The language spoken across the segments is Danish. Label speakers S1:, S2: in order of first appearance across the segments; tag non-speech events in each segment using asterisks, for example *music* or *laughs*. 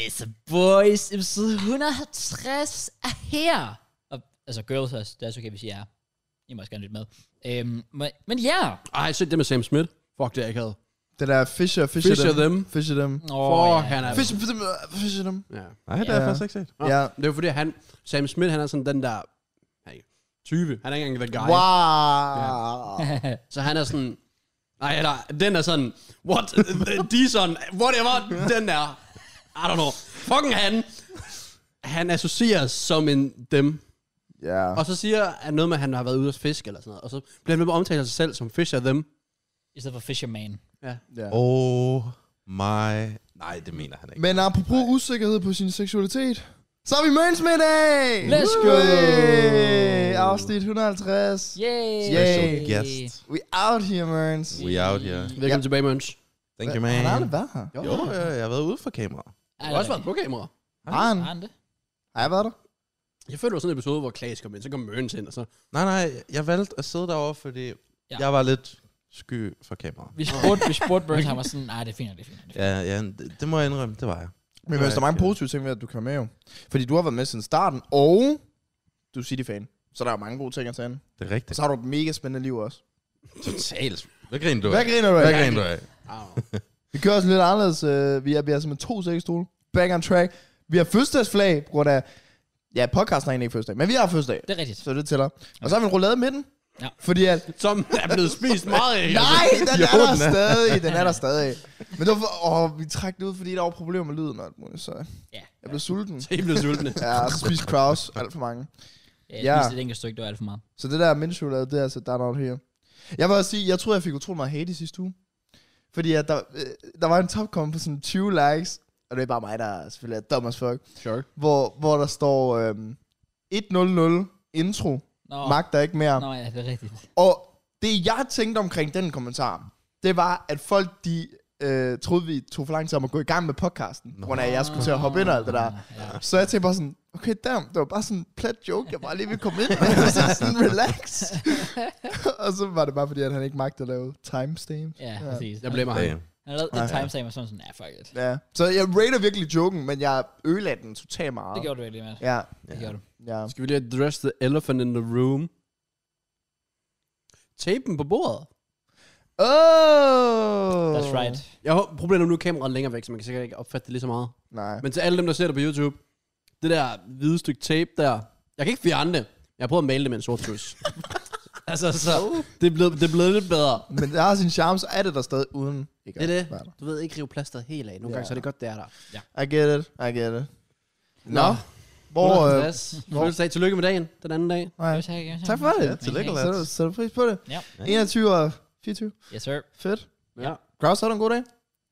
S1: Mr. Boys, episode 150 er her. Og, altså girls også, det er også okay, hvis I er. I må også gerne lytte med. Øhm, men, men ja,
S2: Ej, se det med Sam Smith. Fuck, det er ikke havde.
S3: Det der Fisher, Fisher,
S2: Fisher
S3: them.
S2: them.
S3: Fisher them.
S1: Åh,
S2: For
S1: ja.
S2: han er...
S3: Fisher them. øh, Fisher them.
S2: Ja.
S4: Nej, det har jeg
S3: Ja.
S4: faktisk ikke set.
S2: Nå,
S3: Ja.
S2: Det er jo fordi, han, Sam Smith, han er sådan den der... Hey, 20. Han er ikke engang the guy.
S3: Wow.
S2: Så han er sådan... Nej, eller, den er sådan... What? Dison? Whatever. Den der... I don't know. Fucking han. Han associeres som en dem.
S3: Ja.
S2: Og så siger han noget med, at han har været ude at fiske eller sådan noget. Og så bliver han ved med at omtale sig selv som fish af dem.
S1: *laughs* i stedet for Fisherman.
S2: Ja.
S3: Ja.
S4: Oh my... Nej, det mener han ikke.
S3: Men apropos usikkerhed på sin seksualitet, så er vi møns med i dag!
S1: Let's go!
S3: Hey, afsnit 150.
S1: Yay!
S3: Special
S4: guest.
S3: We out here, møns.
S4: We out here.
S2: Velkommen ja. tilbage, Møns.
S4: Thank
S3: Han
S4: you, man.
S3: har aldrig været her.
S2: Jo,
S4: Jo, ja, jeg har været ude for kamera.
S1: Er
S2: Du
S1: det
S2: har også været
S1: rigtigt?
S2: på kamera.
S3: Har han?
S1: Har han det?
S3: Har jeg været der?
S2: Jeg føler, det var sådan en episode, hvor Klaas kom ind, så kom Møns ind, og så...
S4: Nej, nej, jeg valgte at sidde derovre, fordi
S1: Ja.
S4: ja. jeg var lidt sky for kamera.
S1: Vi spurgte, vi spurgte Burns, han var sådan, nej, det er fint, det er fint. Det er fint.
S4: Ja, ja, det, det må jeg indrømme, det var jeg.
S3: Men
S4: Nej,
S3: der er mange
S4: ja.
S3: positive ting ved, at du kommer med jo. Fordi du har været med siden starten, og du er City-fan. Så der er mange gode ting at tage ind.
S4: Det er
S3: Og
S4: rigtigt.
S3: så har du et mega spændende liv også.
S4: Totalt. Hvad griner du
S3: Hvad
S4: af?
S3: griner du af?
S4: Hvad griner du af?
S2: Ah.
S3: Vi kører også lidt anderledes. øh, Vi er, vi er simpelthen to sækkestole. Back on track. Vi har fødselsdagsflag på grund af... Ja, podcasten er egentlig ikke fødselsdag, men vi har fødselsdag.
S1: Det er rigtigt.
S3: Så det tæller. Og så har vi en roulade i midten.
S1: Ja.
S3: Fordi at...
S2: Som er blevet spist meget af.
S3: Nej, den
S4: Jo,
S3: er der
S4: den er.
S3: stadig. Den er der stadig. Men det var, for- åh, vi trak det ud, fordi der var problemer med lyden og alt muligt, så
S1: Ja.
S3: jeg blev sulten.
S2: Så I blev sultne.
S3: Ja, spist kraus, alt for mange.
S1: Jeg
S3: Ja.
S1: ja. spiste et enkelt stykke, det var alt for meget.
S3: Så det der mindschokolade, det er altså, der er noget her. Jeg vil også sige, jeg tror, jeg fik utrolig meget hate i sidste uge. Fordi at der, øh, der var en topkomment på sådan 20 likes, og det er bare mig, der selvfølgelig er dum as fuck.
S2: Sure.
S3: hvor, hvor der står øhm, 1-0-0 intro,
S1: Nå,
S3: oh. magter ikke mere.
S1: Nå ja, det er rigtigt.
S3: Og det jeg tænkte omkring den kommentar, det var, at folk de øh, troede, vi tog for lang tid om at gå i gang med podcasten, no. grund af, at jeg skulle til at hoppe ind og alt det der.
S1: Ja.
S3: Så jeg tænkte bare sådan, okay, damn, det var bare sådan en plat joke, jeg bare lige ville komme ind med, *laughs* så sådan
S1: *laughs*
S3: relax. og så var det bare fordi, at han ikke magtede at lave timestamp.
S1: Ja,
S3: Ja.
S1: præcis.
S2: Jeg blamer ham.
S4: Damn.
S1: Han har lavet en
S3: Ja, ja.
S1: timestamp og sådan sådan, ja, fuck it.
S3: Ja. Så jeg rater virkelig joken, men jeg ødelagde den totalt meget.
S1: Det gjorde du virkelig, mand.
S3: Ja,
S1: Det gjorde du.
S3: ja.
S2: Skal vi lige address the elephant in the room? Tapen på bordet.
S3: Oh!
S1: That's right.
S2: Jeg håber, problemet er, nu er kameraet længere væk, så man kan sikkert ikke opfatte det lige så meget.
S3: Nej.
S2: Men til alle dem, der ser det på YouTube, det der hvide stykke tape der, jeg kan ikke fjerne det. Jeg har prøvet at male det med en sort tus. *laughs* altså, så det er, blevet, det er blevet lidt bedre.
S3: Men der har sin charme, så er det der stadig uden. Ikke
S2: Det er det.
S3: at være der.
S2: Du ved ikke rive plasteret helt af. Nogle
S3: Ja.
S2: gange, så er det godt, det er der.
S3: I get it, I get it.
S2: Nå.
S3: Nå, hvor... Øh,
S2: 150.
S3: hvor-
S2: Fødselsdag. Tillykke med dagen. Den anden dag.
S3: nej.
S1: Jo, tak, jo,
S3: Tak for det.
S4: Ja, tillykke,
S1: Okay.
S4: lad.
S3: Sætter, sætter du pris på det?
S1: Ja.
S3: 21 og 24.
S1: Yes, sir.
S3: Fedt.
S2: Ja.
S3: Kraus, har du en god dag?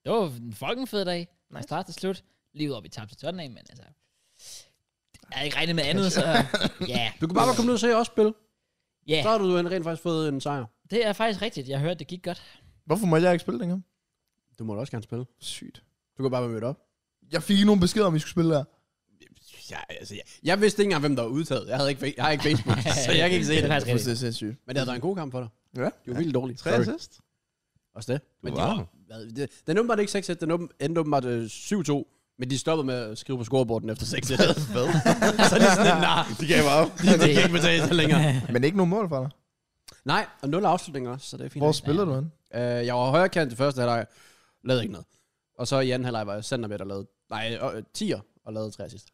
S1: Det var en fucking fed dag. Nice. Fra
S3: Nice.
S1: start til slut. Lige ud op i tabte til Tottenham, men altså... Jeg havde ikke regnet med andet, så... *laughs* Ja,
S2: Du kan bare komme ned og se os spille.
S1: ja.
S2: Så har du rent faktisk fået en sejr.
S1: Det er faktisk rigtigt. Jeg hørte, det gik godt.
S3: Hvorfor må jeg ikke spille dengang?
S2: Du må da også gerne spille.
S3: Sygt.
S2: Du kan bare være mødt op.
S3: Jeg fik ikke nogen besked om, vi skulle spille der.
S2: Ja, altså, jeg, jeg vidste ikke engang, hvem der var udtaget. Jeg havde ikke, fa- jeg *laughs* har ikke Facebook, *laughs* så jeg kan ikke se
S1: Det
S2: det.
S1: er faktisk rigtigt.
S3: Det er sindssygt.
S2: *laughs* Men det havde været en god kamp for dig.
S3: Ja.
S2: Det var vildt dårligt.
S4: Tre
S2: Sorry.
S4: assist?
S2: Også det. Men
S4: Wow.
S2: de var, hvad, det, den åbenbart ikke 6-1, den åben- endte åbenbart øh, 7-2. Men de stoppede med at skrive på scoreboarden efter 6-1. *laughs* så
S4: Hvad?
S2: er *laughs* de sådan, nej,
S4: De gav mig op.
S2: det kan ikke betale sig længere.
S3: Men ikke nogen mål for dig.
S2: *laughs* Nej, og nul afslutninger også, så det er fint.
S3: Hvor
S2: nok.
S3: spiller du hen?
S2: Øh, jeg var højre kant i første halvleg, lavede ikke noget. Og så i anden halvleg var jeg center med, og lavede, nej, øh, 10'er og lavede tre sidst.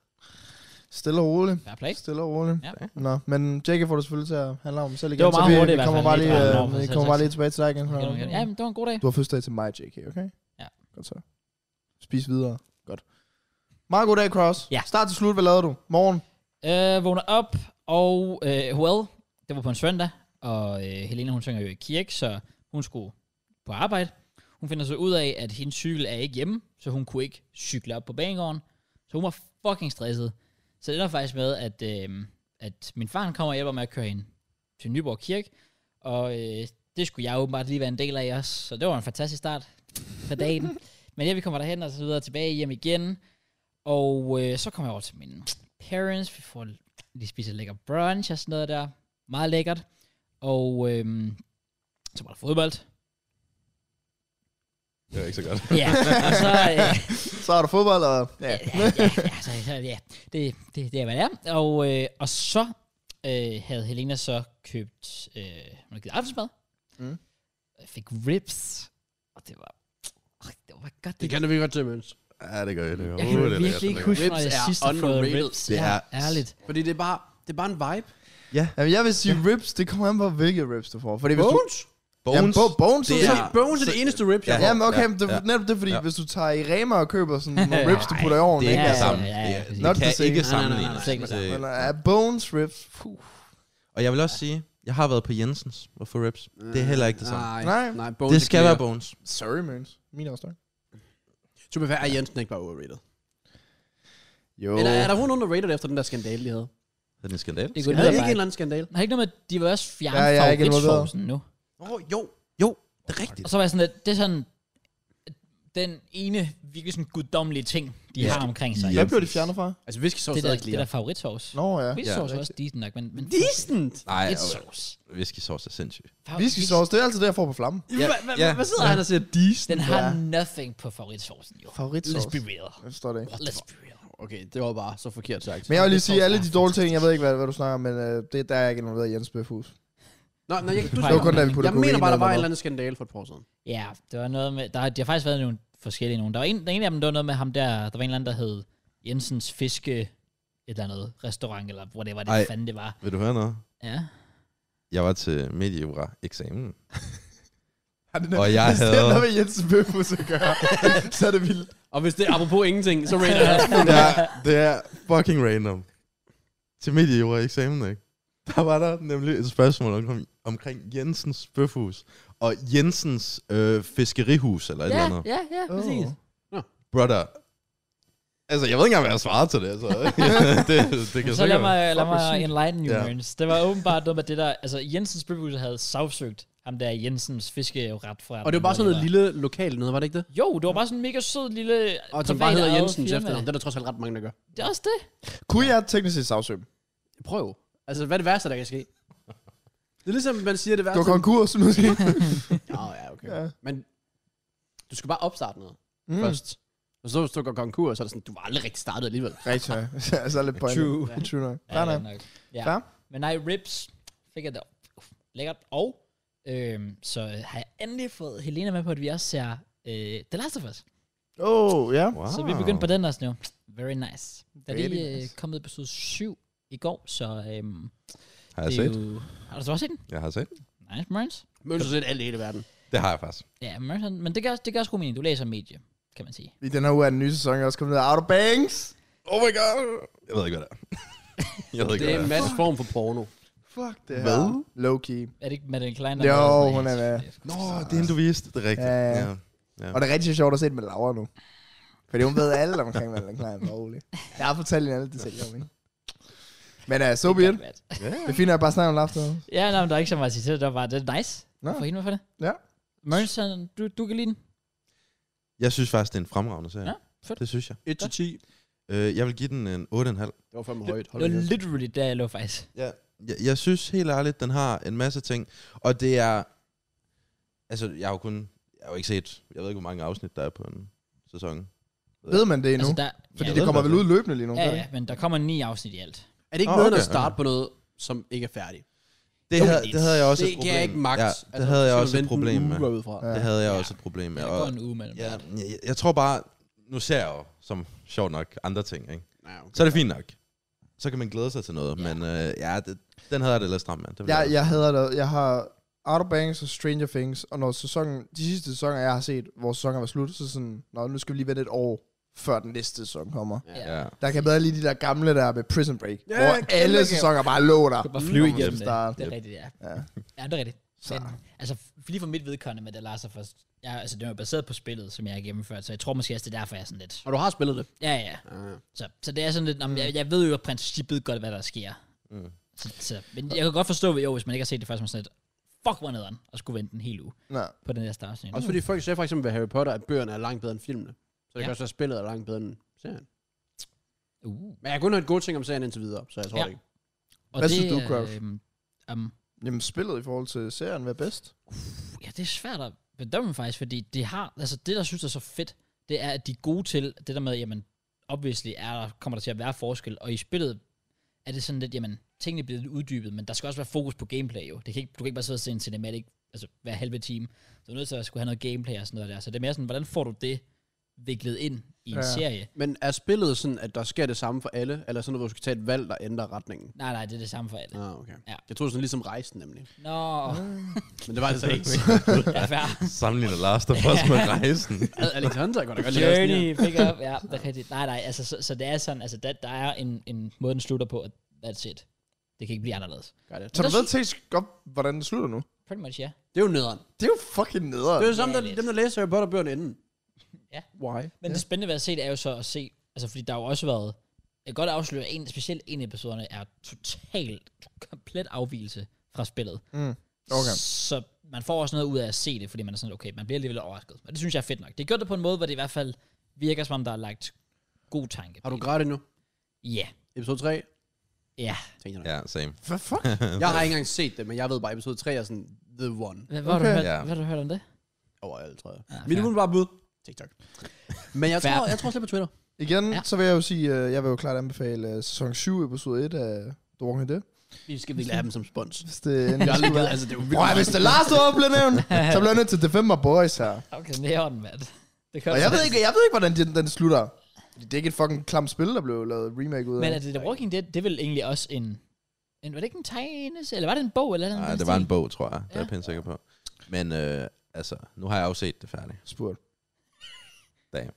S3: Stille og roligt.
S1: Fair play.
S3: Stille og roligt.
S1: Ja.
S3: Nå, men Jake får du selvfølgelig til at handle om selv igen.
S1: var meget
S3: så vi,
S1: hurtigt i
S3: vi
S1: hvert
S3: kommer
S1: fald,
S3: bare
S1: lige
S3: lige,
S1: fra-
S3: øh,
S1: Nå, for
S3: vi
S1: selv
S3: kommer bare
S1: tak.
S3: lige tilbage til dig igen.
S1: Okay, okay. Ja, men det var en god dag.
S3: Du har fødselsdag til mig, JK, okay?
S1: Ja.
S3: Godt så. Spis videre. Godt. Meget god dag, Cross.
S1: Ja.
S3: Start til slut, hvad lavede du? Morgen.
S1: Øh, vågner op, og øh, well, det var på en søndag, og øh, Helena hun synger jo i kirke, så hun skulle på arbejde. Hun finder så ud af, at hendes cykel er ikke hjemme, så hun kunne ikke cykle op på banegården. Så hun var fucking stresset. Så det ender faktisk med, at, øh, at min far han kommer og hjælper med at køre hende til Nyborg Kirke, og øh, det skulle jeg åbenbart lige være en del af også, så det var en fantastisk start på dagen. Men ja, vi kommer derhen og så videre tilbage hjem igen, og øh, så kommer jeg over til mine parents, vi får lige spise lækker brunch og sådan noget der, meget lækkert, og øh, så var der fodbold,
S4: Det var ikke så godt.
S1: Ja, og så... Øh,
S3: Så er der fodbold, og... Ja.
S1: ja, ja, ja, altså, så- ja. Det, det, det er, hvad det er. Og, øh, og så øh, havde Helena så købt øh, hun havde givet aftensmad.
S3: Mm.
S1: Jeg fik ribs. Og det var... Oh, det var godt.
S2: Det kender vi godt til, mens.
S4: Ja, det gør jeg. Det.
S1: jeg kan
S4: det er lækkert,
S1: virkelig
S4: det er
S1: ikke huske,
S2: Ribs
S1: når jeg
S2: er
S1: sidst har fået
S2: underrated.
S1: ribs.
S4: Det
S1: Ja,
S4: er
S1: ærligt.
S2: Fordi det er bare, det er bare en vibe.
S4: Ja.
S3: Jamen, jeg vil sige ribs, det kommer an på, hvilke ribs du får. Fordi hvis du...
S2: Bones?
S4: Bones.
S3: Jamen, bo- bones,
S4: Det
S3: det
S2: Ja.
S3: er...
S4: er-
S2: Bones er det eneste rip, jeg
S4: Ja.
S2: får.
S3: Jamen, okay,
S4: Ja,
S3: men det er
S4: ja.
S3: netop det, fordi
S4: Ja.
S3: hvis du tager i Rema og køber sådan nogle ribs, du putter i ovnen,
S4: Det er ikke
S1: Ja,
S4: det
S1: ja,
S4: samme.
S1: ja,
S4: Det
S1: ja,
S4: er-
S1: præcis.
S3: Not
S4: Det
S3: the
S4: kan
S3: same.
S4: ikke
S2: Nej, nej, nej, nej,
S4: sammenlignes.
S1: slet ikke det
S3: Men
S4: Det-
S3: uh, bones ribs, puh.
S4: Og jeg vil også sige, jeg har været på Jensens og for Rips. Det er heller ikke det samme.
S2: Nej,
S3: Nej.
S2: nej, nej Ah, Bones
S4: Det
S2: er
S4: skal
S2: clear.
S4: være Bones.
S3: Sorry, mans. Min også,
S2: To be fair, er Jensen ikke bare overrated?
S3: Jo.
S2: Eller er der hun underrated efter den der skandale, de havde?
S4: Er det en skandal?
S1: Det
S2: Er
S1: kunne
S2: det
S1: lyde
S2: ikke en
S1: bare...
S2: eller anden skandale?
S1: Der er ikke noget med, at de var også fjerne
S3: Ja,
S1: ja,
S3: jeg er ikke involveret.
S1: favoritsovsen nu.
S4: Åh, oh, jo. Jo, det er rigtigt.
S1: Og så var jeg sådan, at det er sådan... Den ene virkelig sådan guddommelige ting, de
S4: Ja.
S1: har omkring sig.
S4: Ja.
S3: Hvad blev de fjernet fra?
S2: Altså, viskesovs
S1: Det
S2: er
S1: der,
S2: ikke
S1: det
S2: clear.
S1: der favoritsovs.
S3: Nå, ja.
S1: Whiskysauce
S4: Ja,
S1: er også decent nok, men... men
S2: Decent!
S4: Nej,
S1: Et sovs.
S4: whiskysauce er sindssygt.
S3: Viskesauce, det er altid det, jeg får på flammen.
S4: Ja,
S2: Hva- hva-
S4: ja.
S2: Hvad sidder han og siger decent?
S1: Den har
S3: Ja.
S1: nothing på favoritsovsen, jo. Let's be
S3: Favoritsauce.
S1: real.
S3: Jeg forstår det ikke.
S1: Let's be real.
S2: Okay, det var bare så forkert sagt.
S3: Men jeg vil lige
S1: Favorit
S3: sige, alle
S1: sauce
S3: de
S1: er
S3: dårlige ting, jeg ved ikke, hvad, hvad du snakker om, men øh, det der er jeg ikke involveret i Jens Bøfhus.
S2: Nå, nej, jeg, du,
S1: Det var
S3: Det var kun, da vi
S2: jeg,
S3: puttede
S2: jeg mener
S3: kokain
S2: bare,
S3: ned
S2: der var en
S3: i noget.
S2: eller anden skandale for et par år siden.
S1: Ja, det var noget med... Der, har- de har faktisk været nogle forskellige nogen. Der var en, der en af dem, der var noget med ham der... Der var en eller anden, der hed Jensens Fiske... Et eller andet restaurant, eller hvor det var, det
S4: Ej.
S1: fanden det var.
S4: Vil du høre noget?
S1: Ja.
S4: Jeg var til medievra-eksamen.
S3: Ja, det er-
S4: Og jeg
S3: Hvis det
S4: havde-
S3: er noget *laughs* med Jens Bøfhus at
S2: *laughs*
S3: gøre, så er det vildt.
S2: Og hvis det er apropos
S1: *laughs*
S2: ingenting, så rated han.
S4: ja, det er fucking random. Til mediejura-eksamen, ikke? Der var der nemlig et spørgsmål om, omkring Jensens bøfhus og Jensens øh, fiskerihus, eller et
S1: Ja,
S4: eller andet.
S1: ja, ja, præcis.
S3: Åh.
S4: Brother. Altså, jeg ved ikke engang, hvad jeg svarer til det, altså. *laughs* det, det kan
S1: Så lad
S4: sikkert-
S1: mig, lad
S4: Fuck, hvor
S1: mig
S4: sygt.
S1: enlighten you,
S4: Ja.
S1: yeah. Det var åbenbart noget med det der... Altså, Jensens Bøfhus havde sagsøgt ham der Jensens fiskeret fra...
S2: Og det var bare sådan noget lille lokalt noget, var det ikke det?
S1: Jo, det var bare sådan en mega sød lille...
S2: Og som bare
S1: privat
S2: hedder
S1: ejet
S2: Jensens
S1: firma.
S2: efternavn. Det er der trods alt ret mange, der gør.
S1: Det er også det.
S3: Kunne jeg teknisk set sagsøge dem?
S2: Prøv. Altså, hvad er det værste, der kan ske? *laughs* Det er ligesom, man siger det
S3: Det
S2: værste.
S3: var
S2: *laughs*
S3: konkurs, måske.
S2: Nå, ja, okay.
S3: Ja.
S2: Men du skal bare opstarte noget
S3: Mm.
S2: først. Og så hvis du går konkurs, så er det sådan, du var aldrig rigtig startet alligevel.
S3: Rigtig nok. *laughs* Så er lidt point.
S1: True.
S3: Ja. True nok.
S1: Ja,
S3: Fair
S1: det er
S3: nok.
S1: nok. Ja.
S3: Fair.
S1: Men nej, ribs fik jeg da Uff, lækkert. Og øhm, så øh, har jeg endelig fået Helena med på, at vi også ser øh, The Last of Us.
S3: Åh, ja.
S4: Wow.
S1: Så vi begyndte på den også nu. Very nice. Der er
S3: Ah. Very
S1: lige øh,
S3: nice.
S1: kommet episode 7 i går, så øhm,
S4: Har jeg
S1: det er
S4: set?
S1: jo... Har du så også set den?
S4: Jeg har set.
S1: Nice, Mørens.
S2: Men så set alt i hele verden.
S4: Det har jeg faktisk.
S1: Ja, Mørens, han- men det gør, det gør også god mening. Du læser medie, kan man sige.
S3: I den her uge er den nye sæson, jeg er også kommet ned af Outer Banks.
S4: Oh my god. Jeg ved ikke, hvad det er. *laughs* jeg ved ikke,
S2: Det er en
S4: hvad det
S2: masse form for porno.
S3: Fuck det her.
S4: Hvad?
S3: Low-key.
S1: Er det ikke Madeline Klein,
S3: Jo,
S1: har lavet sådan
S3: hun
S1: en-
S3: er med.
S4: er. Nå, det er en, du viste. Det er rigtigt.
S3: Ja, ja.
S4: ja.
S3: Og det er rigtig sjovt at se det med Laura nu. Fordi hun ved alt omkring, hvad den klarer. Rolig. Jeg har fortalt hende alle detaljer om hende. Men uh, so be it. Det fine er at bare snakke om laughter.
S1: Ja, nej, men der er ikke så meget at sige til det. Det var bare, det er nice.
S3: Nå.
S1: Nå. For hende, for det.
S3: Ja.
S1: Mørens, han- du, du kan lide den.
S4: Jeg synes faktisk, det er en fremragende serie.
S1: Ja, fedt.
S4: Det synes jeg.
S2: 1 til 10.
S4: Øh, Jeg vil give den en 8,5.
S2: Det var fandme højt. Hold
S1: Det var
S2: det
S1: literally der, jeg lå faktisk.
S4: Ja. Jeg, jeg synes helt ærligt, den har en masse ting, og det er... Altså, jeg har jo kun... Jeg har jo ikke set... Jeg ved ikke, hvor mange afsnit, der er på en sæson.
S3: Ved man det endnu?
S1: Altså, der,
S3: Fordi
S1: ja,
S3: det
S4: ved
S3: kommer
S4: man
S3: vel
S4: det.
S3: ud løbende lige nu.
S1: ja,
S3: gør det
S1: ja,
S3: ikke?
S1: men der kommer ni afsnit i alt.
S2: Er det ikke
S4: Ah,
S2: noget, at
S4: okay,
S2: starte
S4: okay.
S2: på noget, som ikke er færdigt?
S4: Det,
S1: Jo,
S4: havde,
S1: det-
S4: det havde jeg også
S2: det
S4: et
S2: kan
S4: problem
S2: jeg ikke magt. Altså,
S4: Ja, det havde jeg også et problem med.
S2: Uge, ud fra.
S3: Ja.
S4: Det havde jeg
S1: Ja.
S4: også et problem med.
S1: Der går
S4: Og,
S1: en uge mellem.
S4: ja, jeg, jeg tror bare... Nu ser jeg jo, som sjovt nok, andre ting, ikke?
S2: Ja, okay.
S4: Så er det fint nok. Så kan man glæde sig til noget,
S1: Ja.
S4: ja. men øh, ja, det, den havde jeg det lidt stramt med. Det vil
S3: Jeg,
S4: jeg-
S3: jeg hader det. Jeg har Outer Banks og Stranger Things, og når sæsonen, de sidste sæsoner, jeg har set, hvor sæsonen var slut, så sådan, nå, nu skal vi lige vente et år, før den næste sæson kommer.
S4: Ja.
S3: Der kan bedre lige de der gamle der med Prison Break,
S2: Ja,
S3: ja, hvor
S2: kæmpe
S3: alle
S2: gave.
S3: sæsoner bare lå der.
S1: Du kan bare flyve
S3: Når man
S1: igennem det.
S3: skal starte.
S1: Det er rigtigt, ja.
S3: Ja.
S1: Ja, det er rigtigt.
S3: Så.
S1: Men, altså, f- lige for mit vedkommende med The Last of Us, ja, altså, det var jo baseret på spillet, som jeg har gennemført, så jeg tror måske også, det er derfor, jeg er sådan lidt...
S2: Og du har spillet det.
S1: Ja, ja. Så, så det er sådan lidt... Om, jeg,
S3: Mm.
S1: jeg ved jo i princippet godt, hvad der sker.
S4: Mm.
S1: Så, så, men jeg kan godt forstå, jo, hvis man ikke har set det først, man er sådan lidt... Fuck, hvor nederen, og skulle vente en hel uge
S3: Nå.
S1: på den der startscene.
S2: Også fordi folk siger for eksempel ved Harry Potter, at bøgerne er langt bedre end filmene. Så
S1: Ja.
S2: det kan også være, at spillet er langt bedre end serien.
S1: Uh.
S2: Men jeg har kun hørt gode ting om serien indtil videre, så jeg tror
S1: Ja.
S2: det ikke.
S1: Og
S3: Hvad
S1: det,
S3: synes du,
S1: øh,
S3: Kraus?
S1: Um,
S3: Jamen, spillet i forhold til serien, hvad er bedst?
S1: ja, det er svært at bedømme faktisk, fordi det har, altså det, der synes er så fedt, det er, at de er gode til det der med, jamen, obviously er der, kommer der til at være forskel, og i spillet er det sådan lidt, jamen, tingene bliver lidt uddybet, men der skal også være fokus på gameplay jo. Det kan ikke, du kan ikke bare sidde og se en cinematic, altså hver halve time. Du er nødt til at skulle have noget gameplay og sådan noget der. Så det er mere sådan, hvordan får du det viklet ind i en ja.
S3: Ja.
S1: serie?
S2: Men er spillet sådan, at der sker det samme for alle, eller sådan, at du skal tage et valg, der ændrer retningen?
S1: Nej, nej, det er det samme for alle.
S2: Ah, okay.
S1: Ja.
S2: Jeg troede sådan ligesom rejsen nemlig.
S1: Nå, *laughs*
S2: Men det var *laughs* det så ikke.
S4: *laughs*
S1: det er fair.
S4: Sammenligner Last of Us med rejsen.
S2: Alexander kan da godt lide rejsen, ja.
S1: Journey, pick up, ja, det er rigtigt. Nej, nej, altså, så, så det er sådan, altså, der, der er en, en måde, den slutter på, at that's it. Det kan ikke blive anderledes.
S2: Gør det.
S3: Så
S1: der
S3: du ved teknisk godt, hvordan det slutter nu?
S1: Pretty much, ja.
S2: Det er jo nederen.
S3: Det er jo fucking nederen.
S2: Det er jo samme,
S1: Ja,
S2: der,
S1: lidt.
S2: dem, der læser Harry Potter-bøgerne inden.
S1: Ja.
S2: Why?
S1: Men ja. det spændende ved at se, det er jo så at se, altså, fordi der har jo også været, jeg kan godt afsløre, at en, specielt en af episoderne er totalt, komplet afvielse fra spillet.
S3: Mm. Okay.
S1: Så man får også noget ud af at se det, fordi man er sådan, okay, man bliver alligevel overrasket. Og det synes jeg er fedt nok. Det er gjort det på en måde, hvor det i hvert fald virker, som om der er lagt god tanke.
S2: Har du
S1: bag.
S2: gratis nu?
S1: Ja,
S2: Episode 3?
S1: ja.
S2: Tænker jeg.
S4: Ja, same.
S3: Hvad fuck?
S2: nok. Jeg har ikke engang set det, men jeg ved bare, at episode 3 er sådan the one
S1: Hvad, hvad, har du
S3: Okay.
S1: hørt,
S4: Ja.
S1: hvad har du hørt om det?
S2: overalt, tror jeg.
S1: Ja,
S2: Mit
S1: fair.
S2: umiddelbare bud? TikTok. Men jeg
S1: Fair.
S2: tror, jeg tror slet på Twitter.
S3: Igen,
S1: Ja.
S3: ja. så vil jeg jo sige, øh, jeg vil jo klart anbefale øh, sæson 7, episode 1 af The Walking Dead.
S2: Vi skal virkelig have dem som spons.
S1: *laughs*
S3: Hvis det
S2: Jeg
S3: endelig
S2: har
S3: skulle
S2: ligget,
S3: være.
S2: altså det er jo
S3: Prøv,
S2: vildt.
S3: hvis det Lars op blev nævnt, så bliver jeg nødt til Defender Boys her.
S1: Okay, det er den, mand. Det kan
S3: Og jeg ved ikke, jeg ved ikke hvordan den, den slutter. Fordi Det er ikke et fucking klamt spil, der blev lavet remake ud af.
S1: Men er det The Walking Dead, det er vel egentlig også en... en var det ikke en tegnes, eller var det en bog? Eller noget i
S4: Nej,
S1: den
S4: det var en
S1: stil?
S4: bog, tror jeg. Det
S1: Ja.
S4: er jeg pænt sikker på. Men øh, altså, nu har jeg jo set det færdigt.
S3: Spurgt.
S4: Damn.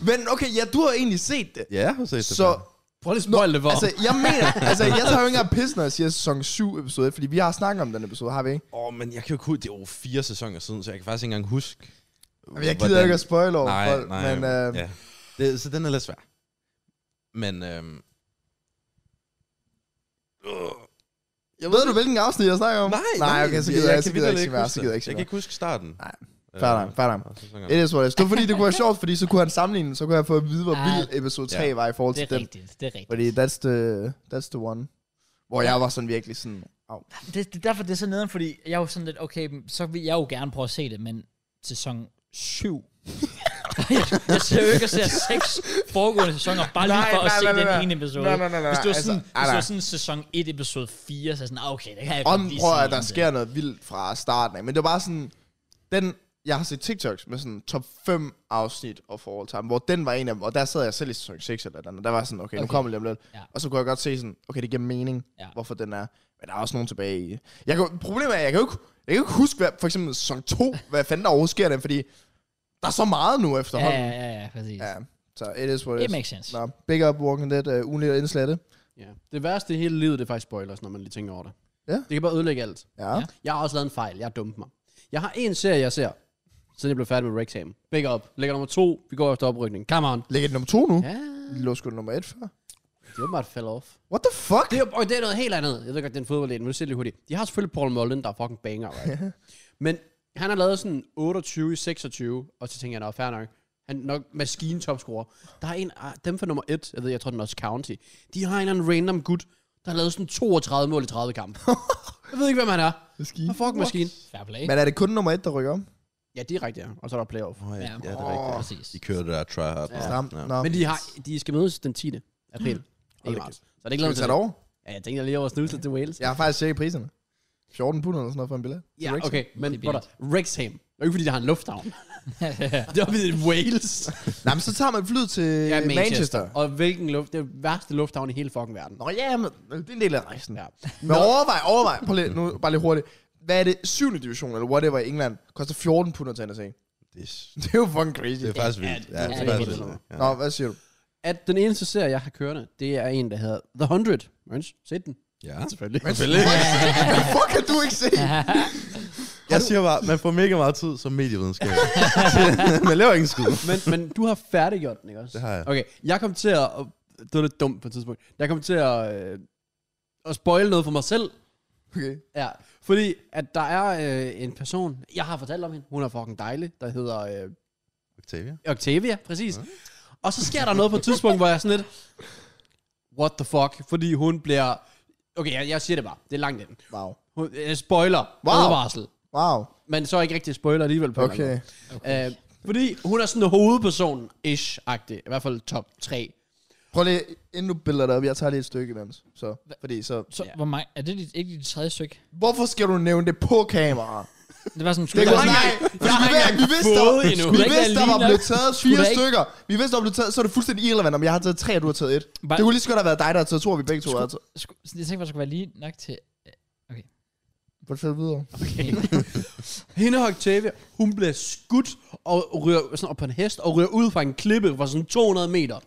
S3: *laughs* Men okay, ja, du har egentlig set det.
S4: Ja, jeg har set det
S3: Så,
S4: færdigt.
S2: Prøv lige at spoil det for.
S3: altså, jeg mener,
S4: *laughs*
S3: altså, jeg tager jo ikke engang pisse, når jeg siger sæson 7 episode 1, fordi vi har snakket om den episode, har vi ikke?
S4: Åh, oh, men jeg kan jo ikke huske, det er jo fire sæsoner siden, så jeg kan faktisk ikke engang huske.
S3: Jamen, jeg gider ikke at spoil over
S4: nej,
S3: folk,
S4: nej,
S3: men øh,
S4: ja. det, Så den er lidt svær. Men, øhm,
S3: jeg ved du, hvilken afsnit jeg snakker om?
S4: nej,
S3: Øh. nej, okay, så gider jeg, så gider jeg ikke sige mere,
S4: huske
S3: så gider jeg
S4: det.
S3: ikke sige
S4: Jeg kan ikke huske starten. Øh,
S3: Nej, fair nok, fair nok.
S4: og sæsonerne.
S3: It is what it is. Det var fordi, det kunne være sjovt, fordi så kunne han sammenligne, så kunne jeg få at vide, hvor
S1: Ah,
S3: vild episode 3
S4: ja.
S3: var i forhold
S1: Det
S3: til
S1: er
S3: den.
S1: rigtigt, det er rigtigt.
S3: Fordi that's the, that's the one. Hvor jeg var sådan virkelig sådan, au.
S1: Det, det, er derfor, det er sådan nederen, fordi jeg er jo sådan lidt, okay, men så vil jeg jo gerne prøve at se det, men sæson 7... *laughs* jeg ser jo ikke at se seks foregående sæsoner, bare lige
S3: Nej,
S1: for at
S3: nej,
S1: se
S3: nej,
S1: den
S3: nej.
S1: ene episode.
S3: Nej, nej, nej, nej,
S1: Hvis det var sådan,
S3: altså, nej,
S1: hvis det var sådan
S3: nej.
S1: sæson 1, episode 4, så er jeg sådan, ah, okay, det kan jeg
S3: Om,
S1: godt lige
S3: prøv
S1: se
S3: at der
S1: igen.
S3: sker noget vildt fra starten af. Men det var bare sådan, den, jeg har set TikToks med sådan top 5 afsnit og forhold til ham, hvor den var en af dem, og der sad jeg selv i sæson 6 eller et eller andet, der var sådan, okay, okay. nu
S1: Okay.
S3: kommer det lige om lidt.
S1: Ja.
S3: Og så kunne jeg godt se sådan, okay, det giver mening,
S1: Ja.
S3: ja. hvorfor den er. Men der er også nogen tilbage i. Jeg kan, problemet er, jeg kan jo ikke, jeg kan jo ikke huske, hvad, for eksempel sæson 2, hvad fanden der overhovedet sker den, fordi der er så meget nu
S1: Ja,
S3: efterhånden.
S1: ja, ja, ja, præcis.
S3: Ja, så it is what
S1: It
S3: it is.
S1: makes sense.
S3: Nå, big up Walking Dead, uh, ugenligt indslag det.
S2: Ja. Det værste i hele livet, det er faktisk spoilers, når man lige tænker over det.
S3: Ja.
S2: Det kan bare ødelægge alt.
S3: Ja.
S1: Ja.
S3: ja.
S2: Jeg har også lavet en fejl. Jeg har dumt mig. Jeg har en serie, jeg ser, siden jeg blev færdig med Rexham. Big up. Ligger nummer to. Vi går efter oprykning. Come on.
S3: Lægger det nummer to nu? Ja.
S2: Ja,
S3: Det lå sgu da nummer et før.
S2: det er åbenbart fell off.
S3: What the fuck?
S2: Det er, og det er noget helt andet. Jeg ved godt, det er en fodboldlæge, men nu ser lige hurtigt. De har selvfølgelig Paul Mullen, der er fucking banger, right? men han har lavet sådan 28 i 26, og så tænker jeg, nå, fair nok. Han er nok maskintopscorer. Der er en, ah, dem for nummer 1, jeg ved, jeg tror, den er også County. De har en eller anden random gut, der har lavet sådan 32 mål i 30 kampe. *laughs* jeg ved ikke, hvem han er.
S3: Maskine.
S2: Han er fucking maskine.
S1: Fair play.
S3: Men er det kun nummer et, der rykker om?
S2: Ja, direkte, ja. Og så er der playoff.
S4: Åh, ja,
S1: Ja.
S4: ja, det er rigtigt.
S1: Præcis.
S4: De kørte der tryhard.
S2: Ja.
S3: Stramt.
S4: Ja.
S3: Nå.
S2: Men de, har, de skal mødes den 10. april. Ikke
S3: da
S2: marts. Så er det ikke
S3: Skal
S2: lavet
S3: vi
S2: til
S3: tage det over?
S2: Ja, jeg tænkte lige over at snuse lidt til Wales.
S3: Jeg har faktisk tjekket priserne. 14 pund eller sådan noget for en billet. til
S2: Ja,
S3: Wrexham.
S2: okay, men
S1: Det er
S2: det er Rexham. Det er jo ikke, fordi de har en lufthavn. det er ved Wales.
S3: Nej, men så tager man flyet til ja, Manchester. Manchester.
S2: Og hvilken luft? Det er den værste lufthavn i hele fucking verden.
S3: Nå ja, men det er en del af rejsen.
S2: Ja.
S3: Ja. Men overvej, overvej. Prøv lige, nu, bare lige hurtigt. Hvad er det? 7. division, eller whatever i England, koster 14 pund at tage ind og se. *laughs*
S4: Det, er-
S3: Det er jo fucking crazy.
S4: det er faktisk vildt. Ja, det er
S1: det er
S4: faktisk
S1: vildt.
S4: vildt. Ja.
S3: Nå, hvad siger du?
S2: At den eneste serie, jeg har kørende, det er en, der hedder The 100. Møns, set den?
S4: Ja.
S2: Selvfølgelig.
S4: Selvfølgelig.
S3: Hvad fuck kan du ikke se?
S4: Jeg siger bare, man får mega meget tid som
S3: *laughs*
S4: medievidenskab. man laver ingen skud.
S2: Men, men du har færdiggjort den, ikke også?
S4: Det har jeg.
S2: Okay, jeg kom til at... Det var lidt dumt på et tidspunkt. Jeg kom til at, øh, at spoil noget for mig selv.
S3: Okay.
S2: Ja, fordi at der er øh, en person, jeg har fortalt om hende, hun er fucking dejlig, der hedder øh,
S4: Octavia.
S2: Octavia, præcis. Ja. Og så sker der noget på et tidspunkt, hvor jeg er sådan lidt, what the fuck, fordi hun bliver, okay, jeg, jeg siger det bare, det er langt inden.
S3: Wow.
S2: Hun, øh, spoiler,
S3: Wow.
S2: advarsel.
S3: Wow.
S2: men så ikke rigtig spoiler alligevel på en eller anden
S3: Okay.
S1: Okay.
S2: Øh, fordi hun er sådan hovedperson-ish-agtig. I hvert fald top 3.
S3: Prøv lige, inden du billeder dig op, jeg tager lige et stykke imens. Så,
S1: Hva-
S3: fordi så...
S1: så
S2: ja.
S1: hvor mange, er det dit, ikke dit tredje stykke?
S3: Hvorfor skal du nævne det på kamera?
S1: Det var sådan,
S3: Det
S1: skulle
S3: går
S1: der-
S3: ikke. Nej, fordi vi, ved- vi vidste, der,
S2: fået endnu.
S3: vi
S1: Skulle der
S3: vidste,
S1: ikke
S3: der
S1: være
S3: var
S1: lige
S3: blevet
S1: nok?
S3: taget
S1: Skulle
S3: fire
S1: der ikke-
S3: stykker. Vi vidste, der var blevet taget, så er det fuldstændig irrelevant, om jeg har taget tre, og du har taget et.
S1: Bare-
S3: Det kunne lige så godt have været dig, der har taget to, og vi begge to har taget.
S1: Sku, sådan, jeg tænkte, at der skulle være lige nok til...
S3: Fortæl videre.
S1: Okay.
S2: Hende og Octavia, hun bliver skudt og ryger sådan op på en hest og ryger ud fra en klippe fra sådan 200 meter.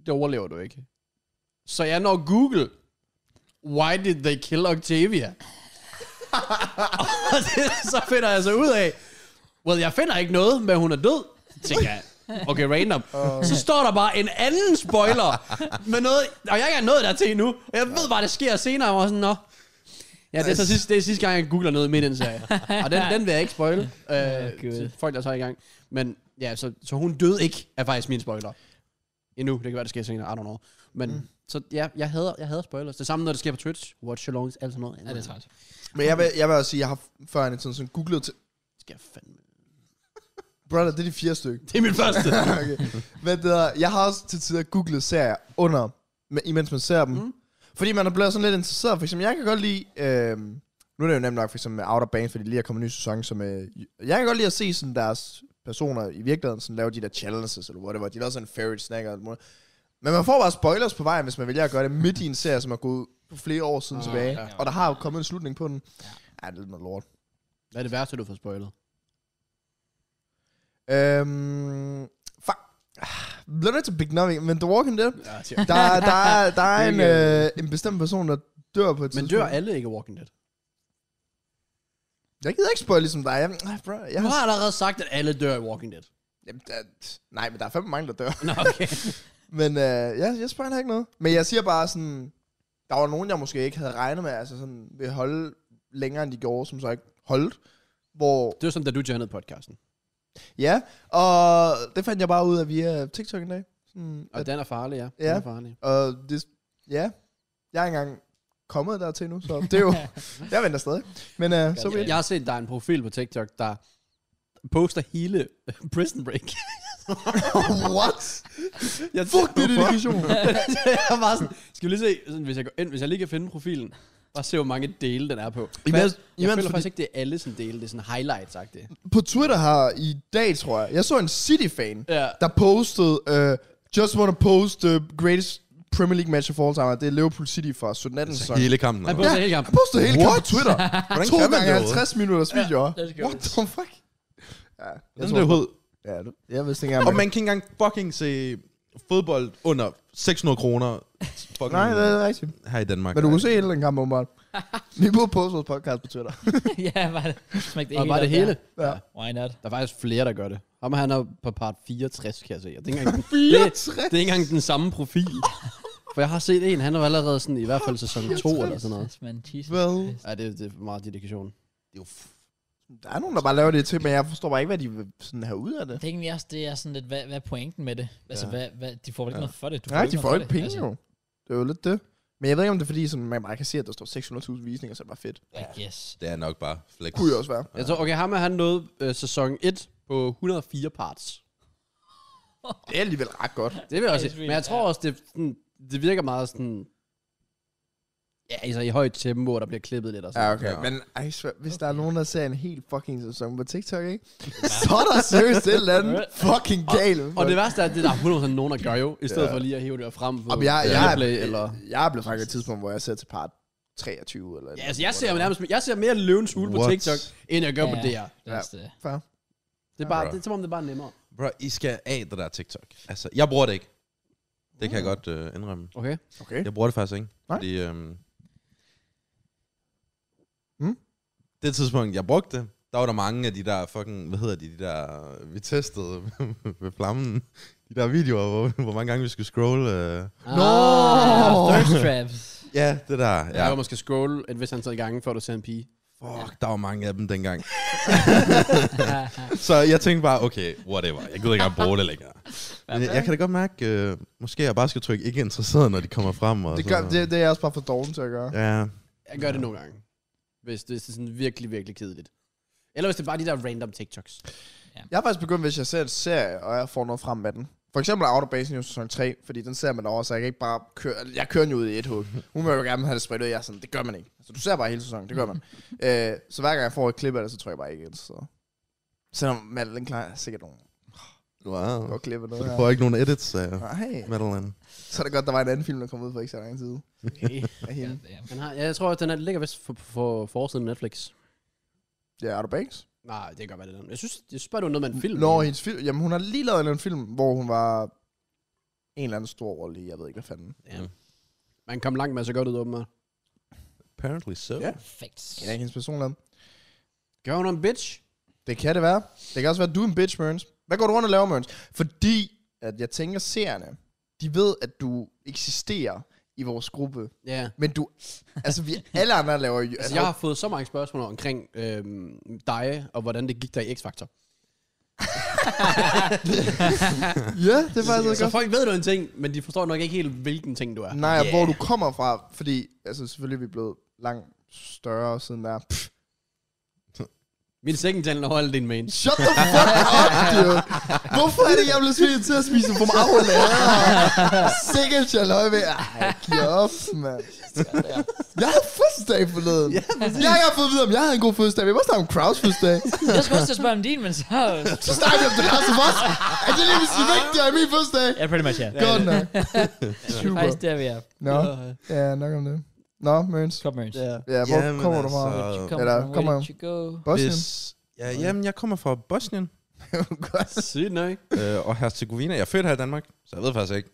S2: Det overlever du ikke. Så jeg når Google, why did they kill Octavia? *laughs* og det, så finder jeg så ud af, well, jeg finder ikke noget, men hun er død. Tænker jeg, okay, random. Så står der bare en anden spoiler med noget, og jeg er ikke nået dertil endnu. Og jeg ved bare, det sker senere, og jeg var sådan, nå, Ja, det er, så sidste, det er sidste gang, jeg googler noget midt i den serie. og den, den vil jeg ikke spoil. Øh,
S1: Gud.
S2: til folk, der tager i gang. Men ja, så, så hun døde ikke, er faktisk min spoiler. Endnu, det kan være, det sker senere, I don't know. Men mm. så ja, jeg hader, jeg hader spoilers. Det samme, når det sker på Twitch. Watch alongs, alt sådan noget.
S1: ja, det er træt.
S3: Men jeg vil, jeg vil også sige, jeg har før en sådan, sådan googlet til...
S2: Skal jeg fandme.
S3: Brother, det er de fire stykker.
S2: Det er min første.
S3: *laughs* okay. Hvad det hedder, jeg har også til tider googlet serier under, men- imens man ser dem. Mm. Fordi man er blevet sådan lidt interesseret. For eksempel, jeg kan godt lide... Øh, nu er det jo nemt nok for eksempel med Outer Banks, fordi lige er kommet en ny sæson, som... Øh, jeg kan godt lide at se sådan deres personer i virkeligheden sådan lave de der challenges, eller whatever. De laver sådan en favorite snack og alt muligt. Men man får bare spoilers på vejen, hvis man vælger at gøre det midt i en serie, som er gået for flere år siden
S2: Ah,
S3: tilbage.
S2: ja.
S3: Og der har jo kommet en slutning på den. Ja, det er lidt noget lort.
S2: Hvad er det værste, du får
S3: *laughs*
S2: spoilet?
S3: Øhm, fuck. Ah, Bliver nødt til Big Nothing, men The Walking Dead.
S2: Ja, til-
S3: Der, er- der, er- der er en,
S2: Hvilket-
S3: øh, en bestemt person, der dør på
S2: *laughs* Men
S3: et tidspunkt.
S2: dør alle ikke af Walking Dead?
S3: Jeg gider ikke spoil ligesom dig. Jeg, ah, bro, jeg
S2: Du
S3: har,
S2: har allerede sagt, at alle dør af Walking Dead.
S3: jamen, der, nej, men der er fandme mange, der dør.
S2: Nå, okay.
S3: *laughs* Men øh, jeg, jeg spoiler ikke noget. Men jeg siger bare sådan, der var nogen, jeg måske ikke havde regnet med, altså sådan, vil holde længere, end de gjorde, som så ikke holdt. Hvor,
S2: det var som, da du joinede podcasten.
S3: ja, og det fandt jeg bare ud af via TikTok en dag. Sådan,
S2: Og
S3: at,
S2: den er farlig, ja. Den
S3: Ja.
S2: er farlig.
S3: og det, ja, jeg er ikke engang kommet dertil nu, så det er
S2: *laughs*
S3: jo, jeg venter stadig. Men øh, så
S2: Jeg har set, der er en profil på TikTok, der poster hele *laughs* Prison Break.
S3: *laughs* What?
S2: jeg
S3: Fuck, det er dedikation.
S2: *laughs* jeg var sådan, skal vi lige se, sådan, hvis jeg går ind, hvis jeg lige kan finde profilen, bare se, hvor mange dele den er på. Men jeg,
S3: Imens-
S2: jeg
S3: imens
S2: føler
S3: fordi-
S2: faktisk ikke, det er alle sådan dele, det er sådan highlights det.
S3: på Twitter her i dag, tror jeg, jeg så en City-fan,
S2: Ja.
S3: der postede, uh, just wanna post the greatest Premier League match of all time, og det er Liverpool City fra 17-18 sæson.
S4: Altså, Hele kampen.
S2: Han
S4: eller
S2: poster hele kampen.
S3: Han postede hele kampen på Twitter.
S4: Hvordan
S3: to
S4: kan man
S3: gange
S4: det?
S3: 50 minutters videoer.
S1: let's go.
S3: What the fuck? Ja, jeg
S4: hvad? Den
S3: tror
S4: der
S3: på-
S4: hoved.
S3: Ja, du, jeg vidste ikke engang.
S4: Og man kan ikke engang fucking se fodbold under 600 kroner fucking
S3: Nej, det er rigtigt.
S4: her i Danmark.
S3: Men du kunne se hele den kamp, åbenbart. Vi burde poste vores podcast på Twitter.
S1: *laughs* ja, var det, smæk det
S2: Og
S1: hele
S2: bare det
S1: op der.
S2: hele.
S3: Ja.
S1: Why not?
S2: Der er faktisk flere, der gør det. Ham han er på part 64, kan jeg se. Og det, er ikke engang, det, det er ikke engang den samme profil. For jeg har set en, han er allerede sådan i hvert fald sæson 2 eller sådan noget.
S1: Yes, man, Jesus.
S3: Well,
S2: Ja, det, det er meget dedikation.
S3: der er nogen, der bare laver det til, men jeg forstår bare ikke, hvad de vil sådan have ud af det.
S1: Det er egentlig også, det er sådan lidt, hvad, hvad er pointen med det? Altså,
S4: Ja.
S1: hvad, hvad, de får vel ikke
S4: Ja.
S1: noget for det? Du
S3: Nej, de
S1: ikke
S3: får
S1: noget
S3: ikke
S1: for det, Altså.
S3: penge jo. Det er jo lidt det. Men jeg ved ikke, om det er fordi, sådan, man bare kan se, at der står 600.000 visninger, så er det bare fedt.
S1: Altså, I guess.
S4: Det er nok bare flex.
S3: Kunne jo også være.
S2: Jeg tror, okay, ham er han nåede øh, sæson 1 på 104 parts.
S3: Det er alligevel ret godt.
S2: Det vil jeg også
S1: Det er
S2: sige. Men jeg tror også, det, sådan, det virker meget sådan... Ja, altså i højt tempo, og der bliver klippet lidt og sådan.
S3: Ja, okay.
S4: Ja.
S3: Men ej, svær, hvis der er nogen, der ser en helt fucking sæson på TikTok, ikke? så er der seriøst et eller andet fucking galt.
S2: Og det værste er, at det er der er 100% nogen, der gør jo, i stedet
S3: Ja.
S2: for lige at hive det frem på
S3: Jamen, jeg, jeg,
S2: Viaplay
S3: jeg,
S2: eller...
S3: eller... jeg er blevet faktisk et tidspunkt, hvor jeg ser til part 23 eller
S2: Ja, altså jeg ser, nærmest, jeg ser mere løvens hule på
S4: What?
S2: TikTok, end jeg gør på
S1: Ja,
S2: DR.
S1: Det er også det.
S3: Fair.
S2: Det er, bare,
S4: Bro.
S2: det er som om, det er bare nemmere.
S4: Bro, I skal af det der TikTok. Altså, jeg bruger det ikke. Det kan jeg
S3: Ah.
S4: godt øh, indrømme.
S2: Okay.
S3: Okay.
S4: Jeg bruger det faktisk ikke.
S3: Nej.
S4: Fordi, øhm,
S3: Mm.
S4: Det tidspunkt, jeg brugte det, der var der mange af de der fucking, hvad hedder de, de der, vi testede *laughs* ved flammen, de der videoer, hvor, hvor mange gange vi skulle scrolle. Øh.
S3: Nå!
S1: Ah, thirst traps.
S4: Ja, det der.
S2: Ja. Jeg
S4: Ja.
S2: var måske scroll, at hvis han sad i gangen, før du ser en pige.
S4: Fuck, der var mange af
S3: *laughs*
S4: dem dengang. så jeg tænkte bare, okay, whatever. Jeg gider ikke engang bruge det længere. Men jeg, jeg kan da godt mærke, øh, måske jeg bare skal trykke ikke interesseret, når de kommer frem. Og
S3: Det,
S4: så-
S3: gør, det, det er jeg også bare for doven til at gøre.
S4: Ja.
S2: Jeg gør det nogle gange. Hvis det er sådan virkelig, virkelig kedeligt. Eller hvis det er bare de der random *laughs* TikToks.
S3: Jeg har faktisk begyndt, hvis jeg ser en serie, og jeg får noget frem med den. For eksempel Outer Banks News sæson 3, fordi den ser man over, så jeg kan ikke bare køre... Jeg kører den jo ud i et hug. Hun vil jo gerne have det spredt ud, jeg er sådan, det gør man ikke. Altså, du ser bare hele sæsonen, det gør
S4: *laughs*
S3: man. øh, så hver gang jeg får et klip af det, så tror jeg bare ikke ind, så... Selvom Madeline klarer jeg sikkert nogle
S4: Wow.
S3: godt klip af
S4: Så
S3: noget
S4: du
S3: her.
S4: får ikke nogen edits af
S3: Nej,
S4: Madeline.
S3: så er det godt, der var en anden film, der kom ud for ikke så lang tid. Af
S1: Ja,
S3: hende.
S1: ja.
S2: Den har, ja, jeg tror, at den er, ligger vist for, for forsiden Netflix.
S3: Ja, Outer Banks.
S2: Nej, det kan godt være, det er den. Jeg synes, jeg synes bare, det var noget med en film.
S3: Nå, hendes film. Jamen, hun har lige lavet en eller anden film, hvor hun var en eller anden stor rolle i, jeg ved ikke, hvad fanden.
S2: ja. Man kom langt med så godt ud, åbenbart.
S4: Apparently so.
S3: Ja.
S1: Perfekt.
S3: Jeg er ikke hendes personlighed.
S2: Gør hun en bitch?
S3: Det kan det være. Det kan også være, at du er en bitch, Mørns. Hvad går du rundt og laver, Mørns? Fordi, at jeg tænker, seerne, de ved, at du eksisterer i vores gruppe.
S2: Ja.
S3: Men du, altså vi alle andre laver jo...
S2: Altså, jeg har fået så mange spørgsmål omkring øhm, dig, og hvordan det gik der i X-Factor.
S3: Altså, ja, det er faktisk også
S2: Altså, Så
S3: godt.
S2: folk ved du en ting, men de forstår nok ikke helt, hvilken ting du er.
S3: Nej, og hvor du kommer fra, fordi, altså selvfølgelig er vi blevet langt større siden der. Pff,
S2: Min second channel holder din main.
S3: shut the fuck up, dude. Hvorfor er det, jeg blev svinget til at spise for meget lærer? Sikkert, jeg løg ved. Ej, giv op, mand. Jeg har fødselsdag forleden. Ja, jeg har fået at vide, om jeg havde en god fødselsdag. Vi må snakke om Kraus fødselsdag.
S1: Jeg skulle også til at spørge om din, men så...
S3: Så snakker vi om The Last of Us. Er det lige pludselig vigtigere i min fødselsdag?
S1: Ja, pretty much, ja.
S3: Godt nok. Super.
S1: Faktisk der, vi er.
S3: Nå, ja, nok om det. Nå, Mørens.
S1: Club Merge.
S2: Ja.
S3: Ja, hvor
S4: Jamen,
S3: kommer du fra?
S4: altså,
S3: Eller, kom her.
S1: you go.
S3: Bosnien?
S4: Hvis, ja, jamen, jeg kommer fra Bosnien
S3: Godt.
S2: Sygt nok.
S4: øh, og Herzegovina. Jeg er født her i Danmark, så jeg ved faktisk ikke,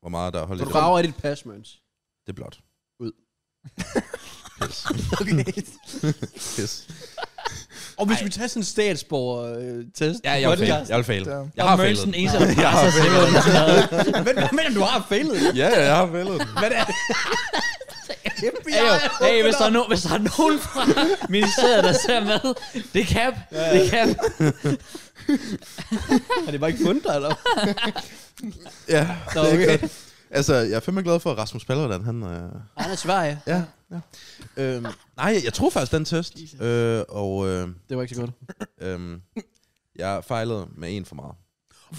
S4: hvor meget der er holdt i
S2: Så
S4: det.
S2: du rager i dit pas, møns.
S4: Det er blot.
S2: Ud.
S4: Pis.
S2: Okay.
S4: Pis.
S2: og hvis vi tager sådan en øh, statsborger-test.
S4: Ja, jeg vil fejle. Jeg vil fejle.
S3: Ja.
S4: Jeg har
S1: Merge
S4: fejlet.
S1: den
S3: *laughs*
S1: eneste, der
S4: Jeg har
S1: presser sig ud.
S2: Men hvad mener du, har fejlet?
S4: Ja, ja, jeg har fejlet. den.
S2: Hvad er det?
S1: Hey, jo. hey, hvis der er, no, hvis der er nogen
S2: *laughs*
S1: fra ministeriet, der ser med, det er cap, det er cap.
S2: Har det bare ikke fundet dig, eller?
S4: Ja,
S2: Nå,
S4: det er
S2: okay.
S4: godt. Altså, jeg er fandme glad for, at Rasmus Paludan, han... Øh,
S2: Han er Sverige.
S4: ja, ja. Øhm, nej, jeg tog faktisk den test. Øh, og øh,
S2: *laughs* Det var ikke så godt.
S4: øh, jeg fejlede med en for meget.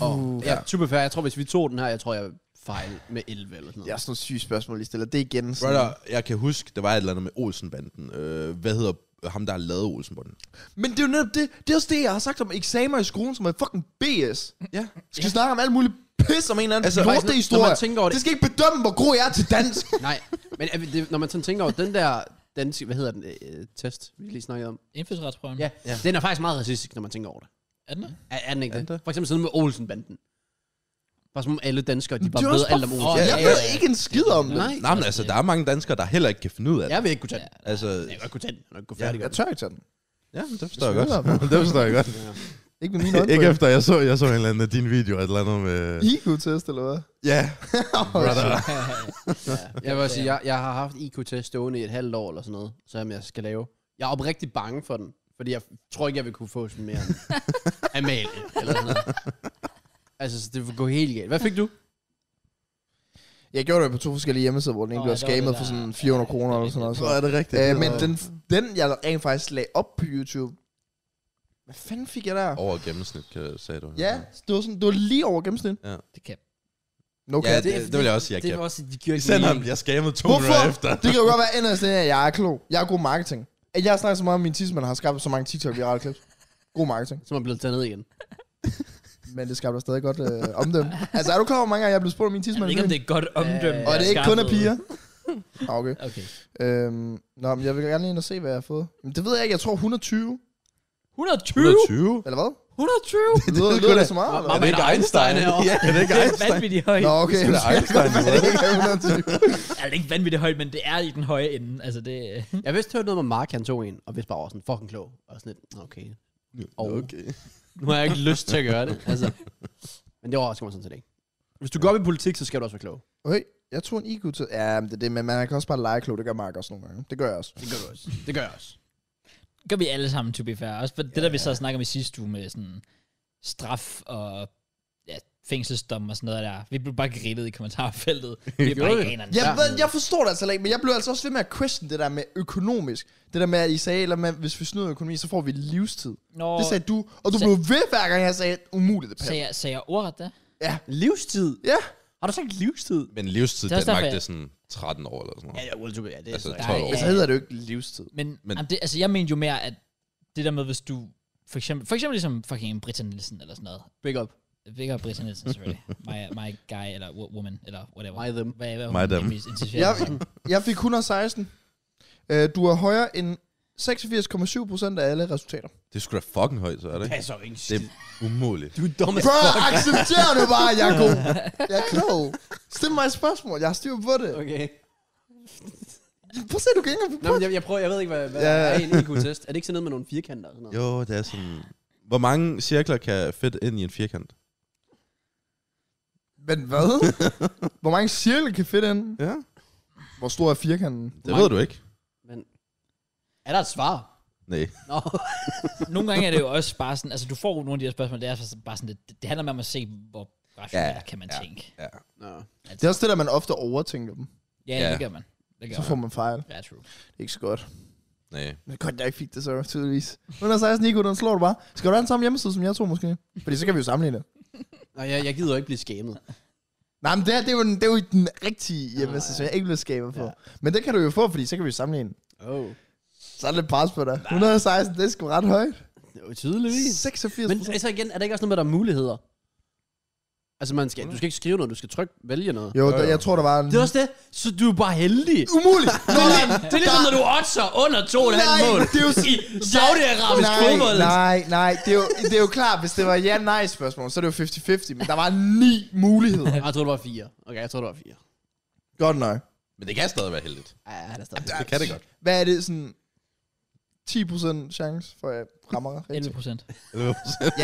S2: Og, ja, super fair. Jeg tror, hvis vi tog den her, jeg tror, jeg fejl med 11 eller sådan
S3: Jeg
S2: noget.
S3: har sådan nogle syge spørgsmål, lige stiller. Det er igen sådan...
S4: Brother, jeg kan huske, der var et eller andet med Olsenbanden. Øh, hvad hedder ham, der har lavet Olsenbanden?
S3: Men det er jo netop det. Det er også det, jeg har sagt om eksamener i skolen, som er fucking BS.
S4: Ja.
S3: Vi skal snakke om alt muligt pis om en eller anden
S4: Altså,
S3: altså,
S2: faktisk, når
S3: lortehistorie.
S2: man tænker over det-
S3: det skal ikke bedømme, hvor god jeg er til
S4: *laughs*
S3: dansk.
S2: Nej, men er vi- det, når man sådan tænker over den der danske, hvad hedder den, øh, test, vi lige snakkede om.
S1: Indfødsretsprøven.
S2: Ja, ja, den er faktisk meget racistisk, når man tænker over det.
S1: Er den der?
S2: Er, er den ikke
S4: Er
S2: det?
S4: den det?
S2: For eksempel sådan noget med Olsenbanden. Bare som om alle danskere, de
S3: Men
S2: bare
S3: det er
S2: ved
S3: også
S2: alt om
S1: bare-
S2: Olsen.
S1: Ja,
S3: jeg
S1: ja,
S3: ved
S1: ja.
S3: ikke en skid om det.
S2: Nej,
S4: Nej, men altså, der er mange danskere, der heller ikke kan finde ud af det.
S2: jeg vil ikke kunne tage den.
S4: Altså,
S2: Jeg vil godt kunne tage den. Jeg vil ikke kunne
S4: Ja,
S2: færdiggøre
S3: Jeg tør ikke tage den.
S4: ja, men det forstår jeg
S3: Hvis
S4: godt.
S3: du ved,
S4: *laughs* det forstår jeg
S3: *laughs*
S4: godt.
S3: Ikke med mine øjne.
S4: *laughs* ikke efter, jeg så, jeg så en eller anden af dine videoer, et eller andet med...
S3: IQ-test, eller hvad?
S4: Ja,
S3: *laughs*
S4: brother.
S2: den. Jeg vil også sige, jeg, jeg har haft IQ-test stående i et halvt år eller sådan noget, som jeg skal lave. Jeg er oprigtigt bange for den, fordi jeg tror ikke, jeg vil kunne få sådan *laughs* mere end Amalie eller sådan noget. Altså, så det vil gå helt galt. Hvad fik du?
S3: Jeg gjorde det på to forskellige hjemmesider, hvor den ene
S1: Nå,
S3: blev
S1: ja, det var
S3: scammet
S1: det
S3: for
S1: der-
S3: sådan 400 kroner eller sådan noget. Så.
S4: Hvor er det rigtigt?
S3: Øh, men den, den, jeg rent faktisk lagde op på YouTube, hvad fanden fik jeg der?
S4: Over gennemsnit, kan- sagde du.
S3: Ja, det var, sådan, det var lige over
S1: Det
S3: gennemsnit.
S1: er cap.
S3: No
S4: Ja,
S3: cap.
S4: det, det vil jeg også sige, jeg
S2: Det
S4: kan.
S2: var også, de gjorde
S4: Især når han
S2: mening.
S4: bliver scammet to
S3: Hvorfor?
S4: minutter efter.
S3: Det kan jo godt være endelig sådan, at jeg er klog. Jeg er god marketing. At jeg har snakket så meget om min tidsmand, har skabt så mange TikTok-virale klips. God marketing.
S2: Som er blevet taget ned igen.
S3: Men det skabte stadig godt øh, omdømme. Altså, er du klar over, hvor mange gange jeg er blevet spurgt om min
S1: Jeg ved
S3: tidsmand?
S1: ikke, om det er et godt
S2: Øh,
S1: omdømme.
S3: Og
S1: der
S3: det er ikke kun af
S1: skaffet-
S3: piger. Ah, okay.
S1: Okay.
S3: Øhm, nå, men jeg vil gerne lige ind og se, hvad jeg har fået. Men det ved jeg ikke. Jeg tror 120.
S1: 120?
S4: 120?
S3: Eller hvad?
S1: 120?
S3: *laughs* Det lyder,
S4: lyder
S3: lyder
S4: da-
S3: det så meget, eller
S2: Hvor
S4: Er det ikke
S2: meget
S4: Einstein?
S2: Einstein herovre?
S4: Ja, er det ikke
S1: Det er
S4: Einstein?
S1: vanvittigt højt.
S3: hvad? Nå, okay.
S4: Det er
S3: *laughs*
S4: da Einstein,
S3: Men det ikke er 120.
S1: Ja, det er ikke vanvittigt højt, men det er i den høje ende. Altså, det...
S2: *laughs* Jeg vidste, det var noget med Mark, han tog en, og vidste bare, var sådan fucking klog. Og sådan lidt, okay.
S4: Okay.
S2: Nu har jeg ikke lyst til at gøre det. Altså. Men det overrasker mig sådan set ikke. Hvis du går op i politik, så skal du også være klog.
S3: Okay, jeg tog en IQ til... Ja, men det er det, men man kan også bare lege klog. Det gør Mark også nogle gange. Det gør jeg også.
S2: Det gør du også. Det gør jeg også.
S1: gør vi alle sammen, to be fair. Også for det, der vi så snakker om i sidste uge med sådan straf og ja, fængselsdom og sådan noget der. Vi blev bare grillet i kommentarfeltet. Vi er
S2: Gjorde
S1: bare
S2: I?
S1: ikke anerne.
S3: Jeg, ja. jeg forstår det altså heller ikke, men jeg blev altså også ved med at question det der med økonomisk. Det der med, at I sagde, eller med, hvis vi snyder økonomi, så får vi livstid.
S1: Nå,
S3: Det sagde du, og du
S1: Så-
S3: blev ved hver gang, jeg sagde, umuligt det
S1: sagde
S3: passer.
S1: jeg, sagde jeg ordret da?
S3: Ja,
S2: Livstid?
S3: ja.
S2: Har du sagt livstid?
S4: Men livstid
S1: Det er
S4: i
S1: også
S4: Danmark,
S1: derfor,
S4: det er sådan 13 år eller sådan
S2: Ja,
S4: noget.
S2: ja, well, ja det er
S4: Altså,
S2: så-
S4: 12 år.
S3: Altså hedder det jo ikke livstid.
S1: Men,
S4: Men-
S1: men jamen, det, altså, jeg mente jo mere, at det der med, hvis du for eksempel, for eksempel ligesom fucking Britta Nielsen eller sådan noget.
S2: Big up.
S1: Vigga og Britta Nielsen selvfølgelig. my, my guy eller wo- woman eller whatever.
S2: My them.
S1: Hvad, hvad er
S4: My
S1: hun
S4: them.
S1: egentlig mest interesseret
S3: Jeg,
S1: i?
S3: jeg fik 116. Øh, du er højere end 86,7 procent af alle resultater.
S4: Det er sgu da fucking højt, så er det
S2: Det
S4: ikke?
S2: er så ikke
S4: Det er umuligt.
S2: Du er dum as
S3: Bro,
S2: Oh fuck.
S3: accepter nu bare, jeg er god. Jeg er klog. Stil mig et spørgsmål, jeg har styr på det.
S2: Okay.
S3: Prøv at se, du kan ikke engang
S2: Nå, men jeg, jeg prøver, jeg ved ikke, hvad, hvad
S3: Ja.
S2: yeah. er en IQ-test? Er det ikke sådan noget med nogle firkanter og sådan noget?
S4: Jo, det er sådan... Hvor mange cirkler kan fedt ind i en firkant?
S3: Men
S2: *laughs*
S3: hvad? Hvor mange cirkel kan fedt ind?
S4: Ja,
S3: Hvor stor er firkanten?
S4: det
S2: mange?
S4: ved du ikke.
S2: Men er der et svar?
S4: Nej.
S2: Nå,
S1: Nogle gange er det jo også bare sådan, altså du får nogle af de her spørgsmål, det er altså bare sådan, det, det handler om at se, hvor rationelt
S4: Ja,
S1: ja, kan man
S4: ja.
S1: ja. tænke.
S2: Nå.
S3: Det er også det, der man ofte overtænker dem.
S1: Ja,
S4: Ja.
S1: ja, det gør man. Det gør
S3: Så får man fejl.
S1: man. Ja, true.
S3: Det er ikke så godt.
S4: Nej.
S3: Men godt, jeg ikke fik det så, tydeligvis. 116 Nico, den slår du bare. Skal du have den samme hjemmeside, som jeg tror måske? Fordi så kan vi jo sammenligne det.
S2: Nå jeg, jeg gider jo ikke blive skamet.
S3: Nej, men det, her, det, er jo den, det er jo den rigtige hjemmeside,
S2: ja.
S3: som jeg ikke blev skaber for.
S2: Ja.
S3: Men det kan du jo få, fordi så kan vi jo sammenligne.
S2: Oh.
S3: Så er det lidt pres på dig. 116, det er sgu ret højt.
S2: Det er jo tydeligvis.
S3: 86
S2: Men
S3: Men,
S2: altså igen, er der ikke også noget med, at der er muligheder? Altså, man skal, du skal ikke skrive noget, du skal trykke vælge noget.
S3: Jo, der, jeg tror, der var en...
S2: Det er også det. Så du er bare heldig.
S3: Umuligt! Nå,
S1: Det er ligesom, når du otter under to og en halv
S3: Nej,
S1: mål
S3: det er jo-
S1: i Saudi-Arabisk fodbold.
S3: nej, nej, nej, det er, jo, det er jo klart, hvis det var ja-nej-spørgsmål, så er det jo 50-50, men der var ni muligheder.
S2: *laughs* Ah, Jeg tror det var fire. Okay, jeg tror det var fire.
S3: Godt nok.
S4: Men det kan stadig være heldigt.
S2: Ja, ja, det er stadig.
S4: Det kan det godt.
S3: Hvad er det sådan... 10% chance for, at jeg rammer rigtigt?
S1: 11 procent.
S3: Ja,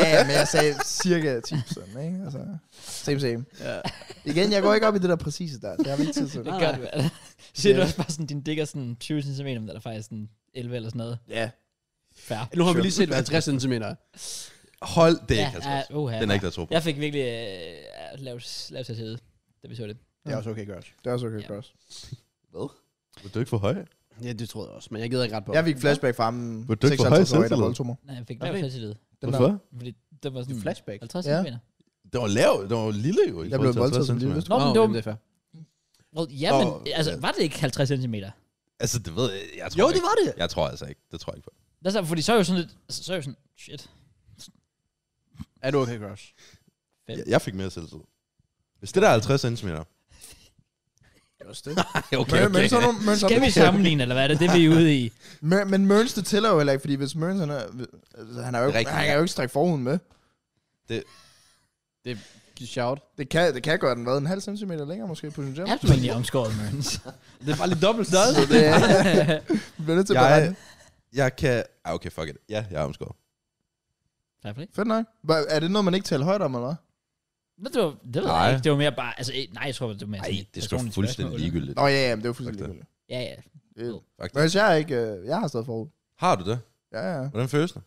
S3: ja, men jeg sagde cirka 10 ikke? Altså, same, same.
S2: Ja.
S3: Igen, jeg går ikke op i det der præcise der. Det har vi ikke tid til.
S1: Det
S2: Nej,
S1: gør
S2: nej.
S1: du. altså. *laughs* Siger du
S3: Ja.
S1: også bare sådan, din dæk er sådan 20 cm, men der er faktisk sådan 11 eller sådan noget.
S3: Ja.
S1: Fair.
S2: Nu har vi lige set, hvad 50 cm er.
S4: Hold det
S1: Ja,
S4: ikke, altså.
S1: ja, uha.
S4: Den er ikke der tro på.
S1: Jeg fik virkelig øh, lavt lavt til side, da vi så det.
S2: Det er også okay, Gørs.
S3: Det er også okay,
S1: Ja.
S3: Cross.
S4: Var du ikke for høj?
S2: Ja, det troede jeg også, men jeg gider ikke ret på.
S3: Jeg fik flashback fra ham,
S4: Var du ikke for høj
S3: 56-årig, der
S4: selvtillid?
S3: voldtog mig.
S1: Nej, jeg fik
S2: Hvad
S1: lavt
S2: fik-
S1: til side.
S3: Den
S4: Hvorfor?
S1: Fordi det var sådan
S2: flashback.
S1: 50
S3: Ja.
S1: cm.
S4: Det var lav. Det var lille jo. i
S3: Jeg
S4: forhold
S3: blev
S4: til
S3: voldtaget som
S4: 50
S3: lille,
S4: centimeter.
S3: hvis du-
S1: Nå, men det var,
S2: det er fair.
S1: well, ja, men
S4: Nå,
S1: altså,
S4: ja.
S1: var det ikke 50 cm?
S4: Altså, det ved jeg. jeg tror
S2: Jo,
S4: ikke.
S2: det var det.
S4: Jeg tror altså ikke. Det tror jeg ikke på.
S1: Altså, fordi så er jo sådan lidt, altså, så er jo sådan, shit.
S2: Er du okay, Gørs?
S1: Fem.
S4: Jeg, jeg fik mere selvtid. Hvis det der er 50 cm.
S2: Det er også det.
S4: Okay, okay.
S3: Men, men, så nu, men, så,
S1: Skal vi sammenligne, eller hvad er det, det vi er ude i?
S3: *laughs* men, men Mørns, det tæller jo heller ikke, fordi hvis Mørns, han er, altså, han, er jo,
S4: Det
S3: ikke,
S4: er rigtigt,
S3: han kan
S4: ja.
S3: jo ikke strække forhuden med.
S2: Shout.
S3: Det kan, det kan gøre den, hvad, en halv centimeter længere måske, potentielt.
S1: Er du egentlig omskåret, Mørens?
S2: Det er bare lidt
S1: *laughs*
S2: dobbelt størrelse.
S3: Så det
S2: *laughs*
S3: er, vi *laughs* bliver nødt til at
S4: jeg,
S3: beregne.
S4: jeg kan... Ah, okay, fuck it. Ja, jeg er omskåret.
S1: Tak for det.
S3: Fedt nok. Hva- Er det noget, man ikke taler højt om, eller hvad?
S1: Men det var, det ved
S4: Nej.
S1: jeg ikke. Det var mere bare, altså, eh, nej, jeg tror, det var mere
S4: Nej,
S1: sådan et
S4: det er sgu
S1: personligt
S4: fuldstændig
S1: spørgsmål.
S4: ligegyldigt.
S3: Nå ja, ja, men det er jo fuldstændig
S4: Fuck
S3: ligegyldigt.
S1: Ja, ja.
S3: Øh,
S4: Faktisk.
S3: Mørns, jeg er ikke, øh, jeg har stadig forhud.
S4: Har du det?
S3: Ja, ja.
S4: Hvordan føles det?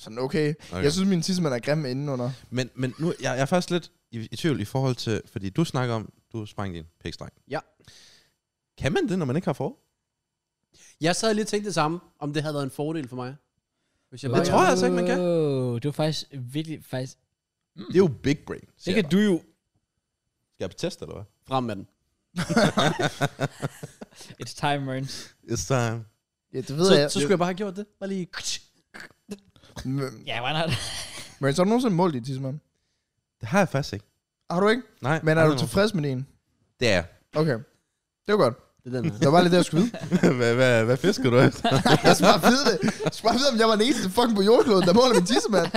S3: Sådan okay.
S4: Okay.
S3: okay. Jeg synes, min tissemand er grim indenunder.
S4: Men, men nu, jeg, jeg er faktisk lidt i, i tvivl i forhold til... Fordi du snakker om, du sprang din pikstreng.
S2: Ja.
S4: Kan man det, når man ikke har for?
S2: Jeg sad lige og tænkte det samme, om det havde været en fordel for mig. Hvis jeg
S4: Det tror jeg altså ikke, man kan.
S1: Wow, Det var faktisk virkelig, faktisk...
S4: Det er jo big brain.
S1: Det
S4: siger
S1: kan
S4: jeg
S1: du jo...
S4: bare. Skal jeg på test, eller hvad?
S2: Frem med den.
S1: It's time, Mørens.
S4: It's time.
S3: Ja, det ved
S2: Så,
S3: jeg.
S2: så skulle jeg bare have gjort det. Bare lige...
S3: M-
S1: Ja, why not?
S3: Men så har du nogensinde målt din tissemand?
S4: Det har jeg faktisk ikke.
S3: Har du ikke?
S4: Nej.
S3: Men er du
S4: aldrig nogen.
S3: tilfreds med din?
S4: Det er jeg. *laughs*
S3: Okay. Det var godt.
S2: Det er den her.
S3: Det var bare lidt det, jeg skulle *laughs* vide.
S4: hvad, hvad, hvad fisker du efter?
S3: jeg skal bare vide det. Jeg skal bare vide, om jeg var den eneste fucking på jordkloden, der måler min tissemand.
S2: *laughs*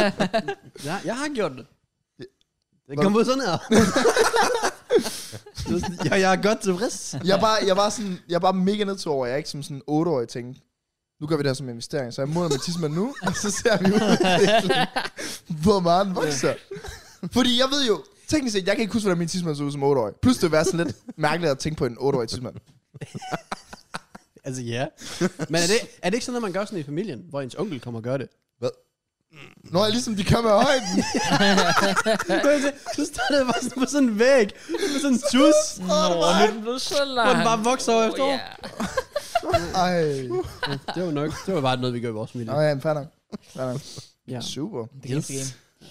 S2: Ja, jeg har gjort det. Det
S3: Nå.
S2: kom ud *laughs* sådan her. Det var sådan, ja, jeg er godt tilfreds.
S3: Jeg var, jeg var, sådan, jeg var mega ned til over, jeg er ikke som sådan en 8-årig tænkte. Nu gør vi det her som en investering, så jeg måler min tissemand nu, og så ser vi ud, hvor meget den vokser. Fordi jeg ved jo, teknisk set, jeg kan ikke huske, hvordan min tissemand så ud som 8-årig. Plus det vil være sådan lidt mærkeligt at tænke på en 8-årig tissemand.
S2: *laughs* Altså ja. Men er det, er det ikke sådan, at man gør sådan i familien, hvor ens onkel kommer og gør det?
S4: Hvad?
S3: Nå, ligesom de kommer med højden.
S2: Så står det bare sådan på sådan en væg, med sådan en tus,
S1: Nå, nu er den blevet så lang.
S2: hvor den bare vokser over efter
S1: Åh,
S2: år.
S1: ja.
S3: Ej.
S2: Det var nok, det var bare noget, vi gør i vores familie.
S3: Nå ja, fair nok. Fair nok.
S2: Ja.
S3: Super.
S1: Det kan yes.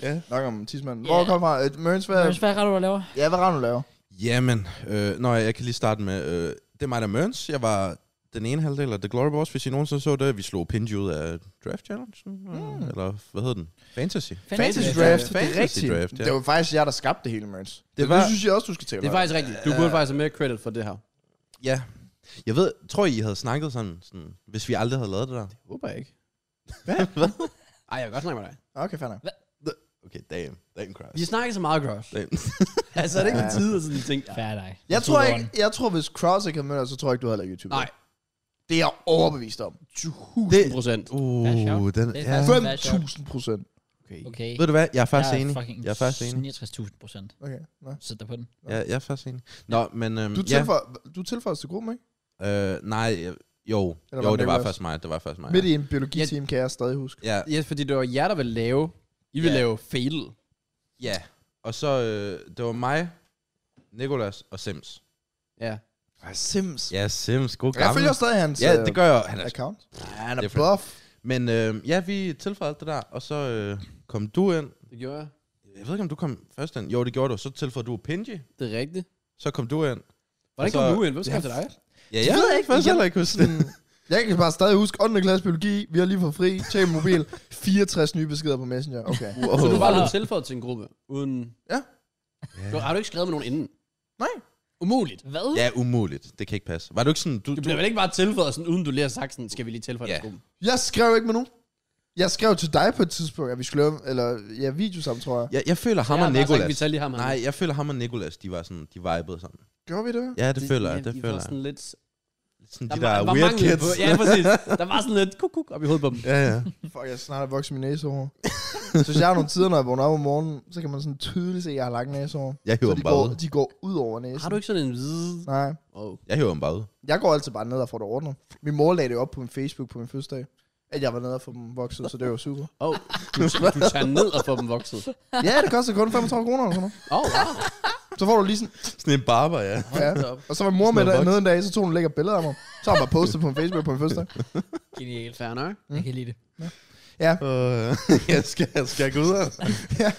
S1: game.
S4: Ja.
S3: Nok om tidsmanden.
S1: Ja.
S3: Hvor kommer fra? Øh, Mørens, hvad,
S1: Men hvad er det, du laver?
S3: ja, hvad render du laver?
S4: Jamen, øh, nå, jeg kan lige starte med, øh, det er mig, der er Mørns. Jeg var den ene halvdel af The Glory Wars, hvis I nogensinde så det. Vi slog Pinji ud af Draft Challenge, mm. eller hvad hedder den? Fantasy.
S3: Fantasy
S1: Fantasy
S3: Draft,
S4: Draft.
S3: det er
S4: Fantasy
S3: rigtigt.
S4: Draft, ja.
S3: Det var faktisk jer, der skabte det hele, Mørens. Det, var...
S4: var-
S3: det synes jeg også, du skal til.
S2: Det er faktisk rigtigt. Du burde faktisk have mere credit for det her.
S4: Ja. Jeg ved, tror I, I havde snakket sådan, sådan hvis vi aldrig havde lavet det der?
S2: Håber jeg ikke. *laughs*
S4: Hvad?
S2: Ej, jeg kan godt snakke med dig.
S3: Okay, fair nok.
S4: Okay, damn. Damn, Christ.
S2: Vi snakker så meget, Grosh.
S4: Damn.
S2: Altså, er det ikke på tide at sådan tænke?
S1: Færdig dig.
S3: Jeg tror ikke, jeg tror, hvis Cross ikke havde mødt dig, så tror jeg ikke, du havde lavet YouTube.
S2: Nej,
S3: Det er jeg overbevist om.
S2: 1000 procent.
S1: er sjovt.
S4: Uh, den,
S1: Det er
S4: ja.
S1: faktisk-
S3: 5.000 procent.
S2: Okay.
S1: Okay.
S4: Ved du hvad, jeg er faktisk
S1: Jeg
S4: enig.
S1: fucking
S4: Jeg er faktisk enig.
S1: 69.000 procent.
S3: Okay, nå.
S1: Sæt dig på den.
S4: Ja, jeg er faktisk enig. Nå, men... Øhm,
S3: Du
S4: ja,
S3: tilføjer, du tilføjer os til gruppen, ikke?
S4: øh, nej, øh, jo.
S3: Eller var
S4: jo,
S3: det
S4: det var
S3: Nicolas?
S4: faktisk mig. Det var faktisk mig.
S3: Midt
S4: ja.
S3: i en biologiteam, kan jeg stadig huske.
S4: Ja,
S2: Yes, fordi det var jer, der ville lave. I ville
S4: Ja.
S2: lave fail.
S4: ja. Og så, øh, det var mig, Nikolas og Sims.
S2: Ja.
S3: Sims.
S4: Ja, Sims, god
S3: Jeg
S4: gammel.
S3: følger stadig hans
S4: Ja,
S3: øh,
S4: det gør jeg. Han er,
S3: account. Ja, han er
S4: Different.
S3: buff.
S4: men øh, ja, vi tilføjede alt det der, og så øh, kom du ind.
S2: Det gjorde jeg.
S4: Jeg ved ikke, om du kom først ind. Jo, det gjorde du. Så tilføjede du Pinji.
S2: Det er rigtigt.
S4: Så kom du ind.
S2: Hvordan kom
S4: Og så-
S2: du ind? Hvem skabte dig?
S4: Ja,
S3: jeg ved ikke,
S4: faktisk
S3: jeg-
S4: heller ikke huske det.
S3: Sådan, jeg kan bare stadig huske 8. klasse biologi, vi har lige fået fri, tjek min mobil, 64 nye beskeder på Messenger. Okay.
S4: Wow.
S2: Så Altså, du var
S1: Wow.
S2: blevet tilføjet til en gruppe, uden...
S3: Ja.
S2: Du, har du ikke skrevet med nogen inden?
S3: Nej.
S2: Umuligt.
S1: Hvad?
S4: Ja, umuligt. Det kan ikke passe. Var du ikke sådan... Du,
S2: Du bliver vel ikke bare tilføjet, sådan, uden du lige har sagt sådan, skal vi lige tilføje
S4: Ja.
S2: yeah. gruppen?
S3: Jeg skrev ikke med nogen. Jeg skrev til dig på et tidspunkt, at vi skulle lave, eller ja, video sammen, tror jeg.
S4: Jeg, jeg føler ham
S2: Jeg
S4: og
S2: har bare sagt,
S4: Nicolas.
S2: Vi tager lige ham her.
S4: Nej, jeg føler ham og Nicolas, de var sådan, de vibede sådan.
S3: Gjorde vi det?
S4: Ja, det, føler jeg,
S2: ja,
S4: det
S2: I var
S4: føler jeg.
S2: sådan lidt...
S4: Sådan
S2: Der,
S4: de
S2: var,
S4: der,
S2: der var
S4: weird
S2: mangel
S4: kids.
S2: på... Ja, præcis. Der var sådan lidt kuk, kuk op i hovedet på dem.
S4: *laughs* ja, ja.
S3: Fuck, jeg er snart er vokset min næsehår. Så hvis jeg har nogle tider, når jeg vågner op om morgenen, så kan man sådan tydeligt se, at jeg har lange næsehår.
S4: Jeg
S3: Så
S4: hiver
S3: de
S4: dem bare
S3: går,
S4: ud.
S3: de går ud over næsen.
S2: Har du ikke sådan en hvide...
S3: Nej.
S2: Oh.
S4: Jeg hiver dem bare ud.
S3: Jeg går altid bare ned og får det ordnet. Min mor lagde det op på min Facebook på min fødselsdag, at jeg var nede og få dem vokset, så det var *laughs* super.
S2: Oh. Du, du tager ned og får dem vokset.
S3: Ja, det koster kun 35 kroner eller sådan noget.
S2: Oh, wow.
S3: Så får du lige sådan,
S4: Sådan en barber, ja.
S3: ja.
S2: Hold da op.
S3: Og så var mor med
S4: Sådan noget
S3: der
S4: voks.
S3: nede en dag, så tog hun lækker billeder af mig. Så har jeg bare postet på min Facebook på min fødselsdag.
S1: Genialt.
S2: Fair nok.
S1: Jeg kan lide det.
S4: Uh, *laughs* jeg, skal, jeg skal gå ud af
S3: *laughs* Ja.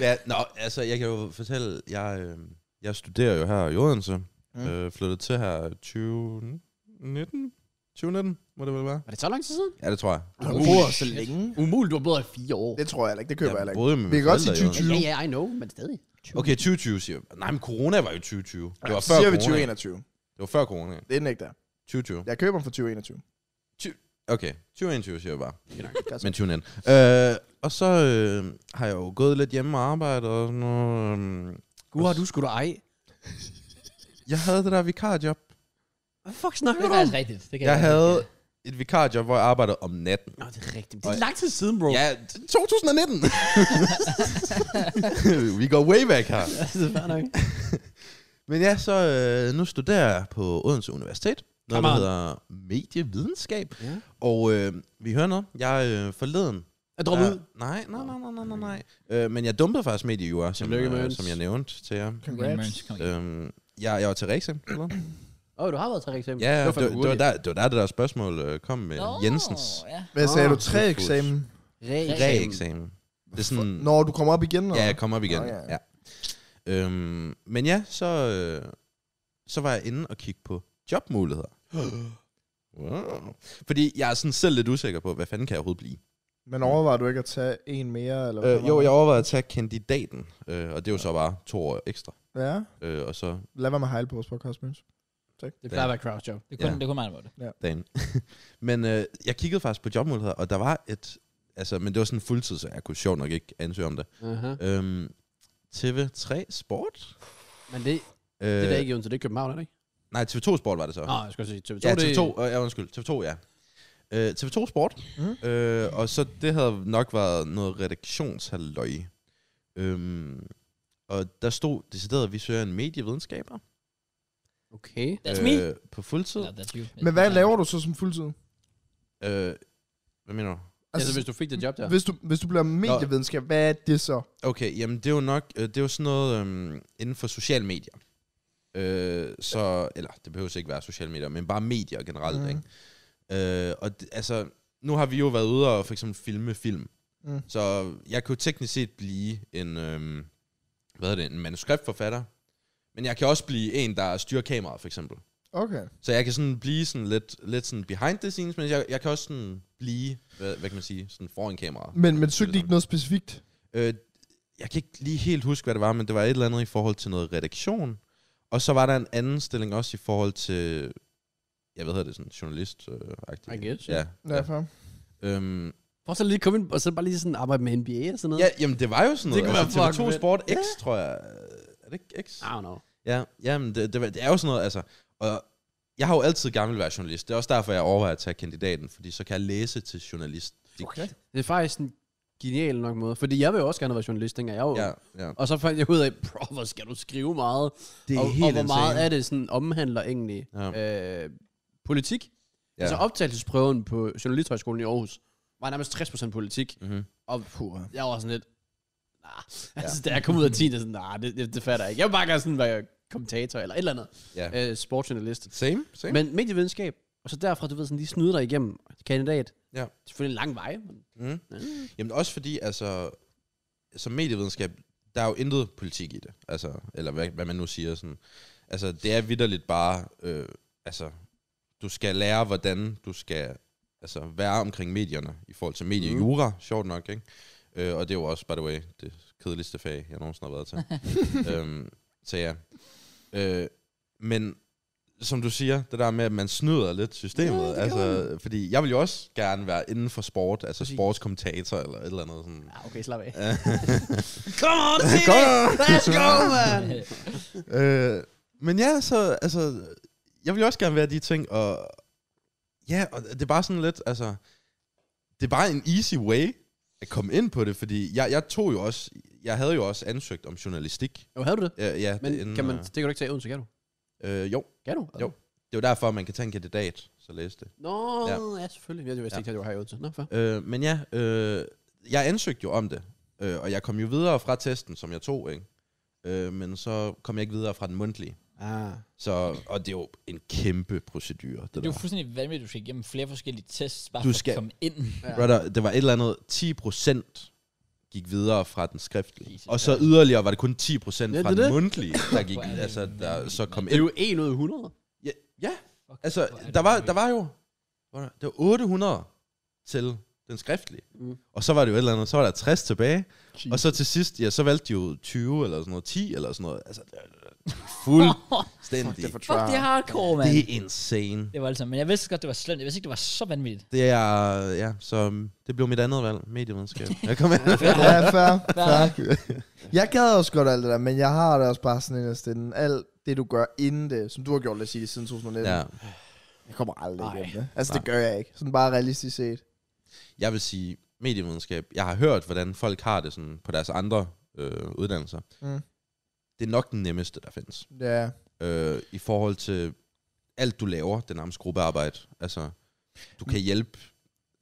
S4: ja, nå, altså, jeg kan jo fortælle, jeg, øh, jeg studerer jo her i Odense. Mm. Øh, flyttede til her 2019. 2019, må det vel være?
S2: Var det så lang tid siden?
S4: Ja, det tror jeg.
S3: Har du
S2: Umuligt.
S3: boet her så længe?
S2: Umuligt, du har boet her i fire år.
S3: Det tror jeg heller ikke, det køber jeg heller ikke.
S4: boede med
S3: Vi
S4: mine
S3: kan godt sige
S4: forældre i Odense.
S3: 2020.
S2: Ja, ja, I know, men stadig.
S4: Okay, 2020 siger jeg. Nej, men corona var jo 2020. Det var
S3: Så
S4: før
S3: siger vi
S4: corona.
S3: 2021.
S4: Det var før corona.
S3: Det er den ikke der.
S4: 2020.
S3: Jeg køber dem for 2021.
S4: Okay, 2021 siger jeg bare.
S3: Godt.
S4: Men tune in. Øh, og så øh, har jeg jo gået lidt hjemme og arbejdet og sådan noget. øhm.
S2: Gud, har du sgu da ej.
S4: Jeg havde det der vikarjob.
S2: Hvad fuck
S1: Det
S2: snakker
S1: er
S2: du om?
S1: faktisk rigtigt. Det kan
S4: Jeg
S1: godt
S4: havde
S1: lide.
S4: et vikarjob, hvor jeg arbejdede om natten.
S2: Nå, det er rigtigt. Det er lang tid siden, bro.
S4: Ja, 2019! *laughs* Vi går way back her.
S2: *laughs* det er fair nok.
S4: Men ja, så øh, nu studerer jeg på Odense Universitet. Noget, der
S2: Come on.
S4: hedder medievidenskab.
S2: Ja.
S4: Og øh, vi hører noget. Jeg øh, forleden
S2: Jeg dropper ud.
S4: Ja, Nej, nej, nej, nej, nej, nej, nej. Øh, men jeg dumpede faktisk mediejura, som,
S2: Tillykke,
S4: øh,
S2: Møns.
S4: som jeg nævnte til jer.
S1: Mørns, kom igen.
S4: Øhm, jeg, jeg var til
S2: *clears throat*
S4: Rexham. eller?
S2: Åh, oh, du har været til eksamen.
S4: Ja, det,
S2: fandme
S4: det, det, var
S2: hurtigt.
S4: der, det var der, det der spørgsmål øh, kom med
S1: Nå,
S4: Jensens
S1: Ja.
S3: Hvad sagde
S2: Ah,
S3: du? Tre
S4: det er
S3: eksamen?
S4: reeksamen. Det er sådan,
S3: Når du kommer op igen? eller?
S4: ja, jeg kom op igen.
S3: Nå,
S4: ja.
S3: ja.
S4: Ja. Øhm, men ja, så, øh, så var jeg inde og kigge på jobmuligheder. *gasps* Wow. Fordi jeg er sådan selv lidt usikker på, hvad fanden kan jeg overhovedet blive?
S3: Men overvejer du ikke at tage en mere? Eller hvad
S4: Øh,
S3: var
S4: jo,
S3: det?
S4: jeg overvejede at tage kandidaten, øh, og det er jo så bare to år ekstra.
S3: Ja.
S4: Øh, og så
S3: Lad være med at hejle på vores podcast, Møns.
S2: Det plejer at være crowd job.
S1: Det kunne,
S4: Ja.
S1: det kunne meget godt.
S4: dagen. *laughs* men øh, jeg kiggede faktisk på jobmuligheder, og der var et... Altså, men det var sådan en fuldtid, så jeg kunne sjovt nok ikke ansøge om det.
S2: Uh-huh.
S4: Øhm, TV3 Sport?
S2: Men det,
S4: Øh,
S2: det er da ikke Odense, det er København, er det ikke?
S4: Nej, TV2 Sport var det så.
S2: Nå, jeg skulle sige TV2.
S4: ja,
S2: det-
S4: TV2, øh, ja, undskyld. TV2, ja. Øh, TV2 Sport. Mm. Øh, og så det havde nok været noget redaktionshalløj. Øhm, og der stod decideret, at vi søger en medievidenskaber.
S2: Okay.
S1: That's me.
S4: Øh, på fuldtid.
S1: Eller that's you.
S3: Men hvad laver du så som fuldtid?
S4: Øh, hvad mener du?
S2: Altså, hvis du fik det job der.
S3: Hvis du, hvis du bliver medievidenskab, hvad er det så?
S4: Okay, jamen det er jo nok, øh, det er jo sådan noget øhm, inden for sociale medier. Øh, så, eller det behøver ikke være sociale medier, men bare medier generelt,
S3: Mhm.
S4: mm. ikke? Øh, og det, altså, nu har vi jo været ude og for eksempel filme film.
S3: Mm.
S4: Mm. Så jeg kunne teknisk set blive en, øhm, hvad er det, en manuskriptforfatter. Men jeg kan også blive en, der styrer kameraet, for eksempel.
S3: Okay.
S4: Så jeg kan sådan blive sådan lidt, lidt sådan behind the scenes, men jeg, jeg kan også sådan blive, hvad, hvad kan man sige, sådan foran kameraet.
S3: Men, men søgte I ikke noget specifikt?
S4: Øh, jeg kan ikke lige helt huske, hvad det var, men det var et eller andet i forhold til noget redaktion. Og så var der en anden stilling også i forhold til, jeg ved, hvad det er, sådan journalist øh, agtigt.
S2: I guess,
S4: Ja. ja.
S3: Derfor.
S4: Øhm,
S2: Prøv så lige komme ind, og så bare lige sådan arbejde med NBA og sådan noget.
S4: ja, jamen det var jo sådan
S2: Det
S4: noget.
S2: kunne
S4: altså,
S2: være fucking
S4: TV2
S2: fedt.
S4: Sport X, tror jeg. Er det ikke X?
S2: I don't know.
S4: Ja, jamen det, det, var- det er jo sådan noget, altså. Og jeg har jo altid gerne vil være journalist. Det er også derfor, jeg overvejer at tage kandidaten, fordi så kan jeg læse til journalist.
S3: Okay.
S2: Det er faktisk en genial nok måde, fordi jeg vil jo også gerne være journalist, tænker jeg jo.
S4: Ja, ja.
S2: Og så fandt jeg ud af, bro, hvor skal du skrive meget?
S4: Det
S2: og, og hvor meget af det sådan omhandler egentlig ja. øh, politik? Ja. Altså optagelsesprøven på Journalisthøjskolen i Aarhus var nærmest 60% politik.
S4: Mm-hmm.
S2: Og
S3: *laughs*
S2: puh, jeg var sådan lidt, nah. altså da jeg kom ud af 10, det, sådan, nah, det, det, det fatter jeg ikke. Jeg vil bare gerne sådan være kommentator eller et eller andet.
S4: Ja.
S2: Øh, sportsjournalist.
S4: Same, same.
S2: Men medievidenskab, og så derfra, du ved, sådan lige snyde dig igennem kandidat.
S4: Ja.
S2: Selvfølgelig en lang vej. Men,
S4: Mm.
S2: Ja.
S4: Jamen også fordi, altså, som medievidenskab, der er jo intet politik i det, altså, eller hvad, hvad man nu siger, sådan. Altså, det er vidderligt bare, øh, altså, du skal lære, hvordan du skal altså, være omkring medierne, i forhold til mediejura, mm. sjovt nok, ikke? Øh, og det er jo også, by the way, det kedeligste fag, jeg nogensinde har været til. *laughs* øhm, så ja. Øh, men som du siger, det der med, at man snyder lidt systemet. Ja, altså, fordi jeg vil jo også gerne være inden for sport, altså
S2: Præcis.
S4: sportskommentator eller et eller andet. Sådan.
S2: ja, okay, slap af. *laughs*
S4: Come on, Let's go, man! *laughs* øh, men ja, så, altså, jeg vil jo også gerne være de ting, og ja, og det er bare sådan lidt, altså, det er bare en easy way at komme ind på det, fordi jeg, jeg tog jo også, jeg havde jo også ansøgt om journalistik.
S2: Jo, havde du det?
S4: Ja, ja,
S2: Men
S4: inden,
S2: kan man,
S4: øh,
S2: det kan du ikke tage i Odense, kan du?
S4: Øh, jo,
S2: Kan du?
S4: Jo. det var derfor, man kan tage en kandidat, så læse det.
S2: Nå, ja,
S4: Ja.
S2: ja selvfølgelig. Jeg vidste
S4: Ja.
S2: ikke, at du har i Odense. Nå, fair.
S4: Øh, men ja, øh, jeg ansøgte jo om det, øh, og jeg kom jo videre fra testen, som jeg tog, ikke? Øh, men så kom jeg ikke videre fra den mundtlige.
S2: Ah.
S4: Så, og det er jo en kæmpe procedure, det
S1: Det er
S4: der.
S1: jo fuldstændig vanvittigt, at du skal igennem flere forskellige tests, bare
S4: Du
S1: for
S4: skal-
S1: at komme ind.
S2: Ja.
S4: Brother, det var et eller andet 10 procent gik videre fra den skriftlige.
S1: Jesus.
S4: Og så yderligere var det kun 10 procent
S2: Ja,
S4: fra
S2: det er
S4: den
S2: det.
S4: mundtlige, der, gik,
S1: Hvor er det
S4: altså, der
S1: vanvittigt,
S4: så kom
S2: Det er
S4: ind.
S2: jo 1 ud af 100.
S4: Ja, ja
S1: Fuck,
S4: altså,
S1: hvor er det
S4: der var,
S1: vanvittigt.
S4: der var jo hvor der- det var 800 til den skriftlige.
S2: Mm.
S4: Mm. Og så var det jo et eller andet, så var der 60 tilbage. Og så til sidst, ja, så valgte de jo 20 eller sådan noget, 10 eller sådan noget. Altså, det er fuldstændig.
S3: for
S1: Fuck, det er hardcore, mand.
S4: det er insane.
S1: Det var altså, men jeg vidste godt, det var slemt. Jeg vidste ikke, det var så vanvittigt.
S4: Det er, ja, så um, det blev mit andet valg,
S1: *laughs*
S4: medievidenskab. Jeg kom
S3: Ja, fair.
S1: Fair.
S3: fair. Jeg gad også godt alt det der, men jeg har det også bare sådan en af stille. Alt det, du gør inden det, som du har gjort, lad os sige det, siden 2019.
S4: ja.
S3: Jeg kommer aldrig
S2: Nej.
S3: igennem det. Altså, det gør jeg ikke. Sådan bare realistisk set.
S4: Jeg vil sige, medievidenskab, jeg har hørt, hvordan folk har det sådan på deres andre øh, uddannelser.
S3: Mm.
S4: Det er nok den nemmeste, der findes.
S3: Ja.
S4: øh, i forhold til alt, du laver, det er nærmest gruppearbejde. Altså, du kan hjælpe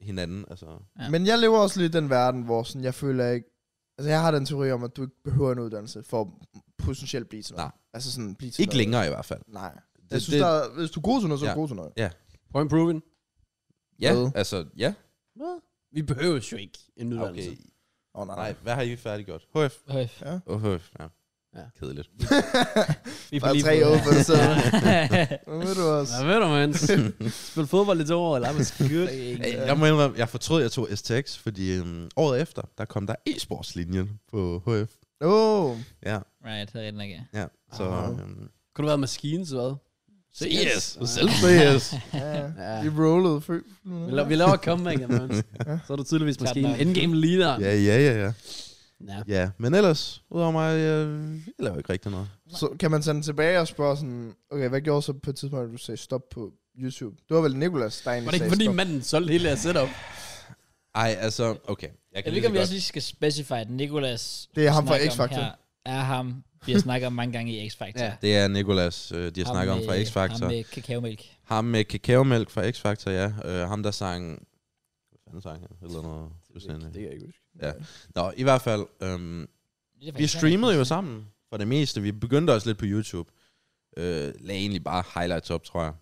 S4: hinanden. Altså.
S1: Ja.
S3: Men jeg lever også lidt i den verden, hvor sådan, jeg føler ikke... Altså, jeg har den teori om, at du ikke behøver en uddannelse for at potentielt blive til noget.
S4: Nej.
S3: Altså sådan, blive til
S4: Ikke
S3: noget.
S4: længere i hvert fald.
S3: Nej. Jeg
S4: Det-
S3: synes,
S4: det-
S3: der, er- hvis du er god til noget, så er du
S4: Ja.
S3: god til noget.
S2: Point proven.
S4: Ja,
S3: Hvad?
S4: altså, ja.
S2: Vi behøver jo ikke en uddannelse.
S4: Okay.
S3: Åh, oh, nej. *laughs*
S4: Nej,
S3: nej.
S4: hvad har I færdiggjort? HF?
S1: Øj,
S4: Oh, HF, ja.
S2: Ja.
S4: ja. Kedeligt.
S1: Vi
S3: Der er tre open, så...
S2: *laughs*
S4: *laughs*
S3: Nu ved du også.
S2: Hvad ved du, man? Spil fodbold lidt over, eller hvad skidt?
S4: Ja.
S3: øh,
S4: Jeg må indrømme, jeg fortrød, jeg tog STX, fordi øhm, året efter, der kom der e-sportslinjen på HF.
S3: Åh.
S4: Ja,
S1: Right, det er rigtig nok, ja.
S4: ja. Så,
S3: Aha.
S4: øhm,
S2: Kunne du være maskine, så hvad?
S4: Selv CS. *laughs*
S3: Ja.
S2: Ja.
S3: Vi rollede før.
S2: Vi, la- vi laver comeback, man. Så er du tydeligvis
S1: Klart
S2: maskinen.
S1: nok.
S2: Endgame leader.
S4: Ja, ja, ja, ja.
S2: Ja.
S4: Ja, men ellers, udover mig, øh, jeg laver ikke rigtig noget.
S3: Så kan man sende tilbage og spørge sådan, okay, hvad gjorde så på et tidspunkt, at du sagde stop på YouTube? Det var vel Nicolas, der
S2: Var
S3: egentlig
S2: det ikke,
S3: sagde
S2: fordi
S3: stop.
S2: manden solgte hele jeres setup?
S4: Ej, altså, okay.
S1: Jeg ved
S4: lige så
S1: ikke, om vi
S4: godt-
S1: også lige skal specify, at Nicolas...
S3: Det er ham fra
S1: snakker om
S3: X-Factor.
S1: her, Er ham, vi har snakket om mange gange i X-Factor.
S2: Ja.
S4: Det er Nikolas, øh, de har
S1: Ham
S4: snakket om fra
S1: med-
S4: X-Factor.
S1: Ham med kakaomælk.
S4: Ham med kakaomælk fra X-Factor, ja. Øh, ham, der sang... fanden sang han? Eller noget.
S2: Det kan
S4: fuldstændig.
S2: jeg ikke huske.
S4: Nå, i hvert fald, øhm,
S1: Det er
S4: vi
S1: faktisk-
S4: streamede jo sammen for det meste. Vi begyndte også lidt på YouTube. Øh, lagde egentlig bare highlights op, tror jeg,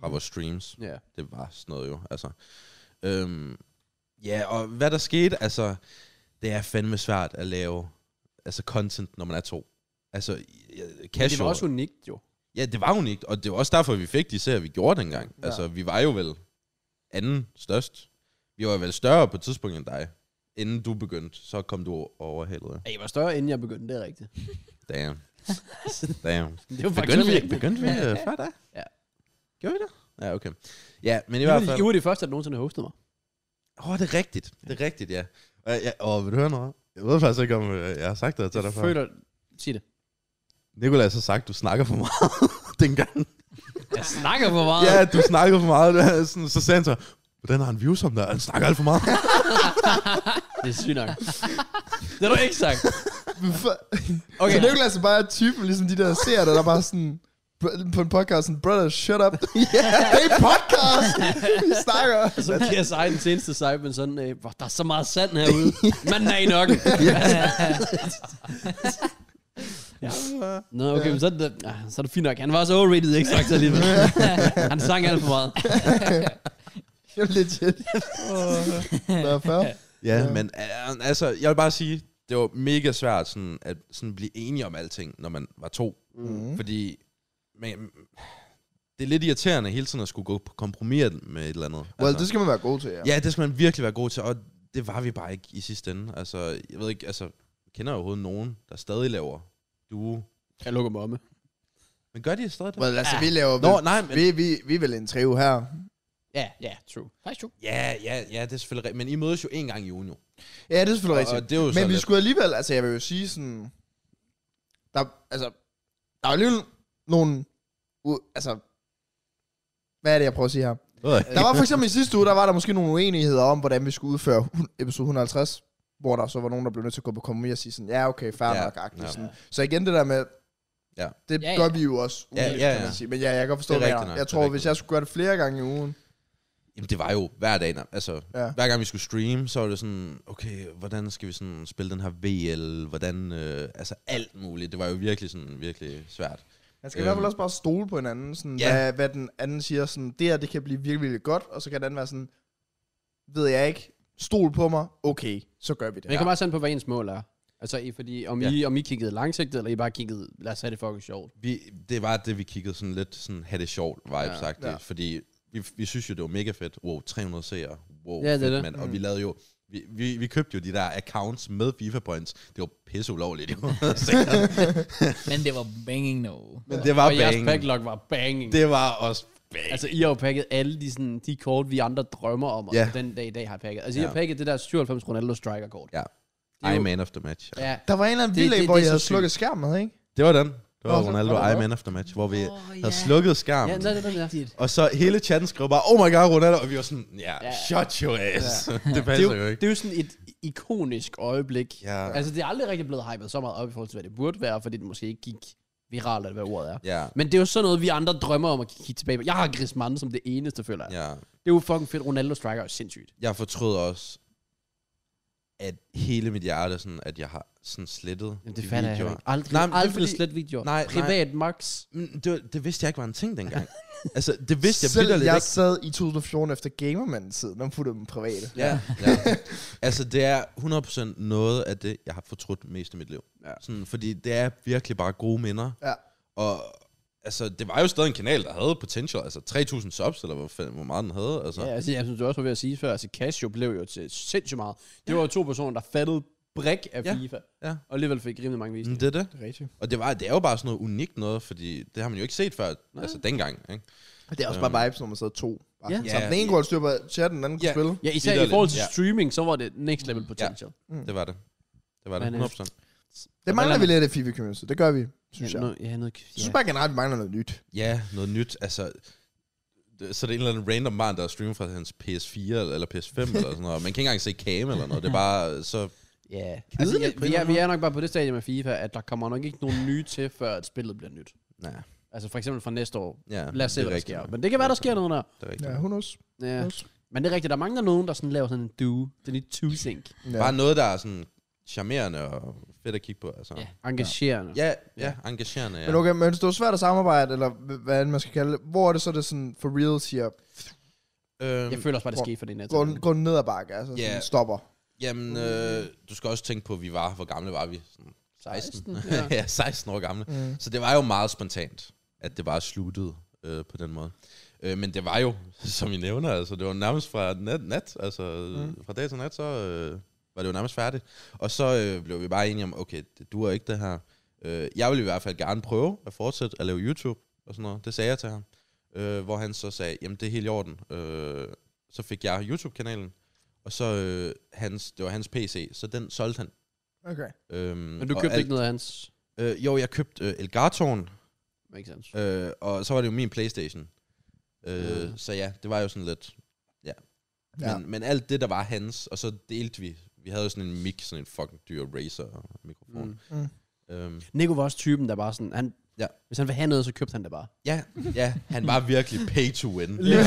S4: fra vores streams.
S2: Ja.
S4: Det var sådan noget jo, altså. Øhm, ja, og hvad der skete, altså, det er fandme svært at lave altså content, når man er to. Altså, ja,
S2: Men det
S4: casual.
S2: var også unikt, jo.
S4: Ja, det var unikt, og det var også derfor, vi fik de serier, vi gjorde dengang. Ja.
S3: Ja.
S4: Altså, vi var jo vel anden størst. Vi var vel større på et tidspunkt end dig. Inden du begyndte, så kom du overhældet.
S2: Ja, Jeg var større, inden jeg begyndte, det er *laughs* rigtigt.
S4: Damn. Damn.
S2: Det var
S4: Begyndte vi,
S2: ikke
S4: begyndte vi øh, før dig?
S2: Ja.
S4: Gjorde vi det? Ja, okay. Ja, men i
S2: I,
S4: hvert
S2: var, I
S4: fald...
S2: var det første, der nogensinde hostede mig.
S4: Åh, oh, det er rigtigt. Det er rigtigt, ja. Og, ja, og vil du høre noget? Jeg ved faktisk ikke, om øh, jeg har sagt det til dig
S2: Jeg
S4: før.
S2: føler... Sig det.
S4: Nikolaj har sagt, du snakker for meget *laughs* dengang.
S1: Jeg snakker for meget.
S4: Ja, du snakker for meget. *laughs* Sådan, så sagde han så, hvordan har han views om dig? Han snakker alt for meget.
S2: Det er *laughs* sygt nok. det har du ikke sagt.
S3: okay. *laughs* Så Nicolas er bare typen, ligesom de der seere, der, der bare sådan br- på en podcast, sådan, brother, shut
S2: *laughs*
S3: up. yeah, det er en podcast! Vi snakker.
S2: Så bliver jeg sej den seneste sej, men sådan, øh, hvor der er så meget sand *laughs* herude. Manden er i nok. ja. Nå, okay, men så er, det, ah, så er det fint nok. Han var så overrated, ikke sagt så *laughs* alligevel. Han sang alt for meget.
S3: Jamen, *laughs* legit. Nå, fair.
S4: Ja, ja. men øh, altså, jeg vil bare sige, det var mega svært sådan, at sådan blive enige om alting, når man var to.
S3: Mhm.
S4: Mm. Fordi men, mm, det er lidt irriterende hele tiden at skulle gå på kompromis med et eller andet. Altså,
S3: Well, det skal man være god til, Altså- ja.
S4: Ja, det skal man virkelig være god til, og det var vi bare ikke i sidste ende. Altså, jeg ved ikke, altså, kender jeg overhovedet nogen, der stadig laver duo?
S2: Jeg lukker mig omme.
S4: Men gør de stadig det?
S3: Well, altså, vi laver...
S4: Nå, nej, men...
S3: vi, vi, vi er vel en trio her.
S2: Ja, ja, true.
S1: Faktisk jo.
S4: Ja, ja, ja, det er selvfølgelig rigtigt. Men I mødes jo en gang i ugen, jo.
S3: Ja, det er selvfølgelig
S4: Og,
S3: rigtigt.
S4: og det er jo så
S3: Men vi
S4: lidt-
S3: skulle alligevel, altså jeg vil jo sige sådan, der, altså, der er alligevel nogle, u- altså, hvad er det, jeg prøver at sige her? Der var for eksempel i sidste uge, der var der måske nogle uenigheder om, hvordan vi skulle udføre hun- episode 150, hvor der så var nogen, der blev nødt til at gå på kompromis og sige sådan, ja okay, fair
S4: Ja,
S3: ja, nok,
S4: ja.
S3: ja. Sådan. Så igen det der med,
S4: Ja.
S3: det
S1: Ja,
S3: ja,
S1: ja.
S3: gør vi jo også
S4: Ja,
S3: ugenligt,
S4: ja,
S3: kan
S4: ja.
S3: man sige. Men ja, jeg kan godt forstå,
S4: Det er
S3: hvad jeg,
S4: rigtigt nok,
S3: jeg
S4: det er
S3: tror,
S4: rigtigt
S3: hvis jeg skulle gøre det flere gange i ugen,
S4: Jamen, det var jo hver dag, når- altså, ja.
S3: Ja.
S4: hver gang vi skulle streame, så var det sådan, okay, hvordan skal vi sådan spille den her VL, hvordan, øh, altså alt muligt. Det var jo virkelig sådan, virkelig svært.
S3: Man skal
S4: Øhm.
S3: i hvert fald også bare stole på hinanden, sådan,
S4: Ja.
S3: ja. hvad, hvad den anden siger, sådan, det her, det kan blive virkelig, virkelig godt, og så kan den anden være sådan, ved jeg ikke, stol på mig, okay, så gør vi det.
S2: Men det kommer også an på, hvad ens mål er. Altså, I, fordi om,
S4: Ja.
S2: ja. I, om I kiggede langsigtet, eller I bare kiggede, lad os have det fucking sjovt.
S4: Vi, det var det, vi kiggede sådan lidt sådan, have det sjovt vibe ja, sagt, ja.
S3: ja.
S4: fordi vi, vi synes jo, det var mega fedt. Wow, 300 seere. Wow,
S2: Ja, det er
S4: fedt,
S2: det. Mm.
S4: mand. Og vi lavede jo, vi, vi, vi købte jo de der accounts med FIFA points. Det var pisse
S2: *laughs*
S4: ulovligt, jo.
S1: Men det var banging no.
S4: Men det var
S2: Og jeres
S4: bang.
S2: backlog var banging. Det.
S4: Det var også bang.
S2: Altså, I har jo pakket alle de, sådan, de kort, vi andre drømmer om, og
S4: Ja.
S2: ja. den dag i dag har pakket. Altså, I
S4: Ja.
S2: har pakket det der 97 Ronaldo Striker-kort.
S4: ja.
S2: er
S4: I
S2: jo-
S4: man of the match. Ja.
S2: Ja.
S3: Der var en eller anden
S2: Det-
S3: bilag,
S2: det-
S3: hvor
S2: det er
S3: jeg
S2: så
S3: havde
S2: sygt.
S3: slukket skærmen, ikke?
S4: Det var den. Det var
S3: Nå,
S4: Ronaldo
S3: var det
S4: I
S3: hvad?
S4: man after match, hvor vi
S1: Åh,
S4: oh, havde
S1: ja.
S4: slukket skærmen.
S2: Ja, nej, det er den der.
S1: Rigtigt.
S4: Og så hele chatten skrev bare, oh my god, Ronaldo. Og vi var sådan, ja, yeah,
S2: Ja.
S4: shut your ass. *laughs* det
S2: Det
S4: passer
S2: er,
S4: jo
S2: jo, det
S4: ikke.
S2: er jo sådan et ikonisk øjeblik.
S4: Ja.
S2: Altså, det er aldrig rigtig blevet hypet så meget op i forhold til, hvad det burde være, fordi det måske ikke gik viralt, eller hvad ordet er.
S4: Ja,
S2: Men det er jo sådan noget, vi andre drømmer om at kigge tilbage på. Jeg har Griezmann som det eneste, føler jeg. Ja.
S4: ja.
S2: Det er jo fucking fedt. Ronaldo Striker er sindssygt.
S4: Jeg fortrød også, at hele mit hjerte, sådan, at jeg har sådan slettet
S2: Jamen,
S4: de
S2: det fatter jeg
S4: videoer.
S2: heller ikke. Aldrig,
S4: Nej,
S2: nej,
S4: men det er
S2: aldrig fordi...
S4: fordi-
S2: slet videoer.
S4: Nej, nej.
S2: Privat max.
S4: Men det, var- det vidste jeg ikke var en ting
S2: *laughs*
S4: dengang. altså, det vidste jeg
S3: Selv
S4: vitterligt
S3: jeg
S4: ikke.
S3: sad i 2014 efter Gamerman-tiden, og puttede dem private.
S4: Ja. ja. *laughs* altså, det er 100% noget af det, jeg har fortrudt mest i mit liv.
S2: Ja.
S4: Sådan, fordi det er virkelig bare gode minder.
S3: Ja.
S4: Og altså, det var jo stadig en kanal, der havde potential. Altså, 3.000 subs, eller hvor, fanden- hvor meget den havde. Altså.
S2: Ja, altså, jeg synes, du også var ved at sige før, altså Casio blev jo til sindssygt meget. Det var jo to personer, der fattede brik af
S4: Ja.
S2: FIFA,
S4: Ja.
S2: og alligevel fik rimelig mange
S4: Mm,
S2: visninger.
S4: Det er det.
S3: Det er rigtigt.
S4: Og det, var, det er jo bare sådan noget unikt noget, fordi det har man jo ikke set før, Nej. altså dengang. Ikke?
S3: Det er også bare vibes, når man sidder to. Bare
S2: Ja.
S3: sådan sammen.
S4: Ja.
S3: Den ene kunne holde styr på chatten, den anden kunne
S4: Ja.
S3: spille.
S2: Ja, især i
S4: Vitterligt,
S2: forhold til
S4: ja.
S2: streaming, så var det next level potential.
S4: Mm. Det var det. Det var det,
S2: Men, øh,
S4: 100%.
S3: Det mangler vi lidt af FIFA Community, det gør vi, synes jeg. Jeg
S2: noget, ja, noget, ja.
S3: synes bare generelt, vi mangler noget nyt.
S4: Ja, noget nyt. Altså, det- så det er en eller anden random mand, der streamer fra hans PS4 eller eller PS5 eller sådan noget. Man kan ikke engang se cam eller noget. Det er bare så...
S2: Ja. Altså,
S4: Kedeligt
S2: ja,
S4: på en
S2: vi,
S4: eller
S2: er,
S4: anden
S2: vi er nok bare på det stadie med FIFA, at der kommer nok ikke nogen nye til, før at spillet bliver nyt.
S4: Nej,
S2: Altså for eksempel fra næste år.
S4: ja,
S2: Lad os se,
S4: det er
S2: hvad der
S4: rigtigt
S2: sker.
S4: nok.
S2: Men det kan være, der sker noget der.
S4: Det er rigtigt.
S3: Ja, hun også.
S2: Ja. Men det er rigtigt, der mangler nogen, der sådan laver sådan en do. Den er two sync.
S3: Ja.
S4: Bare noget, der er sådan charmerende og fedt at kigge på. Altså.
S1: Ja.
S4: Ja.
S2: Engagerende.
S4: Ja, ja, engagerende. Ja.
S3: Men okay, men hvis det var svært at samarbejde, eller h- hvad end man skal kalde det, hvor er det så, det sådan for real siger,
S4: øhm,
S2: Jeg føler også bare, det skete for det net.
S3: går, den- går den ned ad bakke, altså
S4: Ja.
S3: sådan stopper.
S4: Jamen, øh, du skal også tænke på, at vi var, hvor gamle var vi? Sådan 16.
S2: ja.
S4: *laughs* ja. 16 år gamle. Mm. Så det var jo meget spontant, at det bare sluttede øh, på den måde. Øh, men det var jo, *laughs* som I nævner, altså, det var nærmest fra nat, nat altså mm. fra dag til nat, så øh, var det jo nærmest færdigt. Og så øh, blev vi bare enige om, okay, det duer ikke det her. Øh, jeg ville i hvert fald gerne prøve at fortsætte at lave YouTube og sådan noget. Det sagde jeg til ham. Øh, hvor han så sagde, jamen det er helt i orden. Øh, så fik jeg YouTube-kanalen, og så øh, hans, det var hans PC, så den solgte han.
S3: Okay.
S4: Øhm,
S2: Men du
S4: og
S2: købte
S4: alt-
S2: ikke noget af hans.
S4: Øh, jo, jeg købte øh, Elgatoren,
S2: Makes sense.
S4: øh, og så var det jo min Playstation. Øh,
S2: Mm.
S4: Så ja, det var jo sådan lidt... Ja. Men,
S3: Ja.
S4: men alt det, der var hans, og så delte vi. Vi havde jo sådan en mic, sådan en fucking dyr Razer-mikrofon.
S2: Mm.
S3: Mm.
S4: Mm. Øhm,
S2: Nico var også typen, der bare sådan, han, ja.
S4: Ja.
S2: hvis han vil have noget, så købte han det bare.
S4: ja, ja, han var virkelig pay to
S2: *laughs*
S4: win.
S2: Ja.
S1: Ja.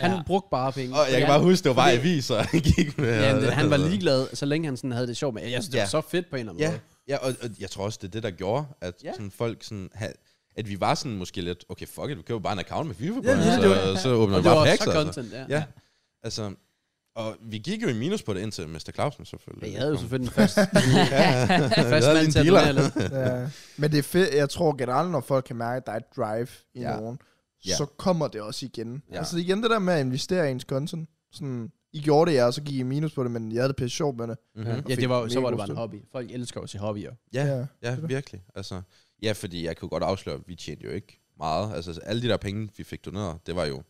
S2: Han brugte bare penge.
S4: Og jeg kan bare huske, det var bare aviser, han gik med.
S2: Ja, men det- han var
S4: Altså.
S2: ligeglad, så længe han sådan havde det sjovt. Men jeg synes, det var
S4: Ja.
S2: så fedt på en eller anden
S4: Ja,
S2: måde.
S4: ja og, og jeg tror også, det er det, der gjorde, at
S2: Ja.
S4: ja. sådan folk sådan... Ha- at vi var sådan måske lidt, okay, fuck it, vi køber bare en account med FIFA på,
S2: Ja,
S4: ja,
S2: ja, det
S4: så, så åbner
S2: Og
S4: vi
S2: det var
S4: bare
S2: også
S4: packs,
S2: så
S4: altså.
S2: content, ja.
S4: Ja, altså, og vi gik jo i minus på det indtil Mr. Clausen selvfølgelig.
S2: Jeg havde jo
S4: kom.
S2: selvfølgelig den
S4: *laughs*
S2: første, første
S4: havde
S2: mand
S4: lige
S2: til at
S4: en dealer.
S2: donere lidt.
S3: Ja. *laughs* Men det er fedt, jeg tror generelt, når folk kan mærke, at der er et drive i ja.
S4: Ja.
S3: nogen,
S4: Ja.
S3: så kommer det også igen. Ja.
S4: Ja.
S3: Altså igen det der med at investere i ens content. Sådan, I gjorde det, ja, og så gik I minus på det, men jeg havde det pisse sjovt med det.
S4: Mhm.
S2: Ja, det var, jo- så var det
S3: Mega god
S2: bare en
S3: støtte.
S2: hobby. Folk elsker jo at se hobbyer.
S4: Ja,
S3: Ja.
S4: ja, virkelig. Altså, ja, fordi jeg kunne godt afsløre, at vi tjente jo ikke meget. Altså, alle de der penge, vi fik doneret, det var jo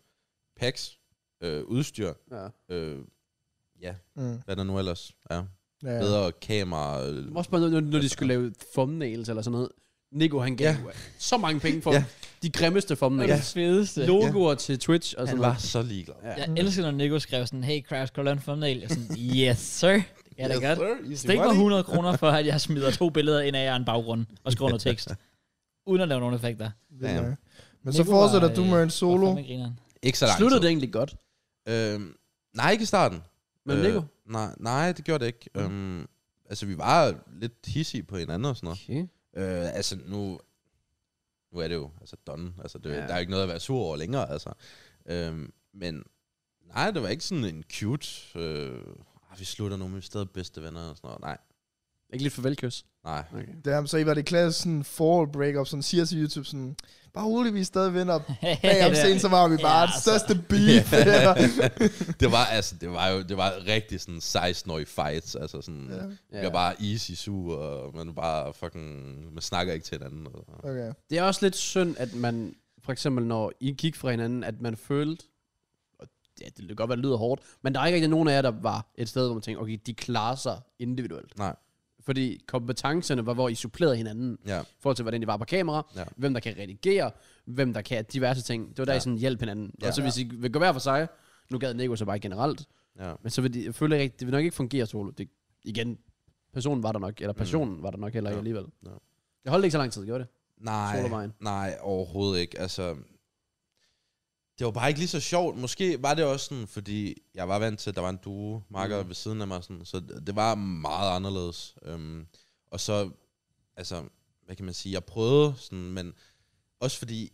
S4: packs, øh, udstyr,
S2: Ja.
S4: øh, ja,
S3: Mm.
S4: hvad der nu ellers er.
S3: Ja.
S4: Bedre kamera. Øh,
S2: Også bare, når, når de skulle lave thumbnails eller sådan noget. Nico, han gav
S4: Ja.
S2: ja. så mange penge for
S4: Ja.
S2: de grimmeste
S1: Det er
S2: thumbnails.
S1: det fedeste.
S2: Ja. Logoer til Twitch og
S4: han
S2: sådan
S4: var
S2: noget.
S4: så ligeglad.
S2: Ja.
S1: Jeg elsker, når Nico skrev sådan, hey Crash, skal du lave en thumbnail? Jeg er sådan, yes sir. Ja, det er godt. Stik mig 100 kroner for, at jeg smider to billeder ind af jer en baggrund og skriver noget tekst. Uden at lave nogle effekter.
S3: Ja.
S4: Damn.
S3: Men så
S1: Nico
S3: fortsætter
S1: var,
S3: du
S1: øh,
S3: med en solo.
S1: Og fandme *laughs* grineren.
S4: Ikke så langt.
S2: Sluttede det egentlig godt?
S4: Øhm, nej, ikke i starten.
S2: Men
S4: Øh,
S2: Nico?
S4: Nej, nej, det gjorde det ikke. Mm. Øhm, altså, vi var lidt hissige på hinanden og sådan
S2: Okay.
S4: noget. Øh, altså nu, nu er det jo altså done. Altså, det,
S2: Ja.
S4: ja. Der er jo ikke noget at være sur over længere. Altså. Øhm, men nej, det var ikke sådan en cute... Øh, "Ah, vi slutter nu, men vi er stadig bedste venner og sådan noget. Nej,
S2: Ikke lidt farvelkys?
S4: nej.
S2: Okay.
S3: Det er, så I var det klasse sådan fall breakup, sådan siger til YouTube sådan, bare roligt, vi er stadig venner. Bag om scenen, så var vi bare
S1: Ja,
S3: det
S1: altså.
S3: største beef. Ja.
S4: *laughs* det var altså, det var jo det var rigtig sådan 16-årige fights. Altså sådan,
S3: Ja.
S4: ja. Jeg er bare easy sur, og man er bare fucking... Man snakker ikke til hinanden. Og, og.
S3: Okay.
S2: Det er også lidt synd, at man, for eksempel når I gik fra hinanden, at man følte, og ja, det kan godt være, det lyder hårdt, men der er ikke rigtig nogen af jer, der var et sted, hvor man tænkte, okay, de klarer sig individuelt.
S4: Nej,
S2: Fordi kompetencerne var, hvor I supplerede hinanden,
S4: ja.
S2: i forhold til, hvordan det var på kamera, ja.
S4: Ja.
S2: hvem der kan redigere, hvem der kan diverse ting. Det var der, ja. I
S4: Ja.
S2: sådan hjælp hinanden. Ja.
S4: Ja.
S2: Og så hvis I vil gå hver for sig, nu gad Nico så bare generelt,
S4: ja.
S2: men så vil de, jeg føler ikke, det vil nok ikke fungere solo. Det, igen, personen var der nok, eller personen mm. var der nok heller ikke
S4: Ja.
S2: alligevel.
S4: Ja.
S2: Det holdt ikke så lang tid, gjorde det?
S4: Nej,
S2: Solovejen.
S4: nej, overhovedet ikke. Altså, det var bare ikke lige så sjovt. Måske var det også sådan, fordi jeg var vant til, at der var en duo marker mm. ved siden af mig. Sådan, så det det var meget anderledes. Øhm, og så, altså, hvad kan man sige, jeg prøvede sådan, men også fordi,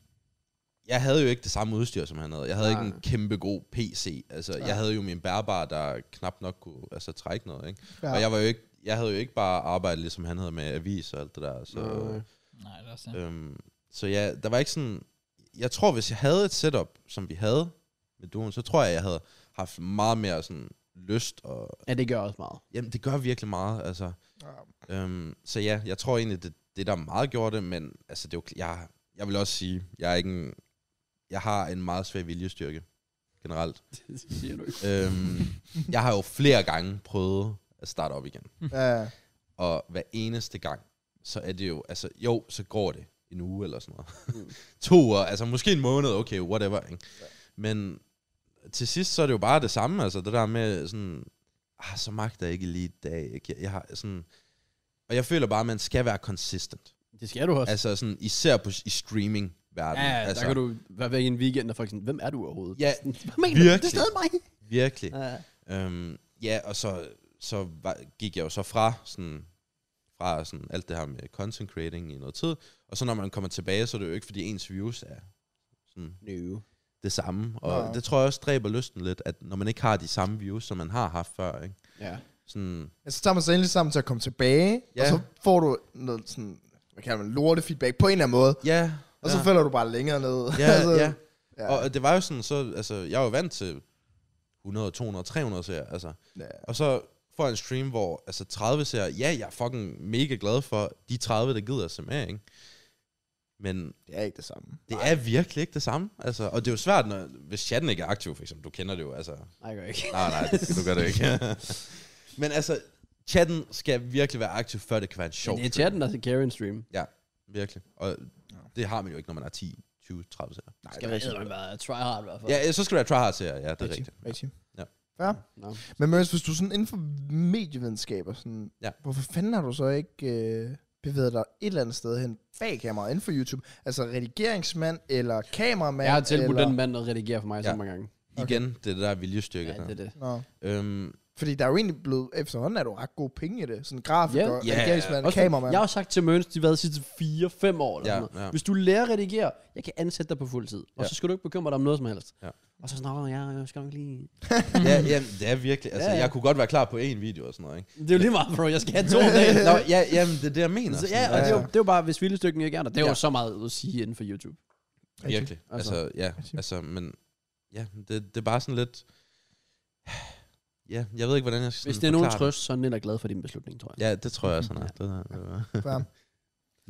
S4: jeg havde jo ikke det samme udstyr, som han havde. Jeg havde
S2: Nej.
S4: Nej. ikke en kæmpe god PC. Altså,
S3: Nej.
S4: jeg havde jo min bærbare, der knap nok kunne altså, trække noget, ikke?
S3: Ja.
S4: Ja. Og jeg var jo ikke, jeg havde jo ikke bare arbejdet, ligesom han havde med avis og alt det der. Så,
S2: Nej.
S1: Nej, det er også det.
S4: Øhm, så ja, der var ikke sådan... Jeg tror, hvis jeg havde et setup, som vi havde med duoen, så tror jeg, jeg havde haft meget mere sådan lyst. Og,
S2: Ja, det gør også meget.
S4: jamen, det gør virkelig meget. Altså. Øhm, så ja, jeg tror egentlig, det, det der meget gjorde det, men altså, det er jo, kl- jeg, jeg vil også sige, jeg er ikke en, jeg har en meget svag viljestyrke generelt.
S2: det siger du ikke.
S4: øhm, jeg har jo flere gange prøvet at starte op igen.
S3: Ja.
S4: Og hver eneste gang, så er det jo, altså jo, så går det en uge eller sådan noget.
S2: Mm.
S4: *laughs* to uger, altså måske en måned, okay, whatever. Ikke? Men til sidst, så er det jo bare det samme, altså det der med sådan, ah, så magter jeg ikke lige i dag. Ikke? Jeg, jeg har sådan, og jeg føler bare, at man skal være consistent.
S2: Det skal du også.
S4: Altså sådan, især på, i streaming-verdenen.
S2: ja, ja, altså.
S4: altså,
S2: der kan du være væk i en weekend, og folk er sådan, hvem er du overhovedet?
S4: Ja,
S2: Hvad mener du? Det er
S4: virkelig.
S2: stadig mig.
S4: Virkelig.
S5: Ja.
S4: Øhm, ja, og så, så var, gik jeg jo så fra, sådan, fra sådan, alt det her med content creating i noget tid, og så når man kommer tilbage, så er det jo ikke, fordi ens views er sådan
S2: No.
S4: det samme. Og
S3: Nej.
S4: det tror jeg også dræber lysten lidt, at når man ikke har de samme views, som man har haft før, ikke?
S2: Ja.
S4: Sådan,
S3: Ja, så tager man sig endelig sammen til at komme tilbage, ja.
S4: Ja.
S3: og så får du noget sådan, hvad kalder man, lorte feedback på en eller anden måde,
S4: ja,
S3: og så
S4: ja.
S3: falder du bare længere ned. *laughs*
S4: Ja,
S3: altså,
S4: ja.
S3: ja.
S4: Og det var jo sådan, så, altså, jeg er jo vant til 100, 200, 300 serier, altså.
S3: Ja.
S4: Og så får jeg en stream, hvor altså 30 serier, ja, jeg er fucking mega glad for de 30, der gider at se med, ikke? Men
S3: Det er ikke det samme.
S4: det er virkelig ikke det samme, altså. Og det er jo svært, når, hvis chatten ikke er aktiv, for eksempel. Du kender det jo, altså.
S2: Nej, jeg gør ikke.
S4: Nej, nej, du gør det ikke. Men altså, chatten skal virkelig være aktiv, før det kan være en sjov
S2: Det er
S4: stream.
S2: chatten, der skal carry en stream.
S4: Virkelig. Og det har man jo ikke, når man er 10, 20, 30 serier.
S2: Nej, altså-
S3: det er rigtigt.
S2: man bare try hard i hvert fald.
S4: Ja, så skal du være tryhard serier, ja, det er rigtigt.
S3: rigtigt.
S4: Ja.
S3: ja.
S2: No.
S3: Men Mørs, hvis du sådan inden for medievidenskaber, sådan,
S4: Ja.
S3: hvorfor fanden har du så ikke øh, bevæget dig et eller andet sted hen bag kameraet inden for YouTube? Altså redigeringsmand eller kameramand?
S2: Jeg har tilbudt
S3: eller...
S2: den mand, der redigerer for mig
S4: Ja.
S2: så mange gange.
S3: Okay.
S4: Igen, det er det der viljestyrke
S2: Ja,
S4: ja, der.
S2: det er det.
S3: Nå.
S4: Øhm,
S3: Fordi der er jo egentlig blevet, efterhånden er du ret gode penge i det. Sådan grafiker,
S2: Ja.
S3: yeah.
S4: Ja.
S3: redigeringsmand,
S2: Også,
S3: kameramand.
S2: jeg har jo sagt til Møns, de har været de sidste 4-5 år. Eller
S4: Ja,
S2: ja, sådan noget.
S4: ja.
S2: Hvis du lærer at redigere, jeg kan ansætte dig på fuld tid. Og
S4: Ja.
S2: så skal du ikke bekymre dig om noget som helst.
S4: Ja.
S2: Og så sådan, "Nå, ja, jeg skal nok lige...
S4: ja, ja, det er virkelig. Altså,
S2: Ja,
S4: ja,
S2: ja.
S4: ja. jeg kunne godt være klar på én video og sådan noget, ikke?
S2: Det er jo lige meget, bro. Jeg skal have
S4: *laughs*
S2: to om dagen.
S4: Nå, ja, jamen, det er det, jeg mener.
S2: Så,
S4: sådan,
S2: ja, og det er, jo,
S3: Ja.
S2: det er jo bare, hvis vildestykken ikke er der. Det er jo
S4: Ja.
S2: så meget at sige inden for YouTube.
S4: Virkelig.
S2: Altså.
S4: Altså, ja, altså, men... Ja, det, det er bare sådan lidt... Ja, jeg ved ikke, hvordan jeg skal
S2: Hvis
S4: sådan
S2: det er nogen
S4: forklare
S2: trøst, så er Nilla glad for din beslutning, tror jeg.
S4: det. Ja, det tror jeg også, han er. Det, er- det,
S3: Ja.
S4: er-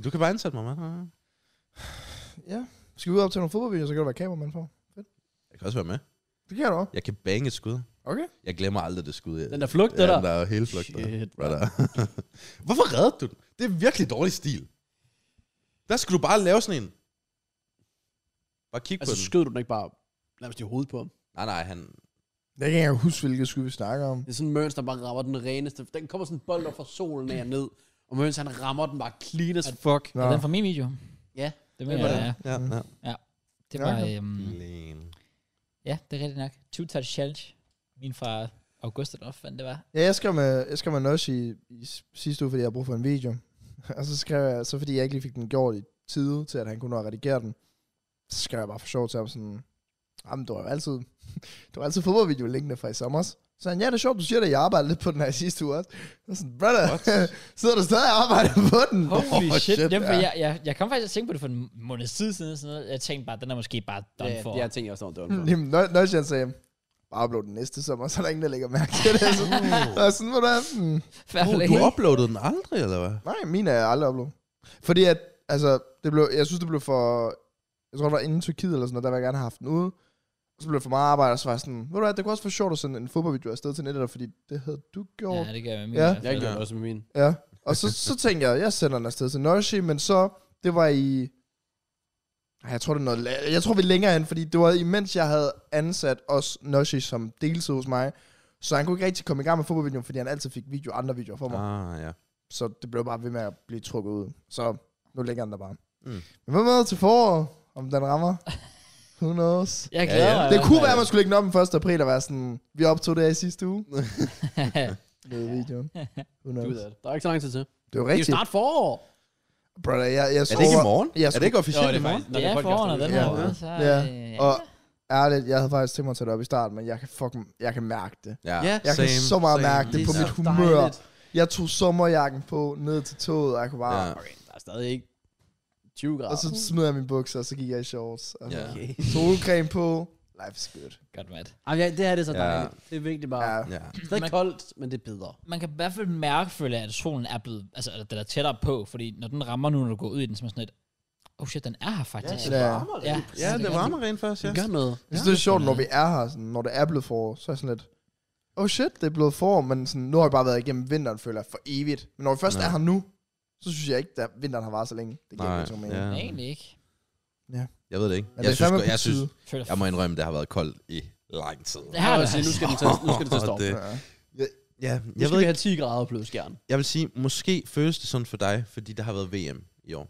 S4: du kan bare ansætte mig, mand.
S3: ja. Skal vi ud op til nogle fodboldvideoer, så kan du være kameramand for.
S4: Jeg kan også være med.
S3: Det kan du også.
S4: Jeg kan bange et skud.
S3: Okay.
S4: Jeg glemmer aldrig det skud. Jeg,
S2: Den der flugt,
S4: ja,
S2: det der.
S4: den der er helt flugt. der.
S2: Shit,
S4: Hvad der? *laughs* Hvorfor reddede du den? Det er virkelig dårlig stil. Der skulle du bare lave sådan en. Bare kigge
S2: Altså,
S4: på den.
S2: skød du den ikke bare nærmest i hovedet på ham?
S4: Nej, nej, han...
S3: Jeg kan ikke engang huske, hvilket skud vi snakker om.
S2: Det er sådan Møns, der bare rammer den reneste. Den kommer sådan en bold op fra solen af og ned. Og Møns, han rammer den bare clean as fuck.
S1: Ja. Er den fra min video?
S2: Ja. Mm.
S1: Det mener
S2: var
S1: jeg, ja.
S4: Ja, ja.
S1: Det
S3: Ja,
S1: var,
S3: ja.
S1: øhm, ja, det er rigtigt nok. Two Touch Challenge. Min fra August, eller hvad fanden det var.
S3: Ja, jeg skrev med, jeg skrev med Nosh i, i s- sidste uge, fordi jeg havde brug for en video. *laughs* og så skrev jeg, så fordi jeg ikke lige fik den gjort i tide, til at han kunne nå at redigere den, så skrev jeg bare for sjov til ham sådan, jamen du har jo altid, *laughs* du har altid fodboldvideo liggende fra i sommer. Så han, ja, det er sjovt, du siger det, jeg arbejdede lidt på den her i sidste uge også. Jeg var sådan, brother, *laughs* sidder du stadig og arbejder på den? *laughs*
S1: Holy
S4: shit,
S1: shit. Jamen, for
S3: ja.
S1: jeg, jeg, jeg kom faktisk at tænke på det for en måned siden siden. Sådan noget. Jeg tænkte bare, den er måske bare done
S2: Ja,
S1: for.
S2: det er ting, jeg også
S4: *laughs*
S2: done for.
S3: *laughs* Jamen, Nå- Nosh han sagde, bare upload den næste sommer, *laughs* så er der ingen, der lægger mærke til det. *laughs* Så, og sådan, hvor der, mm,
S1: Fair play.
S4: Oh, Du uploadede den aldrig, eller hvad?
S3: Nej, mine er aldrig uploadet. Fordi at, altså, det blev, jeg synes, det blev for... Jeg tror, det var inden Tyrkiet eller sådan noget, der ville jeg gerne have haft den ude. Og så blev det for meget arbejde, og så var jeg sådan, ved du hvad, det kunne også være sjovt at sende en fodboldvideo afsted til nettet, fordi det havde du gjort.
S1: Ja, det gør jeg med min.
S3: Ja.
S1: i hvert
S2: Jeg
S1: fald.
S2: gjorde det også med min.
S3: Ja. ja. Og så, så tænkte jeg, jeg sender den afsted til Noshi, men så, det var i... Ej, jeg tror, det er noget, la- jeg tror, vi er længere hen, fordi det var imens jeg havde ansat også Noshi som deltid hos mig, så han kunne ikke rigtig komme i gang med fodboldvideoen, fordi han altid fik video, andre videoer for mig.
S4: Ah, ja.
S3: Så det blev bare ved med at blive trukket ud. Så nu ligger den der bare.
S4: Mm.
S3: Men hvad med til foråret, om den
S4: *laughs*
S3: rammer? Who knows?
S1: Jeg
S4: Ja,
S1: glæder
S4: ja.
S1: mig.
S3: Det
S1: *laughs*
S3: kunne være, at man skulle lægge den op den 1. april og være sådan, vi optog det her i sidste uge. Med videoen. Who
S2: Du
S3: knows?
S2: ved det. Der er ikke så lang tid til. Det
S3: Det er jo
S2: er jo
S3: rigtigt.
S2: snart forår.
S3: Brother, jeg, jeg
S4: Er det ikke
S3: sover-
S4: i morgen?
S3: Jeg
S4: er det ikke officielt i morgen?
S2: faktisk.
S1: Det er foran, og den
S3: Ja.
S1: her måde, så...
S3: Ja.
S1: øh,
S3: Og ærligt, jeg havde faktisk tænkt mig at tage det op i starten, men jeg kan fucking, jeg kan mærke det.
S2: Ja.
S3: Jeg kan så meget mærke det på
S4: Ja.
S3: mit humør. Jeg tog sommerjakken på ned til toget, og jeg kunne bare...
S4: Ja.
S2: Okay, der er stadig ikke 20 grader.
S3: Og så smed jeg mine bukser, og så gik jeg i shorts. Og
S4: Ja.
S2: Okay.
S3: Solcreme på. Life is good.
S1: Godt, Matt.
S2: Jamen, ja, det her det er så
S4: Ja.
S2: dejligt. Det er virkelig bare...
S3: Ja.
S4: Ja.
S2: Det er stadig
S1: Man-
S2: koldt, men det er bedre.
S1: Man kan i hvert fald mærke, føler jeg, at solen er blevet... Altså, at den er tættere på, fordi når den rammer nu, når du går ud i den, så er man sådan lidt... Oh shit, den er her faktisk.
S3: det er-
S2: varmer
S1: Ja,
S4: ja, det varmer rent først, ja.
S2: Det gør noget.
S3: Jeg synes, det er sjovt, når vi er her, sådan, når det er blevet forår, så er jeg sådan lidt, oh shit, det er blevet forår, men sådan, nu har jeg bare været igennem vinteren, føler jeg, for evigt. Men når vi først
S4: Ja.
S3: er her nu, så synes jeg ikke, at vinteren har varet så længe. Det giver
S4: Nej,
S3: ikke så mening.
S4: ja.
S3: Ja.
S1: Men Egentlig ikke.
S4: Jeg ved det ikke.
S3: Men det
S4: Jeg
S3: er
S4: synes,
S3: fandme
S4: godt- jeg
S3: på
S4: synes,
S3: tide.
S1: Føler
S4: jeg må indrømme, det har været koldt i lang tid.
S1: Det har
S2: Jeg
S1: det.
S2: vil sige, nu skal den til, nu skal den til at stoppe.
S4: Det-
S3: Ja.
S4: Ja,
S2: Nu
S4: jeg
S2: skal
S4: ved
S2: vi
S4: ikke.
S2: have 10 grader plus gerne.
S4: Jeg vil sige, måske føles det sådan for dig, fordi der har været VM i år.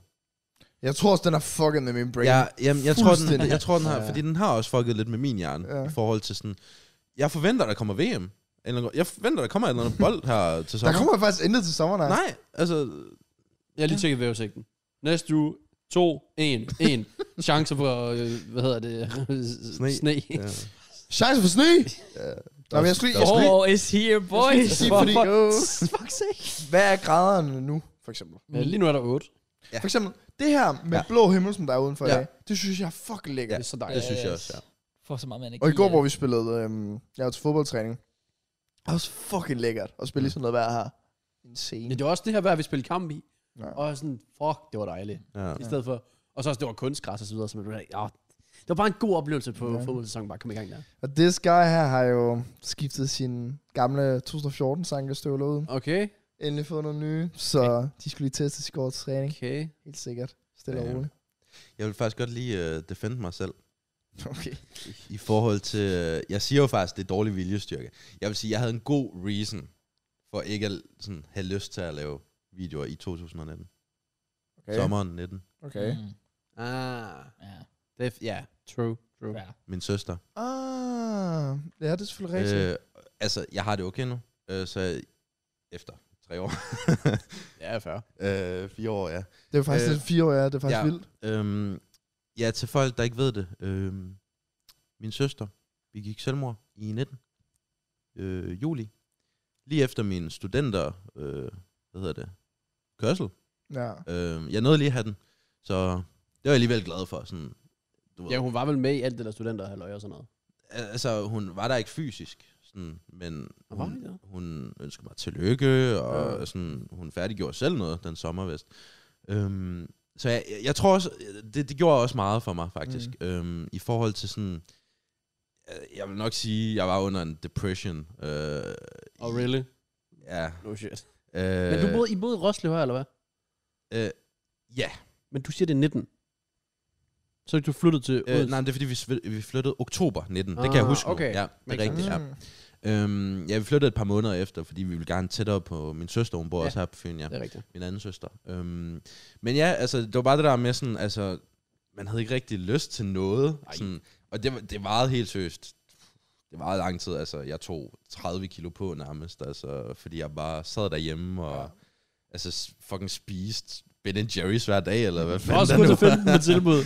S3: Jeg tror også, den har fucket med min brain.
S4: Ja, jamen, jeg tror, den,
S3: Fuldstændig.
S4: jeg tror, den har,
S3: Ja.
S4: fordi den har også fucket lidt med min hjerne,
S3: Ja.
S4: ja. i forhold til sådan, Jeg forventer, der kommer VM. Eller- Jeg forventer, der kommer et eller *laughs* andet bold her til sommer.
S3: Der kommer faktisk intet til sommer, nej.
S4: Nej, altså...
S2: Jeg har lige tjekket vejrudsigten. Næste uge, to, en, en. Chancer for, øh, hvad hedder det?
S4: Sne.
S2: Sne.
S4: Ja.
S3: Chance for
S4: *laughs*
S3: sne! Nå, men jeg skulle, lige- jeg skulle, lige-
S1: Oh, is here, boys.
S3: jeg skulle lige sige, fordi,
S4: *laughs*
S2: Fuck sake.
S3: hvad er graderne nu, for eksempel?
S2: Ja, lige nu er der otte.
S3: For eksempel, det her med blå himmel, som der er udenfor i
S4: Ja.
S3: dag, det synes jeg er fucking lækkert.
S2: Det er så
S4: Det
S2: dejligt.
S4: synes jeg også, ja.
S1: Får så meget med energi.
S3: Og i går,
S1: af
S3: hvor
S1: det.
S3: vi spillede, øhm, jeg var til fodboldtræning. Det er også fucking lækkert at spille i sådan noget vejr her. En
S2: Ja,
S3: scene.
S2: det var også det her vejr, vi spillede kamp i.
S3: Ja.
S2: Og sådan, fuck, det var dejligt.
S4: ja.
S2: I stedet for, og så også, det var kunstgræs og så videre. Så man, blev helt, ja, det var bare en god oplevelse på
S3: Ja.
S2: ja. fodboldsæsonen, bare kom i gang
S4: *laughs*
S2: der.
S3: Og this guy her har jo skiftet sin gamle 2014 sankestøvler ud.
S2: Okay,
S3: Endelig fået nogle nye, så de skulle lige testes i går til træning.
S2: okay.
S3: Helt sikkert. Stille
S4: Ja.
S3: og
S4: *laughs*
S3: roligt.
S4: Jeg vil faktisk godt lige uh, defende mig selv.
S3: Okay.
S4: I forhold til... øh, Jeg siger jo faktisk, det er dårlig viljestyrke. Jeg vil sige, jeg havde en god reason for ikke at sådan, have lyst til at lave videoer i 2019. Okay. Sommeren 19.
S3: Okay.
S1: Mm,
S2: Ah,
S1: ja,
S2: det er, f- ja, true, true.
S1: fair.
S4: Min søster.
S3: Ah, ja, det er selvfølgelig rigtigt.
S4: Øh, altså, jeg har det okay nu. Øh, så efter tre år.
S2: Ja, fair.
S4: *laughs* øh, fire år, ja.
S3: det er jo faktisk
S4: øh,
S3: lidt fire år, ja. Det er faktisk
S4: ja.
S3: vildt.
S4: Øhm, ja, til folk, der ikke ved det. Øhm, min søster begik selvmord i 19. Øh, juli. Lige efter min studenter... Øh, hvad hedder det? Kørsel.
S3: Ja.
S4: Øh, jeg nåede lige at have den. Så det var jeg alligevel glad for. Sådan, du ved.
S2: Ja, hun var vel med i alt det der studenterhalløj og sådan noget.
S4: Al- Altså, hun var der ikke fysisk. Sådan, men
S2: Var
S4: hun,
S2: det?
S4: hun ønskede mig tillykke, og
S3: Ja.
S4: ja. sådan, hun færdiggjorde selv noget den sommer, vist. Øhm, så jeg, jeg- jeg tror også, det, det gjorde også meget for mig, faktisk. Mm. Øhm, I forhold til sådan, øh, jeg vil nok sige, jeg var under en depression. Øh,
S2: Oh, really?
S4: Ja.
S2: No shit.
S4: Øh,
S2: Men du boede, I boede i Roslev her, eller hvad?
S4: Øh, ja.
S2: Men du siger, det er 19. Så du flyttede til Odense?
S4: Øh, nej, men det er fordi, vi, sv- vi flyttede oktober 19. det kan jeg
S2: Ah,
S4: huske
S2: okay.
S4: nu. Ja, det
S2: Makes
S4: er rigtigt, ja.
S3: Mm.
S4: *laughs* Øhm, ja, vi flyttede et par måneder efter, fordi vi ville gerne tættere på min søster, hun bor
S2: Ja.
S4: ja. også her på Fyn, ja.
S2: Det er rigtigt.
S4: Min anden søster. Øhm, men ja, altså, det var bare det der med sådan, altså, man havde ikke rigtig lyst til noget.
S2: Ej.
S4: Sådan, og det, var- det varede helt seriøst. Det varede lang tid, altså, jeg tog 30 kilo på nærmest, altså, fordi jeg bare sad derhjemme og, ja. altså, s- fucking spiste Ben Jerry's hver dag, eller hvad fanden
S2: Mm. Også
S4: der
S2: kun
S4: nu
S2: til 15 med
S4: *laughs*
S2: tilbud.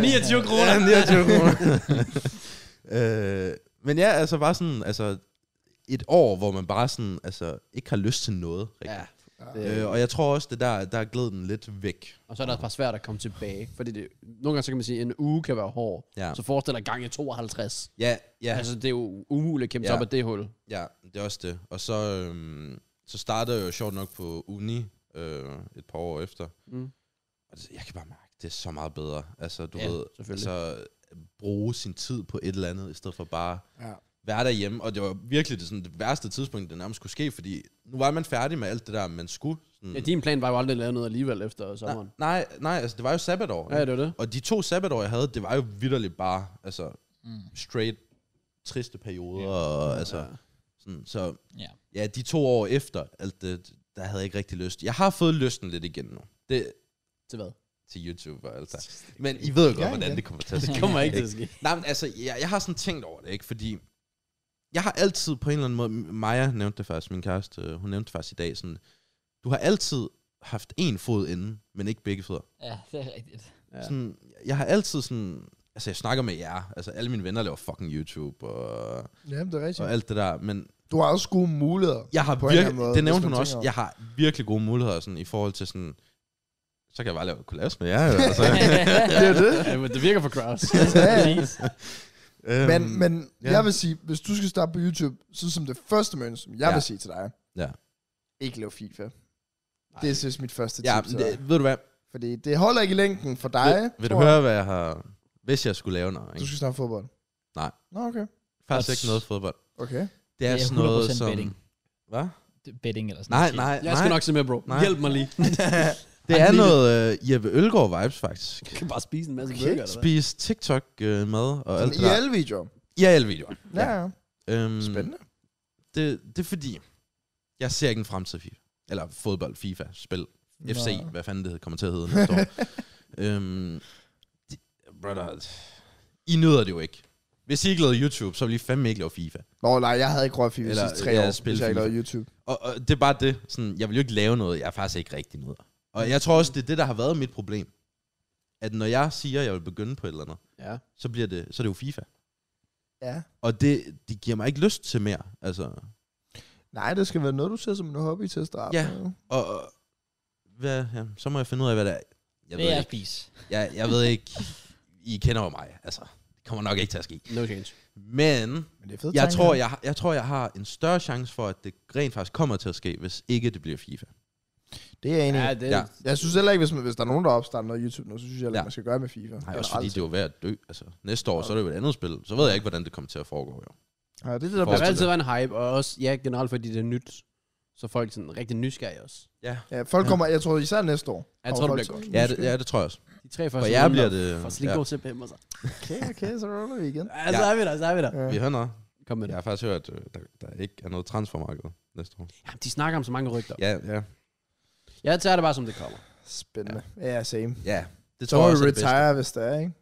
S2: 29 kroner.
S4: Ja, 29 kroner. *laughs* øh, men ja, altså bare sådan, altså et år, hvor man bare sådan, altså ikke har lyst til noget.
S2: Ja.
S4: Rigtigt.
S2: Det,
S4: Øh, og jeg tror også, det der, der gled den lidt væk.
S2: og så er der et par svært at komme tilbage. Fordi det, nogle gange så kan man sige, at en uge kan være hård.
S4: Ja,
S2: Så forestil dig gange 52.
S4: ja,
S2: Ja.
S4: ja,
S2: Altså, det er jo umuligt at kæmpe sig
S4: Ja. Mm.
S2: op af det hul.
S4: ja det er også det. Og så, øhm, så startede jeg jo sjovt nok på uni øh, et par år efter.
S2: Mm.
S4: Og det, jeg kan bare mærke, det er så meget bedre. Altså, du
S2: Ja,
S4: ved,
S2: selvfølgelig.
S4: altså, bruge sin tid på et eller andet, i stedet for bare
S3: Ja.
S4: være derhjemme, og det var virkelig det, sådan, det værste tidspunkt, det nærmest skulle ske, fordi nu var man færdig med alt det der, man skulle. Sådan,
S2: Ja, din plan var jo aldrig at lave noget alligevel efter sommeren.
S4: nej, nej, altså det var jo sabbatår.
S2: Ja,
S4: Ja.
S2: det var det.
S4: Og de to sabbatår, jeg havde, det var jo vidderligt bare, altså
S1: Mm.
S4: straight, triste perioder, og altså,
S2: Ja.
S4: sådan, så
S1: Ja.
S4: ja, de to år efter, alt det, der havde jeg ikke rigtig lyst. Jeg har fået lysten lidt igen nu. Det,
S2: Til hvad?
S4: til YouTube og alt det. Men I ved jo godt,
S3: Ja,
S4: hvordan
S3: ja.
S4: det kommer
S2: *laughs*
S4: til at ske.
S2: Det kommer ikke til at ske.
S4: *laughs* Nej, men altså, jeg, jeg har sådan tænkt over det, ikke? Fordi jeg har altid på en eller anden måde... Maja nævnte det faktisk, min kæreste, øh, hun nævnte det faktisk i dag, sådan... Du har altid haft en fod inden, men ikke begge fødder.
S1: ja, det er
S3: *laughs*
S1: rigtigt.
S2: Ja.
S4: Ja. Sådan, jeg har altid sådan... Altså, jeg snakker med jer. Altså, alle mine venner laver fucking YouTube og,
S3: Jamen, det er rigtigt.
S4: og alt det der. Men
S3: Du har også gode muligheder.
S4: jeg har
S3: På en eller anden
S4: virkelig...
S3: måde,
S4: Det
S3: hvis
S4: nævnte
S3: man
S4: hun også.
S3: tænker
S4: Jeg har virkelig gode muligheder sådan, i forhold til sådan... Så kan jeg bare lave kollaps med jer. jo, altså.
S3: det er det.
S2: ja, men det virker for crowds.
S3: Ja, ja.
S4: Øhm,
S3: Men, men
S4: ja.
S3: jeg vil sige, hvis du skal starte på YouTube, så som det første mønne, som jeg ja.
S4: Ja.
S3: vil sige til dig,
S4: Ja.
S3: ikke lave FIFA. Det er seriøst mit første
S4: Øhm, Ja,
S3: tip
S4: men
S3: til dig.
S4: det, ved du hvad?
S3: Fordi det holder ikke i længden for dig.
S4: Vil, vil du
S3: tror jeg.
S4: høre, hvad jeg har... Hvis jeg skulle lave noget,
S3: Du
S4: ikke?
S3: skal snakke fodbold.
S4: Nej.
S3: Nå, okay.
S4: Faktisk
S1: Og
S4: ikke
S1: s-
S4: noget fodbold.
S3: Okay.
S4: Det er,
S1: Det er
S4: sådan noget
S1: 100%
S4: som...
S1: betting.
S4: Hvad?
S1: Det er Betting eller sådan
S4: Nej,
S1: noget.
S4: nej,
S2: Jeg
S4: nej.
S2: skal nok se med, bro.
S4: Nej.
S2: Hjælp mig lige.
S4: Det
S2: Ej,
S4: er
S2: lige-
S4: noget uh, Jeppe Ølgaard-vibes, faktisk.
S2: Du kan bare spise en masse
S3: Okay.
S2: burger, eller hvad?
S4: Spise TikTok-mad og alt det
S3: I
S4: der.
S3: alle videoer.
S4: I alle videoer.
S3: Ja, ja.
S4: Øhm,
S3: Spændende.
S4: Det, det er fordi, jeg ser ikke en fremtid i FIFA. Eller fodbold, FIFA, spil, FC,
S3: Nå.
S4: hvad fanden det kommer til at hedde næste
S3: *laughs*
S4: år. øhm, de, brother, I nyder det jo ikke. Hvis I ikke lavede YouTube, så ville I fandme ikke lave FIFA.
S3: Nå, nej, jeg havde ikke rørt FIFA de
S4: Eller,
S3: sidste tre
S4: ja,
S3: år,
S4: spil
S3: hvis jeg ikke
S4: FIFA.
S3: lavede YouTube.
S4: Og, og det er bare det. Sådan, jeg vil jo ikke lave noget, jeg er faktisk ikke rigtig noget. Og jeg tror også, det er det, der har været mit problem. At når jeg siger, at jeg vil begynde på et eller andet,
S2: Ja.
S4: så, bliver det, så er det jo FIFA.
S3: Ja.
S4: Og det, det giver mig ikke lyst til mere. Altså,
S3: Nej, det skal være noget, du ser som en hobby til at starte
S4: Ja.
S3: med.
S4: og, og hvad, ja, så må jeg finde ud af, hvad det er.
S1: det
S4: Jeg
S1: er
S4: ved,
S1: at
S4: ikke,
S1: spise.
S4: jeg, jeg ved ikke, I kender jo mig. Altså, det kommer nok ikke til at ske.
S2: No change.
S4: Men
S3: Men det er fedt
S4: jeg tror jeg, har- jeg tror, jeg har en større chance for, at det rent faktisk kommer til at ske, hvis ikke det bliver FIFA.
S3: Det er jeg enig i.
S2: Ja, det,
S4: Ja.
S2: ja.
S3: Jeg synes heller ikke, hvis, man, hvis der er nogen, der opstarter noget YouTube nu, så synes jeg heller ikke,
S4: Ja.
S3: man skal gøre med FIFA.
S4: Nej, også fordi det er jo ved at dø. Altså, næste år, så er det jo et andet spil. Så ved jeg ikke, hvordan det kommer til at foregå. Jo.
S3: Ja, det er det, der
S4: For-
S2: der vil
S3: bliver
S2: altid være en hype, og også, ja, generelt fordi det er nyt. Så er folk sådan rigtig nysgerrige også.
S3: Ja, folk kommer, jeg tror især næste år.
S2: Jeg tror, det bliver godt.
S4: Ja, det, ja, det tror jeg også.
S2: De tre første
S4: For jer bliver
S2: For
S4: det... øh,
S2: slik
S4: Ja,
S2: god til at pæmme sig.
S3: Okay, okay, så ruller vi igen.
S2: Ja, så er vi der, så er vi der.
S3: Ja.
S4: vi hører noget.
S2: Kom med det.
S4: Jeg har faktisk hørt, at øh, der, der ikke er noget transfermarked næste år.
S2: Jamen, de snakker om så mange rygter.
S4: Ja, ja.
S2: Jeg tager det bare, som det kommer.
S3: Spændende. Ja, same.
S4: Ja, det
S3: Så
S4: tror
S3: må
S4: jeg
S3: vi
S4: også er det bedste.
S3: retire, hvis der er, ikke?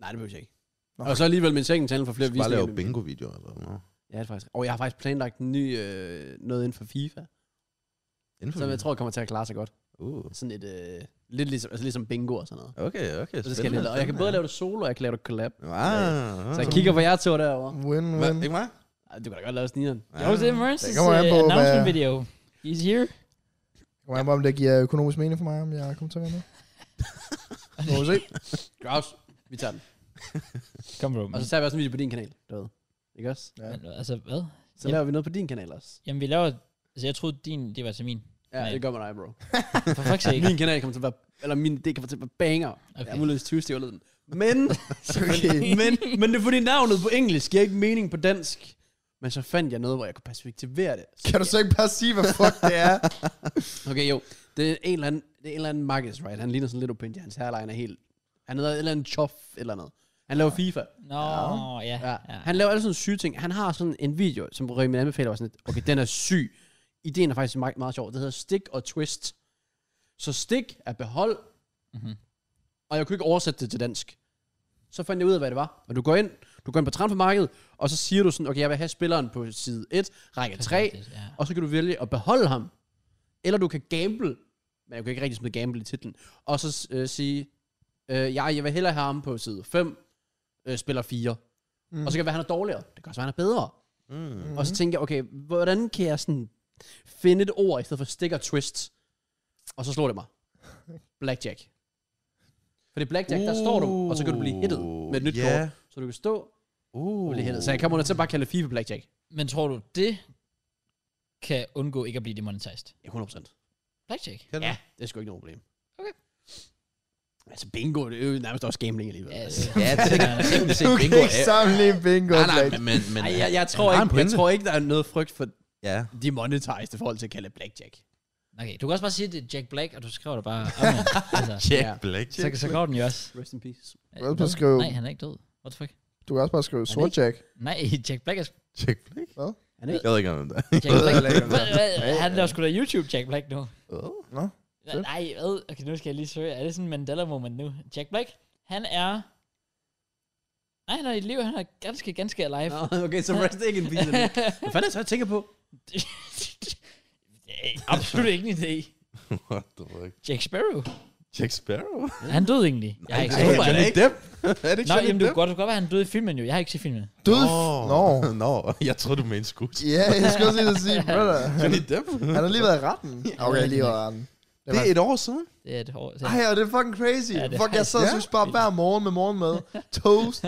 S2: Nej, det behøver jeg ikke.
S3: Nå.
S2: Og så alligevel min seng tænder for
S4: Vi
S2: flere
S4: skal bare lave
S2: end-
S4: bingo-videoer eller noget.
S2: Ja, det er faktisk. Og jeg har faktisk planlagt en ny, øh, noget inden for FIFA,
S4: Inden for
S2: som jeg
S4: video.
S2: tror kommer til at klare sig godt.
S4: Uh.
S2: Sådan et, øh, lidt ligesom, altså ligesom bingo og sådan noget.
S4: Okay, okay.
S2: Og, så skal jeg, lidt- og jeg kan både lave det solo, og jeg kan lave det collab.
S4: Ah,
S2: Så jeg kigger på jer to derovre.
S4: Hva,
S3: Win-win.
S4: ikke mig?
S2: Ej, Du kan da godt lave snigeren.
S1: Jo, det er Mernsens
S3: kommer an på,
S1: uh,
S3: hvad-
S1: announcement video. He's here.
S3: Kommer an på, om det giver økonomisk mening for mig, om jeg kommer til at være med. Må vi se.
S2: Grouse. Vi tager den.
S1: Kom, bro.
S2: Og så tager vi også en video på din kanal, du ved. Ikke også?
S3: Ja.
S1: Men, altså, hvad?
S2: Så
S1: Ja.
S2: laver vi noget på din kanal også.
S1: Jamen, vi laver... Altså, jeg troede, din, det var til min.
S2: Ja,
S1: Nej.
S2: det gør man dig, bro.
S1: For fuck's sake.
S2: *laughs* Min kanal kommer til at være, eller min idé kommer til at være banger. Okay. Jeg
S1: Okay.
S2: er muligvis 20 stiver lyden. *laughs* Men,
S3: Okay.
S2: men, men det er fordi navnet på engelsk giver ikke mening på dansk. Men så fandt jeg noget, hvor jeg kunne perspektivere det. Så-
S3: Kan du så ikke bare sige, hvad fuck det er?
S2: Okay, jo. Det er en eller anden, det er en eller anden Marcus, right? Han ligner sådan lidt opinji. Hans hairline er helt... Han hedder et eller andet chof eller noget. Han laver FIFA.
S1: Nå, ja.
S2: Ja.
S1: ja.
S2: Han laver alle sådan syge ting. Han har sådan en video, som Rømme anbefaler, var sådan lidt, okay, den er syg. Ideen er faktisk meget, meget sjov. Det hedder stik og twist. Så stik er behold,
S1: Mhm.
S2: og jeg kunne ikke oversætte det til dansk. Så fandt jeg ud af, hvad det var. Og du går ind, du går ind på transfermarkedet, og så siger du sådan, okay, jeg vil have spilleren på side 1, række 3,
S1: Ja.
S2: og så kan du vælge at beholde ham. Eller du kan gamble, men jeg kan ikke rigtig smide gamble i titlen. Og så øh, sige, øh, jeg, jeg vil hellere have ham på side 5, øh, spiller 4. Mm. Og så kan det være, han er dårligere. Det kan også være, han er bedre.
S4: *laughs* Mm.
S2: Mm. Og så tænker jeg, okay, hvordan kan jeg sådan finde et ord i stedet for stick og twist? Og så slår *laughs* det mig. Blackjack. For det er blackjack, uh, der står du, og så kan du blive hittet med et nyt yeah. kort. Så du kan stå og
S4: Uh.
S2: blive hittet. Så jeg kommer til at bare kalde FIFA blackjack.
S1: Men tror du, det kan undgå ikke at blive demonetized?
S2: Ja, 100%.
S1: Blackjack?
S4: Kan du?
S2: Ja, det er sgu ikke noget problem.
S1: Okay.
S2: Altså bingo, det er jo nærmest også gambling alligevel.
S1: Yes.
S2: Altså.
S4: Ja,
S1: *laughs*
S4: det er teknisk
S3: Du
S4: set
S3: kan
S4: bingo.
S3: ikke sammenligne bingo.
S4: Nej, nej,
S3: Black.
S4: men... men
S2: Ej, jeg, jeg,
S4: han
S2: tror
S4: har en
S2: ikke, jeg
S4: pointe.
S2: tror ikke, der er noget frygt for
S4: Ja.
S2: de monetized i forhold til at kalde det blackjack.
S1: Okay, du kan også bare sige, at det er Jack Black, og du skriver det bare. Omvendt. altså,
S4: Jack
S2: Ja.
S4: Black.
S1: så, så går den jo også.
S2: Rest in peace.
S3: Du kan også bare skrive,
S1: Nej, han er ikke død. What the fuck?
S3: du kan også bare skrive Sortjack.
S1: Nej, *laughs* Jack Black er... sgu-
S4: Jack Black?
S2: Han er ikke
S4: Jeg ved ikke, om det er. *laughs*
S1: Jack Black.
S3: heller ikke, om
S1: Hvad- hvad-
S3: Ja, ja.
S1: han laver sgu da YouTube Jack Black nu.
S3: Nå, fedt.
S1: Nej, hvad? Okay, nu skal jeg lige søge. Er det sådan en Mandela-moment nu? Jack Black, han er... Nej, han er i live. Han er ganske, ganske alive.
S2: Nå, *laughs* okay, så rest ikke en
S1: *laughs*
S2: pizza. *laughs* Hvad fanden er det så, jeg tænker på?
S1: Det er Absolut ikke en idé.
S4: What the fuck?
S1: Jack Sparrow.
S4: Jack Sparrow?
S1: Er han død egentlig? Jeg har ikke
S4: det
S1: set
S4: er
S1: ham.
S4: Johnny Depp. Er det ikke
S1: Nå,
S4: Johnny
S1: jamen, du kan
S4: Depp?
S1: godt, du kan godt være, han døde i filmen jo. Jeg har ikke set filmen.
S3: Død. Nå.
S4: Nå, jeg troede, du mente skud.
S3: Ja, jeg skulle også lige til at sige, brother.
S4: Johnny Depp?
S3: Han har lige været i retten. Okay, lige været i retten.
S4: Det er et år siden.
S1: Det er et hår.
S3: Ej, og det er fucking crazy.
S1: Ja, det er
S3: Fuck, jeg sad og
S4: faktisk-
S3: synes bare hver morgen med morgenmad. Toast.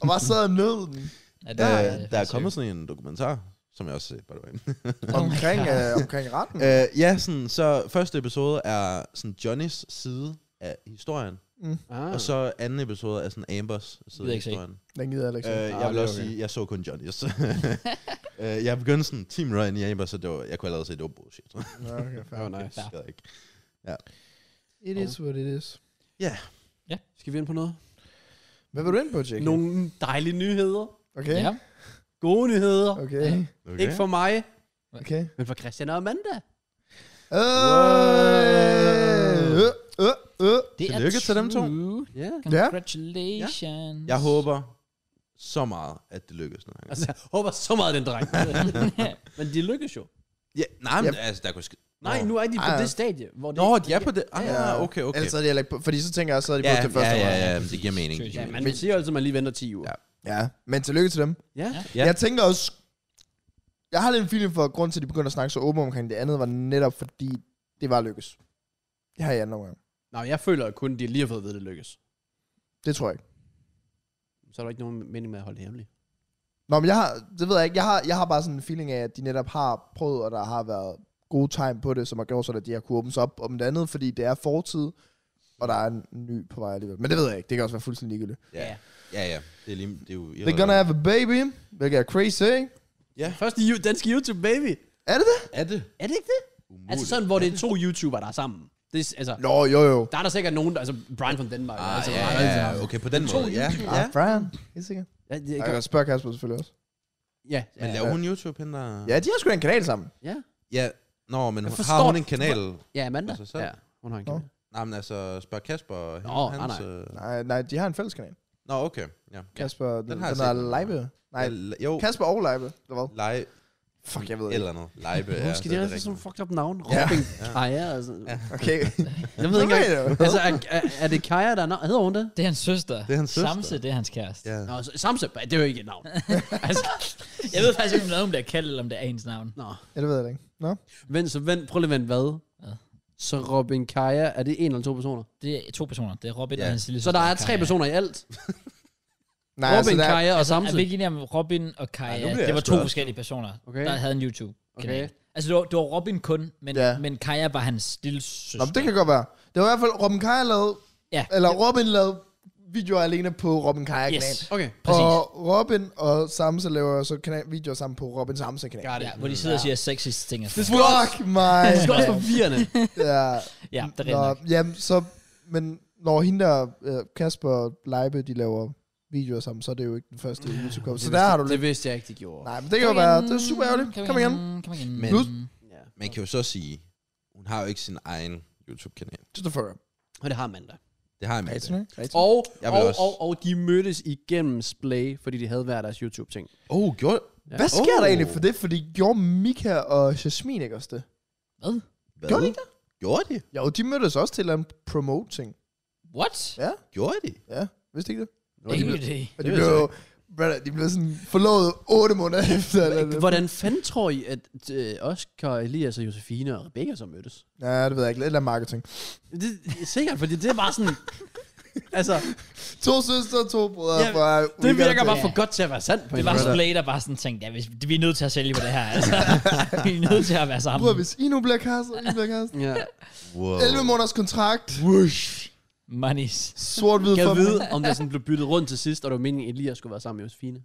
S3: og bare sad og nød den.
S1: Ja, det
S4: Der,
S1: er,
S4: der er kommet sådan en dokumentar, som jeg også set, by the way.
S1: Oh
S3: Omkring, øh, omkring retten.
S4: Øh, ja, sådan, så første episode er sådan Johnnys side af historien,
S3: Mm.
S2: Ah.
S4: og så anden episode er sådan Ambers
S1: ved
S4: side af
S1: jeg ikke se.
S4: historien.
S3: Den gider jeg ikke.
S4: Øh, jeg
S2: Ah,
S4: vil
S2: det er
S4: også
S2: okay.
S4: sige, jeg så kun Johnnys. *laughs* øh, jeg begyndte sådan 10 minutter ind i Ambers, så det var, jeg kunne allerede se, det var bullshit. *laughs* det
S3: Nå, okay, fair.
S2: Oh, nice.
S1: Ja.
S4: gad jeg ikke.
S3: It is what it is.
S2: Skal vi ind på noget?
S3: Hvad vil du ind på, Jake?
S2: Nogle dejlige nyheder.
S3: Okay.
S1: Ja.
S2: Gode nyheder. Okay.
S3: Okay.
S4: Okay.
S2: Ikke for mig,
S3: Okay.
S2: men for Christian og Amanda.
S3: Øh, øh, øh, øh.
S1: Det er
S2: Uh.
S4: Tillykke til dem to.
S1: true.
S2: Ja.
S1: Congratulations.
S4: Jeg håber så meget, at det lykkedes nu. Altså,
S2: Altså, jeg håber så meget, den *laughs* dreng. men de lykkes jo.
S4: ja, nej, men
S3: Ja.
S4: altså, der kunne ske...
S2: Nej, nu er de på
S3: Ej, ja.
S2: det stadie, hvor det...
S4: Nå, de er på det. Ah,
S3: Ja.
S4: ja, okay,
S2: Altså,
S4: okay.
S3: Ellers er det heller ikke, på- fordi så tænker jeg, så er de
S4: ja,
S3: på det
S4: ja,
S3: første
S4: ja,
S3: hold.
S4: ja, men det giver mening.
S1: Seriøst,
S2: Ja,
S1: ja.
S2: man siger jo altid, at man lige venter 10 uger.
S4: Ja.
S3: ja. Men tillykke til dem.
S2: ja.
S4: Ja.
S3: Ja. Jeg tænker også, jeg har lidt en feeling for, at grunden til, at de begyndte at snakke så åbent omkring det andet, var netop fordi, det var lykkes. Det har jeg i anden omgang.
S2: Nå, jeg føler jo kun, at de lige har fået at vide, at det lykkes.
S3: Det tror jeg ikke.
S2: Så er der ikke nogen mening med at holde det hemmeligt.
S3: Nå, men jeg har, det ved jeg ikke, jeg har, jeg har bare sådan en feeling af, at de netop har prøvet, og der har været gode tegn på det, som har gjort sådan, at de har kunnet åbne sig op om det andet, fordi det er fortid, og der er en ny på vej alligevel. Men det ved jeg ikke, det kan også være fuldstændig ligegyldigt.
S4: Ja, ja, ja. Det er, lige, det er jo...
S3: They're gonna have a baby, hvilket er crazy, ikke?
S2: Første ju- danske YouTube, baby.
S3: Er det det?
S4: Er det?
S2: Er det ikke det? Umuligt. Altså sådan, hvor det er to YouTubere, der er sammen. Det er, altså,
S3: Nå, jo jo.
S2: der er der sikkert nogen, der, altså Brian fra Danmark.
S4: Ah,
S2: altså,
S4: ja,
S2: han er altid
S4: ja,
S2: sammen.
S4: ja, okay, på den måde. Ja,
S3: Ja.
S4: ja.
S3: Ah, Brian, helt sikkert.
S2: Ja, det,
S3: Jeg
S2: kan,
S3: kan også spørge Kasper selvfølgelig også.
S2: ja,
S4: Men
S2: ja,
S4: laver hun YouTube hende der?
S3: Ja, de har sgu da en kanal sammen.
S2: ja,
S4: Ja, nå, men
S2: Jeg
S4: hun- har
S2: forstår-
S4: hun en kanal?
S2: ja, Amanda.
S4: Altså, så-
S2: ja, hun har en kæmpe.
S4: Nej, men altså, spørg Kasper. og
S2: Nå, nej, nej.
S4: øh,
S3: Nej, nej, de har en fælles kanal.
S4: Nå, okay. Ja.
S3: Kasper, den, den,
S4: har jeg
S3: den er
S4: set.
S3: live. Nej,
S4: Ja, Jo,
S3: Kasper og live, eller hvad?
S4: live,
S3: Fuck, jeg ved ikke.
S4: eller noget. Live,
S2: Ja,
S4: ja.
S2: Hun
S4: så
S2: skal
S4: er altså,
S2: de
S4: det
S2: have sådan
S4: rigtigt.
S2: nogle fucked up navn. Robin Kaja. Altså.
S4: *laughs*
S3: Okay.
S2: Jeg ved ikke engang.
S3: engang.
S2: Altså, er, er, er det Kaja, der er navn? Hedder hun det?
S1: Det er hans søster.
S4: Det er hans søster.
S1: Samse, det er hans kæreste.
S4: Ja.
S2: Nå, så- Samse, det er jo ikke et navn. altså,
S1: Jeg ved faktisk ikke, om det er nogen, der er kaldt, eller om det er ens navn.
S2: nå.
S3: ja, det ved jeg da ikke. Nå?
S2: Vent, så vent, prøv lige at vente, hvad?
S1: Hvad?
S2: Så Robin Kaja, er det en eller to personer?
S1: Det er to personer. Det er Robin
S4: Ja.
S1: og hans lille
S2: Så der er tre personer i alt.
S3: Nej, altså,
S2: Robin,
S3: der,
S2: Kaja og
S1: Altså, Er vi
S2: Samse.
S1: ikke enige om Robin og Kaja?
S4: Ej, nu bliver
S1: Ja, det
S4: jeg
S1: var
S4: sgu
S1: to
S4: også-
S1: forskellige personer,
S2: Okay.
S1: okay. der havde en YouTube-kanal.
S2: Okay.
S1: Okay. Altså, det var, det var Robin kun, men,
S3: Ja.
S1: ja. men Kaja var hans lille søster.
S3: Nå, men det kan godt være. Det var i hvert fald Robin Kaja lavede,
S1: Ja,
S3: eller Robin lavede videoer alene på Robin Kaja
S1: yes,
S3: kanal.
S2: Okay.
S1: præcis.
S3: Og Robin og Samse laver så kanal, videoer sammen på Robin Samse kanal.
S2: Got
S1: Ja,
S2: it.
S1: hvor de sidder og siger sexist ting. og sådan noget.
S3: Fuck mig.
S2: Det er også forvirrende.
S3: ja.
S1: Ja, det er
S3: Nå,
S1: rigtigt nok.
S3: jamen, så, men når hende der, øh, Kasper og Leibe, de laver videoer sammen, så er det jo ikke den første YouTube *laughs* Så der har du
S2: Det
S3: lidt.
S2: vidste jeg ikke, de gjorde.
S3: Nej, men det kan jo være, det er super ærgerligt. Kom igen.
S1: Kom igen.
S4: Men-
S3: Plus-
S2: Ja.
S4: Man kan jo så sige, hun har jo ikke sin egen YouTube-kanal.
S3: Just a furrow.
S2: Og det har Amanda.
S4: Det har jeg med. det.
S3: Og
S2: Og,
S4: Jeg
S2: og,
S4: vil
S2: og,
S4: også-
S2: og, de mødtes igennem Splay, fordi de havde hver deres YouTube-ting.
S4: Åh, oh, gjorde...
S3: hvad sker
S4: Oh.
S3: der egentlig for det? Fordi gjorde Mika og Jasmine ikke også det?
S1: Hvad?
S4: Hvad?
S3: Gjorde de ikke
S4: Gjorde de?
S3: Jo, de mødtes også til en promoting.
S1: What?
S3: Ja,
S4: Gjorde de?
S3: ja. Vidste ikke det?
S1: Ingen idé.
S3: Og
S4: Det
S3: de
S4: ved
S3: blev
S4: jeg
S3: jo... brother, De blev sådan forlovet otte måneder *laughs* efter. Eller eller-
S2: Hvordan fanden tror I, at øh, Oscar, Elias og Josefine og Rebecca så mødtes?
S3: Ja, det ved jeg ikke. Lidt af marketing.
S2: Det, det er sikkert, fordi det er bare sådan... *laughs* altså,
S3: To søstre og to brødre.
S2: Ja,
S3: fra
S2: det
S3: Weekend
S2: virker
S3: til-
S2: bare for godt til at være sandt på
S1: Det
S2: en
S1: var
S2: måde.
S1: Splay, der bare sådan tænkte, ja, hvis- vi er nødt til at sælge på det her.
S3: *laughs*
S1: Altså. vi er nødt til at være sammen.
S3: Bror, hvis I nu bliver kastet, I bliver kastet.
S2: Ja.
S4: Wow.
S3: 11 måneders kontrakt.
S1: Monies.
S3: Sort-hvid
S2: Kan
S3: for
S2: jeg vide, om der sådan blev byttet rundt til sidst, og det var meningen, at Elias skulle være sammen med Josefine?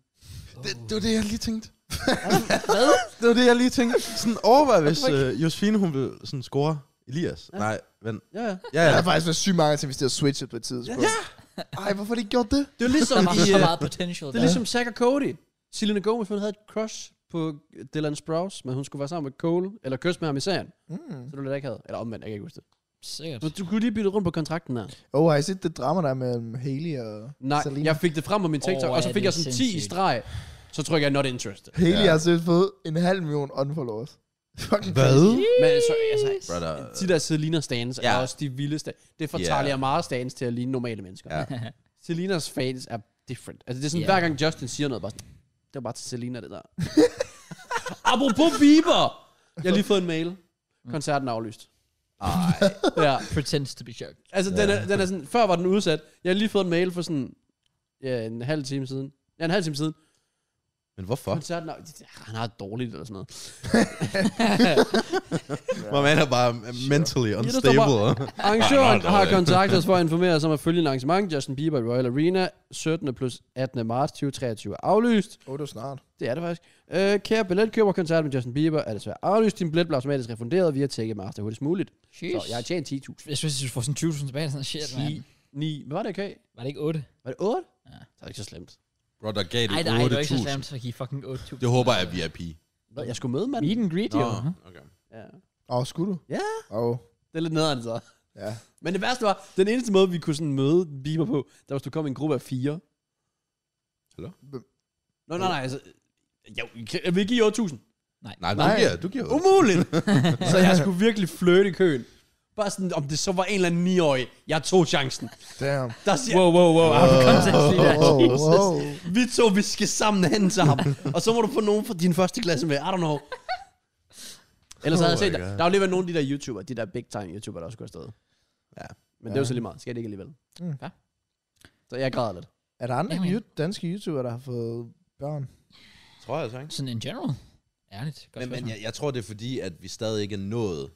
S3: Det, det var det, jeg lige tænkte.
S1: Hvad?
S4: Det var det, jeg lige tænkte. Sådan overvej, hvis uh, Josefine, hun ville sådan score Elias. Ja. Nej, vent.
S2: Ja, ja.
S4: Ja,
S3: Der
S4: ja.
S3: har faktisk været sygt mange til, hvis det har switchet på et tidspunkt. Ja. Ej, hvorfor har de ikke gjort det?
S2: Det er ligesom,
S1: Der var
S2: de,
S1: så
S2: øh,
S1: meget potential
S2: det er ligesom Zack og Cody. Selena Gomez, hun havde et crush på Dylan Sprouse, men hun skulle være sammen med Cole, eller kysse med ham i serien.
S3: Mm.
S2: Så det var det, jeg ikke havde. Eller omvendt, jeg kan ikke huske det.
S1: Sikkert.
S2: Men du kunne lige bytte rundt på kontrakten der.
S3: Oh, har I set det drama der mellem Haley og
S2: Nej,
S3: Selena?
S2: jeg fik det frem på min TikTok,
S1: Åh,
S2: oh, og så
S1: ja,
S2: fik
S1: det
S2: jeg
S1: er
S2: sådan 10 i
S1: sindssygt.
S2: streg. Så trykker jeg not interested.
S3: Haley
S4: Ja.
S3: har selvfølgelig fået en halv million unfollowers. *laughs* Fucking
S4: Hvad?
S2: Men så, altså,
S4: Brother.
S2: de der Selina stands ja.
S4: Ja.
S2: er også de vildeste. Det får
S4: Ja.
S2: yeah. Talia Mara stands til at ligne normale mennesker.
S4: Ja.
S2: *laughs* Selinas fans er different. Altså det er sådan,
S1: Ja.
S2: hver gang Justin siger noget, bare sådan, det var bare til Selina det der. *laughs* Apropos Bieber! Jeg har lige fået en mail. Koncerten er aflyst.
S4: Ej.
S2: Ja.
S1: Pretends to be shocked.
S2: Altså, ja. den, er, den er sådan, før var den udsat. Jeg har lige fået en mail for sådan, ja, en halv time siden. Ja, en halv time siden.
S4: Men hvorfor?
S2: *laughs* Koncerten er, han har det dårligt eller sådan noget.
S4: Hvor man er bare mentally
S2: der står
S4: unstable.
S2: Arrangøren
S4: Nej, nej,
S2: har
S4: nej.
S2: kontaktet os for at informere os om, at følgende arrangement, Justin Bieber i Royal Arena, 17. plus 18. marts 2023, er aflyst.
S3: Åh, oh, det var snart.
S2: Det er det faktisk. Øh, kære billetkøberkoncert med Justin Bieber er desværre aflyst. Din billet bliver automatisk refunderet via Ticketmaster hurtigst muligt.
S1: Jeez.
S2: Så jeg har tjent 10.000.
S1: Jeg synes, du får sådan 20.000 tilbage. Sådan, shit, man.
S2: 10, 9, hvad var det okay?
S1: Var det ikke 8?
S2: Var det 8?
S1: Ja.
S2: Så er det ikke så slemt.
S4: Bro, der gav
S1: Nej,
S4: det
S1: nej, det var ikke så
S4: 8.000.
S1: slemt, så give fucking 8.000.
S4: Det håber jeg er VIP.
S2: Nå, jeg skulle møde manden.
S1: Meet and greet,
S4: Nå,
S1: jo.
S4: okay.
S2: Ja.
S3: Åh, oh, skulle du?
S2: ja,
S3: Åh, oh,
S2: det er lidt nederen så.
S3: ja.
S2: Men det værste var, den eneste måde, vi kunne sådan møde Bieber på, der var, hvis du kom i en gruppe af fire. Nå, nej, nej, altså... Jo, kan- vil I give i 8.000?
S4: Nej, du
S3: Nej.
S4: giver, du giver otte.
S2: Umuligt! *laughs* så jeg skulle virkelig flirte i køen. Bare sådan, om det så var en eller anden 9-årig. Jeg tog chancen. *laughs*
S3: Damn.
S2: Der siger,
S1: Wow, wow, wow. Out of context lige der.
S3: Wow,
S1: Jesus.
S3: wow.
S2: vi to, vi skal sammen hen sammen. og så må du få nogen fra din første klasse med. I don't know. Ellers havde jeg
S4: Oh
S2: set,
S4: my
S2: der,
S4: God.
S2: der har jo lige været nogle af de der YouTuber, de der big time YouTuber, der også går afsted. Ja. Men det er jo så lige meget. Skal det ikke alligevel.
S3: Mm.
S1: Ja.
S2: Så jeg græder lidt.
S3: Er der andre
S1: Jamen.
S3: you- danske YouTubere, der har fået børn?
S4: Tror jeg så, ikke?
S1: Sådan in general. Ærligt. Godt
S4: Men, men jeg, jeg tror, det er fordi, at vi stadig ikke er nået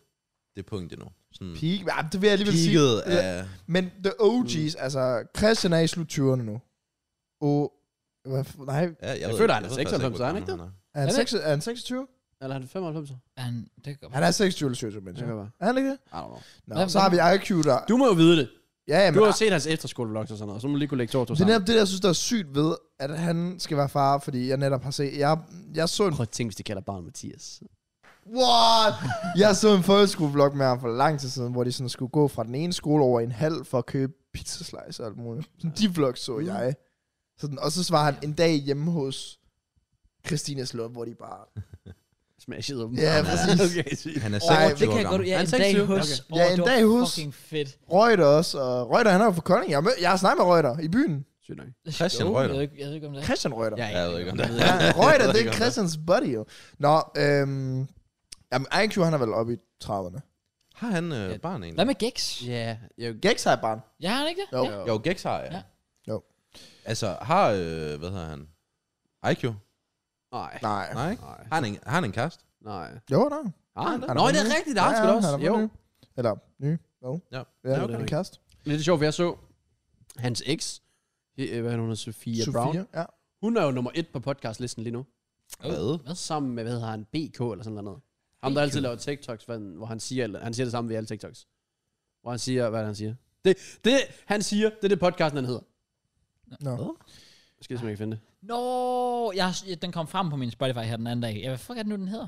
S4: det punkt endnu. Sådan
S3: Peak? Ja, det vil jeg alligevel sige.
S4: peaket af...
S3: Men the OG's,
S4: Mm.
S3: altså Christian er i slut 20'erne nu. Og, hvad, f- nej,
S4: Ja, jeg,
S2: Jeg
S4: ved
S2: føler,
S4: ikke-
S2: han er
S4: ved faktisk
S2: 96, er han
S4: hvor
S2: ikke
S4: gammel
S3: er han,
S1: det-
S3: 6, er han 26?
S2: Eller er det 95?
S1: Han, det kan
S3: Han er 26 eller 27, men
S2: Det kan være.
S3: Er han ikke det?
S2: I don't know.
S3: Nå,
S1: Hvad-
S3: så har vi IQ, der...
S2: Du må jo vide det.
S3: ja, ja,
S2: Du
S3: men
S2: har jo set hans efterskolevlogs og sådan noget, så må du lige kunne lægge to og to
S3: Det er
S2: sammen.
S3: netop det, jeg synes, der er sygt ved, at han skal være far, fordi jeg netop har set... Jeg, jeg så en...
S2: Prøv at tænke, hvis de kalder barnet Mathias.
S3: What? Jeg så en folkeskole-vlog med ham for lang tid siden, hvor de sådan skulle gå fra den ene skole over i en halv for at købe pizzaslice og alt muligt. Sådan, de vlogs så jeg. Sådan, og så svarer han en dag hjemme hos Christina Slot, hvor de bare...
S2: Smashed dem.
S3: Ja, præcis.
S2: *laughs* okay, sygt.
S4: Han er
S3: Ej,
S4: 26
S1: Det kan jeg godt,
S4: år gammel.
S1: ja,
S2: Han
S1: en
S2: er
S1: dag
S2: 26.
S1: hos.
S2: Okay.
S1: Åh,
S3: Ja,
S1: det
S3: en
S1: var
S3: dag hos.
S1: Fucking fedt.
S3: Røgter også, og Røgter, han er jo fra Kolding. Jeg, mød, jeg har snakket med Røgter i byen.
S2: Sygt nok.
S4: Christian
S1: Jo,
S4: Reuter.
S1: Jeg ved ikke, jeg ved ikke om det er.
S3: Christian Røgter.
S2: Ja,
S4: Jeg ved ikke, om det er.
S3: Ja, Røgter,
S4: Jeg ved
S3: det
S4: ikke,
S3: er
S4: om
S3: Christians buddy jo. Nå, øhm, jamen, IQ, han er vel oppe i 30'erne.
S4: Har han øh, barn
S1: Hvad
S4: egentlig?
S1: med Gex?
S2: Ja, jeg
S3: Gex har et barn.
S1: Ja, har han ikke det?
S3: Jo.
S1: Ja.
S4: Jo, Gex har jeg.
S1: Ja.
S3: Jo.
S4: Altså, har... Øh, hvad hedder han? IQ?
S2: Nej.
S3: Nej.
S4: Nej, ikke?
S2: Nej.
S4: Har han en, har han en kæreste?
S2: Nej.
S3: Jo, nej.
S2: Ah,
S3: Han
S2: Nå,
S3: fået
S2: det er
S3: ny.
S2: rigtigt, det har han sgu da også.
S3: fået
S2: Jo.
S3: ny. Eller ny. Jo.
S4: Ja.
S3: Ja,
S2: det er
S3: det er
S2: rigtigt.
S3: en kæreste.
S2: Lidt sjovt, for jeg så hans eks, he- øh, hvad hedder hun, Sofia, Sofia Brown.
S3: Ja.
S2: Hun er jo nummer et på podcastlisten lige nu.
S4: Hvad?
S2: Sammen med, hvad hedder han, BK eller sådan noget. Ham, der altid laver TikToks, hvad den- hvor han siger, eller, han siger det samme ved alle TikToks. Hvor han siger, hvad er det, han siger. Det, det han siger, det er det podcasten, den hedder.
S3: Nå.
S2: Jeg skal simpelthen ikke finde det.
S1: Nå, jeg, har- ja, den kom frem på min Spotify her den anden dag. Ja, hvad fuck er det nu, den hedder?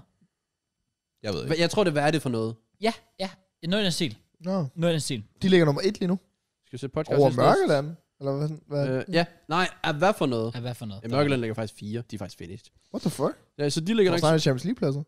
S4: Jeg ved
S3: Ah.
S2: Hva-
S4: ikke.
S2: Jeg tror, det er, hvad er det for noget.
S1: Ja, ja. Noget i den stil.
S3: Nå.
S1: Noget i den stil.
S3: De ligger nummer et lige nu.
S2: Skal vi se podcast?
S3: Over Mørkeland. Eller hvad? hvad?
S2: Øh, ja, nej, er hvad for noget?
S1: Ja, hvad for noget?
S2: Ja, Mørkeland ligger faktisk fire. De er faktisk finished.
S3: What the fuck?
S2: Ja, så de ligger
S3: Jeg
S2: nok...
S3: snakker Champions League-pladser.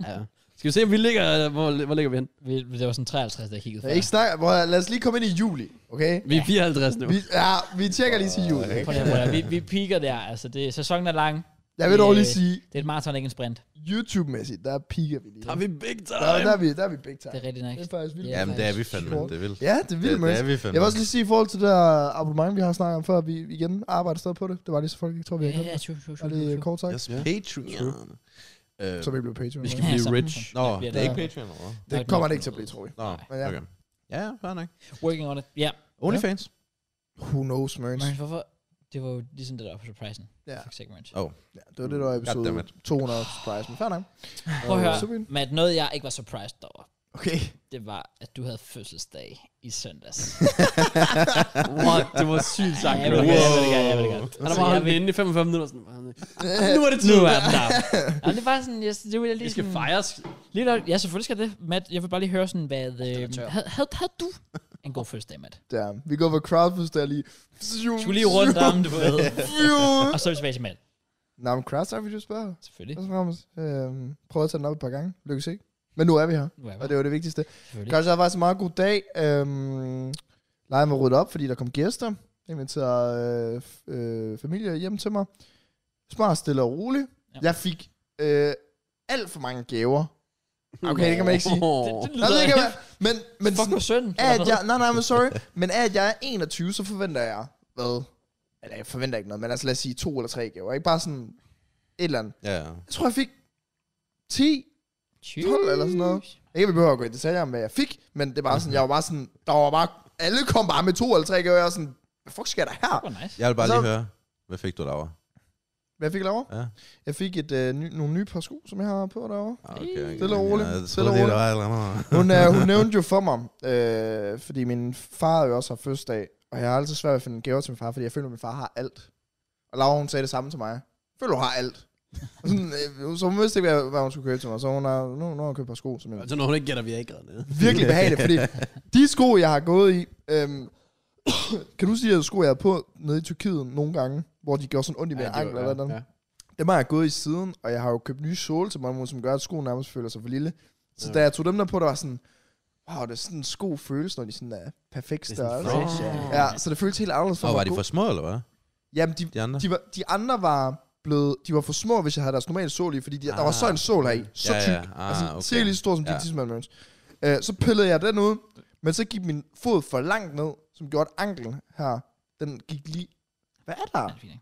S2: Ja, ja. Skal vi se, om vi ligger... øh, Hvor, hvor ligger vi hen?
S1: Vi- Det var sådan 53, der kiggede
S3: Jeg ikke snakke, bror, lad os lige komme ind i juli, okay?
S2: Vi er 54 nu.
S3: Vi, ja, vi tjekker lige til juli.
S1: Prøv lige at høre, vi, vi piker der, altså det, sæsonen er lang.
S3: Jeg vil dog lige
S1: Øh.
S3: sige,
S1: Det er et maraton, ikke en sprint.
S3: YouTube-mæssigt, der piker vi lige.
S2: Der er vi big
S3: Der,
S2: time.
S3: der, er vi, der er vi big
S1: Det
S3: time.
S1: er rigtigt nok.
S3: Det er faktisk vildt.
S1: Ja.
S4: Jamen, det er vi fandme.
S3: Sjovt.
S4: Det er vildt.
S3: Ja, det er
S4: Det,
S3: vildt,
S4: det
S3: Mads.
S4: er vi fandme.
S3: Jeg vil også lige sige i forhold til det der abonnement, vi har snakket om før, at vi igen arbejder stadig på det. Det var lige så folk ikke tror, vi har
S1: Ja,
S3: glemt
S1: ja,
S3: det.
S1: tju, tju, tju,
S3: Og det er
S1: tju, tju.
S3: kort sagt,
S4: Yes,
S2: Ja.
S4: Patreon. Øh,
S3: så vi bliver Patreon.
S2: Vi skal
S1: Ja,
S2: blive
S1: sådan,
S2: rich.
S1: sådan.
S4: Nå,
S1: bliver
S4: det er
S1: der.
S4: ikke Patreon, eller hvad?
S3: Det kommer det ikke til at blive, tror vi.
S4: Nå,
S1: Nej.
S3: Ja.
S4: okay. Ja, ja, fair nok.
S1: Working on it. Ja,
S4: OnlyFans?
S3: Who knows, Merns?
S1: men hvorfor? Det var jo ligesom det der på surprisen.
S3: Ja.
S1: Fuck sake, Merch.
S3: ja, det var det, der var episode
S4: Goddammit.
S3: 200 surprise, men fair nok.
S1: Prøv at
S3: Øh,
S1: høre,
S3: så vi-
S1: Matt, noget jeg ikke var surprised over,
S3: Okay.
S1: det var, at du havde fødselsdag i søndags.
S2: What? Det var sygt sagt.
S1: Ja, jeg vil det
S2: Wow.
S1: gerne, jeg vil det gerne, jeg vil det gerne.
S2: Han
S1: Så
S2: har bare
S1: jeg
S2: holdt
S1: vil-
S2: den inde i 45 minutter. Sådan, bare sådan, nu er det tid.
S1: Nu er den der.
S3: *laughs*
S1: Jamen, det var sådan, jeg, det ville jeg
S2: Vi
S1: lige
S2: skal
S1: sådan-
S2: fejres.
S1: Lige nok, ja, selvfølgelig skal det. Matt, jeg vil bare lige høre sådan, hvad... Øh,
S2: tør.
S1: havde, havde, havde, du en god fødselsdag, Matt?
S3: Der. Vi går på crowdfest der lige.
S1: Skulle lige rundt om, du ved. Og så er vi tilbage til Matt.
S3: Nå, men crowdfest, vi jo spørge.
S1: Selvfølgelig.
S3: Og så Ramos, øhm, prøvede at tage den op et par gange. Lykkes ikke. Men nu er vi her,
S1: Nu er vi
S3: og det var det vigtigste.
S1: selvfølgelig.
S3: Crowdfest havde faktisk en meget god dag. Øhm, Lejen var ryddet op, fordi der kom gæster. Jeg inviterede øh, f- øh, familie hjem til mig. Smart, stille og roligt.
S1: Ja.
S3: Ja. Jeg fik øh, alt for mange gaver. Okay, det kan man ikke *laughs* sige.
S1: Det, det
S3: Jeg ved
S1: lyder
S3: ikke, hvad, men, men
S1: Fuck
S3: sådan,
S1: nu søn.
S3: at jeg, nej, nej, men sorry, men at jeg er 21, så forventer jeg, hvad? Eller jeg forventer ikke noget, men altså lad os sige to eller tre gaver, ikke bare sådan et eller andet.
S4: Ja, ja.
S3: Jeg tror, jeg fik 10, 12 eller sådan noget. Ikke, at vi behøver at gå i detaljer om, hvad jeg fik, men det var sådan, jeg var bare sådan, der var bare, alle kom bare med to eller tre gaver, og jeg var sådan, hvad fuck sker der
S1: Det
S3: her?
S1: var nice.
S4: Jeg vil bare
S3: Så-
S4: lige høre, hvad fik du derovre?
S3: Hvad fik jeg derovre?
S4: Ja.
S3: Jeg fik et, øh, ny, nogle nye par sko, som jeg har på derovre.
S4: Ah, Okay, okay.
S3: Stille og roligt.
S4: Ja, jeg
S3: Stille
S4: troede
S3: og
S4: lige,
S3: roligt.
S4: der var et eller andet.
S3: Hun,
S4: *laughs*
S3: øh, hun nævnte jo for mig, øh, fordi min far jo også har fødselsdag, og jeg har altid svært ved at finde gaver til min far, fordi jeg føler, at min far har alt. Og Laura, hun sagde det samme til mig. Jeg føler, hun har alt. Og sådan, øh, så hun vidste ikke, hvad, hvad hun skulle købe til mig, så hun har, nu, nu har hun købt et par sko,
S2: Altså,
S3: som
S2: *laughs*
S3: jeg
S2: Så når hun ikke gætter, vi er ikke grædende.
S3: virkelig behageligt, fordi de sko, jeg har gået i, øhm, *coughs* Kan du sige, at sko jeg havde på nede i Tyrkiet nogle gange, hvor de gjorde sådan ondt i min
S2: det var-
S3: ankel eller noget?
S2: ja.
S3: Dem har jeg gået i siden, og jeg har jo købt nye såle til mig nu, som gør, at skoen nærmest føler sig for lille. Så
S2: Ja.
S3: da jeg tog dem der på, der var sådan, wow, det er sådan en sko føles, når de sådan er perfekt
S2: Det er sådan
S3: størrelse.
S2: fresh, ja.
S1: Åh.
S3: Ja, så det føles helt anderledes for
S4: Og
S3: mig.
S4: var
S3: at
S4: de
S3: gå-
S4: for små, eller hvad?
S3: Jamen, de,
S4: De andre?
S3: de, var, de andre var blevet, de var for små, hvis jeg havde deres normale sål i, fordi de, ah. der var så en sål her i, så
S4: Ja,
S3: tyk,
S4: ja. Ah,
S3: altså
S4: okay.
S3: cirka lige så stor som
S4: Ja.
S3: ja. din uh, Så pillede jeg den ud, men så gik min fod for langt ned, som gjorde at anklen her, den gik lige, hvad er der?
S1: det er fint,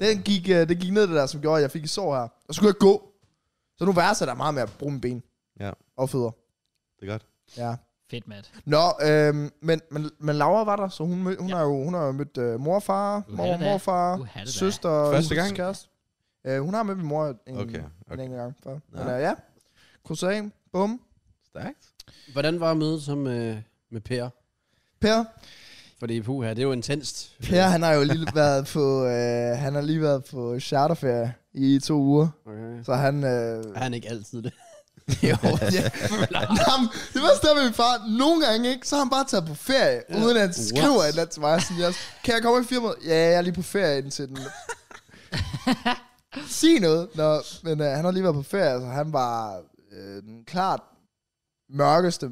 S1: ikke?
S3: Den gik, øh, den gik ned det der, som gjorde, at jeg fik et sår her. Og så skulle jeg gå. Så nu værser der meget med at bruge mine ben.
S4: Ja.
S3: Og fødder.
S4: Det er godt.
S3: Ja.
S1: Fedt, Matt.
S3: Nå, øhm, men, men, men Laura var der, så hun, mød, hun,
S1: Ja.
S3: ja. har, jo, hun har jo mødt øh, morfar,
S1: Uha,
S3: mor,
S1: da.
S3: morfar,
S1: Uha, da.
S3: søster,
S4: Første
S3: søsters
S4: gang?
S3: kæreste. Øh, hun har mødt min mor en, okay.
S4: Okay,
S3: en
S4: okay.
S3: enkelt gang før.
S4: Nå.
S3: Men øh, ja, Crusade, bum.
S4: Stærkt.
S2: Hvordan var mødet som øh, med Per?
S3: Per,
S2: Fordi puha, det er jo intenst.
S3: per han har jo lige været på, øh, han har lige været på charterferie i to uger.
S2: Okay.
S3: Så han, øh,
S2: Er *laughs* han ikke altid det?
S3: Jo, *laughs* ja. Jamen, det var stadig min far. Nogle gange, ikke? Så har han bare taget på ferie, ja. uden at han skriver et eller andet til mig. Sådan, jeg, kan jeg komme i firmaet? Ja, jeg er lige på ferie indtil den. Sig noget. Nå, men øh, han har lige været på ferie, så han var øh, den klart mørkeste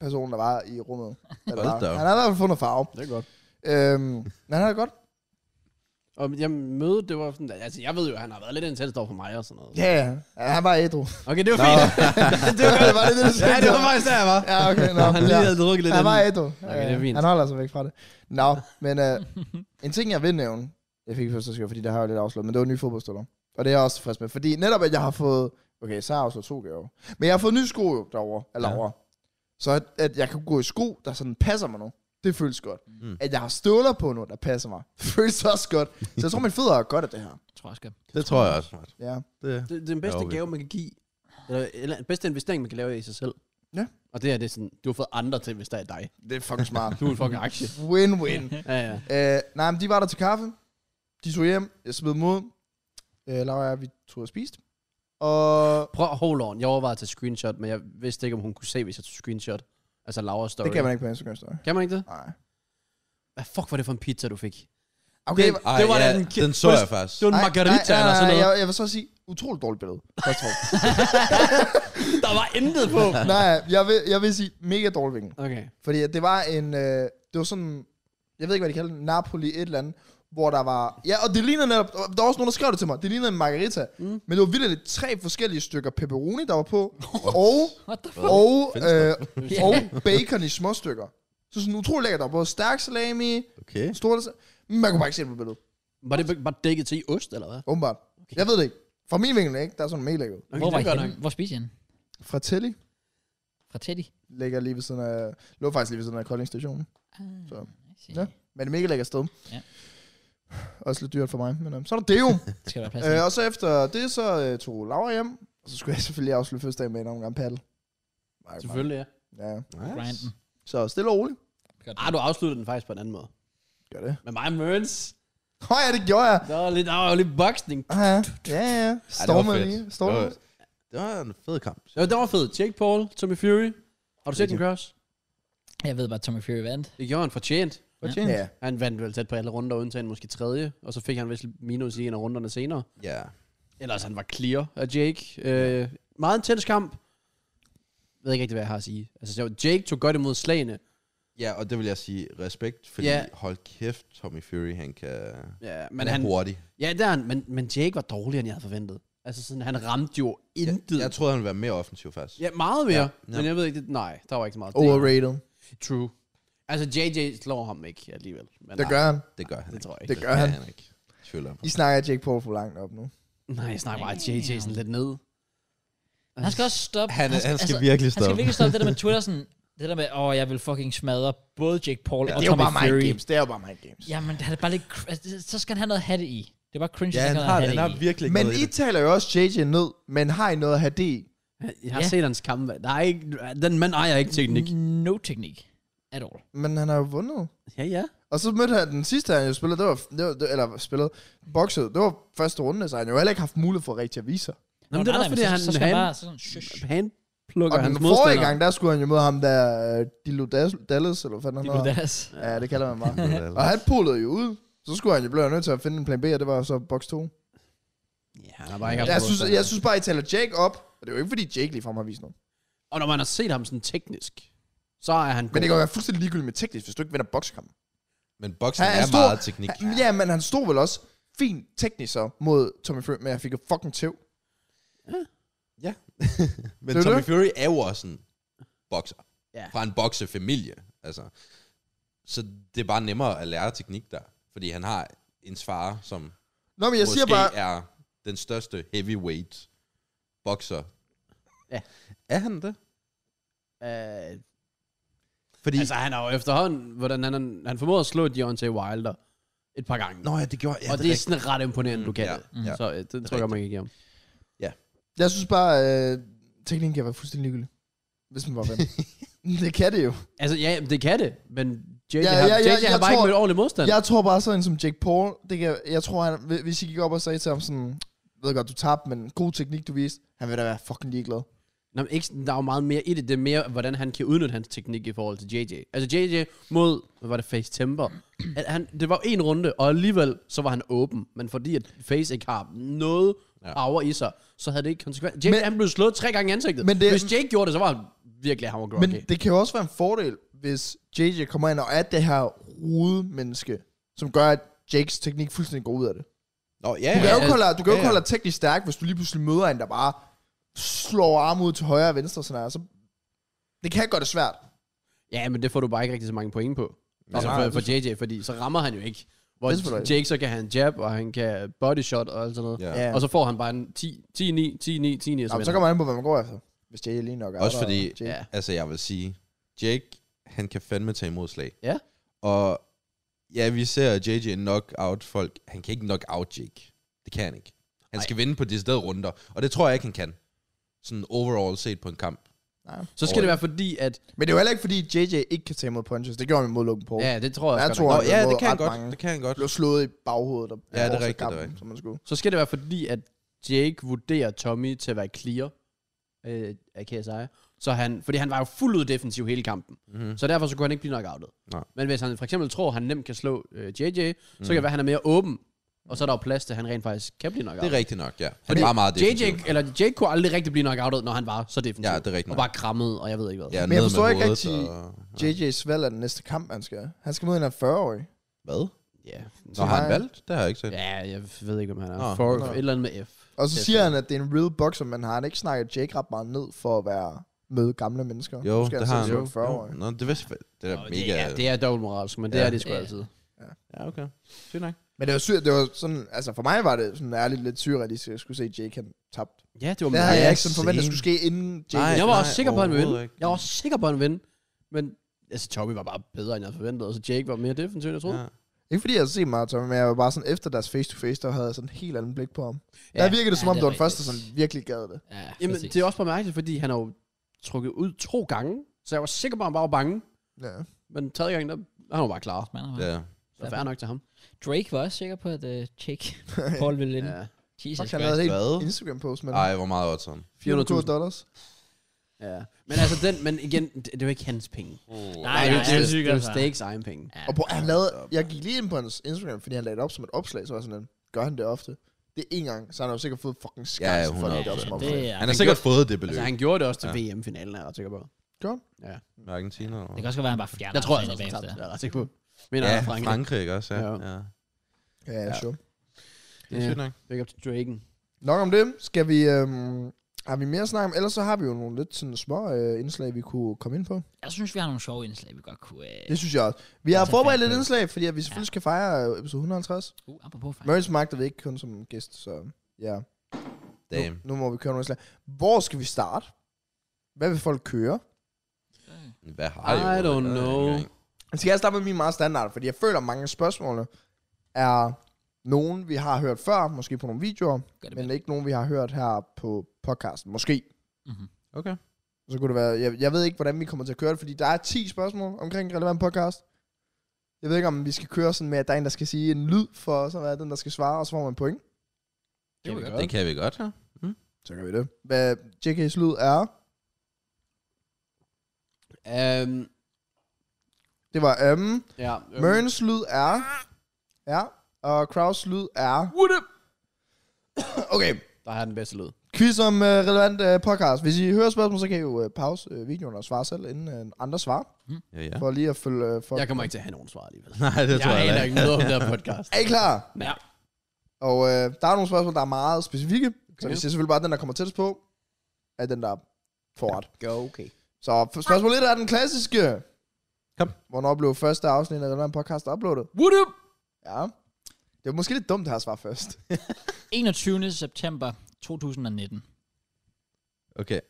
S3: person, der var i rummet. Eller,
S4: Hold da op.
S3: han har i hvert fald fundet farve.
S2: Det er godt.
S3: Øhm, men han har det godt.
S2: Og jamen, mødet, det var sådan, altså jeg ved jo, han har været lidt intenst over for mig og sådan noget.
S3: Ja, yeah. ja. Han var ædru.
S2: Okay, det var fint.
S3: det var, var det, det, du sagde.
S2: ja, det var faktisk der, jeg var.
S3: Ja, *laughs* okay. Nå,
S2: Nå, han lige
S3: ja.
S2: havde drukket lidt.
S3: Han var
S2: inden.
S3: ædru.
S2: Okay, det er
S3: Øh,
S2: fint.
S3: Han holder sig væk fra det. Nå, men
S2: *laughs*
S3: øh, en ting, jeg vil nævne, jeg fik ikke fødselsdagsgave, fordi det har jeg jo lidt afslået, men det var en ny fodboldstøller. Og det er jeg også tilfreds med, fordi netop, at jeg har fået... Okay, så har jeg afslået to gaver. Men jeg har fået nye sko jo derovre, eller
S4: Ja.
S3: ja. Så at, at, jeg kan gå i sko, der sådan passer mig nu. Det føles godt.
S4: Mm.
S3: Mm. At jeg har støvler på nu, der passer mig. *laughs* Det føles også godt. Så jeg tror, min fødder er godt af det her.
S1: Jeg tror jeg skal.
S4: Det tror jeg også. Matt.
S3: Ja.
S4: Det.
S2: Det, det er den bedste
S4: Ja,
S2: ja,
S4: okay.
S2: gave, man kan give. Eller, eller den bedste investering, man kan lave i sig selv.
S3: Ja.
S2: Og det her, det er sådan, du har fået andre til, hvis der er dig.
S3: Det er fucking smart.
S2: Du er en fucking aktie.
S3: Win-win.
S2: *laughs* Ja, ja.
S3: Øh, nej, men de var der til kaffe. De tog hjem. Jeg smed dem ud. Øh, Laura og jeg, vi tog og spiste. Og
S2: Prøv at hold on. Jeg overvejede at tage screenshot, men jeg vidste ikke, om hun kunne se, hvis jeg tog screenshot. Altså Laura story.
S3: det kan man ikke på Instagram story.
S2: Kan man ikke det?
S3: Nej.
S2: Hvad fuck var det for en pizza, du fik?
S3: Okay,
S2: Det-
S4: Ej,
S2: Det var da
S4: ja,
S2: en ki-
S4: den så
S2: var det-
S4: jeg faktisk.
S2: Det var en margarita eller sådan noget.
S3: Jeg, jeg vil så sige, utroligt dårligt billede. Jeg tror.
S2: *laughs* Der var intet på.
S3: nej, jeg vil, jeg vil sige mega dårlig vinkel.
S2: Okay.
S3: Fordi at det var en, øh, det var sådan, jeg ved ikke, hvad de kalder det, Napoli et eller andet, hvor der var, ja, og det lignede netop, der var også nogen, der skrev det til mig, det lignede en margarita, mm. men det var vildt tre forskellige stykker pepperoni, der var på, og
S1: What the fuck?
S3: og,
S4: Findes
S1: *laughs*
S3: øh, og bacon i små stykker. Så sådan utrolig lækkert. Der var både stærk salami,
S4: Okay.
S3: stor salami. Man kunne bare ikke se det på billedet.
S2: Var det bare dækket til i ost, eller hvad?
S3: Åbenbart. Okay. Jeg ved det ikke. Fra min vinkel ikke. Der er sådan mega lækkert.
S2: Okay,
S1: Hvor
S2: det
S1: var
S2: er
S1: I
S2: godt
S1: henne? Hvor spiste I henne?
S3: Fra Telly
S1: Fra Teddy?
S3: ligger lige ved siden af... Lå faktisk lige ved siden af Kolding Station.
S1: Ah,
S3: Så.
S1: nice.
S3: Ja. Men det er mega lækkert sted.
S1: Ja.
S3: Også lidt dyrt for mig. Men øhm, så er der det jo.
S1: Det skal der være plads til.
S3: øh, og så efter det, så øh, tog Laura hjem. Og så skulle jeg selvfølgelig afslutte første dag med en omgang paddle. Nej,
S2: Selvfølgelig, ja.
S3: Ja.
S4: Nice.
S1: Grinden.
S3: Så stille og roligt.
S2: Ah, du afsluttede den faktisk på en anden måde.
S3: Gør det.
S2: Med mig og Mørns.
S3: Åh ja, det gjorde jeg.
S2: Der var, lidt, der var jo lidt boksning.
S3: Ah, ja, ja, ja.
S4: Ej, det var
S3: Stormer
S4: fedt.
S3: lige.
S4: Det
S3: Stormer.
S4: var- Det var en fed kamp.
S2: Ja, det var fedt. Jake Paul, Tommy Fury. Har du set den cross?
S1: Jeg ved bare, at Tommy Fury vandt.
S2: Det gjorde han fortjent.
S4: Fortjent.
S3: Ja.
S2: Han vandt vel tæt på alle runder, undtagen måske tredje. Og så fik han vist minus i en af runderne senere.
S4: Ja.
S2: Ellers han var clear af Jake. Øh, meget intens kamp. Jeg ved ikke rigtig, hvad jeg har at sige. Altså, jeg- Jake tog godt imod slagene.
S4: Ja, og det vil jeg sige respekt, fordi
S2: Ja.
S4: hold kæft, Tommy Fury, han kan...
S2: Ja, men
S4: Men han er
S2: han,
S4: hurtig.
S2: ja, der, er han- men, men Jake var dårligere, end jeg havde forventet. Altså, sådan, han ramte jo intet.
S4: Jeg, jeg troede, han ville være mere offensiv faktisk.
S2: ja, meget mere.
S4: Ja, ja.
S2: Men jeg ved ikke, det, nej, der var ikke så meget.
S3: Overrated.
S2: Det, true. Altså, JJ slår ham ikke alligevel. Men
S3: Det
S2: nej,
S3: gør han.
S4: Det gør han
S2: Det
S4: ikke.
S2: tror jeg ikke.
S3: Det gør han.
S4: han ikke. Tvivler på.
S3: I snakker Jake Paul for langt op nu.
S2: Nej, jeg snakker bare JJ sådan lidt ned.
S1: Han skal også stoppe.
S4: Han, han skal
S1: altså,
S4: virkelig
S1: Han skal
S4: stoppe.
S1: virkelig stoppe det der med Twitter, sådan, det der med, åh, jeg vil fucking smadre både Jake Paul ja, og
S3: Det er jo
S1: Tommy
S3: bare
S1: Fury.
S3: mind games. Det er jo bare mind games.
S1: Jamen, han er bare lidt, cr- altså, det- så skal han have noget hat i. Det er bare cringe,
S4: Ja,
S1: at
S4: han
S1: skal
S4: har,
S1: noget
S4: han har
S1: hat i.
S4: virkelig ikke
S3: Men
S4: noget i
S3: I
S4: det.
S3: taler jo også JJ ned, men har I noget at have det i?
S2: Jeg har
S1: Ja.
S2: ja. set hans kampe. Der er ikke, den mand ejer ikke teknik.
S1: No teknik. At all.
S3: Men han har jo vundet.
S2: Ja, ja.
S3: Og så mødte han den sidste, han jo spillede, det var, det var det, eller spillede, boxede, det var første runde, så han jo heller ikke haft mulighed for rigtig at vise sig.
S2: Nå, men det
S1: nej,
S2: er
S1: nej,
S2: også, fordi
S1: men så-
S2: han,
S1: så skal
S2: han,
S1: bare sådan, shush.
S2: han plukker
S3: Og den
S2: hans
S3: forrige
S2: modstander.
S3: gang, der skulle han jo møde ham der, øh, Dildo Das- Dallas, eller hvad
S1: De
S3: fanden
S1: blev
S3: han hedder.
S1: deres.
S3: Ja, det kalder man bare. *laughs*
S4: Dallas.
S3: og han pullede jo ud. Så skulle han jo blive nødt til at finde en plan B, og det var så box 2.
S2: Ja, han har bare ikke haft
S3: Jeg
S2: en
S3: synes,
S2: modstander.
S3: jeg synes bare, I taler Jake op. Og det er jo ikke, fordi Jake ligefrem har vist noget.
S2: Og når man har set ham sådan teknisk, så er han
S3: Men det
S2: god.
S3: kan jo være fuldstændig ligegyldigt med teknisk, hvis du ikke vinder boksekampen.
S4: Men boksning
S3: Han er
S4: er
S3: stor.
S4: meget teknik.
S3: Han- Ja, men han stod vel også fint teknisk så mod Tommy Fury, men jeg fik jo fucking tæv.
S4: Men
S3: Det er
S4: Tommy
S3: det.
S4: Fury er jo også en bokser.
S2: Ja.
S4: Fra en boksefamilie. Altså. Så det er bare nemmere at lære teknik der. Fordi han har ens far, som
S3: Nå, men jeg
S4: måske
S3: siger bare,
S4: er den største heavyweight bokser.
S2: Ja.
S4: Er han det?
S2: Øh,
S4: Fordi...
S2: altså, han har jo efterhånden, hvordan han, han, han formåede at slå Deontay Wilder et par gange.
S4: ja, det gjorde... Ja,
S2: og det, er sådan ret imponerende, du kan
S4: ja,
S2: det.
S4: ja.
S2: Så øh, det tror jeg, man kan give ham.
S3: jeg synes bare, øh, teknikken kan være fuldstændig ligegyldig. Hvis man bare vinder. det kan det jo.
S2: Altså, ja, det kan det, men JJ
S3: Ja,
S2: ja, har,
S3: ja, ja,
S2: JJ har
S3: jeg
S2: bare ikke
S3: tror-
S2: mødt ordentlig modstand.
S3: Jeg tror bare sådan en som Jake Paul, det kan, jeg tror, han, hvi- hvis I gik op og sagde til ham sådan, ved godt, du tabte, men god teknik, du viste, han vil da være fucking ligeglad.
S2: Nå, men ikke, sådan- der er jo meget mere i det. Det er mere, hvordan han kan udnytte hans teknik i forhold til JJ. Altså JJ mod, hvad var det, Face Temper. At han, det var jo en runde, og alligevel så var han åben. Men fordi at Face ikke har noget
S4: Ja.
S2: power i sig, så havde det ikke konsekvens. JJ
S3: Men-
S2: men, han blev slået tre gange i ansigtet.
S3: Men
S2: Men
S3: det-
S2: det, Hvis Jake gjorde det, så var han virkelig hammer
S3: Men
S2: groggy.
S3: det kan jo også være en fordel, hvis JJ kommer ind og er det her rudemenneske, som gør, at Jakes teknik fuldstændig går ud af det.
S4: Nå, ja,
S3: Du kan
S4: ja,
S3: jo ikke holde, du kan jo
S4: ja,
S3: ikke
S4: ja.
S3: holde dig teknisk stærk, hvis du lige pludselig møder en, der bare slår arme ud til højre og venstre. Sådan her. Så det kan gøre det svært.
S2: Ja, men det får du bare ikke rigtig så mange point på.
S4: Nej,
S2: Altså
S4: nej,
S2: for, for JJ, fordi så rammer han jo ikke.
S3: Det er selvfølgelig
S2: Hvor Jake så kan han jab, og han kan body shot og alt sådan noget.
S4: Ja.
S3: Ja.
S2: Og så får han bare en 10, 10, 9, 10, 9, 10, 9, og
S3: Nå, men
S2: vinder
S3: så kommer man an på, hvad man går efter. Hvis JJ lige nok er
S4: Også
S3: der,
S4: fordi-
S3: og Jake-
S2: Ja.
S4: Altså, jeg vil sige, Jake, han kan fandme tage imod slag.
S2: Ja.
S4: Og ja, vi ser JJ knock out folk. Han kan ikke knock out Jake. Det kan han ikke. Han
S2: Nej.
S4: skal vinde på de steder runder, og det tror jeg ikke, han kan. Sådan overall set på en kamp.
S3: Nej.
S2: Så skal det være fordi, at...
S3: Men det er jo heller ikke, fordi JJ ikke kan tage imod punches. Det gjorde han imod Logan Paul. Ja.
S2: Ja, det tror jeg,
S3: Jeg
S2: også
S3: tror-
S2: godt
S4: Nå,
S2: nok.
S3: han
S4: ja,
S3: mod
S4: det kan han
S3: ret
S4: godt.
S3: mange.
S4: Det kan han godt.
S3: Blev slået i baghovedet. Og
S4: Ja, det er
S3: fortsatte
S4: rigtigt, det er rigtigt.
S3: som man skulle.
S2: Så skal det være fordi, at Jake vurderer Tommy til at være clear øh, af KSI. Så han, fordi han var jo fuldt ud defensiv hele kampen.
S4: Mm-hmm.
S2: Så derfor så kunne han ikke blive knockoutet.
S4: Nej. Mm.
S2: Men hvis han for eksempel tror, at han nemt kan slå øh, JJ, så kan det være, at han er mere åben. Og så er der jo plads til, at han rent faktisk kan blive knockoutet.
S4: Det er rigtigt nok, ja. Han
S2: Fordi
S4: er meget, meget
S2: JJ,
S4: defensiv.
S2: eller Jake kunne aldrig rigtig blive knockoutet, når han var så defensiv.
S4: Ja, det er rigtigt
S2: Og
S4: nok.
S2: bare krammet, og jeg ved ikke hvad.
S4: Ja,
S3: jeg
S4: ned med
S3: forstår ikke
S4: hovedet
S3: rigtig
S4: og-
S3: JJ's valg er den næste kamp, han skal. Han skal mod en af 40-årig.
S4: Hvad?
S2: Ja,
S4: Nå, har han
S3: mig.
S4: valgt? Det har jeg ikke set.
S2: ja jeg ved ikke, om han er.
S4: Nå.
S2: For,
S3: Nå.
S2: et eller andet med F.
S3: Og så
S2: Det er
S3: siger han, at det er en real boxer, men har han ikke snakket Jake ret meget ned for at være møde gamle mennesker?
S4: Jo,
S3: Nu skal
S4: det har han.
S3: sidde
S4: Jo,
S3: som en 40-årig.
S4: jo. Nå, det, vidste, jeg- det er da
S1: Nå, det
S4: mega...
S1: er-
S2: Det er dobbeltmoralsk, men det
S4: Ja.
S2: er det sgu
S1: Ja.
S2: altid.
S4: Ja, okay. Sygt nok.
S3: Men det var sygt, det var sådan, altså for mig var det sådan ærligt lidt surrealistisk, at jeg skulle se Jake han tabt.
S2: Ja, det var
S3: Det havde jeg
S4: ja,
S3: ikke sådan forventet,
S4: same.
S3: skulle ske inden Jake.
S4: Nej,
S2: jeg var også
S4: nej,
S2: sikker på, at han ville
S4: overhovedet
S2: vinde.
S4: ikke.
S2: Jeg var også sikker på, at han ville vinde. Men altså, Tommy var bare bedre, end jeg havde forventet, og så Jake var mere defensiv, end jeg troede.
S4: Ja.
S3: Ikke fordi jeg havde set meget Tommy, men jeg var bare sådan efter deres face-to-face, der havde jeg sådan en helt anden blik på ham. Ja,
S2: Ja,
S3: der virkede det som
S1: ja,
S3: om,
S1: det
S3: det,
S1: er
S3: var den første,
S1: rigtigt.
S3: som virkelig gad det.
S1: Ja,
S2: Jamen,
S1: præcis.
S2: det er også bare mærkeligt, fordi han har jo trukket ud to gange, så jeg var sikker på, at han bare var bange.
S3: Ja.
S2: Men tredje gang, der var han jo bare klar.
S1: Man, man.
S4: Ja.
S2: Så fair nok til ham.
S1: Drake var også sikker på, at uh, Jake Paul ville vinde.
S2: Ja.
S1: Jesus
S3: Fuck, han
S1: Christ.
S3: lavede helt
S4: Hvad?
S3: Instagram-post med
S4: Ej, hvor meget odds han.
S3: 400.000 dollars.
S2: ja. Men altså, den, men igen, det, det var ikke hans penge.
S1: Nej,
S2: det
S1: nej,
S2: var,
S1: han
S2: det,
S1: er syg,
S2: det var
S1: altså.
S2: Stakes egen penge.
S1: Ja.
S3: Og på, han lavede, jeg gik lige ind på hans Instagram, fordi han lagde det op som et opslag, så var jeg sådan, en, gør han det ofte? Det er én gang, så har han jo sikkert fået fucking
S4: Ja,
S3: skars for
S4: 100%.
S3: det op som
S1: det
S3: opslag.
S1: er,
S4: Han
S1: det,
S4: har sikkert fået det beløb.
S2: Altså, han gjorde det også til VM-finalen, er jeg ret sikker på.
S4: Argentina eller
S1: det kan også godt være, at han bare fjerner
S2: Jeg tror,
S1: ham
S2: jeg
S1: sådan
S2: også, han
S1: bagefter.
S2: tabte. Jeg er ret sikker på. Men
S4: Ja,
S2: ja,
S4: Frankrig.
S2: Frank.
S4: Frankrig ikke også, ja.
S2: Ja.
S4: ja.
S3: Ja, ja, sure.
S4: Det er sygt nok.
S2: Big up til Draken.
S3: Nok om det. Skal vi... Øhm, har vi mere at snakke om? Ellers så har vi jo nogle lidt sådan små øh, indslag, vi kunne komme ind på.
S1: Jeg synes, vi har nogle sjove indslag, vi godt kunne... øh,
S3: Det synes jeg også. Vi
S1: er
S3: har
S1: så
S3: forberedt
S1: fedt,
S3: lidt
S1: ja.
S3: indslag, fordi at vi selvfølgelig skal fejre øh, episode 150.
S1: Uh, apropos faktisk.
S3: Mørens magter vi ikke kun som gæst, så ja. Nu,
S4: Damn.
S3: nu må vi køre nogle indslag. Hvor skal vi starte? Hvad vil folk køre?
S1: Øh,
S4: Hvad har I?
S2: I
S4: overhovedet?
S2: don't
S4: Jeg ved
S2: know.
S4: ikke engang.
S3: Skal Altså, jeg starte med min meget standard? Fordi jeg føler, at mange af spørgsmålene er nogen, vi har hørt før, måske på nogle videoer,
S1: Gør det
S3: men ikke nogen, vi har hørt her på podcasten. Måske.
S1: Mm-hmm.
S4: Okay.
S3: Så kunne det være, jeg, jeg ved ikke, hvordan vi kommer til at køre det, fordi der er 10 spørgsmål omkring relevant podcast. Jeg ved ikke, om vi skal køre sådan med, at der er en, der skal sige en lyd for, og så er den, der skal svare, og så får man point.
S1: Det kan vi
S4: Det kan vi godt, ja.
S3: Så gør vi det. Hvad JK's lyd er...
S2: Øhm,
S3: Det var ømme.
S2: ja.
S3: Øhm. Mørns lyd er... Ja. Og Kraus lyd er... What up? okay.
S2: Der har den bedste lyd.
S3: Quiz om uh, relevant uh, podcast. Hvis I hører spørgsmål, så kan I jo uh, pause uh, videoen og svare selv, inden uh, andre svarer.
S4: Ja, ja. *laughs*
S3: For lige at følge... Uh, for...
S2: Jeg kommer ikke til at have nogen svar alligevel.
S4: Nej, det
S2: Jeg
S4: tror jeg,
S2: aner
S4: ikke.
S2: ikke noget om det her
S3: *laughs*
S2: podcast.
S3: Er I klar?
S1: Ja.
S3: Og øh, der er nogle spørgsmål, der er meget specifikke. Okay. Så vi siger selvfølgelig bare, at den, der kommer tættest på, er den, der får ret.
S2: Go, okay.
S3: Så f- spørgsmål 1 er den klassiske.
S4: Kom.
S3: Hvornår blev første afsnit af den her podcast uploadet?
S1: What up?
S3: Ja. Det er måske lidt dumt, det her svar først.
S1: 21. september 2019.
S4: Okay.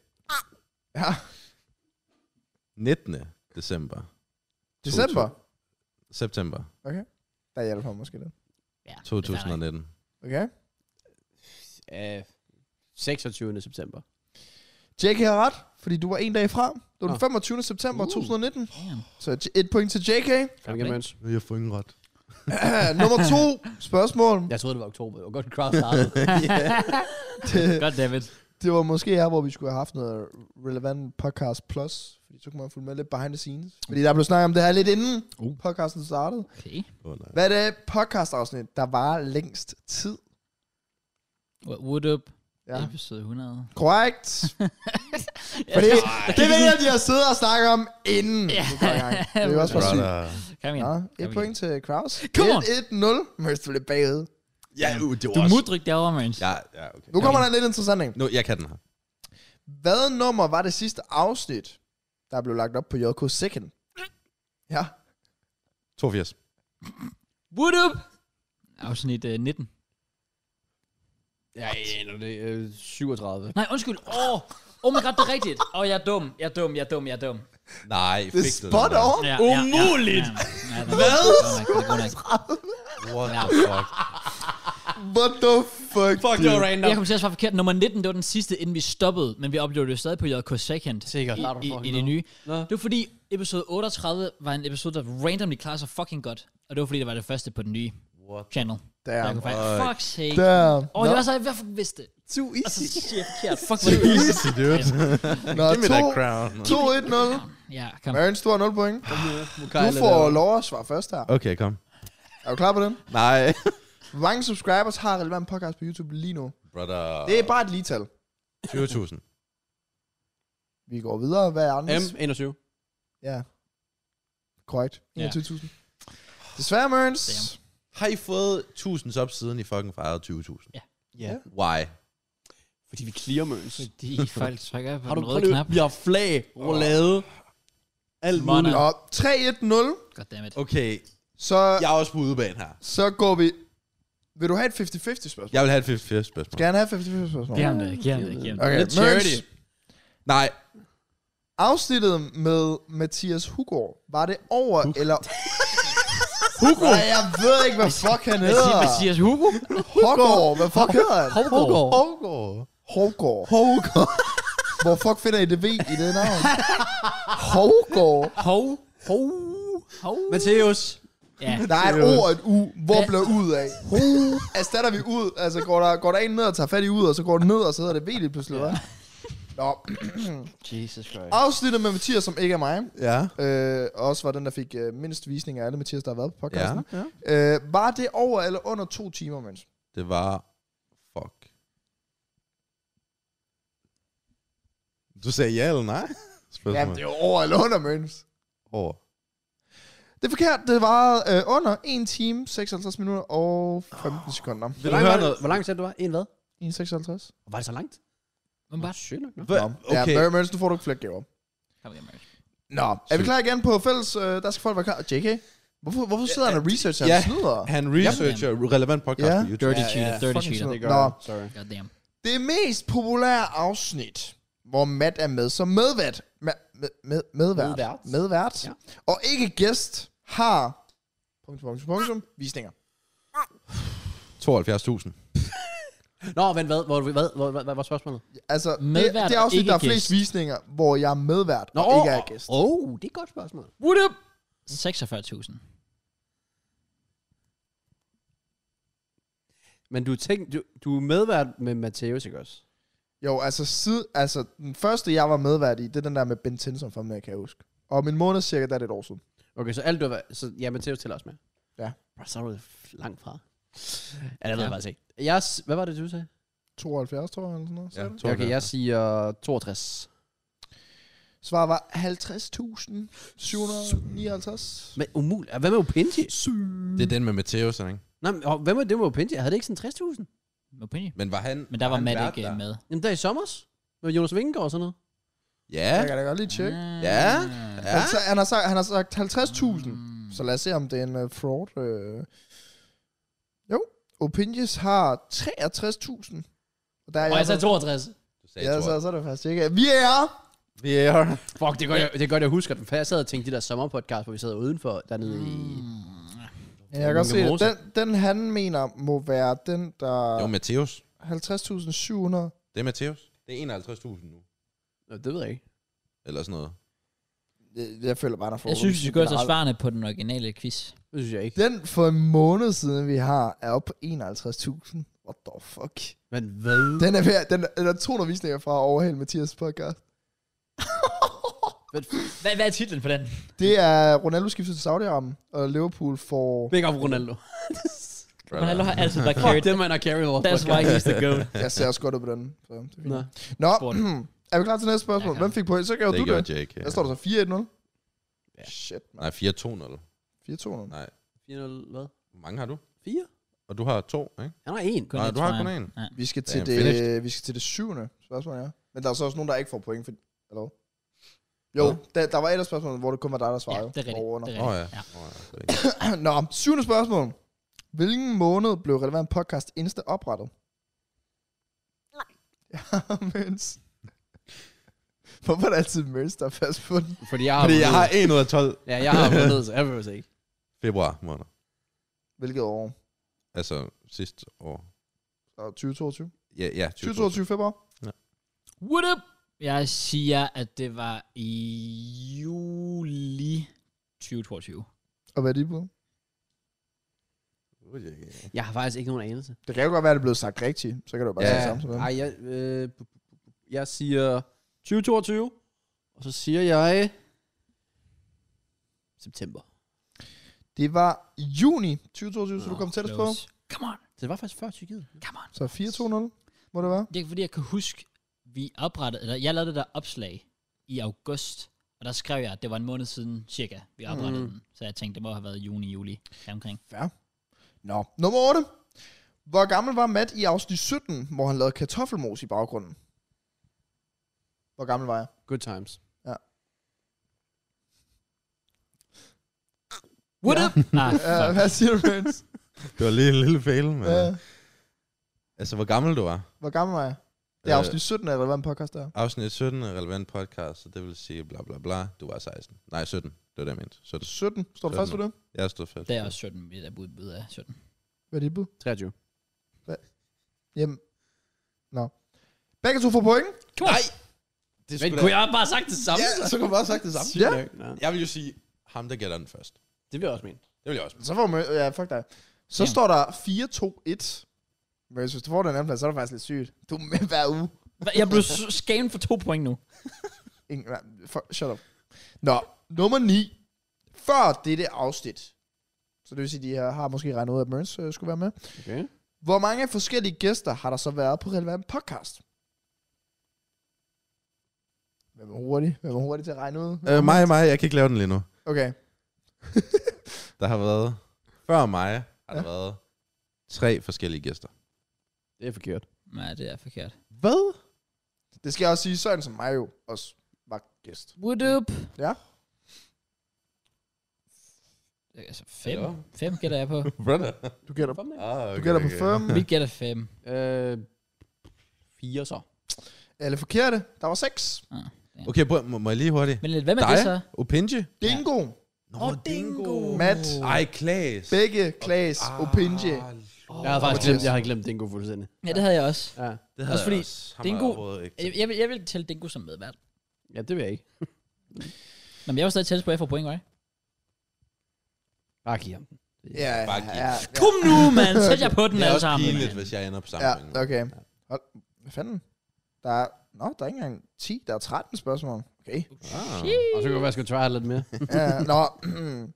S3: Ja.
S4: 19. december.
S3: December.
S4: September
S3: Der hjælper mig måske lidt.
S1: Ja, det er fair nok.
S4: 2019.
S3: Okay.
S2: Øh, 26. september.
S3: Jake har ret, fordi du var en dag fra. Det var den
S2: Nå.
S3: 25. september
S2: Uh.
S3: 2019.
S1: Damn.
S3: Så j- et point til JK.
S2: Kom igen, Møns.
S4: Jeg har fået ingen ret.
S3: *clears throat* Nummer to spørgsmål.
S2: Jeg troede, det var oktober. Det var godt,
S1: *laughs*
S2: crowd startede.
S3: Det,
S1: Godt, David.
S3: det var måske her, hvor vi skulle have haft noget relevant podcast plus. Fordi så kunne man følge med lidt behind the scenes. Fordi der blev snakket om det her lidt inden
S1: Uh.
S3: podcasten startede.
S1: Okay.
S4: Åh, nej.
S3: Hvad er det podcastafsnit, der var længst tid?
S1: What up?
S3: Ja.
S1: Ja. Episode 100.
S3: Korrekt. Fordi det ved jeg, de har siddet og snakket om inden.
S1: Ja.
S3: Det
S1: *laughs*
S3: er godt i gang. Det er jo også for sygt.
S4: Brother.
S1: Kom igen.
S3: Ja, et
S1: Kom
S3: point til Kraus.
S1: Come on.
S3: 1-0. Mørst blev bagud.
S4: Ja, uh, det var
S1: Du
S4: også-
S1: mudryk derovre, Mørens.
S4: Ja, ja, okay.
S3: Nu kommer der en lidt interessant en.
S4: Nu, jeg kan den her.
S3: Hvad nummer var det sidste afsnit, der blev lagt op på JK Second? Ja.
S4: 82.
S1: What up? Afsnit øh, 19.
S2: Ja, aner det. Øh, 37.
S1: Nej, undskyld. Åh, oh. oh my god, det er rigtigt. Åh, oh, jeg er dum. Jeg er dum, jeg er dum, jeg er dum.
S4: Nej,
S3: Det er
S4: fik du
S3: spot
S4: den der?
S3: on.
S1: Ja,
S2: Umuligt!
S1: Ja, ja, ja, Hvad?
S4: What the *laughs* fuck?
S3: What the fuck?
S2: Fuck, det var random.
S1: Jeg kom til at svare forkert. Nummer 19, det var den sidste, inden vi stoppede, men vi oplevede det stadig på JK Second.
S2: Sikkert.
S1: I,
S2: Klart, du
S1: i, i
S2: fucking
S1: det nye.
S2: Nå.
S1: Det var fordi, episode 38 var en episode, der randomly klarede sig fucking godt. Og det var fordi, det var det første på den nye
S4: What?
S1: channel. Der
S3: Damn.
S1: kunne faktisk, fuck sake. Åh,
S3: Damn.
S1: oh, det var så, jeg i hvert fald vidste det.
S3: Too
S1: Og så
S3: easy.
S1: siger jeg forkert. Fuck, hvor er det easy.
S4: Easy, dude.
S3: Nå,
S4: Give me that
S3: to-
S4: crown.
S3: 2-1-0.
S1: Ja, kom.
S3: Ernst, du har 0 point.
S2: Mukai
S3: Du får lov at svare først her.
S4: Okay, kom.
S3: Er du klar på den?
S4: Nej.
S3: Hvor mange subscribers har relevant podcast på YouTube lige nu?
S4: Brother.
S3: Det er bare et lige tal.
S4: 20.000.
S3: Vi går videre. Hvad er andres?
S2: M, 21.
S3: Ja. Korrekt.
S1: Ja.
S3: 21.000. Desværre, Mørns.
S4: Har I fået 1000 subs siden I fucking fejrede 20.000?
S2: Ja.
S4: Why?
S2: Fordi vi clear Møns.
S1: Fordi folk trykker på
S2: Har du
S1: den røde
S2: prøvet
S1: knap.
S2: Vi har flag, roulade, alt
S1: Money.
S2: muligt.
S3: Og 3-1-0.
S1: Goddammit.
S4: Okay,
S3: Så,
S4: jeg er også på udebane her.
S3: så går vi... Vil du have et 50-50 spørgsmål?
S4: Jeg vil have et 50 spørgsmål.
S3: Skal han have 50-50 spørgsmål?
S1: Giv ham det, giv ham det, giv ham det.
S3: Okay,
S2: Lidt charity.
S3: Mørns.
S4: Nej.
S3: Afsnittet med Mathias Hugård, var det over Hug.
S1: *laughs*
S3: eller...
S2: Hugo!
S3: Nej, jeg ved ikke, hvad fuck han
S1: Hvad siger
S3: hedder.
S1: Mathias Hugo?
S3: Hugård, hvad fuck hedder han?
S1: Hovgaard.
S4: Hovgaard.
S3: Hugård. Hugård. Hvor fuck finder I det ved i det navn? Hugård.
S1: Hov. Hov. Hov.
S2: Matteus.
S1: Ja.
S3: Der er et O og et U. Hvor
S1: Hvad?
S3: blev ud af? Erstatter vi ud? Altså, går der, går der en ned og tager fat i ud, og så går den ned, og så hedder det V lige pludselig, hva'? Nå,
S1: Jesus Christ.
S3: afsnittet med Mathias, som ikke er mig,
S4: Ja.
S3: øh, også var den, der fik øh, mindst visninger af alle Mathias, der har været på
S4: Ja.
S3: podcasten. Ja. Øh, var det over eller under to timer, mens?
S4: Det var... Fuck. Du sagde ja eller nej? Spørgsmål.
S3: Jamen, det er jo over eller under, mens.
S4: Over.
S3: Det er forkert. Det var øh, under 1 time, 56 minutter og 15 sekunder.
S4: Vil du høre noget?
S2: Hvor langt sagde du var? En hvad?
S3: 1,56.
S2: Var det så langt?
S1: Men bare,
S2: Sygt nok. nå.
S4: Hva-
S3: Nå,
S4: Okay.
S3: Ja, Mørns, du får du ikke flere gaver.
S1: kom igen, Mørk.
S3: Nå, er vi klar igen på fælles? Øh, der skal folk være klar. JK, hvorfor, hvorfor sidder han og researcher
S4: ja.
S3: hans snyder?
S4: Han researcher relevant podcast
S3: Ja.
S4: på YouTube.
S1: Dirty cheater,
S2: ja,
S1: dirty
S3: fucking
S1: cheater.
S3: sådan
S2: Det gør
S3: Nå.
S2: jeg. Sorry.
S1: Goddamn.
S3: Det mest populære afsnit, hvor Matt er med som medvært, med, med, med, medvært,
S2: Medvært.
S3: medvært ja.
S2: Ja.
S3: og ikke gæst, har punktum, punktum, punktum, visninger.
S4: 72.000.
S2: Nå, vent, hvad? Hvor, hvad? Hvor, hvad, hvad var spørgsmålet?
S3: Altså, medvært
S1: Medvært
S3: det, det er
S1: og
S3: afsnit,
S1: ikke
S3: der er flest
S1: gæst.
S3: visninger, hvor jeg er medvært Nå, og ikke er gæst.
S2: Åh, oh, det er et godt spørgsmål.
S1: What up? 46.000.
S2: Men du, tænk, du, du er medvært med Matteus, ikke også?
S3: Jo, altså, sid, altså, den første, jeg var medvært i, det er den der med Ben Tinson fra, jeg kan jeg huske. Om en måned cirka, der er det et år siden.
S2: Okay, så alt du har været... Så, ja, Matteo tæller også med.
S3: Ja.
S2: Bro, så er du f- langt fra. Ja, det ved
S1: Ja.
S2: jeg faktisk ikke. Jeg, s- hvad var det, du sagde?
S3: 72, tror jeg, eller sådan noget. sagde du?
S2: Okay, okay jeg siger 62.
S3: Svaret var 50.759.
S2: Men umuligt. Hvad med Opinji?
S4: Det er den med Mateus, ikke?
S2: Nej, men, og hvad med det med Opinji? Havde det ikke sådan 60.000?
S1: Opinion.
S4: Men var han...
S1: Men der var
S4: han
S1: Matt
S4: vært
S1: ikke
S4: der?
S1: øh, med.
S2: Jamen, der i sommers? Med Jonas Vingegaard og sådan noget?
S4: Ja.
S3: Jeg kan da godt lige tjekke.
S4: Ja.
S1: Ah.
S4: ja.
S3: Altså, han har sagt, han har sagt 50.000.
S1: Mm.
S3: Så lad os se, om det er en uh, fraud. Uh. Jo, Opinions har 63.000. Og der er
S1: Og jeg sagde
S3: så,
S1: 62.
S4: Du sagde,
S3: ja,
S4: ja,
S3: så, så er det faktisk ikke. Vi er
S4: Vi er
S2: Fuck, det er godt, jeg, det er godt, jeg husker den. For jeg sad og tænkte de der sommerpodcast, hvor vi sad udenfor dernede i...
S3: Mm.
S1: Hmm.
S3: Ja, jeg kan godt se det. Den, den, han mener, må være den, der...
S4: Det var Mateus.
S3: 50.700.
S4: Det er Mateus. Det er 51.000 nu.
S2: Nå, det ved jeg ikke.
S4: Eller sådan noget.
S3: Jeg- Jeg føler bare, der får
S1: Jeg synes, vi skal gå efter svarene på den originale quiz.
S2: Det synes jeg ikke.
S3: Den for en måned siden, vi har, er oppe på 51.000. What the fuck?
S2: Men hvad?
S3: Den er ved, den, den er 200 visninger fra Overhæld Mathias podcast.
S1: Hvad, hvad er titlen på den?
S3: Det er Ronaldo skiftet til Saudi-Arabien, og Liverpool
S4: *laughs*
S3: får...
S2: Big up Ronaldo.
S1: Ronaldo har altid
S2: *laughs*
S1: været
S2: Fuck,
S1: carried.
S2: den man har carry over.
S1: That's why he's the goat.
S3: Jeg ser også godt ud på den. Så det er fint.
S2: *laughs* Nå.
S3: Nå,
S1: Sport.
S3: *clears throat* er vi klar til næste
S1: Ja,
S3: spørgsmål?
S1: klar.
S3: Hvem fik point? Så gav
S4: Det
S3: du
S4: gjorde
S3: det.
S4: Jake. Ja.
S3: Hvad står der så? 4-1-0?
S2: Ja.
S3: Shit,
S4: Nej, 4-2-0.
S3: 4-2-0.
S4: Nej.
S2: 4-0, hvad?
S4: Hvor mange har du?
S2: 4?
S4: Og du har to, ikke?
S2: Han har en.
S1: Kun
S4: Nej,
S1: et,
S4: du har
S1: tror jeg.
S4: kun en.
S1: Ja.
S3: Vi skal,
S4: Damn,
S3: til det, vi skal til det syvende spørgsmål, ja. Men der er så også nogen, der ikke får point. For, eller hvad? Jo, ja. der, der var et af spørgsmålene, hvor det kun var dig, der
S1: Ja,
S3: svarede.
S1: det er rigtigt.
S3: over og under.
S1: Det er
S4: Åh oh,
S1: rigtigt.
S4: ja.
S1: Ja.
S4: Oh, ja. det er rigtigt.
S3: *clears throat* Nå, syvende spørgsmål. Hvilken måned blev Relevant Podcast Insta oprettet? Nej. *laughs* Ja, mens. Hvorfor er det altid mens, der er fast på den?
S2: Fordi jeg har,
S4: Fordi jeg har
S2: vundet.
S4: 1 ud af 12.
S2: Ja, jeg
S3: *laughs*
S2: har vundet, så jeg behøver det ikke.
S4: Februar måned.
S3: Hvilket år?
S4: Altså sidste år.
S3: Og 2022?
S4: Ja, ja. 2022.
S3: 2022 februar?
S1: What up? Jeg siger, at det var i juli 2022.
S3: Og hvad er de på?
S2: Jeg har faktisk ikke nogen anelse.
S3: Det kan jo godt være, at det er blevet sagt rigtigt. Så kan du jo bare
S4: Ja.
S3: sige det samme som dem.
S2: Ej, jeg, øh, bu- bu- bu- bu- jeg siger 2022, og så siger jeg september.
S3: Det var juni 2022, så du
S1: Nå,
S3: kom tættest på.
S1: close. Come on,
S2: Så det var faktisk før Tyrkiet.
S1: come on.
S3: Så 4-2-0, må det være.
S1: Det er fordi, jeg kan huske, vi oprettede, eller jeg lavede det der opslag i august, og der skrev jeg, at det var en måned siden cirka, vi oprettede
S2: Mm.
S1: mm. den. Så jeg tænkte, det må have været juni, juli omkring.
S3: Fair. Nå, nummer 8. Hvor gammel var Matt i afsnit 17, hvor han lavede kartoffelmos i baggrunden? Hvor gammel var jeg?
S2: Good times.
S1: What up? Ah,
S3: Ja,
S1: fuck.
S3: hvad siger du, Vince?
S4: Det var lige en lille fail, men...
S3: Ja.
S4: Altså, hvor gammel du var?
S3: Hvor gammel var jeg? Det er afsnit 17 af relevant podcast der.
S4: Afsnit 17 er relevant podcast, så det vil sige bla bla bla. Du var 16. Nej, 17. Det var det, jeg mente. 17.
S3: 17. Står du
S4: 17.
S3: fast på det?
S4: Jeg stod fast.
S1: Det er også 17, vi er ud af 17.
S3: Hvad er dit bud?
S2: 23.
S3: Jamen. Nå. Begge to får point.
S1: Come on. Nej,
S4: Det
S2: Men
S1: kunne jeg bare have sagt det samme?
S4: Ja,
S1: Yeah.
S4: så kunne man bare sagt det samme.
S3: Ja.
S2: Ja.
S4: Jeg vil jo sige, ham der gætter den først.
S2: Det vil jeg også mene.
S4: Det vil jeg også.
S3: Så får man, ja, fuck dig. Så
S1: Jamen.
S3: står der 4-2-1. Men hvis du får den anden plads, så er det faktisk lidt sygt. Du er med hver uge.
S1: Jeg blev skamet for to point nu.
S3: Ingen, nej, for, shut up. Nå, nummer 9. Før dette afsnit, så det vil sige, at de her har måske regnet ud, at Merns øh, skulle være med.
S2: Okay.
S3: Hvor mange forskellige gæster har der så været på relevant podcast? Hvem er hurtig? Hvem er hurtig til at regne ud?
S4: Øh, mig, mig, jeg kan ikke lave den lige nu.
S3: Okay,
S4: Der har været... Før mig har der
S3: Ja.
S4: været tre forskellige gæster.
S2: Det er forkert.
S1: Nej, det er forkert.
S4: Hvad?
S3: det skal jeg også sige, sådan som mig jo også var gæst.
S1: What up?
S3: Ja.
S1: Altså fem.
S4: Hallo?
S1: Fem gætter jeg på.
S4: Brother.
S3: Du gætter,
S2: Kom med.
S4: Ah, okay,
S3: du gætter på
S4: okay. *laughs*
S3: firm.
S1: Vi gætter fem.
S2: Øh, fire så.
S3: Alle forkerte. Der var seks.
S4: Okay, prøv, må, må jeg lige hurtigt?
S1: Men lidt, hvem er
S4: Dig?
S1: det så?
S4: Opinje?
S3: Dingo,
S4: Nå,
S1: Åh, Dingo.
S3: Matt,
S4: Ej, Ah, Klaas.
S3: Begge, Klaas, Opinje.
S1: Oh,
S2: Jeg har faktisk
S3: Mathias.
S2: glemt, jeg har glemt Dingo fuldstændig.
S1: Ja, det havde jeg også.
S2: Ja.
S4: Det havde
S1: Også fordi
S4: jeg også. Ham
S1: Dingo-
S4: har jeg overhovedet ikke.
S1: Jeg, jeg, vil, jeg vil tælle Dingo som medvært.
S2: ja, det vil jeg ikke.
S1: Nå, men jeg var stadig tættest på, at jeg får point, right?
S2: Bare giv ham. den.
S3: Ja, ja,
S4: Bare giv.
S3: ja.
S1: Kom nu, *laughs* mand! Sæt jer på den
S4: Det er
S1: alle
S4: også
S1: sammen.
S4: pinligt,
S1: mand.
S4: hvis jeg ender på samme
S3: Ja,
S4: point.
S3: okay. Hold, hvad fanden? Der er, nå, der er ikke engang 10, der er 13 spørgsmål. Okay.
S4: Ah.
S2: Og så kan jeg være, at jeg skal try lidt mere.
S3: ja, nå. *clears throat*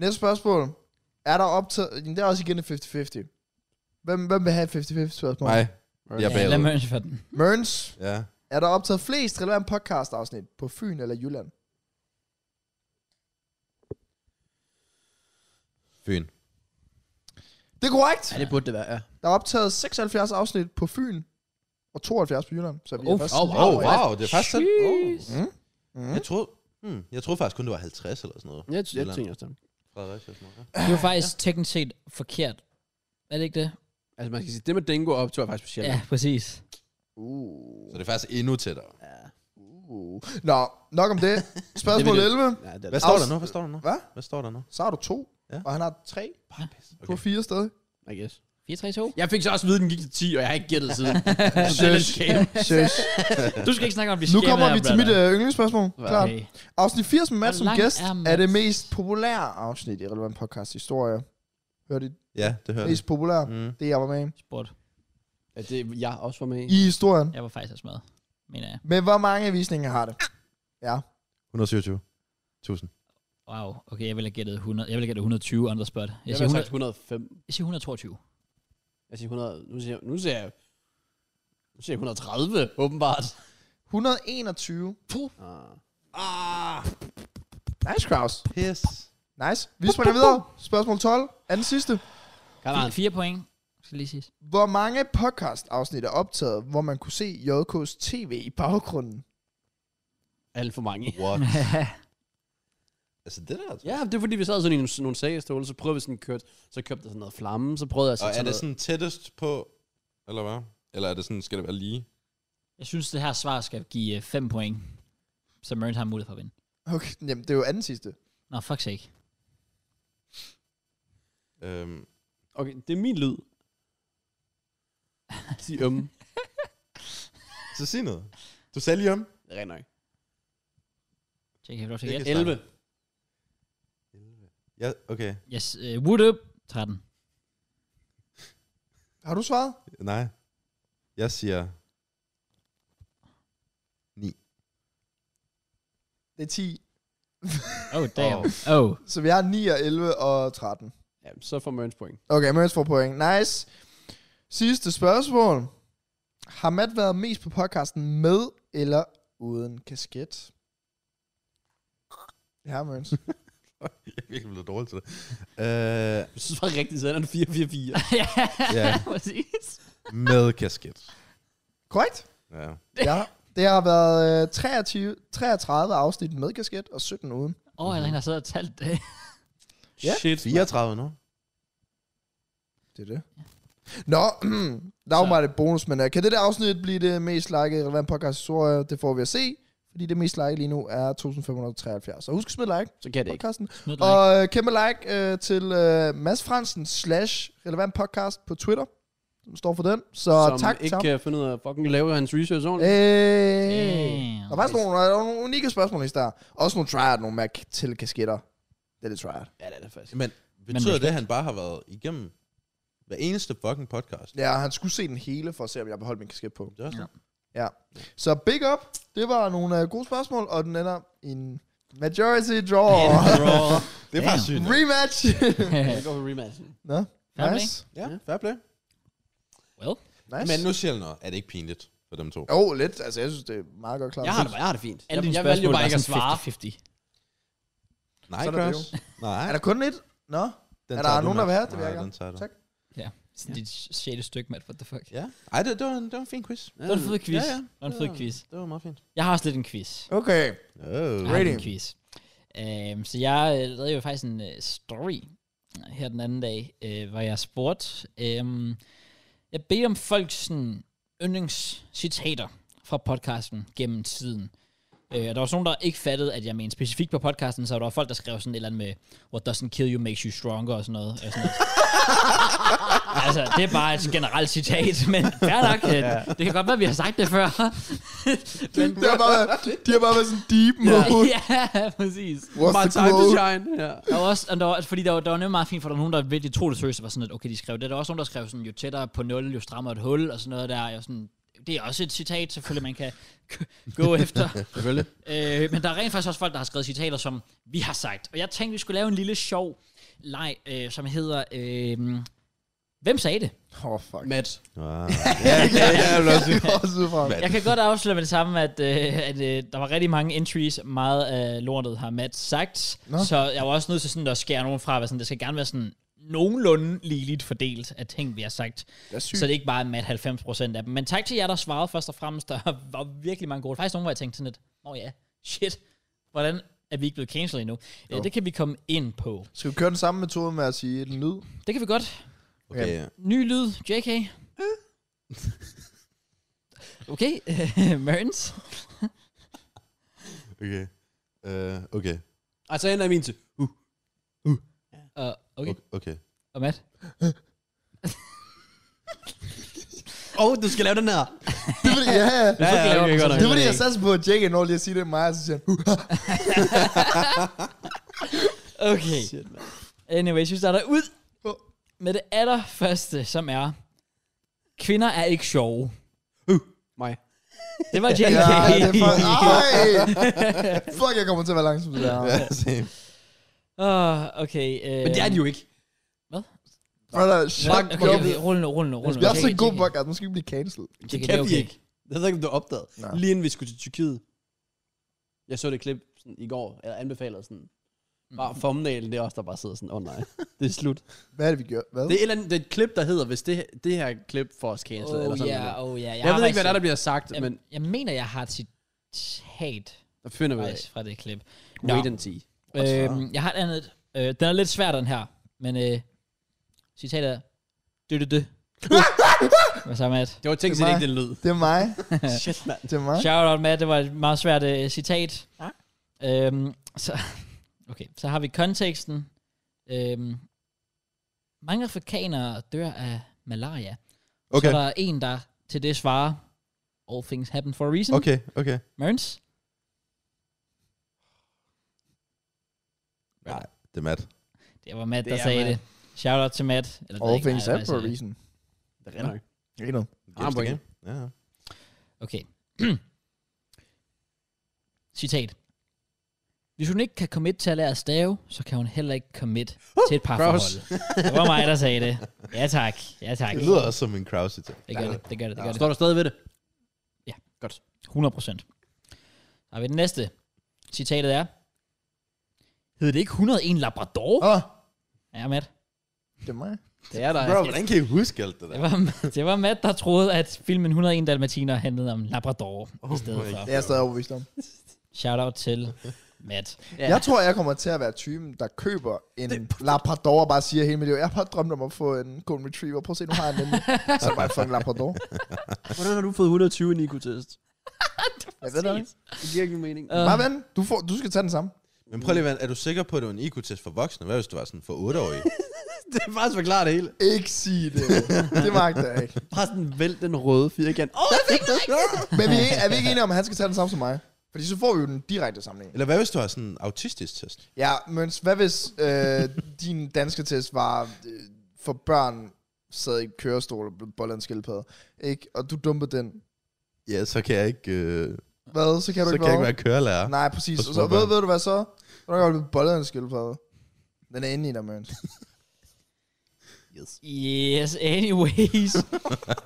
S3: Næste spørgsmål. Er der optaget... Jamen, Det er også igen et 50-50. Hvem, hvem vil have et 50-50 spørgsmål?
S4: Nej,
S2: Ja,
S4: jeg
S1: Ja,
S4: bagede.
S1: lad mig for den.
S3: Mørns,
S4: Ja.
S3: er der optaget flest relevant podcast-afsnit på Fyn eller Jylland?
S4: Fyn.
S3: Det er korrekt!
S2: Ja, det burde det være, ja.
S3: Der er optaget 76 afsnit på Fyn, og 72 på Jylland. Så vi er
S1: Oh,
S3: faktisk
S1: oh,
S3: lige
S4: Oh,
S3: over i
S4: wow, det er faktisk... sådan- Oh.
S1: Jeez.
S3: Mm. Mm.
S4: Jeg troede, hmm, jeg troede faktisk kun, det var 50 eller sådan noget.
S2: Jeg, jeg
S4: Jylland.
S2: tænker også det.
S4: Fredericia og sådan noget. ja.
S1: Det var faktisk teknisk set forkert. Er det ikke det?
S2: Altså, man skal sige, det med Dingo op, tror jeg faktisk specielt.
S1: Ja, præcis.
S3: Uh.
S4: Så det er faktisk endnu tættere.
S3: Uh. Nå, nok om det. Spørgsmål
S2: Det
S3: 11.
S2: Ja, det er
S4: Hvad
S2: det.
S4: står
S3: Afs-
S4: der nu? Hvad står der nu?
S3: Hvad?
S4: Hvad står der nu?
S3: Så har du to,
S4: Ja.
S3: og han har tre. Du har
S4: Okay.
S2: *laughs*
S3: fire stadig.
S2: I guess.
S1: 4-3-2.
S2: Jeg fik så også at vide, at den gik til 10, og jeg har ikke gættet siden. Så
S1: *laughs*
S2: det er lidt shame.
S3: Søs.
S1: Du skal ikke snakke om de
S3: Nu kommer vi til mit øh, yndlingsspørgsmål. Klart.
S1: Okay.
S3: Afsnit 80 med Mads
S1: Hvor
S3: som
S1: lang
S3: gæst
S1: er
S3: er,
S1: Mads?
S3: det mest populære afsnit i Relevant Podcast Historie. Hør det
S4: Ja, det hører jeg.
S3: mest populære,
S4: Mm.
S3: det jeg var med i.
S1: Sport.
S2: *laughs* Ja, det er jeg også var med i.
S3: i historien.
S1: Jeg var faktisk også med, mener jeg.
S3: Men hvor mange visninger har det? Ja.
S4: 127. 1000.
S1: Wow, okay, jeg ville have gættet 100. Jeg ville have gættet 120 andre spot. Jeg,
S2: Jeg
S1: siger,
S2: har
S1: 100,
S2: sagt 105.
S1: jeg siger 122.
S2: Jeg siger 100. Nu siger jeg... Nu siger jeg, nu siger jeg 130, åbenbart.
S3: 121.
S2: Ah.
S3: Nice, Kraus.
S4: Piss.
S3: Nice. Vi springer videre. Spørgsmål 12. Anden sidste.
S2: Kan man?
S1: 4 point, skal lige sige.
S3: Hvor mange podcast-afsnit er optaget, hvor man kunne se JK's tv i baggrunden?
S2: Alt for mange.
S4: *laughs* What? altså det der, altså.
S2: Ja, det er fordi, vi sad sådan i nogle, nogle sagestole, så prøvede vi sådan kørt, så købte jeg sådan noget flamme, så prøvede jeg
S4: Og
S2: sådan,
S4: er
S2: sådan
S4: det
S2: noget.
S4: sådan tættest på, eller hvad? Eller er det sådan, skal det være lige?
S1: Jeg synes, det her svar skal give 5 point, så Mørn har mulighed for at vinde.
S3: Okay, jamen, det er jo anden sidste.
S1: Nå, fuck sake.
S4: Øhm,
S2: Okay, det er min
S4: *laughs*
S2: lyd. Sig øm.
S4: så sig noget. Du sagde lige om.
S2: Det er rent nok.
S1: Tjek, jeg får lov til at
S4: Det
S1: gætte.
S4: kan-
S2: 11.
S4: Ja, okay.
S1: Yes, uh, wood up. 13.
S3: Har du svaret?
S4: Nej. Jeg siger... *laughs*
S3: Det er 10.
S1: Oh, damn.
S2: *laughs*
S1: Oh.
S3: *laughs* Så vi har 9 og 11 og 13.
S2: Ja, så får Mørns point.
S3: Okay, Mørns får point. Nice. Sidste spørgsmål. Har Matt været mest på podcasten med eller uden kasket? Ja,
S2: *laughs*
S3: Mørns.
S4: Jeg er virkelig blevet dårlig til det. Øh,
S2: Jeg synes bare rigtigt, så er den 444.
S1: ja,
S4: ja,
S1: præcis.
S4: med kasket.
S3: Korrekt.
S4: Ja.
S3: Ja. Det har været øh, 23, 33 afsnit med kasket og 17 uden.
S1: Åh, oh, jeg har siddet og talt det.
S3: Ja.
S2: Shit.
S4: 34 nu.
S3: Det er det. Nå, *clears throat* der er jo meget et bonus, men øh, kan det der afsnit blive det mest likede relevant podcast historie? Det får vi at se, fordi det mest like lige nu er 1573. Så husk at smide like
S2: Så kan det ikke.
S3: podcasten.
S1: Smid et like.
S3: Og øh, kæmpe like øh, til øh, Mads Fransen slash relevant podcast på Twitter. Som står for den. Så
S2: Som
S3: tak
S2: ikke øh,
S3: til ham.
S2: kan finde ud af at fucking lave hans research ordentligt.
S3: Øh, der
S1: Damn.
S3: var faktisk nogle, der var nogle unikke spørgsmål i der. Også nogle tryhard, nogle Mac til kasketter. Det er det tryhard.
S2: Ja, det er det faktisk.
S4: Men betyder
S1: respekt.
S4: det, at han bare har været igennem hver eneste fucking podcast?
S3: Ja, han skulle se den hele for at se, om jeg beholdt min kasket på.
S4: Det er også
S1: Ja.
S4: ja.
S3: Så big up. Det var nogle øh, gode spørgsmål, og den ender i en majority draw.
S1: *laughs*
S4: Det er faktisk sygt.
S3: Rematch.
S1: øh,
S2: Jeg går for rematchen.
S3: Nå,
S1: Fair play.
S3: nice.
S4: Ja, fair play.
S1: Well,
S3: nice.
S4: Men nu siger jeg noget. Er det ikke pinligt for dem to?
S3: Jo, oh, lidt. Altså, jeg synes, det er meget godt klart.
S2: Jeg har det, jeg har det fint.
S1: alle
S2: *laughs* jeg,
S1: dine
S2: jeg valgte jo
S1: spørgsmål
S2: bare
S1: var
S2: ikke at
S1: sådan 50-50.
S2: svare.
S4: Nej,
S3: Sådan er det
S4: Cross. Nej.
S3: Er der kun et? Nå,
S4: den
S3: er der
S4: tager du,
S3: nogen, der
S4: Mads.
S3: vil have? Det vil
S4: Nej,
S3: jeg gerne.
S4: den tager du.
S3: Tak.
S1: Sådan dit sjette stykke, Matt. What the fuck?
S4: Ja. Ej, det, det, var en, det var en fin quiz.
S1: Det var en fed quiz.
S4: Ja, ja.
S1: Det var en fed quiz.
S4: Det var meget fint.
S1: Jeg har også lidt en quiz.
S3: Okay.
S4: Oh.
S1: Jeg har lidt en
S3: Rating.
S1: quiz. Um, så jeg øh, lavede jo faktisk en øh, story her den anden dag, øh, hvor jeg spurgte. Um, jeg beder om folks sådan, yndlingscitater fra podcasten gennem tiden. Øh, og der var sådan nogen, der ikke fattede, at jeg mente specifikt på podcasten, så der var folk, der skrev sådan et eller andet med, what doesn't kill you makes you stronger og sådan noget. Og sådan noget. altså, det er bare et generelt citat, men fair nok. øh, Det kan godt være, vi har sagt det før. men,
S3: Det har bare været, de har bare været sådan deep
S1: *laughs*
S3: mode.
S1: ja, præcis.
S3: What's
S2: My
S3: the
S2: time to
S3: quote?
S2: shine. Ja.
S1: Der var også, og der var, altså, fordi der var, der var nemlig meget fint, for der var nogen, der virkelig tog det seriøst, og var sådan, at okay, de skrev det. Der var også nogen, der skrev sådan, jo tættere på 0, jo strammere et hul, og sådan noget der. Jeg var sådan, det er også et citat, selvfølgelig, man kan g- gå efter.
S2: Selvfølgelig.
S1: Øh, men der er rent faktisk også folk, der har skrevet citater, som vi har sagt. Og jeg tænkte, vi skulle lave en lille sjov leg, øh, som hedder... Øh, Hvem sagde det?
S3: Åh, oh, fuck.
S2: Matt.
S3: *laughs*
S4: Ah,
S3: jeg vil også sige.
S4: Hvad?
S1: Jeg kan godt afsløre med det samme, at, øh, at øh, der var rigtig mange entries. Meget af lortet har Matt sagt. Nå.
S3: Nå.
S1: Så jeg var også nødt til sådan, at skære nogen fra. at være Sådan, det skal gerne være sådan nogenlunde ligeligt fordelt af ting, vi har sagt.
S3: Det er
S1: Så det er ikke bare mat 90% af dem. Men tak til jer, der svarede først og *laughs* fremmest. Der var virkelig mange gode. Faktisk nogen, hvor jeg tænkte sådan lidt, åh oh ja, shit, hvordan er vi ikke blevet cancelled endnu? Jo.
S3: Jo.
S1: Det kan vi komme ind på.
S3: Skal vi køre den samme metode med at sige en lyd?
S1: Det kan vi godt.
S4: okay.
S3: Okay.
S4: ja.
S1: Ny lyd, JK. Okay, *laughs* Merns.
S4: Okay. Øh, okay.
S2: Altså, en af mine til. Uh.
S1: Og, okay,
S4: Okay. okay.
S1: og Matt.
S2: Åh, oh, du skal lave den her.
S3: Det vil, ja,
S1: *laughs*
S3: ja.
S1: Ja, ja, okay, godt
S3: Det var det, jeg satte på, at Jake når lige at sige det med mig, og så siger han, uh,
S1: Okay.
S2: Shit, mand.
S1: Anyways, vi starter ud med det allerførste, som er, kvinder er ikke sjove.
S2: Mig.
S1: Det var
S3: *laughs*
S1: JK.
S3: ja,
S1: *laughs*
S3: det er for, ej, fuck, jeg kommer til at være langsom til det her.
S4: Ja, *laughs* same.
S1: Åh, okay. Øh,
S2: Men det er de jo ikke.
S3: Brother,
S1: Nå,
S3: shut
S1: Okay,
S3: up.
S1: okay, rulle nu, rulle nu, rulle nu.
S3: Jeg er så
S1: JK,
S3: god
S1: JK.
S3: podcast, nu skal vi blive cancelled.
S1: JK,
S2: Det
S1: er
S2: kan vi
S1: okay.
S2: ikke. Det ved jeg ikke, om du opdagede.
S3: Nej.
S2: Lige inden vi skulle til Tyrkiet. Jeg så det klip sådan, i går, eller anbefalede sådan. Bare thumbnailen, det er også der bare sidder sådan, åh oh, nej, det er slut.
S3: Hvad er det, vi gør? Hvad?
S2: Det er, et eller andet, det er et klip, der hedder, hvis det, her- det her klip får os cancelled, eller
S1: Oh
S2: sådan
S1: ja,
S2: noget.
S1: oh ja.
S2: Jeg, jeg ved ikke, hvad der, er, der bliver sagt,
S1: jeg,
S2: men
S1: men... jeg mener, jeg har et citat
S2: der finder vi ud af.
S1: faktisk, fra det klip. Nå,
S2: Wait and see.
S1: øhm, jeg har et andet. Øh, den er lidt svær, den her. Men øh, citatet er... Dø, dø, dø. Hvad så, Matt?
S2: Det var tænkt
S3: Det er
S2: set
S3: mig.
S2: ikke den lyd.
S3: Det er mig.
S2: Shit, mand.
S3: Det er mig.
S1: Shout out, Matt. Det var et meget svært øh, citat. Øhm, så, okay, så har vi konteksten. Øhm, mange afrikanere dør af malaria. Så
S4: Okay.
S1: er der er en, der til det svarer, all things happen for a reason.
S4: Okay, okay.
S1: Merns?
S4: Nej, det er mat.
S1: Ah, Det var Matt,
S2: Det
S1: der
S2: er
S1: sagde
S2: Matt.
S1: det. Shout out til Matt. Eller, det ved jeg
S3: All
S1: ikke,
S3: things
S1: nej,
S3: happen for a
S1: altså,
S3: reason.
S2: Det er rigtig nok.
S3: Ikke noget.
S2: Ah, en pointe.
S4: Ja, ja.
S1: Okay. *clears throat* Citat. Hvis hun ikke kan commit til at lære at stave, så kan hun heller ikke commit uh, til et parforhold. Det var mig, der sagde det. Ja tak, ja tak.
S4: Det lyder også som en crowd citat.
S1: Det gør det, det gør det, det gør det.
S2: Står du stadig ved det?
S1: 100 procent. Så har vi det næste. Citatet er. Hed det ikke 101 Labrador?
S3: Åh,
S1: Ja, Matt.
S3: det er mig.
S2: Det er der.
S4: Bro, hvordan kan I huske alt det der?
S1: Det var, *laughs* det var Matt, der troede, at filmen 101 Dalmatiner handlede om Labrador oh i stedet
S4: my
S1: for.
S4: God.
S3: Det er jeg stadig overbevist om.
S1: Shout out til Matt.
S2: Ja.
S3: Jeg tror, jeg kommer til at være typen, der køber en Labrador og bare siger hele mit liv, jeg har bare drømt om at få en Golden Retriever. Prøv at se, nu har jeg en nemlig. Så er det bare en fucking Labrador.
S2: Hvordan har du fået 120 i *laughs* Nikotest?
S3: Jeg ved det ikke.
S2: Det giver ikke nogen mening.
S1: Øh,
S3: Bare vent. Du, får, du skal tage den samme.
S4: Men prøv lige, at være- er du sikker på, at det var en IQ-test for voksne? Hvad hvis det var sådan for
S1: *laughs*
S4: 8-årige?
S2: det er faktisk forklaret det hele.
S3: Ikke sige det. Det magter jeg ikke.
S2: Bare sådan vælt den røde firkant. Åh, oh, jeg fik den
S3: Men vi er, ikke- er vi ikke enige om, at han skal tage den samme som mig? Fordi så får vi jo den direkte sammenligning.
S4: Eller hvad hvis du har sådan en autistisk test?
S3: Ja, men hvad hvis øh, din danske test var øh, for børn, sad i kørestol og blev bollet af en skildpadde, ikke? Og du dumpede den.
S4: Ja, så kan jeg ikke, øh,
S3: Hvad? Så kan du
S4: så
S3: ikke
S4: kan jeg
S3: være-
S4: ikke være kørelærer.
S3: Nej, præcis.
S4: For
S3: Og
S4: små
S3: så, ved,
S4: børn.
S3: ved du hvad så? Så kan du blive bollet af en skildpadde. Den er inde i dig, man.
S1: Yes,
S4: *laughs*
S1: anyways.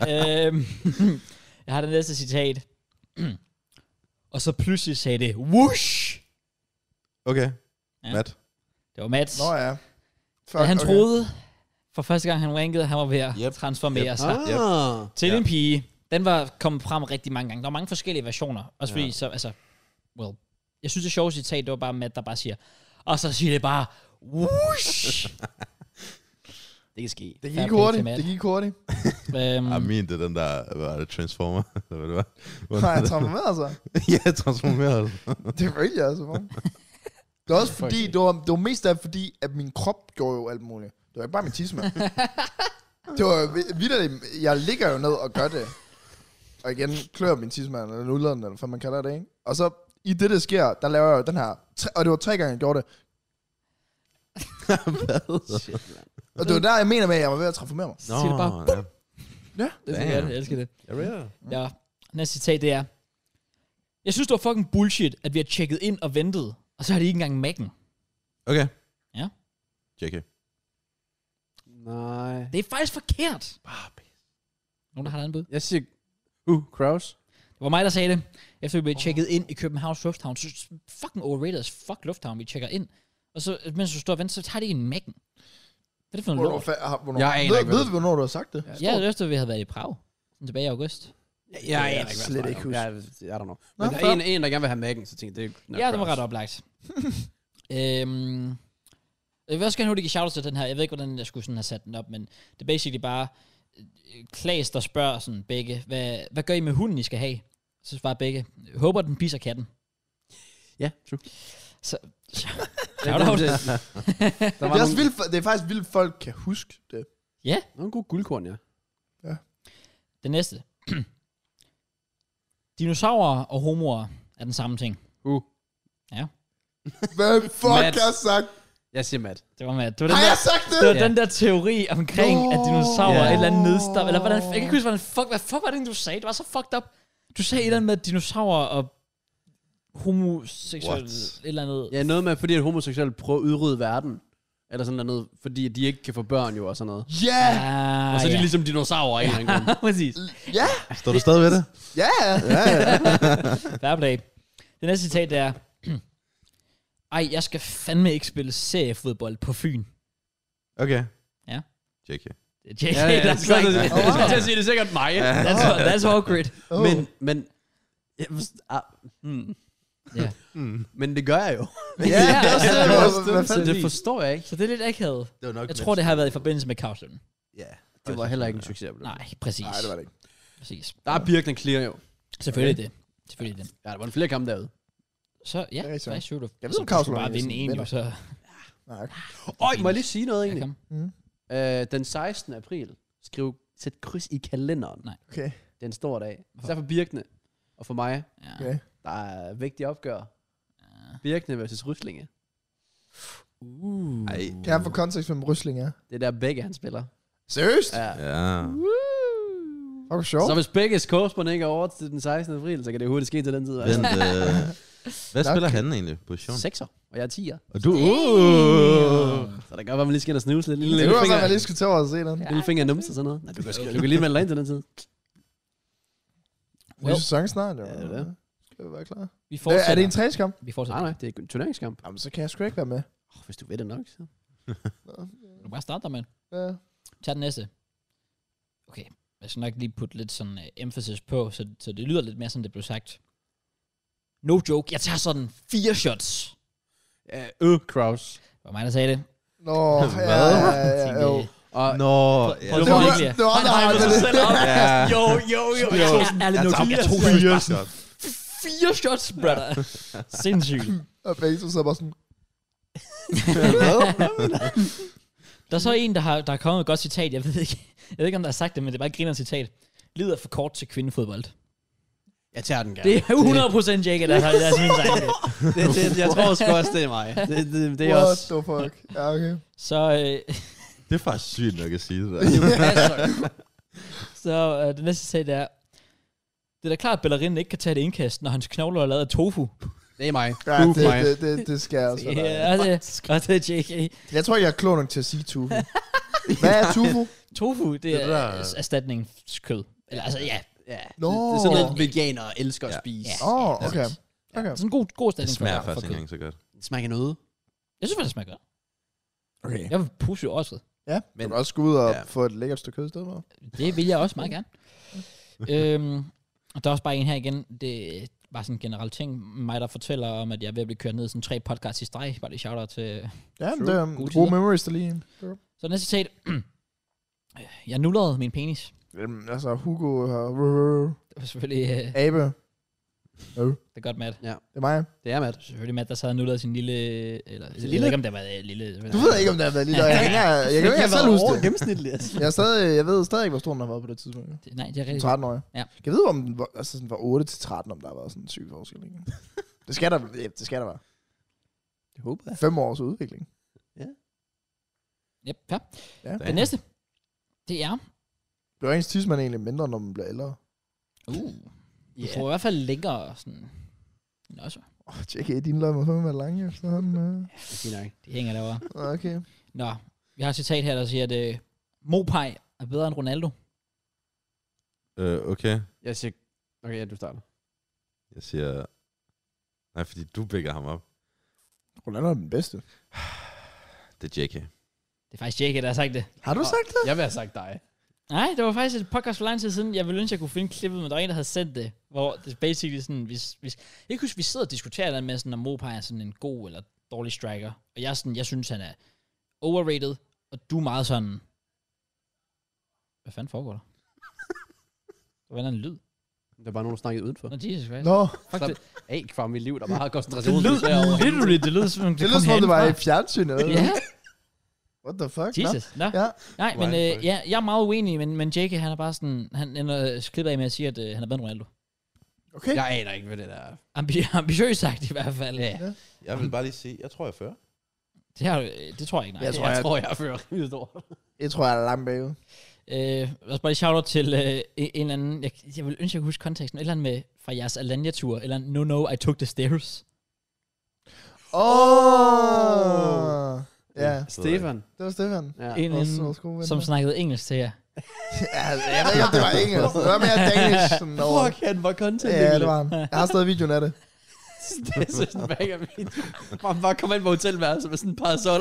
S1: øhm, *laughs* jeg har det næste citat. Og så pludselig sagde det, whoosh!
S4: Okay,
S1: Ja.
S4: ja. Matt.
S1: Det var Mads.
S3: Nå ja. Fuck,
S1: Da han troede, for første gang han rankede, at han var ved at
S4: Yep.
S1: yep. transformere yep. sig.
S2: Ah.
S4: Yep.
S1: Til
S4: Ja.
S1: en pige. Den var kommet frem rigtig mange gange. Der var mange forskellige versioner. Også fordi, ja. så, altså, well, jeg synes, det sjove citat, det var bare Matt, der bare siger, og så siger det bare,
S4: *laughs*
S1: whoosh!
S2: Det kan ske.
S3: Det
S1: Fair play
S3: gik
S1: til
S3: hurtigt.
S1: Matt.
S3: Det gik hurtigt.
S1: øhm,
S4: Mm. I mean, det er den der, hvad var det, Transformer? Eller hvad det var? Hvor-
S3: Nej, han transformerede sig.
S4: ja, transformeret.
S3: Det følte jeg altså for.
S1: *laughs*
S3: Det var også fordi, det var, det var mest af fordi, at min krop gjorde jo alt muligt. Det var ikke bare min
S1: *laughs*
S3: tidsmand. det var vi- vitterligt, jeg ligger jo ned og gør det. Og igen, klør min tidsmand, eller nulleren, eller hvad man kalder det, ikke? Og så, i det, der sker, der laver jeg jo den her, tre- og det var tre gange, jeg gjorde det.
S2: *laughs* Shit, mand.
S3: Og det var der, jeg mener med, at jeg var ved at transformere mig.
S1: så siger det bare,
S4: ja.
S1: det er sådan,
S4: Damn.
S1: jeg elsker det.
S4: Jeg ved det.
S1: Ja, Næste citat, det er, jeg synes, det var fucking bullshit, at vi har tjekket ind og ventet, og så har de ikke engang mækken.
S4: Okay.
S1: Ja.
S4: JK.
S2: Nej.
S1: Det er faktisk forkert. Nogen, der har et andet bud?
S2: Jeg siger... Uh, Kraus.
S1: Det var mig, der sagde det. Efter vi blev tjekket ind i Københavns Lufthavn, så fucking overrated as fuck Lufthavn, vi tjekker ind. Og så, mens du står og venter, så tager de en mækken. Hvad er det for en
S3: Hvornår,
S1: lort?
S3: fa- har- hvornår,
S2: Jeg aner
S3: ved,
S2: ikke, hvad
S3: ved
S2: det-
S3: vi, hvornår du har sagt det? Ja.
S1: Ja, det er efter, vi havde været i Prag. Sådan Tilbage i august.
S2: Jeg,
S3: jeg
S2: jeg,
S3: kan slet ikke huske.
S2: Jeg, jeg, I don't know.
S3: Nå,
S2: Men der
S3: fair.
S2: er en, en, der gerne vil have Mac'en, så tænkte jeg, det er nok
S1: Ja, det var
S2: Kraus.
S1: ret oplagt. *laughs* øhm, jeg vil også gerne hurtigt give shoutouts til den her. Jeg ved ikke, hvordan jeg skulle sådan have sat den op, men det er basically bare øh, Klaas, der spørger sådan begge, hvad, hvad gør I med hunden, I skal have? Så svarer begge, håber den pisser katten.
S2: Ja, true. Ja,
S1: Shout out.
S2: det- det- Der var
S3: Det, er også
S2: nogle,
S3: vildt, for- det er faktisk vildt, folk kan huske det.
S2: *laughs* nogle gode guldkorn, ja.
S1: Det næste. *clears throat* Dinosaurer og homoer er den samme ting.
S2: Uh,
S3: Hvem fuck
S2: Mads.
S3: har sagt
S2: jeg siger Matt.
S1: Det var med, det var den
S3: Har
S1: der,
S3: jeg sagt det?
S1: det var
S2: Ja.
S1: den der teori omkring, at dinosaurer
S2: Ja.
S1: er et eller andet nedstop, eller hvordan, jeg kan ikke huske, hvordan fuck, hvad fuck var det, du sagde? Det var så fucked up. Du sagde et eller andet med at dinosaurer og homoseksuelle,
S4: What?
S1: et eller andet.
S2: Ja, noget med, fordi at homoseksuelle prøver at udrydde verden. Eller sådan noget, fordi at de ikke kan få børn jo og sådan noget.
S3: Ja!
S1: Ah,
S2: Og så er de
S1: ja.
S2: ligesom dinosaurer i en eller anden grund.
S1: *laughs* Præcis.
S3: Ja!
S4: Står du stadig ved det?
S3: Ja! ja.
S1: Fair play. Det næste citat det er, *clears throat* ej, jeg skal fandme ikke spille seriefodbold på Fyn.
S4: Okay.
S1: Ja.
S4: JK.
S1: Det er JK, ja, ja, der
S2: jeg skulle
S1: er
S2: til- jeg skulle til at sige, det er sikkert mig.
S1: That's, that's awkward.
S3: *laughs* Oh.
S2: Men, men, jeg forst- ah, hmm.
S1: Ja.
S4: Mm.
S2: men det gør jeg jo.
S3: ja, det er
S2: *laughs*
S3: også det.
S2: Ja, så
S3: Hvad fanden
S2: så det
S3: lige?
S2: forstår jeg ikke.
S1: Så det er lidt akavet.
S4: Det var nok
S1: Jeg tror, det har været i forbindelse med Kavsløn.
S4: Ja.
S2: Det var heller ikke en succes.
S1: Nej, præcis.
S3: Nej, det var det ikke.
S1: Præcis.
S2: Der er Birk, den clear jo.
S1: Selvfølgelig det. Selvfølgelig det.
S2: Ja, der var en flere kampe derude.
S1: Så ja,
S3: Det er rigtigt.
S1: det er shoot off.
S3: Jeg ved, om Kavslund
S1: bare
S3: er
S1: vinde
S3: sådan
S1: en, jo,
S3: vinder.
S1: så...
S3: Nej, okay.
S2: Øj, må jeg lige sige noget
S1: Ja,
S2: egentlig?
S1: kom.
S2: Øh, den 16. april, skriv, sæt kryds i kalenderen.
S1: Nej.
S3: okay.
S2: Det er en stor dag. Især for Birkene og for mig,
S1: Ja.
S3: okay.
S2: der er vigtige opgør. Birkene versus Ryslinge.
S1: Uh.
S4: Ej.
S3: Kan jeg få kontekst, hvem Rysling er?
S2: Det er der begge, han spiller.
S3: Seriøst?
S2: Ja.
S4: Ja.
S3: Fuck, hvor sjovt.
S2: Så hvis begge skorspånd ikke er over til den 16. april, så kan det hurtigt ske til den tid.
S4: Men,
S2: Altså.
S4: øh, hvad
S3: Nok.
S4: spiller han egentlig? Position?
S2: Sekser, og jeg er 10'er.
S4: Og du... Uh.
S2: Så der gør, at man lige skal ind og snuse lidt. Lille,
S3: Det
S2: lille
S3: var sådan,
S2: finger,
S3: at jeg lige skulle tage over og se den.
S2: lille finger numse og sådan noget. Nej, du, kan, sgu- du kan lige melde dig ind til den tid.
S3: Ny
S1: Well.
S3: sæson snart, jo.
S2: Ja, det er det.
S3: Skal vi være klar?
S1: Vi
S3: Øh,
S1: fortsætter.
S3: Er det en træningskamp?
S1: Vi
S2: Nej,
S1: fortsætter.
S2: nej, det er en turneringskamp.
S3: Jamen, så kan jeg sgu ikke være med.
S2: Oh, hvis du ved det nok, så.
S1: Du kan bare starte der, mand.
S3: Ja.
S1: Tag den næste. Okay. Jeg skal nok lige putte lidt sådan uh, emphasis på, så, så det lyder lidt mere, som det blev sagt. No joke. Jeg tager sådan fire shots.
S2: Øh, uh, Kraus.
S1: Det var mig, der sagde det.
S2: *laughs*
S3: Nå, ja,
S4: Hvad?
S3: ja,
S1: Jeg
S3: ja,
S1: tænkte,
S3: jo.
S1: øh,
S2: Og
S4: Nå,
S1: prøv at
S3: Det
S1: få
S3: var,
S1: det virkelig.
S3: det var, der har det.
S2: selv op.
S1: *laughs*
S4: Ja.
S2: Jo, jo, jo.
S1: Jeg tog sådan- jeg tog- jeg tog
S4: fire
S1: bare
S4: shot.
S1: *laughs* fire shots,
S3: *laughs*
S1: brother. Sindssygt.
S3: Og Bengtsson sidder bare sådan,
S1: Der er så en, der har, der har kommet et godt citat. Jeg ved, ikke, jeg ved ikke, om der har sagt det, men det er bare et griner citat. Lider for kort til kvindefodbold. Ja.
S2: Jeg tager den gerne.
S1: Det er 100% Jake, der har der er min sang.
S2: det, det, jeg tror sgu også, det er mig. Det, det, det er
S3: what
S2: også...
S3: the fuck. Ja, okay.
S1: Så, øh, *laughs*
S4: Det er faktisk sygt nok at sige det der.
S1: så øh, det næste citat er, det er da klart, at ballerinen ikke kan tage et indkast, når hans knogler er lavet af tofu.
S2: Det er mig.
S3: Ja,
S2: Uh,
S3: det,
S2: mig.
S3: det, det, det skal jeg også være.
S1: Ja, og det, og det er JK.
S3: Jeg tror ikke, jeg er klog nok til at sige tufu. Hvad er tufu?
S1: Tofu, det, det
S4: Det
S1: er
S4: der-
S1: der... erstatningskød. Eller altså, ja.
S2: Ja,
S3: Nå.
S2: det, det er sådan noget, veganere elsker at
S4: Ja.
S2: spise.
S1: Ja.
S3: Åh, oh, okay. okay.
S1: Sådan en god, god
S4: Det
S1: erstatning for,
S4: smager
S1: for
S4: faktisk ikke
S1: kød.
S4: engang så godt.
S2: Det smager noget.
S1: Jeg synes, faktisk, det smager godt.
S3: Okay.
S1: Jeg var positivt overrasket.
S3: Ja, men du
S4: Men-
S3: kan også gå ud og
S4: Ja.
S3: få et lækkert stykke kød i stedet for.
S1: Det vil jeg også meget gerne. øhm, og der er også bare en her igen. Det er bare sådan en generel ting. Mig, der fortæller om, at jeg er ved at blive kørt ned i sådan tre podcasts i streg. Bare lige shout til...
S3: Ja,
S1: True.
S3: men det er um,
S1: Gode
S3: gode
S1: tider.
S3: memories, der lige...
S1: Så næste citat. *clears throat* jeg nullerede min penis.
S3: Jamen, altså, Hugo og
S1: Det var selvfølgelig... Øh,
S3: Abe.
S1: det er godt, Matt.
S3: Det er mig.
S2: Det er Matt.
S1: Det var selvfølgelig Matt, der sad og nullerede sin lille... Eller, jeg
S2: lille?
S1: ved ikke, om det var øh, lille...
S3: Du ved ikke, om det har været lille, og jeg kan ikke engang- jeg kan jo ikke engang selv huske det.
S2: gennemsnitlig, altså.
S3: Jeg, er stadig, jeg ved stadig ikke, hvor stor den har været på det tidspunkt.
S1: det. Nej, det er
S3: Som
S1: rigtigt.
S3: 13 år.
S1: Ja.
S3: Kan jeg vide, om den var, altså sådan fra 8 til 13, om der har været sådan en syg forskel? Ikke? det skal der, ja, det skal der være.
S2: Det håber jeg.
S3: 5 års udvikling.
S1: Yep, ja.
S3: Ja.
S1: Det næste. Det er...
S3: Bliver ens tidsmand egentlig mindre, når man bliver ældre?
S1: Uh. Du yeah. får i hvert fald længere sådan... Nå, så.
S3: Åh, oh, JK, dine løg må fandme være lange efterhånden. øh.
S2: Det er nok.
S1: Det hænger derovre.
S3: Okay.
S1: Nå, vi har et citat her, der siger, at øh, Mopaj er bedre end Ronaldo.
S4: Øh, okay.
S2: Jeg siger... Okay, ja, du starter.
S4: Jeg siger... Nej, fordi du bækker ham op.
S3: Ronaldo er den bedste.
S4: Det er JK.
S1: Det er faktisk Jake, der har sagt det.
S3: Har du
S2: Nå.
S3: sagt det?
S2: Jeg vil have sagt dig.
S1: Nej, det var faktisk et podcast for lang tid siden. Jeg ville ønske, jeg kunne finde klippet, men der var en, der havde sendt det. Hvor det basically sådan, hvis, hvis, jeg kan ikke huske, vi sidder og diskuterer det der med, sådan, om Mopai er sådan en god eller dårlig striker. Og jeg, er sådan, jeg synes, han er overrated, og du er meget sådan... Hvad fanden foregår der? Hvad er den lyd?
S2: Der er bare nogen, der snakkede udenfor.
S1: Nå, Jesus Christ.
S3: Nå,
S1: Fuck
S2: Slap
S1: det.
S2: af fra mit liv, der bare har
S1: Det
S2: koncentration.
S1: lød
S2: derovre.
S1: literally, det lød som om
S3: det lyder som om, det var i fjernsyn eller
S1: Ja,
S3: What the fuck? Nå.
S1: Jesus. Nå.
S3: Ja.
S1: Nej, men
S4: Right,
S1: øh,
S4: right.
S1: ja, jeg er meget uenig, men, men Jake, han er bare sådan... Han ender øh, klippet af med at sige, at øh, han er bedre end Ronaldo.
S3: Okay.
S2: Jeg aner ikke, hvad det der er.
S1: Ambi- *laughs* ambitiøst sagt i hvert fald. Ja.
S4: Jeg vil bare lige sige, jeg tror, jeg fører.
S1: Det, har, øh, det tror jeg ikke, nej.
S3: Jeg
S1: Jeg
S2: Jeg
S1: tror,
S2: tror, jeg, tror,
S3: jeg-
S2: jeg fører rimelig stort.
S3: Jeg tror, jeg er langt bagud.
S1: øh, lad os bare lige shout til øh, en en eller anden, jeg, jeg vil ønske, jeg kunne huske konteksten, et eller andet med fra jeres Alanya-tur, eller no, no, I took the stairs.
S3: Åh! Ja,
S2: Stefan.
S3: det var Stefan.
S2: Ja.
S1: Ja, en
S3: Vores-
S1: anden,
S3: vores gode ven
S1: som
S3: der.
S1: snakkede engelsk til jer.
S3: Ja, jeg ved ikke, om det var engelsk. Det var mere danish. Sådan over.
S2: Fuck, han var content.
S3: Ja, det
S2: *laughs*
S3: var han. Jeg har stadig videoen af det.
S2: det er sådan en bag af min. Hvor Han bare kom ind på hotelværelset med sådan en parasol.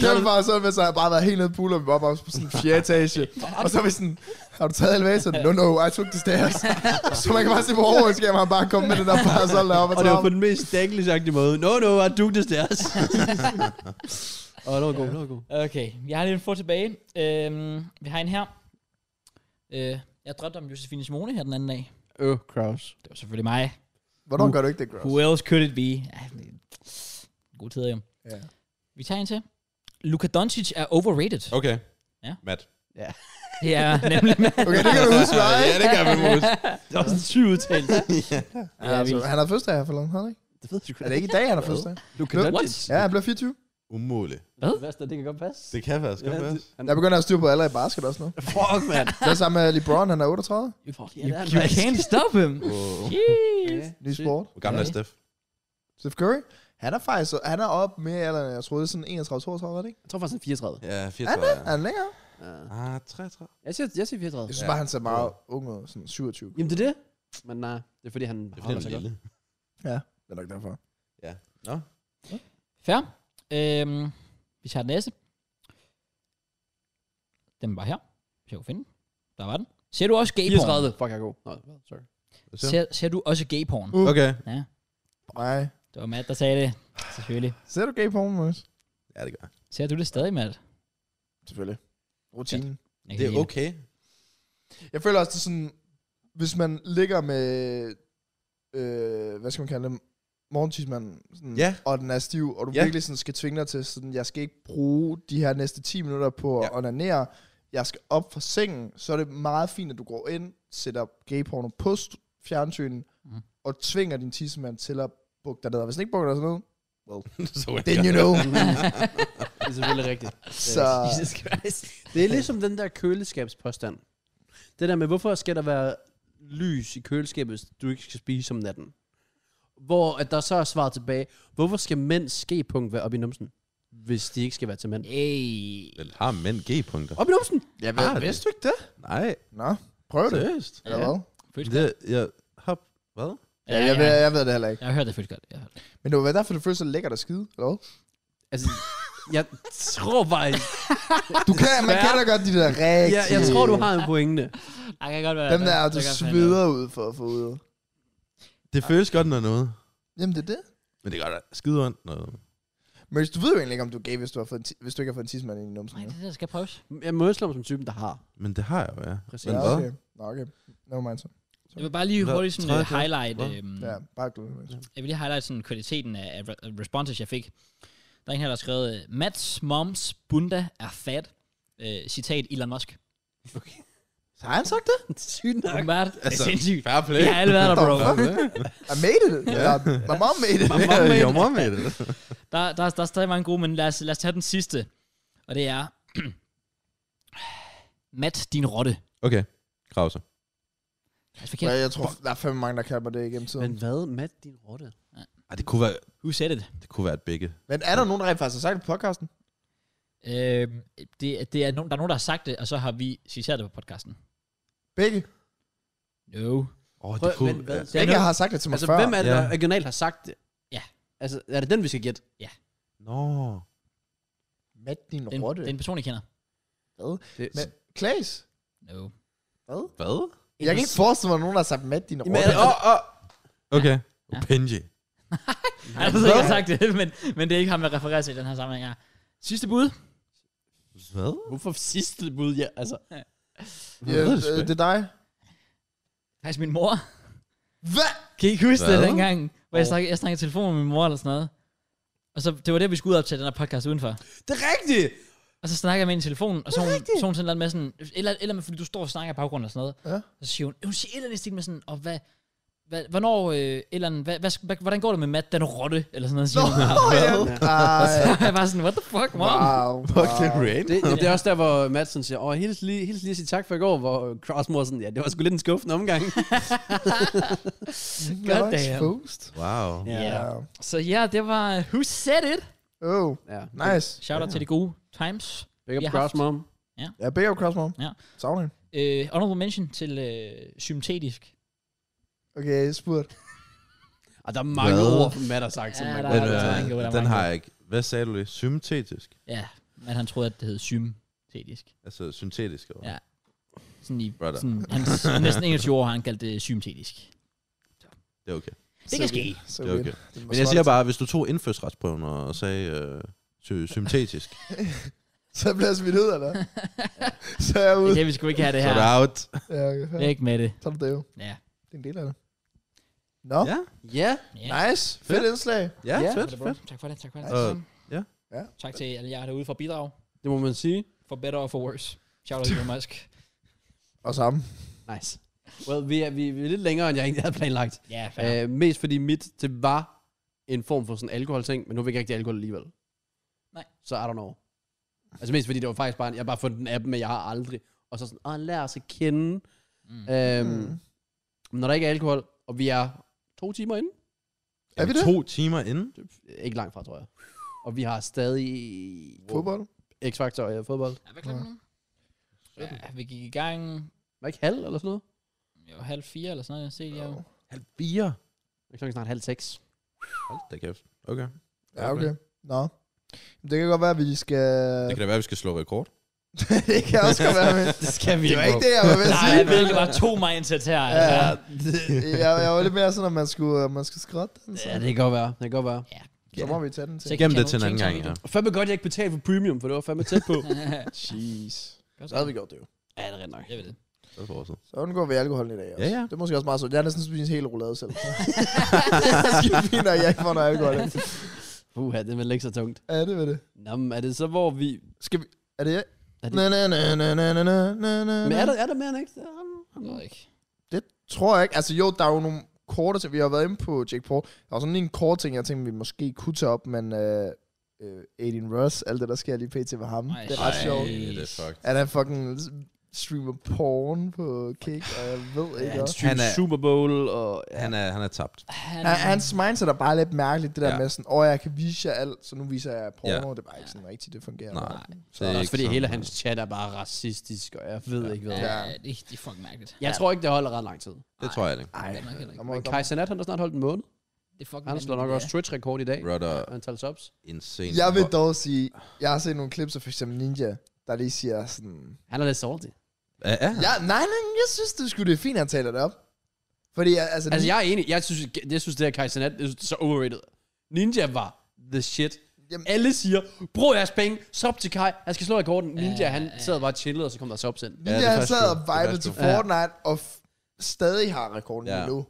S3: Kæmpe bare sådan, hvis jeg havde bare været helt nede i pooler, vi var bare på sådan en fjerde etage. Og så er vi sådan, har du taget elevatoren? No, no, I took the stairs. *laughs* så man kan bare se på overhovedskærmen, han bare kom med den der parasol deroppe.
S2: Og det var på den mest dækkelsagtige måde. No, no, I do this deres. Åh, det var god, det var god.
S1: *laughs* Okay, jeg har lige en få tilbage. Øhm, vi har en her. Øh, jeg drømte om Josefine Simone her den anden dag.
S2: Øv, Kraus.
S1: Det var selvfølgelig mig.
S3: Hvornår gør du ikke det, Gross?
S1: Who else could it be? Ej, men- God tid, jo.
S3: Ja.
S1: Vi tager en til. Luka Doncic er overrated.
S4: Okay.
S1: Ja.
S4: Matt.
S1: Det er nemlig
S3: *laughs* Okay, det kan du huske, nej?
S4: ja, *laughs* det kan vi huske.
S2: Det var sådan en syg
S3: *laughs*
S2: udtalelse.
S3: Ja, altså, han har første dag for langt, har han ikke?
S2: Det ved jeg sgu
S3: Er det ikke i dag, han har første dag?
S2: Luka
S3: Hvad?
S2: Doncic.
S1: What?
S3: Ja, han bliver 24.
S4: Umuligt.
S1: Hvad?
S2: Det værste er, det kan godt passe.
S4: Det kan faktisk godt være.
S2: han,
S3: Jeg begynder at styre på alle i basket også nu.
S2: fuck, mand.
S3: Det er sammen med LeBron, han er 38.
S1: You,
S2: ja, det er
S1: you
S2: nice.
S1: can't stop
S3: *laughs*
S1: him.
S4: Wow.
S1: Jeez.
S3: Ny sport.
S4: Hvor gammel er
S1: Ja.
S4: Steph?
S3: Steph Curry, han er faktisk, han er op mere eller jeg troede, sådan 31-32, er det ikke?
S2: Jeg tror faktisk, han er 34.
S4: Ja,
S3: Er
S4: 34.
S3: det? Er han længere?
S2: Ja.
S4: Ah, 33.
S2: Jeg siger, jeg siger 34.
S3: Jeg synes
S4: Ja.
S3: bare, han ser meget ung ud, sådan 27.
S2: Jamen, det er det. Men nej, det er fordi, han
S4: Det er
S2: holder sig
S4: fordi,
S2: godt.
S4: lille.
S3: Det er nok derfor.
S1: Fair. Øhm, vi tager den næste. Den var her. Hvis jeg kunne finde den. Der var den. Ser du også gay-porn?
S2: 34. Fuck, jeg er god. Nå, sorry. *laughs*
S4: Hvad siger
S1: Ser, ser du også gay-porn?
S4: du? Okay.
S3: Nej.
S1: Det var Matt, der sagde det. Selvfølgelig.
S3: Ser du gay porn, Mons?
S4: Ja, det gør jeg.
S1: Ser du det stadig, Matt?
S3: Selvfølgelig. Rutinen.
S1: Jeg kan
S4: Det er
S1: lide
S4: okay.
S3: Jeg føler også, det er sådan, hvis man ligger med, øh, hvad skal man kalde det, morgentidsmanden, sådan,
S4: Ja.
S3: og den er stiv, og du
S4: Ja.
S3: virkelig sådan skal tvinge dig til, sådan, jeg skal ikke bruge de her næste 10 minutter på at
S4: Ja.
S3: onanere, jeg skal op fra sengen, så er det meget fint, at du går ind, sætter gayporno på st- fjernsynen,
S1: Mhm.
S3: mm. og tvinger din tissemand til at bukke dig ned. Og hvis den ikke bukker dig ned,
S4: Så er *laughs* det
S3: then you
S4: godt. *laughs*
S3: know.
S2: Det er selvfølgelig rigtigt.
S3: så
S1: Jesus Christ.
S2: Det er ligesom den der køleskabspåstand. Det der med, hvorfor skal der være lys i køleskabet, hvis du ikke skal spise om natten? Hvor at der så er svaret tilbage, hvorfor skal mænds G-punkt være op i numsen, hvis de ikke skal være til mænd?
S1: Hey.
S4: Vel, har mænd G-punkter?
S2: Op i numsen!
S3: jeg
S4: ved- vidste
S3: du ikke det?
S4: Nej,
S3: Nå, prøv det.
S4: seriøst.
S3: Eller
S1: Ja.
S3: hvad?
S4: Det, jeg, hop, hvad?
S3: Ja, jeg, ved, jeg ved det heller ikke.
S1: Jeg har hørt det føles godt. Jeg har hørt det.
S3: Men det var derfor, det føles så lækkert at skide. Eller hvad?
S2: Altså, jeg tror bare,
S3: Du kan, man
S2: Desværre.
S3: kender godt de der rigtige...
S2: jeg, jeg tror, du har en pointe.
S1: Ej, kan godt være.
S3: Dem der,
S1: jeg
S3: du
S1: kan godt finde ud af
S3: sveder ud for at få ud.
S4: Det føles godt, når noget.
S3: Jamen, det er det.
S4: Men det gør da skide ondt noget.
S3: Men du ved jo egentlig ikke, om du er gay, hvis du, har fået en ti- hvis du ikke har fået en tidsmand ind i
S1: det.
S3: numsen.
S1: Nej,
S3: jo.
S1: det der skal prøves.
S2: Jeg mødslår mig som typen, der har.
S4: Men det har jeg jo, ja.
S2: Præcis.
S4: Men
S3: Ja,
S4: hvad?
S3: okay. Nå, okay. Never mind så.
S1: Jeg vil bare lige
S4: Hvad?
S1: hurtigt sådan,
S4: Tror
S1: uh,
S4: jeg, det var-
S1: highlight,
S4: Hvad?
S1: øhm,
S3: Ja, bare glem det.
S1: Jeg vil lige highlight sådan kvaliteten af, af re- responses, jeg fik. Der er en her, der har skrevet, øh, Mats Moms Bunda er fat. Øh, citat Elon Musk.
S3: Så har han sagt
S2: *laughs*
S3: det?
S2: Sygt nok.
S1: Åbenbart. Altså, det er sindssygt.
S4: Fair play.
S1: Jeg har alle været der,
S3: *laughs*
S1: bro.
S3: I made it. Eller, my mom made it.
S4: Jeg er mor med det.
S1: Der, der, der er stadig mange gode, men lad os, lad os tage den sidste. Og det er... *clears throat* Matt, din rotte.
S4: Okay, Krause.
S1: Altså, forkert.
S3: Ja, jeg tror, der er fandme mange, der kalder mig det igennem tiden.
S2: Men
S3: Men,
S2: hvad med din rotte?
S4: Ej, det kunne være,
S1: Who said it?
S4: det kunne være et begge.
S3: men er der nogen, der rent faktisk har sagt det på podcasten?
S1: Øhm, det, er- det er nogen, der er nogen, der har sagt det, og så har vi citeret det på podcasten.
S3: Begge?
S1: No.
S4: Åh, det
S2: Prøv,
S4: kunne...
S2: men hvad?
S4: ja.
S3: Begge
S1: noget-
S3: har sagt det til mig
S2: Altså,
S3: før.
S2: hvem er det, der
S4: Ja.
S2: regionalt har sagt det?
S1: Ja.
S2: Altså, er det den, vi skal gætte?
S4: Nå.
S3: Mat din
S1: Den,
S3: rotte.
S1: det er en person, I kender.
S2: Det,
S3: Men, Klaas?
S1: No.
S3: Hvad?
S4: Hvad?
S3: Jeg kan ikke forestille mig, at nogen der har sagt mat din
S2: Jamen,
S3: rotte.
S2: er-
S3: Åh, åh.
S4: Okay.
S1: Ja.
S4: Benji.
S1: Nej, jeg ved ikke, jeg har sagt det, men, men det er ikke ham, der refererer til i den her sammenhæng her. Sidste bud.
S4: Hvad?
S2: Hvorfor sidste bud? Ja, altså,
S4: Hvad
S3: Ja,
S4: er det,
S3: øh,
S4: Svend?
S3: det er dig.
S1: Faktisk min mor.
S3: Hvad?
S1: Kan I ikke huske Hvad? det
S4: Hvad?
S1: dengang, hvor jeg snakkede, jeg snakkede i telefon med min mor eller sådan noget? Og så, det var det, vi skulle ud og optage den her podcast udenfor.
S2: det er rigtigt!
S1: Og så snakker jeg med hende i telefonen, og så hun, så hun sådan noget med sådan, eller, eller med, fordi du står og snakker i baggrunden og sådan noget.
S3: Ja.
S1: Og så siger hun, hun siger et eller andet i stil med sådan, og hvad, hvad hvornår, øh, et eller andet, hvad, hvad, hvad, hvordan går det med Matt, den rotte, eller sådan noget, siger *laughs*
S3: Nå,
S1: hun.
S3: ja. Ej,
S1: *laughs* jeg er bare sådan, what the fuck, mom?
S3: wow.
S4: Fuck, det er
S3: wow.
S2: *laughs*
S4: great.
S2: Det, det er også der, hvor Madsen siger, åh, hils lige, hils lige at sige tak for i går, hvor Crossmore er sådan, ja, det var sgu lidt en skuffende omgang.
S1: God
S3: Godt
S1: damn.
S3: exposed.
S4: Wow.
S2: Ja.
S3: Ja.
S1: Så ja, det var Who Said It?
S3: Oh,
S2: ja.
S3: nice.
S1: Shout out
S4: Ja.
S1: til de gode times.
S2: Big up
S1: Vi har
S2: Crossmore.
S3: Ja, big up Crossmom.
S1: Ja.
S3: Savner hende.
S1: Øh, honorable mention til øh, sympatisk.
S3: Okay, spurgt.
S2: Og Ah, der er mange
S4: Hvad?
S2: ord, Matt har sagt, som
S1: Ja,
S2: man
S1: der
S2: godt
S1: er
S4: Den,
S2: kan
S1: altså
S4: øh,
S2: tage.
S1: mange gode, der er
S4: den
S1: mange
S4: har jeg ikke. Hvad sagde du det? Syntetisk?
S1: Ja, men han troede, at det hed sympatisk.
S4: Altså, syntetisk. Eller?
S1: Ja. Sådan i,
S4: Brother.
S1: sådan, hans, næsten 21 år har han kaldt det sympatisk.
S4: Det er okay.
S1: Det kan ske.
S3: Så
S4: Det er
S3: vildt.
S4: okay.
S3: Det var
S4: Men jeg siger
S3: smart.
S4: bare, hvis du tog indfødsretsprøven og sagde øh, sy- syntetisk,
S3: Så bliver jeg smidt ud,
S1: *laughs*
S3: eller? Så er jeg
S1: Det
S3: ude.
S1: er det, vi skulle ikke have det
S4: så
S1: her.
S4: er det out.
S3: Ja, okay.
S1: Væk med det.
S3: Så er det det jo.
S1: Ja.
S3: Det er en del af det. Nå,
S4: Ja.
S2: Ja,
S1: ja.
S3: nice. Fedt indslag.
S4: Ja,
S2: Ja.
S4: fedt, fedt.
S1: Tak for det, tak for det.
S4: Ja.
S1: Tak,
S4: Ja.
S3: Ja.
S1: tak til alle jer derude for bidrag.
S2: det må man sige.
S1: For better og for worse. Shout out til Elon Musk.
S3: Og sammen.
S2: Nice. Well, vi er, vi, vi er lidt længere, end jeg egentlig havde planlagt.
S1: Ja, fair.
S2: Ja. Øh, mest fordi mit, det var en form for sådan alkoholting, men nu vil jeg ikke rigtig alkohol alligevel.
S1: Nej.
S2: Så I don't know. Altså mest fordi det var faktisk bare, en- jeg har bare fundet en app, men jeg har aldrig. Og så sådan, åh, lad os at kende.
S1: Mm.
S2: Øhm,
S3: Mm.
S2: Når der ikke er alkohol, og vi er to timer inde,
S3: Er vi det?
S4: To timer inden?
S2: ikke langt fra, tror jeg. Og vi har stadig...
S3: Fodbold.
S2: X-Factor og ja, fodbold.
S1: Ja, hvad klokken nu? Ja, vi gik i gang
S2: Var ikke halv eller sådan noget?
S1: jo, halv fire eller sådan noget. Jeg ser jo.
S4: Halv fire.
S2: Det er klokken snart halv seks.
S4: Hold da kæft. Okay.
S3: Ja, okay. Nå. Det kan godt være, at vi skal...
S4: Det kan da være, at vi skal slå rekord.
S3: *laughs* det kan også godt være, men...
S2: Det skal vi
S3: Det var ikke det, jeg var ved at
S1: Nej,
S3: sige.
S1: jeg virkelig bare to mindsets her.
S3: Ja,
S1: Altså.
S3: det- jeg, jeg var lidt mere sådan, at man skulle, at man skulle skrotte den. Så.
S2: Ja, det kan godt være. Det kan godt være.
S3: så må vi tage den til.
S1: Sikkert.
S4: Gem
S1: Kan
S4: det
S1: du
S4: til en anden
S1: tænke
S4: gang,
S1: sig
S4: ja.
S1: om
S2: Og fandme godt, jeg ikke betalte for premium, for det var fandme tæt på.
S3: *laughs* Jeez.
S1: Godt
S3: Så havde vi gjort det jo.
S2: ja, det er rent nok.
S1: Jeg ved
S2: *laughs*
S1: det.
S4: Så for os.
S3: Så undgår vi alkoholen i dag også.
S4: Ja, ja.
S3: Det er måske også meget sundt. Jeg har næsten spist hele roulade selv. det er fint, at jeg ikke får noget alkohol. ind.
S2: Uha, det er vel ikke så tungt.
S3: Ja, det var det.
S2: Nå, men er det så, hvor vi...
S3: Skal vi... Er det jeg?
S2: Er det-
S3: Na, na, na, na, na, na, na, na,
S2: Men
S3: na.
S2: er der, er der mere end ikke?
S1: Jeg ved ikke.
S3: Det tror jeg ikke. Altså jo, der er jo nogle korte ting. Vi har været inde på Jake Paul. Der var sådan lige en kort ting, jeg tænkte, vi måske kunne tage op, men øh, øh, Aiden Russ, alt det, der sker lige pt. ved ham.
S1: Ej,
S3: det er ret
S1: ej.
S3: sjovt.
S4: Det er fucked.
S3: At han fucking streamer porn på Kick, og jeg ved ikke
S2: Ja,
S3: også.
S4: Han er-
S2: Super Bowl og... Ja.
S4: Han er, han er tabt.
S1: Han,
S3: Han, hans mindset er bare lidt mærkeligt, det der
S4: Ja.
S3: ja. med sådan, åh, oh, jeg kan vise jer alt, så nu viser jeg porno.
S4: Ja.
S3: Ja. Det er bare ikke sådan rigtigt, det fungerer.
S4: Nej.
S2: Så det er også
S4: ikke
S2: fordi
S4: sådan,
S2: hele
S4: øh,
S2: hans chat er bare racistisk, og jeg ved ikke hvad.
S1: Ja,
S3: Ja.
S1: det, det er fucking mærkeligt.
S2: Jeg tror ikke, det holder ret lang tid.
S4: Det tror jeg ikke.
S3: Ej,
S1: Det er nok heller
S3: der
S1: ikke.
S3: må,
S2: Men
S3: der,
S2: Kai Sanat, han har snart holdt en måned.
S1: Det er fucking
S2: Han slår nok
S1: vanvittigt,
S2: også Twitch-rekord i dag.
S4: Brother,
S2: Antal subs.
S4: insane.
S3: jeg vil dog sige, jeg har set nogle klips af for eksempel Ninja, der lige siger sådan,
S2: Han er lidt salty.
S4: Ja, ja.
S3: Ja, nej, nej, jeg synes, det skulle det er fint, at han taler det op. Fordi, altså,
S2: Altså, jeg er enig. Jeg synes, jeg synes det her Kai Sanat det er så overrated. Ninja var the shit.
S3: Jamen-
S2: Alle siger, brug jeres penge, sub til Kai. Han skal slå rekorden. Ninja,
S1: Ja,
S2: han
S1: ja.
S2: sad bare og chillede, og så kom der subs ind.
S4: Ja,
S3: ja,
S4: det
S3: det
S4: er
S3: han
S4: faktisk
S3: sad
S4: true.
S3: og
S4: Det er
S3: vibede
S4: faktisk
S3: til
S4: true.
S2: Ja.
S3: Fortnite, og f- stadig har rekorden
S4: Ja.
S3: ja. nu,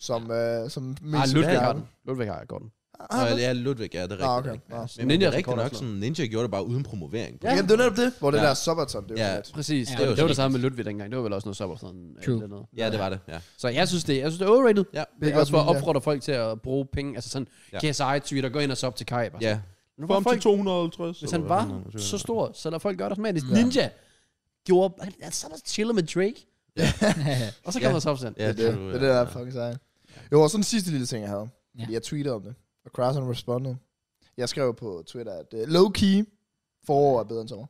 S3: som, øh, som
S2: Ah,
S3: mest
S2: Ludvig
S3: i
S2: Mm. har
S3: verden.
S2: den. Ludvig har rekorden.
S4: Nå,
S3: Ah, hvad?
S4: ja, Ludvig, ja, det
S3: Nå,
S4: er rigtigt.
S3: Ah, okay.
S4: nok.
S3: Nå.
S4: Men,
S2: Ninja
S4: Ninja
S2: er
S4: er rigtig
S2: rekord
S4: nok
S2: også.
S4: sådan, Ninja gjorde det bare uden promovering.
S2: Ja.
S3: Jamen, det var netop det, hvor det
S4: Ja.
S3: der Subaton, det var
S4: Ja.
S3: ja. lidt.
S2: Præcis.
S1: Ja,
S2: Ja, det, var
S4: det
S2: det,
S4: er
S2: det samme med Ludvig dengang. Det var vel også noget sub og sådan øh,
S1: True.
S2: eller noget.
S4: Ja, det var det, ja.
S2: Så jeg synes det, jeg synes det er overrated.
S4: Ja.
S2: Det er også for at opfordre folk til at bruge penge. Altså sådan,
S4: Ja.
S2: KSI Twitter, gå ind og sub til Kai. Bare
S4: Ja.
S2: sådan, Nu var folk,
S4: 250.
S2: hvis han var så stor, så lader folk gøre det automatisk. Ninja gjorde, han, han sad og chillede med Drake. Og så
S3: Ja.
S2: kommer der substand.
S3: Ja,
S4: Ja,
S3: det, er
S4: true,
S3: det, det,
S4: ja.
S3: er det, der er fucking sejt. Jo, og så den sidste lille ting, jeg havde.
S1: Ja.
S3: Ja. Jeg tweetede om det, og Crash han responded. Jeg skrev på Twitter, at uh, low-key forår er bedre end sommer.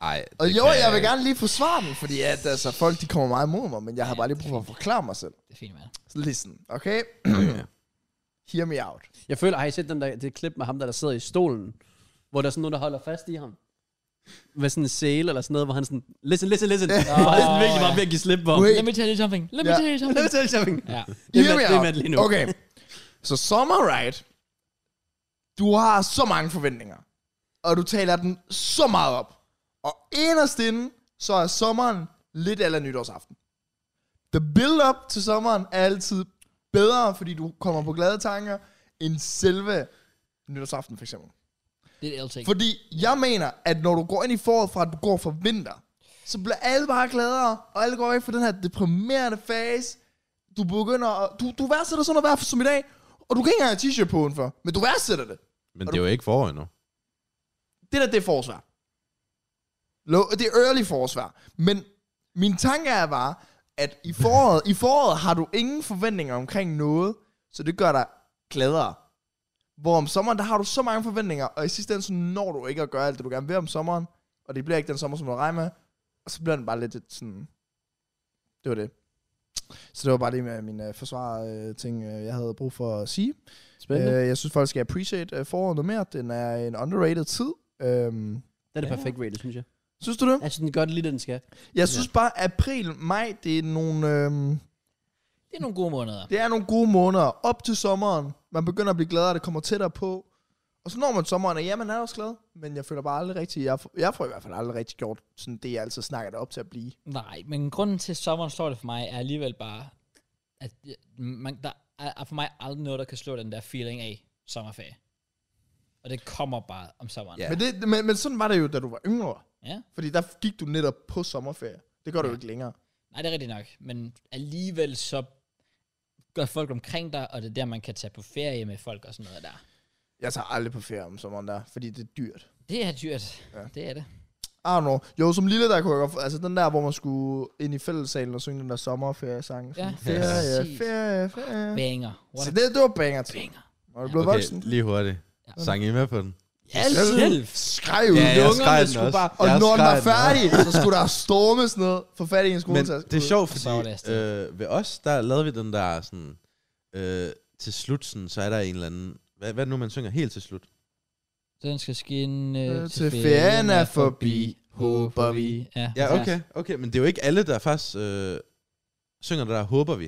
S4: Ej,
S3: Og
S4: det
S3: jo,
S4: kan-
S3: jeg vil gerne lige forsvare den, fordi at, altså, folk de kommer meget imod mig, men jeg har bare lige brug for at forklare mig selv.
S1: *laughs* Det er fint, mand.
S3: Så listen, okay?
S4: Ja.
S3: *clears throat* Hear me out.
S2: Jeg føler, har I set den der, det klip med ham, der, der sidder i stolen, hvor der er sådan nogen, der holder fast i ham? Med sådan en sæle eller sådan noget, hvor han sådan, listen, listen, listen. Og han sådan virkelig bare ved at give slip på.
S3: Wait.
S1: Let me tell you something. Let me
S3: Ja.
S1: tell you
S2: Let
S1: something.
S2: me tell you something.
S1: Ja.
S2: Det er Matt-
S3: Hear me
S2: det er
S3: out.
S2: Matt lige nu.
S3: Okay. Så Summer Ride, du har så mange forventninger, og du taler den så meget op. Og inderst inde, så er sommeren lidt eller nytårsaften. The build-up til sommeren er altid bedre, fordi du kommer på glade tanker, end selve nytårsaften for eksempel.
S1: Det er et ting.
S3: Fordi jeg mener, at når du går ind i foråret fra, at du går fra vinter, så bliver alle bare gladere, og alle går væk fra den her deprimerende fase. Du begynder at... Du, du værdsætter sådan noget vejr som i dag, og du kan ikke engang have t-shirt på udenfor, men du værdsætter det.
S4: Men det er jo ikke forår endnu.
S3: Det der, det er forårsvær. Lo- Det er early forårsvær. Men min tanke er bare, at i foråret, i foråret har du ingen forventninger omkring noget, så det gør dig gladere. Hvor om sommeren, der har du så mange forventninger, og i sidste ende, så når du ikke at gøre alt det, du gerne vil om sommeren, og det bliver ikke den sommer, som du regner med, og så bliver den bare lidt et sådan... Det var det. Så det var bare det med mine øh, forsvar-ting, øh, jeg havde brug for at sige.
S2: Spændende.
S3: Øh, jeg synes folk skal appreciate øh, foråret noget mere. Den er en underrated tid. Øhm,
S2: Det er det perfekt rated, synes jeg.
S3: synes du det?
S2: Jeg synes, den gør det lige, det, den skal.
S3: Jeg synes bare, april, maj, det er nogle, øhm,
S1: Det er nogle gode måneder.
S3: det er nogle gode måneder. Op til sommeren, man begynder at blive gladere, det kommer tættere på. Og så når man sommeren, og ja, man er også glad, men jeg føler bare aldrig rigtigt, jeg, får- jeg får i hvert fald aldrig rigtig gjort sådan det, jeg altid snakker det op til at blive.
S1: Nej, men grunden til, at sommeren slår det for mig, er alligevel bare, at jeg- man, der er er for mig aldrig noget, der kan slå den der feeling af sommerferie. Og det kommer bare om sommeren.
S4: Ja.
S3: Men, det, men, men sådan var det jo, da du var yngre.
S1: Ja.
S3: Fordi der gik du netop på sommerferie. Det gør du
S1: Ja.
S3: jo ikke længere.
S1: Nej, det er rigtigt nok. Men alligevel så gør folk omkring dig, og det er der, man kan tage på ferie med folk og sådan noget der.
S3: Jeg tager aldrig på ferie om sommeren der, fordi det er dyrt.
S1: Det er dyrt. Ja.
S3: Ja.
S1: Det er det.
S3: I don't know. Jo, som lille der kunne jeg godt... Altså den der, hvor man skulle ind i fællessalen og synge den der sommerferiesang. Sådan,
S1: Ja, præcis.
S3: ferie, ferie, ferie.
S1: Banger. What
S3: Så
S1: a
S3: det, det var banger til.
S1: banger.
S3: Når du blev
S4: Okay,
S3: voksen.
S4: lige hurtigt.
S1: Ja.
S4: Sang I med på den?
S1: Ja,
S3: Selv Skreg ud.
S4: Ja, jeg
S3: Ja,
S4: skreg den
S3: skulle
S4: også.
S3: bare... Og
S4: Jeg
S3: når den
S4: skreg
S3: var
S4: den også.
S3: færdig, så skulle der stormes ned for fat i en
S4: Men
S3: skoletaske.
S4: det er sjovt,
S1: Og så var det
S4: fordi
S1: afsted.
S4: øh, ved os, der lavede vi den der sådan... Øh, til slut, sådan, så er der en eller anden... Hvad, hvad er det nu, man synger helt til slut?
S1: Den skal skinne
S3: Øh, til ferien er forbi, håber vi.
S1: Ja,
S4: Ja, okay, okay, men det er jo ikke alle, der faktisk øh, synger det der, håber vi.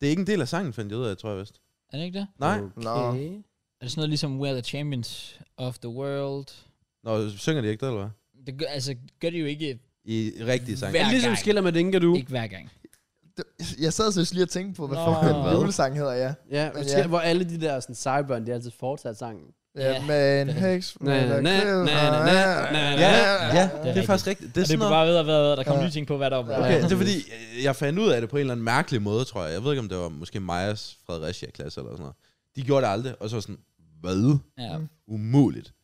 S4: Det er ikke en del af sangen, fandt jeg ud af, tror jeg vist.
S1: Er det ikke det?
S4: Nej,
S3: Nå.
S2: Okay.
S1: Er det sådan noget ligesom, we're the champions of the world?
S4: Nå, synger de ikke det, eller hvad?
S1: Det gør, altså, gør det jo ikke,
S4: I rigtige sang.
S1: Hver
S2: Jeg ligesom
S1: gang.
S2: skiller med Dinka, du.
S1: ikke hver gang.
S3: Det- Jeg sad seriøst lige og tænkte på, hvad
S1: Nå.
S3: fuck den
S4: Hvad?
S3: julesang hedder, ja.
S2: Ja,
S3: Men
S2: skiller,
S3: ja.
S2: hvor alle de der sådan, cyberne, de har altid fortsat sangen.
S3: Ja,
S1: Ja.
S3: med en heks.
S2: Na, na, na, na, na, na, na.
S4: Ja, ja,
S1: er
S4: det er
S1: rigtigt.
S4: faktisk rigtigt. Det er
S1: Og det
S4: sådan
S1: er
S4: noget,
S1: bare ved at være, der kommer
S3: Ja.
S1: nye ting på hvert år.
S4: okay,
S1: Ja.
S4: det er fordi, øh, jeg fandt ud af det på en eller anden mærkelig måde, tror jeg. Jeg ved ikke, om det var måske Majas Fredericia-klasse eller sådan noget. De gjorde det aldrig, og så var sådan, hvad?
S3: Mm.
S1: Ja.
S4: Umuligt.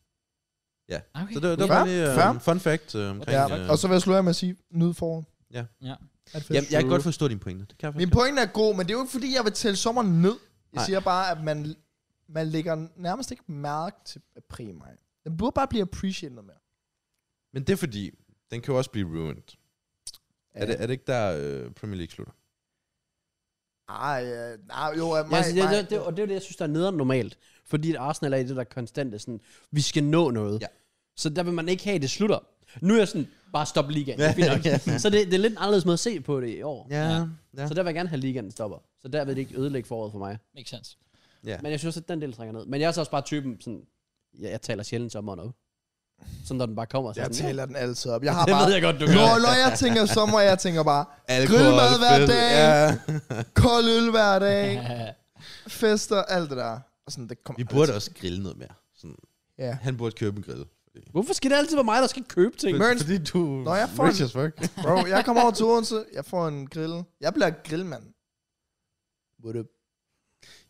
S1: Okay.
S4: Så det, var- det var
S3: Fair,
S4: bare lige øh,
S3: fair.
S4: en fun fact øh, omkring...
S3: Ja,
S4: øh,
S3: og så vil jeg slå af med at sige, nyd foråret.
S4: Ja.
S1: Ja.
S3: Er det fedt?
S4: Jamen, jeg kan godt forstå dine pointe. Det kan jeg
S3: Min
S4: faktisk.
S3: pointe er god, men det er jo ikke fordi, jeg vil tælle sommeren ned. Jeg
S4: Nej.
S3: Nej. siger bare, at man, man lægger nærmest ikke mærke til april maj. Den burde bare blive appreciated noget mere.
S4: Men det er fordi, den kan jo også blive ruined. Er det, er det ikke der, øh, Premier League slutter?
S3: Ej, øh, nej, jo, øh,
S2: Ja,
S3: maj,
S2: altså, det,
S3: maj.
S2: det, det, og det er jo det, jeg synes, der er nederen normalt. Fordi at Arsenal er i det der konstante, sådan, vi skal nå noget.
S4: Ja.
S2: Så der vil man ikke have, at det slutter. Nu er jeg sådan, bare stop ligaen. Ja, ja, ja. *laughs* Så det, det er lidt en anderledes måde at se på det i år. Ja.
S4: ja.
S2: Så der vil jeg gerne have, at ligaen stopper. Så der vil det ikke ødelægge foråret for mig.
S1: Makes sense.
S4: ja.
S2: Men jeg synes også, at den del trækker ned. Men jeg er så også bare typen, sådan, ja, jeg taler sjældent sommeren op. Sådan, når den bare kommer. Så
S3: Jeg
S2: sådan,
S3: taler den altid op. Jeg
S2: *laughs*
S3: har
S2: Det
S3: bare...
S2: ved jeg godt, du gør.
S3: Når, når jeg tænker sommer, jeg tænker bare
S4: Alkohol,
S3: Grillmad hver
S4: fed-
S3: dag. *laughs*
S4: Ja.
S3: kold øl hver
S1: *laughs*
S3: dag,
S1: Ja.
S3: fester, alt det der. Og sådan, det kommer
S4: Vi burde også grille noget mere. Sådan,
S3: Ja.
S4: han burde købe en grill.
S2: Hvorfor skal det altid være mig, der skal købe ting?
S3: Mørns-
S4: Fordi du
S3: Nå, jeg får
S4: rich
S3: en-
S4: as fuck.
S3: Bro, *laughs* jeg kommer over til Odense, jeg får en grill. Jeg bliver grillmand. What up?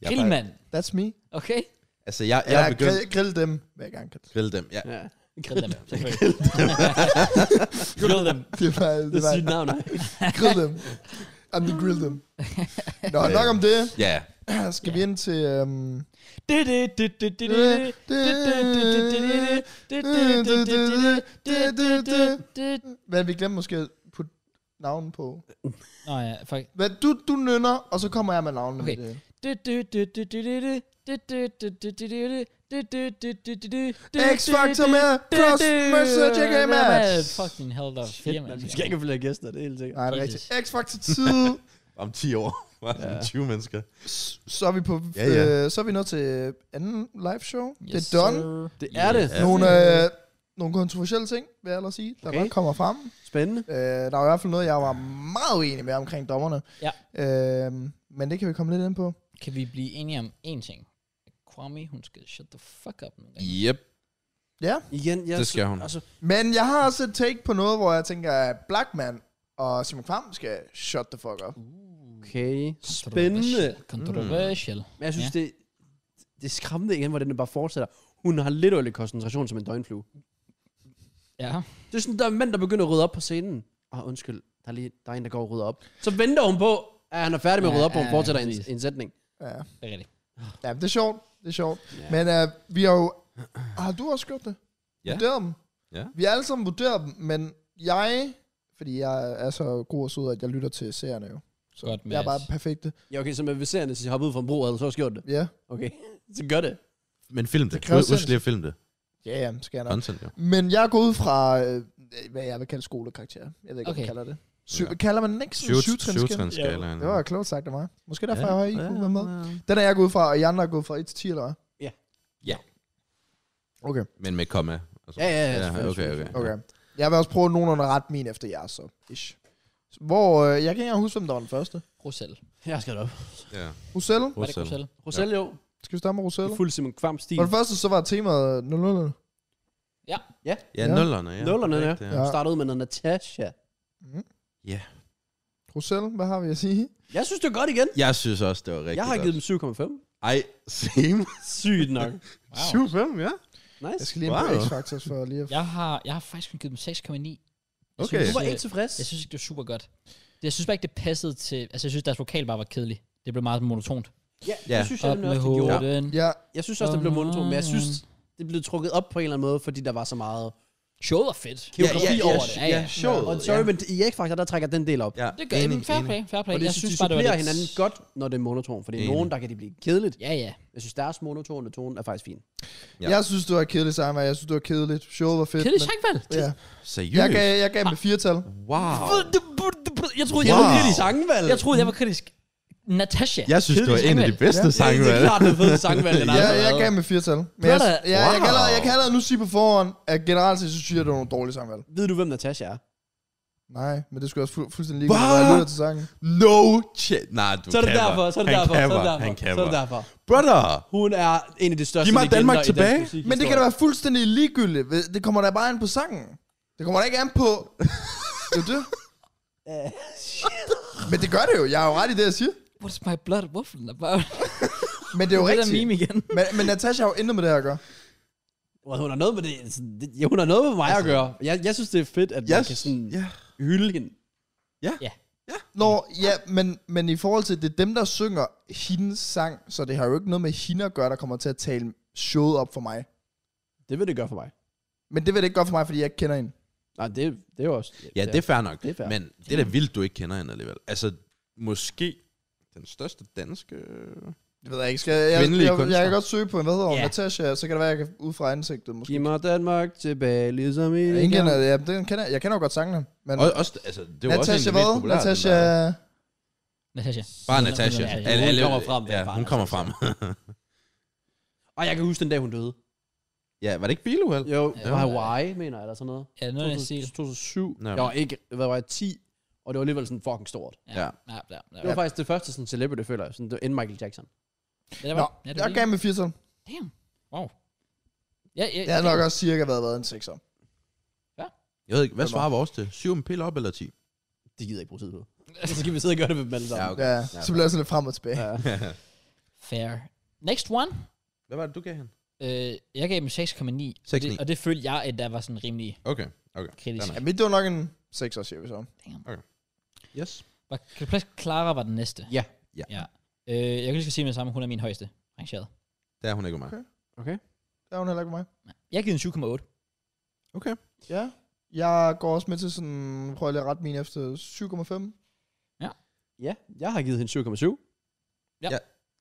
S4: Jeg
S1: Grillmand.
S3: That's me.
S1: Okay.
S4: Bare, altså, jeg, jeg
S3: Jeg,
S4: er
S3: jeg
S4: begyndt
S3: grill, grill dem, hver gang.
S4: at grille dem. Ja.
S2: Ja.
S1: Grill dem. selvfølgelig. Grill dem.
S3: Det er bare,
S2: *laughs* Det
S3: det er
S2: er
S3: bare
S2: sygt navn, *laughs* nej.
S3: grill dem. I'm the grill them. Nå, nok om det. *clears throat*
S4: Ja.
S3: Skal vi ind til... Øhm, men vi glemmer måske at putte navn på.
S1: Nå ja, fuck.
S3: Hvad, du, du nynner, og så kommer jeg med navnet.
S1: Okay.
S3: X-Factor med Cross Mercer JK Match.
S1: Fucking hell, der er fire
S2: Shit, man. Vi skal ikke have flere gæster, det er helt sikkert.
S3: Nej, det er
S1: Jesus.
S3: rigtigt. X-Factor tid.
S4: Om 10 år. *laughs* Var det
S2: Ja.
S4: 20 mennesker.
S3: Så er vi på,
S4: Ja, ja.
S3: Øh, så er vi nået til øh, anden live show. Yes,
S1: Yes,
S3: det er done.
S1: sir.
S2: Det er det.
S4: Ja.
S3: Nogle, øh, nogle kontroversielle ting, vil jeg ellers sige, der
S2: Okay.
S3: okay. kommer frem.
S2: Spændende.
S3: Øh, der var i hvert fald noget, jeg var meget uenig med omkring dommerne.
S1: Ja.
S3: Øh, men det kan vi komme lidt ind på.
S1: Kan vi blive enige om én ting? Kwame, hun skal shut the fuck up nogle gange.
S4: Yep.
S2: Igen, jeg,
S4: Det skal hun.
S2: Altså,
S3: Men jeg har også et take på noget, hvor jeg tænker, at Blackman og Simon Kvam skal shut the fuck up.
S2: okay, spændende.
S1: Controversial. Controversial.
S2: Men jeg synes,
S1: Ja.
S2: ja. det, det er skræmmende igen, hvordan den bare fortsætter. Hun har lidt øjelig koncentration som en døgnflue.
S1: Ja.
S2: Det er sådan, der er mænd, der begynder at rydde op på scenen. Ah, undskyld, der er, lige, der er en, der går og rydder op. Så venter hun på, at han er færdig med at
S1: Ja,
S2: rydde op, og hun
S1: ja,
S2: fortsætter en,
S1: præcis.
S2: en sætning.
S3: Ja,
S1: Det er rigtigt.
S3: ja det er sjovt. Det er sjovt. Ja. Men øh, vi har jo... Har du også gjort det?
S4: Ja.
S3: Vurderet dem?
S4: Ja.
S3: Vi har alle sammen vurderet dem, men jeg... Fordi jeg er så god og sød, at jeg lytter til seerne jo. Så
S1: Godt,
S3: jeg er bare
S1: Mads.
S3: perfekte.
S2: Ja, okay, så med viserende, så hopper ud fra en bro, eller så har du gjort det.
S3: Ja.
S2: Okay, *laughs* så gør det.
S4: Men film det.
S3: Det kræver
S4: Husk lige at filme det.
S3: Ja, ja, skal jeg nok.
S4: Content, jo.
S3: Men jeg går ud fra, øh, hvad jeg vil kalde skolekarakter. Jeg ved ikke, okay.
S1: Okay.
S3: hvad kalder det. Syv,
S4: Ja.
S3: Kalder man den ikke sådan en syvtrinskala?
S4: Syvtrinskala.
S3: Det var klogt sagt af mig. Måske derfor,
S4: Ja.
S3: jeg har I kunne være med. Den er jeg gået ud fra, og I andre er gået fra 1 til 10, eller hvad?
S2: Ja.
S4: Ja.
S3: Okay,
S4: Men med komma. Altså.
S2: Ja, ja, ja.
S4: ja,
S2: selvfølgelig,
S4: okay,
S2: selvfølgelig.
S4: okay.
S3: okay. Jeg vil også prøve nogenlunde at rette min efter jer, så. Ish. Hvor, øh, jeg kan ikke engang huske, hvem der var den første.
S1: Rosel.
S2: Jeg skal op.
S4: Ja.
S3: Roselle?
S1: Var det
S4: Rosel.
S1: Rosel?
S2: Rosel, jo.
S3: Skal vi starte med Roselle?
S2: I Fuld Simon Kvam stil.
S3: For det første, så var temaet 0
S4: Ja,
S3: Ja.
S4: nullerne. Ja.
S2: Nullerne, ja.
S4: Rigtigt,
S3: Ja.
S2: Starter ud med noget Natasha.
S3: Roselle, hvad har vi at sige?
S2: Jeg synes, det er godt igen.
S4: Jeg synes også, det var rigtig
S2: Jeg har givet dem 7,5.
S4: Ej, *laughs* same.
S2: Sygt
S1: *laughs*
S2: nok.
S1: Wow.
S4: 7-5, ja.
S2: Nice.
S3: Jeg skal lige ind på
S4: Wow.
S3: X-Factor for lige at...
S1: Jeg har, jeg har faktisk kun givet dem 6,9. Jeg
S4: Okay.
S2: Du
S1: Synes,
S2: var
S1: øh,
S2: ikke tilfreds.
S1: jeg synes ikke, det var super godt. Det- Jeg synes bare ikke, det passede til... Altså, jeg synes, deres vokal bare var kedelig. Det blev meget monotont.
S2: Ja,
S4: Ja.
S2: det synes jeg
S1: Op
S2: nemlig
S1: med
S2: også, det gjorde.
S1: hovedet. Mm.
S3: Ja,
S2: Jeg synes også, det blev monoton, men jeg synes, det blev trukket op på en eller anden måde, fordi der var så meget
S1: Showet var fedt.
S2: geografi
S4: ja,
S2: ja,
S4: ja,
S2: ja, over det.
S4: ja, sjovt,
S2: Og sorry,
S4: ja.
S2: men i X-Factor, der trækker den del op. Ja.
S4: ja.
S1: Det gør
S4: Enig,
S1: jeg. Fair
S4: enig.
S1: play, fair play.
S2: Og det,
S1: Jeg synes
S2: de
S1: bare, det var
S2: supplerer
S1: lidt...
S2: hinanden godt, når det er monoton, fordi
S4: Enig.
S2: nogen, der kan det blive kedeligt.
S1: Ja, ja.
S2: Jeg synes, deres monotone tone er faktisk fin.
S4: Ja.
S3: ja. Jeg synes, det var kedeligt samvær. Jeg synes, det var kedeligt. Showet var fedt.
S1: Kedelig
S3: men-
S1: sangvalg.
S3: Ja. Jeg
S4: Seriøst?
S3: gav, jeg gav med firetal.
S4: Wow.
S1: Jeg troede, jeg
S4: Wow.
S1: var
S2: I
S1: kritisk.
S2: sangvalg!
S1: Jeg troede, jeg var kritisk. Natasha.
S4: Jeg synes, det var en af de bedste
S3: Ja.
S4: sange,
S2: det er
S4: vel?
S2: klart, det er fedt sangvalg, den
S3: Ja,
S2: har
S3: jeg
S2: været.
S3: gav med firetal. Men jeg,
S1: Brother.
S3: ja, jeg, kan
S4: Wow.
S3: allerede, jeg kan allerede nu sige på forhånd, at generelt set, så synes jeg, det var nogle dårlige samvalg.
S2: Ved du, hvem Natasha er?
S3: Nej, men det skulle også fu- fuldstændig ligegyldigt, når jeg
S4: Hva?
S3: lytter til sangen.
S4: No shit. Nej, du
S2: Så er det
S4: kapper.
S2: derfor, så er det
S4: Han
S2: derfor, så er
S4: kapper.
S2: det derfor,
S4: Han
S2: så er det
S4: kapper.
S2: derfor.
S4: Brother!
S2: Hun er en af de største
S4: Giv mig
S2: legender
S4: Danmark
S2: i dansk
S4: tilbage.
S2: musikhistorie.
S3: Men det kan da være fuldstændig ligegyldigt. Ved- Det kommer da bare an på sangen. Det kommer da ikke an på... Det er *laughs* jo det. Men det gør det jo. Jeg har jo ret i det, jeg siger.
S1: What's my blood waffling about?
S3: Men det er jo
S1: Det er der
S3: rigtigt.
S1: meme igen.
S3: Men, men Natasha har jo intet med det her at gøre.
S2: Well, hun har noget med det. sådan, det- Ja, hun har noget med mig at gøre. Jeg, jeg synes, det er fedt, at
S4: Jeg
S2: man kan sådan
S4: Ja.
S2: hylde hende.
S3: Nå, ja, men, men i forhold til, det er dem, der synger hendes sang, så det har jo ikke noget med hende at gøre, der kommer til at tale showet op for mig.
S2: Det vil det gøre for mig.
S3: Men det vil det ikke gøre for mig, fordi jeg ikke kender hende.
S2: Nej, det, det er jo også...
S4: Ja, det er fair nok.
S2: Det er fair.
S4: Men det er da vildt, du ikke kender hende alligevel. Altså, måske den største danske...
S3: Det ved jeg ikke. Skal jeg, jeg,
S4: Kvindelige
S3: jeg, jeg,
S4: kunstner.
S3: kan godt søge på, hvad hedder hun,
S1: Ja.
S3: Natasha, så kan det være, jeg kan ud fra ansigtet måske.
S2: Giv mig Danmark tilbage, ligesom i...
S3: Jeg, ingen kender, ja, den kender, jeg kender jo godt sangene. Men
S4: Og, også, altså, det var også en af
S3: Natasha
S4: de mest
S3: hvad?
S4: populære. den
S3: Natasha...
S4: der-
S1: Natasha.
S4: Bare Natasha.
S1: Hun- hun-
S4: Alle- alle-
S2: kommer frem, det er
S4: Ja,
S2: bare
S4: hun kommer frem.
S2: Natasha. Og jeg kan huske den dag, hun døde.
S4: *laughs* ja, var det ikke biluheld?
S2: Jo,
S1: Ja.
S2: det var Hawaii, mener jeg, eller sådan noget.
S1: Ja, noget af den stil.
S2: 2007.
S4: Nå,
S2: Jeg var ikke, hvad var jeg, 10, og det var alligevel sådan fucking stort.
S4: Ja.
S1: Ja, ja, ja.
S2: Det var faktisk det første sådan celebrity, føler jeg. Sådan, det var inden Michael Jackson.
S1: Ja, der
S3: Nå,
S1: var, ja, det var
S3: jeg gav med 80.
S1: lige- Damn. Wow. Ja, ja,
S3: Jeg har nok også cirka været, været en 6'er.
S4: Jeg ved ikke, hvad svarer vores til? 7 en pille op eller 10?
S2: Det gider jeg ikke bruge tid på. Så skal vi sidde og gøre det med dem alle sammen.
S3: Ja, så bliver jeg sådan lidt frem og tilbage.
S2: Ja.
S1: Fair. Next one.
S4: *laughs* Hvad var det, du gav hende?
S1: Øh, jeg gav dem 6,9.
S4: 6,9.
S1: Og, det- og det følte jeg, at der var sådan rimelig
S4: Okay, okay.
S1: kritisk.
S4: Fair
S3: Ja, mit det var nok en 6'er, siger vi så.
S4: Yes.
S1: Var, kan du plads, Clara var den næste.
S2: Ja.
S4: Ja.
S1: ja. Øh, jeg kan lige skal sige med det samme, hun er min højeste rangeret.
S4: Der er hun ikke med mig.
S3: Okay.
S2: Okay.
S3: Det er hun heller ikke mig.
S1: Jeg giver den 7,8.
S4: Okay.
S3: Ja. Jeg går også med til sådan, prøver jeg lige at rette min efter 7,5.
S2: Ja, jeg har givet hende 7,7.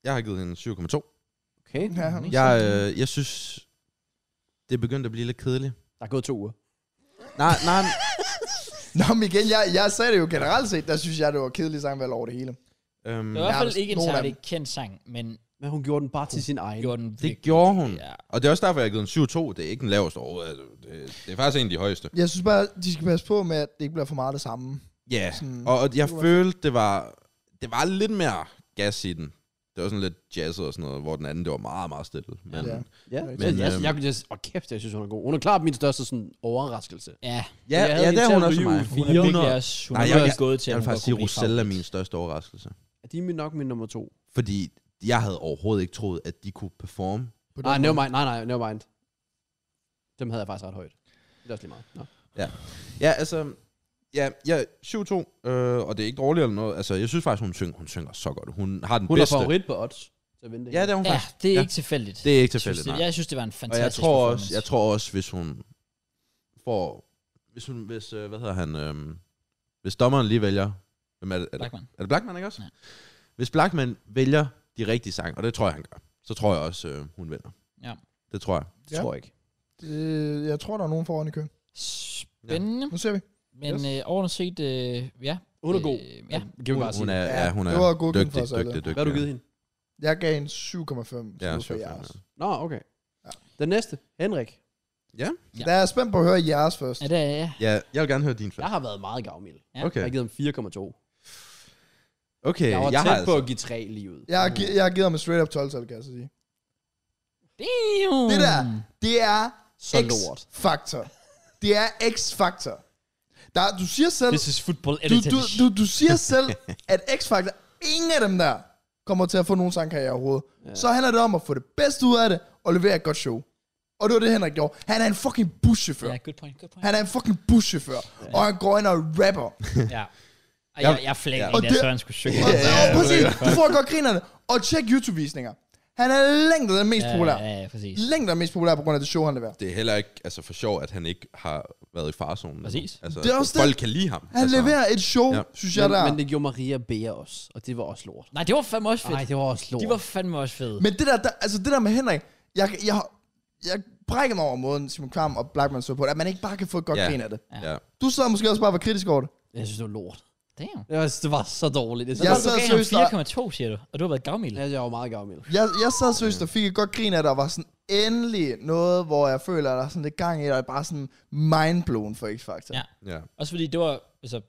S4: Jeg har givet hende 7,2.
S2: Okay.
S3: Ja,
S4: Jeg, øh, jeg synes, det er begyndt at blive lidt kedeligt.
S2: Der er gået to uger.
S4: Nej, nej.
S3: Nå, men igen, jeg, jeg sagde det jo generelt set, der synes jeg, det var kedeligt sangvalg over det hele.
S4: øhm,
S1: Det var i hvert fald
S3: Ja,
S1: ikke en
S3: nogle af
S1: særlig kendt sang, men
S2: Men hun gjorde den bare til sin egen.
S1: gjorde den
S4: det
S1: virkelig-
S4: gjorde hun.
S1: Ja.
S4: Og det er også derfor, jeg har givet en 7,2. Det er ikke den laveste overhovedet. Altså, Det, det er faktisk en af de højeste.
S3: Jeg synes bare, de skal passe på med, at det ikke bliver for meget det samme.
S4: Ja, yeah.
S3: Sådan,
S4: Og, og jeg
S3: Det var-
S4: følte, det var, det var lidt mere gas i den. Det var sådan lidt jazzet og sådan noget, hvor den anden, det var meget, meget stille. Men
S3: Ja.
S4: ja,
S2: Ja,
S3: Men,
S2: men, jeg, jeg,
S4: øhm,
S2: jeg, jeg, og kæft, jeg synes, hun er god. Hun er klart min største sådan, overraskelse.
S1: Ja,
S4: ja,
S2: Jeg havde
S4: ja
S2: en
S4: det er hun
S2: til at
S4: også for
S2: ryge
S4: mig.
S2: ud
S1: hun er virkelig
S4: 100.
S1: også, hun
S4: Nej,
S1: er
S4: jeg-
S1: virkelig gået til,
S4: Jeg
S1: at
S4: vil
S1: hun
S4: faktisk
S1: godt
S4: sige,
S1: kunne blive
S4: Rosella er
S1: favorit.
S4: min største overraskelse.
S2: Er de min- nok min nummer to?
S4: Fordi jeg havde overhovedet ikke troet, at de kunne performe.
S3: på den
S2: Nej,
S1: Ah,
S3: måde.
S2: nevermind. Nej, nej, nevermind. Dem havde jeg faktisk ret højt. Det er også lige meget. Nå.
S4: Ja, altså... Ja, ja 7-2, øh, og det er ikke dårligt eller noget. Altså, jeg synes faktisk, hun synger, hun synger så godt. Hun har den
S2: Hun
S4: bedste.
S2: er favorit på odds. Så vent
S4: Ja, det er hun
S1: Ja,
S4: faktisk.
S1: det er
S4: Ja.
S1: ikke tilfældigt.
S4: Det er ikke
S1: Jeg synes,
S4: tilfældigt,
S1: det-
S4: nej.
S1: Jeg synes, det var en
S4: Og jeg
S1: fantastisk
S4: tror også,
S1: performance.
S4: jeg tror også, hvis hun får, hvis hun, hvis, øh, hvad hedder han, øh, hvis dommeren lige vælger, hvem er det, er det,
S1: Blackman.
S4: er det Blackman, ikke også?
S1: Ja.
S4: Ja. Hvis Blackman vælger de rigtige sange, og det tror jeg, han gør, så tror jeg også, øh, hun vinder.
S1: Ja.
S4: Det tror jeg.
S2: Det tror jeg ikke.
S3: Øh, jeg tror, der er nogen foran i køen.
S1: Spændende.
S3: Nu ser vi.
S1: Men
S3: Yes.
S1: øh, overordnet set, øh, ja.
S2: Hun er god.
S1: Øh, ja.
S2: Kan vi
S4: Hun,
S2: bare
S4: hun
S2: sige.
S4: er,
S3: Ja,
S4: ja, hun
S3: det
S4: er
S3: var god
S4: dygtig,
S3: for os alle.
S4: dygtig, dygtig,
S2: Hvad har du givet hende?
S3: Jeg gav en 7,5. så
S4: Ja,
S3: nu
S4: altså.
S3: får
S4: sjovt,
S3: jeg
S4: ja.
S3: jeres.
S2: Nå, okay.
S3: Ja.
S2: Den næste, Henrik.
S1: Ja.
S3: Der er jeg spændt på at høre jeres først.
S1: ja, det er ja.
S4: ja, jeg vil gerne høre din
S2: Jeg
S4: først.
S2: har været meget gavmild.
S1: Ja.
S4: Okay,
S2: Jeg har givet ham 4,2.
S4: okay.
S2: Jeg var
S4: jeg
S2: tæt
S4: har
S2: på
S4: altså,
S2: at give 3 lige ud. Mm.
S3: Jeg har, gi- jeg har givet ham et straight up 12 tal kan jeg så sige.
S1: Damn.
S3: Det der, det er
S2: Så lort.
S3: X-faktor. Det er X-faktor. Der, du siger selv,
S1: This is football
S3: du,
S1: edited.
S3: du, du, du siger selv, at X-faktor, ingen af dem der kommer til at få nogen sangkarriere overhovedet. Ja. Så handler det om at få det bedste ud af det, og levere et godt show. Og det var det, Henrik gjorde. Han er en fucking buschauffør.
S1: Ja,
S3: Ja.
S1: good point, good point.
S3: Han er en fucking buschauffør. Ja. Og han går ind og rapper.
S1: ja. Og jeg, jeg flækker
S3: Og
S1: ja.
S3: det-
S1: der, så han skulle synge.
S3: Og, ja, ja, præcis, du får godt grinerne. Og tjek YouTube-visninger. Han er længden den mest populær.
S1: Ja, ja, præcis.
S3: Længden er mest populær på grund af det show, han leverer.
S4: det er heller ikke altså for sjov, at han ikke har været i farzonen.
S1: Præcis.
S4: Altså,
S3: Det er også det.
S4: folk kan lide ham.
S3: Han
S4: altså,
S3: leverer et show, ja.
S4: Ja.
S3: synes jeg,
S2: Men,
S3: der.
S2: men det gjorde Maria Bea også, og det var også lort.
S1: Nej, det var fandme også fedt.
S2: Nej, det var også lort.
S1: De var fandme også fede.
S3: Men det der, der, altså det der med Henrik, jeg, jeg, jeg brækker mig over måden, Simon Kram og Blackman så på det, at man ikke bare kan få et godt
S4: Ja.
S3: grin af det.
S4: Ja.
S3: Du sad måske også bare og var kritisk over det.
S2: Jeg synes, det var lort.
S1: Damn.
S2: Jeg synes, det var så dårligt. Jeg, synes,
S3: Jeg
S1: Jeg
S2: det
S1: så
S3: sad
S1: gav ham
S3: seriøst og-
S1: 4,2, siger du. Og du har været gavmild.
S2: var, ja, jeg var meget gavmild.
S3: Jeg, jeg sad seriøst og fik et godt grin af det, og var sådan endelig noget, hvor jeg føler, at der er sådan lidt gang i, det, og jeg er bare sådan mindblown for X-Factor.
S1: Ja.
S4: ja.
S1: Også fordi det var, altså,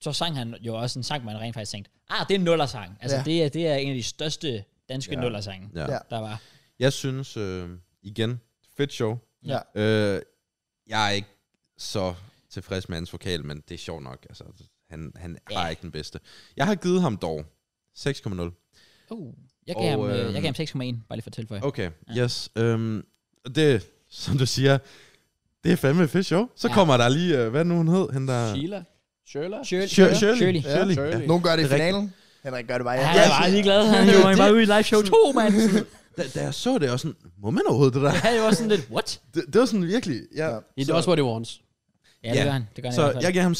S1: så sang han jo også en sang, man rent faktisk tænkte, ah, det er en nullersang. Altså,
S3: Ja.
S1: ja. det, er, det er en af de største danske ja.
S4: Ja.
S1: nullersange,
S4: ja.
S3: Ja.
S4: ja.
S1: der var.
S4: Jeg synes, øh, igen, fedt show.
S3: Ja.
S4: Øh, jeg er ikke så tilfreds med hans vokal, men det er sjovt nok. Altså, han han
S1: Ja.
S4: ja. har ikke den bedste. Jeg har givet ham dog 6,0.
S1: Oh, jeg gav
S4: Og,
S1: ham, øh,
S4: øhm,
S1: jeg gav ham 6,1, bare lige for at tilføje.
S4: Okay, ja. yes. Øhm, og det, som du siger, det er fandme et fedt show. Så
S1: Ja.
S4: ja. kommer der lige, øh, hvad er det nu hun hed? Hende der...
S2: Sheila? Sheila?
S1: Shirley.
S4: Shir- Shirley.
S1: Shirley.
S4: Ja. Shirley.
S2: Shirley.
S4: Ja.
S3: Nogen gør det i
S4: Det er
S3: finalen. Henrik gør det bare.
S1: Ja, jeg var lige glad. Han var jo bare ude i live show 2, mand. *laughs*
S4: Da, da jeg så det, jeg var sådan, må man overhovedet det der?
S1: Det havde jo også sådan lidt, what?
S4: Det, det var sådan virkelig... Ja.
S3: Ja.
S4: Ja.
S2: Ja, det er også what it wants.
S1: Ja, det
S4: Ja.
S1: gør han. Det gør han i hvert
S4: Så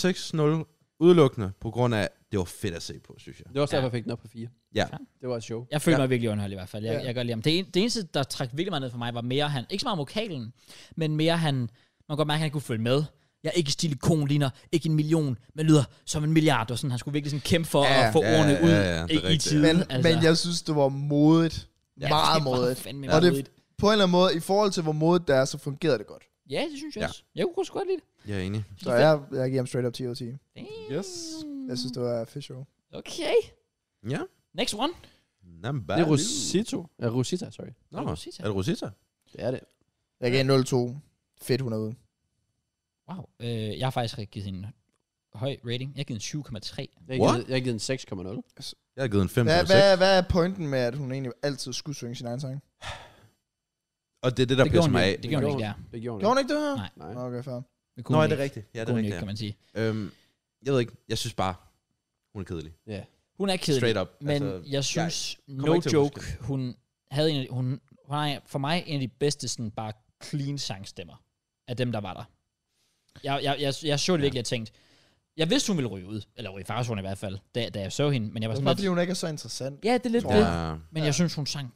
S1: fald.
S4: jeg gav ham 6,0 udelukkende på grund af, det var fedt at se på, synes jeg.
S2: Det var også
S1: Ja.
S2: derfor, jeg fik den op på 4.
S4: Ja.
S2: Det var et show.
S1: Jeg følte
S4: Ja.
S1: mig virkelig underholdt i hvert fald. Jeg,
S3: Ja.
S1: jeg gør lige om. Det, en, det eneste, der trak virkelig meget ned for mig, var mere han, ikke så meget vokalen, men mere han, man kan godt mærke, at han kunne følge med. Jeg er ikke stilikon, ligner ikke en million, men lyder som en milliard, og sådan, han skulle virkelig sådan kæmpe for
S3: Ja,
S1: at få
S4: ja,
S1: ordene
S4: ja,
S1: ud
S4: ja, det er
S1: i, i
S4: rigtigt, ja.
S1: tiden.
S3: Men, altså. men jeg synes, det var modigt. Ja, meget
S1: det var
S3: modigt.
S1: fandme
S3: Og det,
S1: modigt.
S3: på en eller anden måde, i forhold til hvor modigt det er, så fungerede det godt.
S1: Ja, det synes jeg
S4: Ja.
S1: også. Jeg kunne også godt lide det.
S4: Jeg er enig.
S3: Så jeg, jeg giver ham straight up 10 ud af 10.
S4: Yes.
S3: Jeg synes, det var et fedt show.
S1: Okay.
S4: Ja.
S1: Next one.
S4: Namba.
S2: Det er Rosito. Ja, Rosita, sorry.
S4: Nå,
S1: Nå,
S4: er det Rosita?
S2: Det er det.
S3: Jeg gav 0-2. Fedt 100 ud.
S1: Wow. Øh, jeg har faktisk givet hende en høj rating. Jeg har givet en 7,3.
S2: Jeg har givet, jeg har givet en 6,0.
S4: Jeg har givet en 5
S3: Hvad, hvad, hvad er pointen med, at hun egentlig altid skulle synge sin egen sang?
S4: Og det er det, der
S1: det gjorde
S4: pisser
S1: hun,
S4: mig
S1: jo-
S4: af.
S1: det gjorde hun ikke der.
S2: Det gjorde
S3: Gjorde hun ikke det her?
S1: Nej.
S2: Nej.
S3: Nå, Okay, fair.
S1: Det kunne hun
S4: Nå, er det
S1: ikke.
S4: rigtigt? Ja, det er
S1: Kunne hun
S4: rigtigt.
S1: ikke, kan man sige.
S4: ja. Øhm, jeg ved ikke, jeg synes bare, hun er kedelig.
S1: Hun er kedelig.
S4: Straight up.
S1: Men
S4: Altså,
S1: altså, jeg synes, jeg no
S4: ikke til at
S1: joke, hun havde en af, hun, hun har for mig en af de bedste sådan bare clean sangstemmer af dem, der var der. Jeg, jeg, jeg, jeg så det virkelig, jeg tænkte, jeg vidste, hun ville ryge ud, eller ryge i farezonen i hvert fald, da, da jeg så hende, men jeg var
S3: Det er
S1: sådan
S3: bare, fordi
S1: lidt,
S3: hun ikke er så interessant.
S1: ja, det er lidt
S3: Tror
S1: det,
S3: jeg.
S4: ja.
S1: men jeg synes, hun sang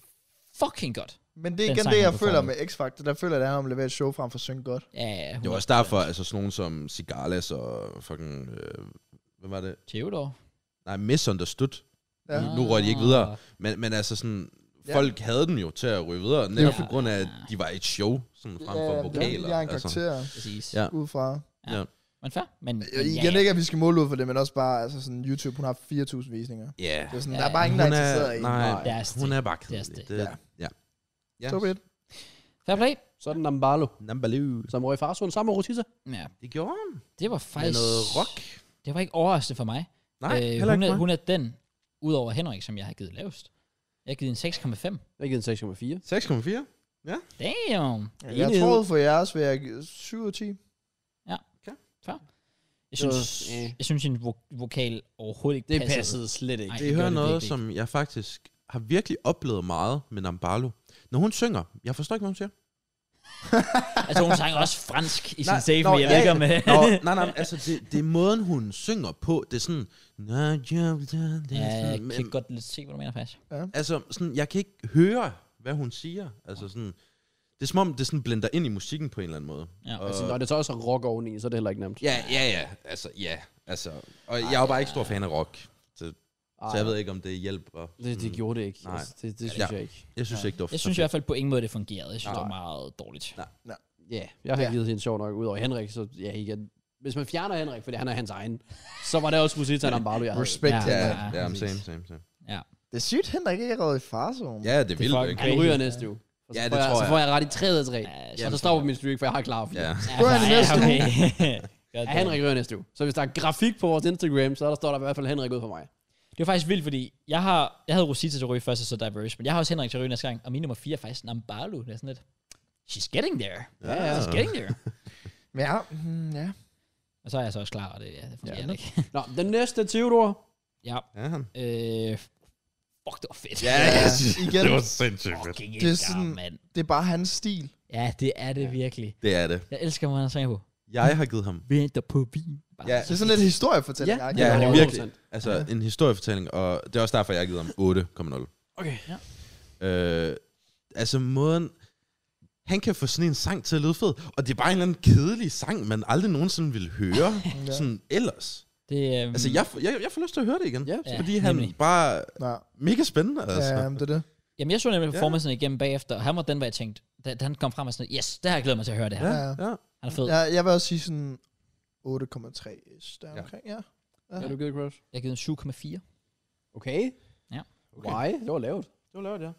S1: fucking godt.
S3: Men det er
S1: Den
S3: igen
S1: sang,
S3: det,
S1: hun
S3: jeg føler med
S1: performede.
S3: X-Factor. Der føler jeg, at han leverer et show frem for at synge godt.
S1: Ja, ja, hun
S4: Det var også derfor, altså sådan nogen som Cigalas og fucking, øh, hvad var det?
S1: Theodor.
S4: Nej, Misunderstood.
S3: Ja.
S4: Ja. Nu, nu røg de ikke videre. Men, men altså sådan,
S3: Ja.
S4: folk havde dem jo til at ryge videre, netop på grund af, at de var i et show, sådan frem for
S3: Det er
S4: vokaler.
S3: fordi, de har en
S4: altså.
S3: karakter
S1: Præcis.
S4: Ja. Øh,
S1: Ja.
S3: ud fra.
S1: Men fair. Men, men
S3: Jeg, igen ikke, at vi skal måle ud for det, men også bare, altså sådan, YouTube, hun har 4.000 visninger.
S4: Ja.
S3: Det er sådan,
S1: Ja,
S3: der er bare ingen, der er
S4: Hun
S3: interesseret
S4: er,
S3: i.
S1: Det
S4: nej,
S1: er stil.
S4: hun er bare
S1: Det er stil.
S4: kedelig. Det,
S3: Ja.
S4: ja. ja. ja.
S3: Stop it.
S1: Fair play.
S2: Så er den Nambalo,
S4: Nambalu.
S2: som røg i farzonen sammen med Rotissa.
S1: Ja,
S4: Det gjorde hun.
S1: det var
S4: Med
S1: faktisk...
S4: noget rock.
S1: Det var ikke overraskende for mig.
S4: Nej, øh, heller
S1: hun,
S4: ikke
S1: er,
S4: hun
S1: hun er den, udover Henrik, som jeg har givet lavest. Jeg har givet en 6,5.
S2: Jeg har givet en 6,4.
S4: 6,4.
S1: Damn!
S3: Jeg troede for jeres, vil jeg give 7 ud af 10.
S1: Jeg synes,
S2: Det var-
S1: øh.
S2: øh.
S1: jeg synes en vo- vokal overhovedet ikke
S2: Det
S1: passede.
S2: passede slet ikke.
S1: Ej,
S2: Ej.
S4: Det
S1: gjorde
S4: hører noget,
S1: virkelig ikke.
S4: som jeg faktisk har virkelig oplevet meget med Nambalo. Når hun synger, jeg forstår ikke, hvad hun siger.
S1: Altså, hun sang også fransk i sin
S4: Nej,
S1: save,
S4: nå,
S1: men jeg
S4: ja,
S1: ved ikke
S4: ja.
S1: om...
S4: *laughs*
S1: øh, *laughs*
S4: Nå, nej, nej, altså det, det er måden, hun synger på. Det er sådan... Ja,
S1: ja, jeg
S4: jeg
S1: kan godt lidt se, hvad du mener, faktisk.
S4: Altså, sådan, jeg kan ikke høre, hvad hun siger. Altså sådan... Det er som om, det sådan blender ind i musikken på en eller anden måde.
S1: Ja.
S4: Og-
S2: Altså, når det så også er rock oveni, så er det heller ikke nemt.
S4: Ja, ja, ja. Altså, ja. Altså, og jeg er jo bare ikke stor fan af rock. Så, så jeg ved ikke, om det hjælper.
S2: Det, det gjorde det ikke.
S4: Nej.
S2: Altså, det, det
S4: Ja.
S2: synes jeg ikke.
S4: Jeg synes ikke, det var
S1: Jeg synes i hvert fald på ingen måde, det fungerede. Jeg synes, det var
S4: Nej.
S1: meget dårligt.
S4: Nej.
S2: Ja, jeg har
S3: Ja.
S2: ja. givet hende sjov nok. Udover Henrik, så ja, igen. Hvis man fjerner Henrik, fordi han er hans egen, så var det også Musita Nambalo, jeg havde.
S3: Respekt
S1: Ja.
S3: til
S4: Ja,
S3: ja.
S4: ja, ja, ja
S2: præcis.
S4: same, same, same.
S3: Det er sygt, Henrik ikke er røget i farzonen.
S4: Ja, det er
S1: fucking
S4: vildt, ikke?
S2: Han ryger næste uge. Og så
S4: Ja, det
S2: får jeg,
S4: tror
S2: Så
S4: jeg.
S2: får jeg ret i 3 ud af 3.
S1: Ja,
S2: og
S1: sådan-
S2: så stopper min streak, for jeg har klar fire.
S4: Ja.
S1: Ja,
S3: Spørg hende næste
S1: okay. *laughs* God
S2: Ja,
S1: damn.
S2: Henrik ryger næste uge. Så hvis der er grafik på vores Instagram, så der står der i hvert fald Henrik ud for mig.
S1: Det var faktisk vildt, fordi jeg, har, jeg havde Rosita til at ryge først, og så Diverse, men jeg har også Henrik til at ryge næste gang, og min nummer 4 er faktisk Nambalu. Det er sådan lidt, she's getting there.
S4: Ja, ja.
S1: She's getting there.
S3: Men ja, mm, ja.
S1: og så er jeg så også klar, og det, ja, det fungerer
S2: Ja.
S1: ikke. *laughs*
S2: Nå, den næste Theodor.
S1: ja.
S4: Ja, han.
S1: Øh, fuck, det var fedt.
S4: Ja,
S1: *laughs*
S3: Ja,
S4: jeg synes,
S3: igen.
S4: det var sindssygt fedt.
S1: Fucking
S3: Det
S1: det
S3: er
S1: er
S3: sådan-
S1: mand.
S3: Det er bare hans stil.
S1: Ja, det er det virkelig.
S4: Det er det.
S1: Jeg elsker, hvordan han synger på.
S4: Jeg har givet ham.
S1: Venter på vin. Bare
S4: Ja.
S3: Det er sådan lidt historiefortælling.
S2: Ja.
S4: Ja, han er
S2: Ja,
S4: virkelig.
S2: 100%.
S4: Altså, en historiefortælling, og det er også derfor, jeg har givet ham 8,0.
S2: Okay.
S4: Øh, altså, måden... Han kan få sådan en sang til at lyde fed, og det er bare en eller anden kedelig sang, man aldrig nogensinde ville høre
S3: Ja.
S4: sådan ellers.
S1: Det, øhm,
S3: Mm.
S4: Altså, jeg, får- jeg, jeg får lyst til at høre det igen,
S2: Ja.
S4: fordi
S1: Ja,
S4: han
S1: nemlig.
S4: bare
S3: Ja,
S4: mega spændende, altså.
S3: ja, det er det.
S1: Jamen, jeg så nemlig
S4: Ja.
S1: performancen igennem bagefter, og han var den, hvor jeg tænkte, da, da han kom frem og sådan, yes, det har jeg glædet mig til at høre det her.
S4: Ja,
S3: Ja.
S4: ja.
S1: Han er fed.
S3: Jeg, jeg vil også sige sådan 8,3 ish der
S4: Ja.
S3: omkring, ja.
S2: Ja. Er du givet crush?
S1: Jeg har givet en 7,4.
S2: Okay.
S1: Ja.
S2: Okay. Why? Det var lavt.
S4: Det var lavet, ja.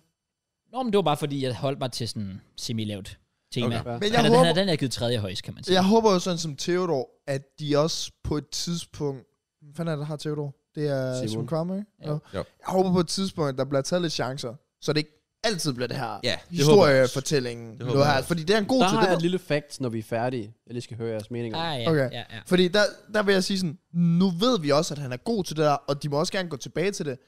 S1: Nå, men det var bare fordi, jeg holdt mig til sådan semi-lavt tema.
S4: Okay.
S2: Ja.
S3: Men
S1: Jeg
S3: jeg
S1: han, er,
S3: håber,
S1: han er den, jeg har givet tredje højst, kan man sige.
S3: jeg håber jo sådan som Theodor, at de også på et tidspunkt... Hvad fanden er det, der har Theodor? Det er
S2: Simon.
S3: Simon Kramer, ikke?
S1: Jo.
S4: Jo.
S3: Jeg håber på et tidspunkt, der bliver taget lidt chancer, så det ikke altid bliver det her
S4: Ja, det håber jeg også.
S3: historiefortællingen.
S4: Det håber
S3: noget
S4: jeg
S3: her.
S4: også.
S3: Fordi det er en god
S2: Der
S3: til
S2: har
S3: det.
S2: jeg
S3: ved-
S2: et lille fact, når vi er færdige. Jeg lige skal høre jeres meninger.
S1: Ah, ja,
S3: Okay.
S1: ja, ja.
S3: Fordi der, der vil jeg sige sådan, nu ved vi også, at han er god til det der, og de må også gerne gå tilbage til det.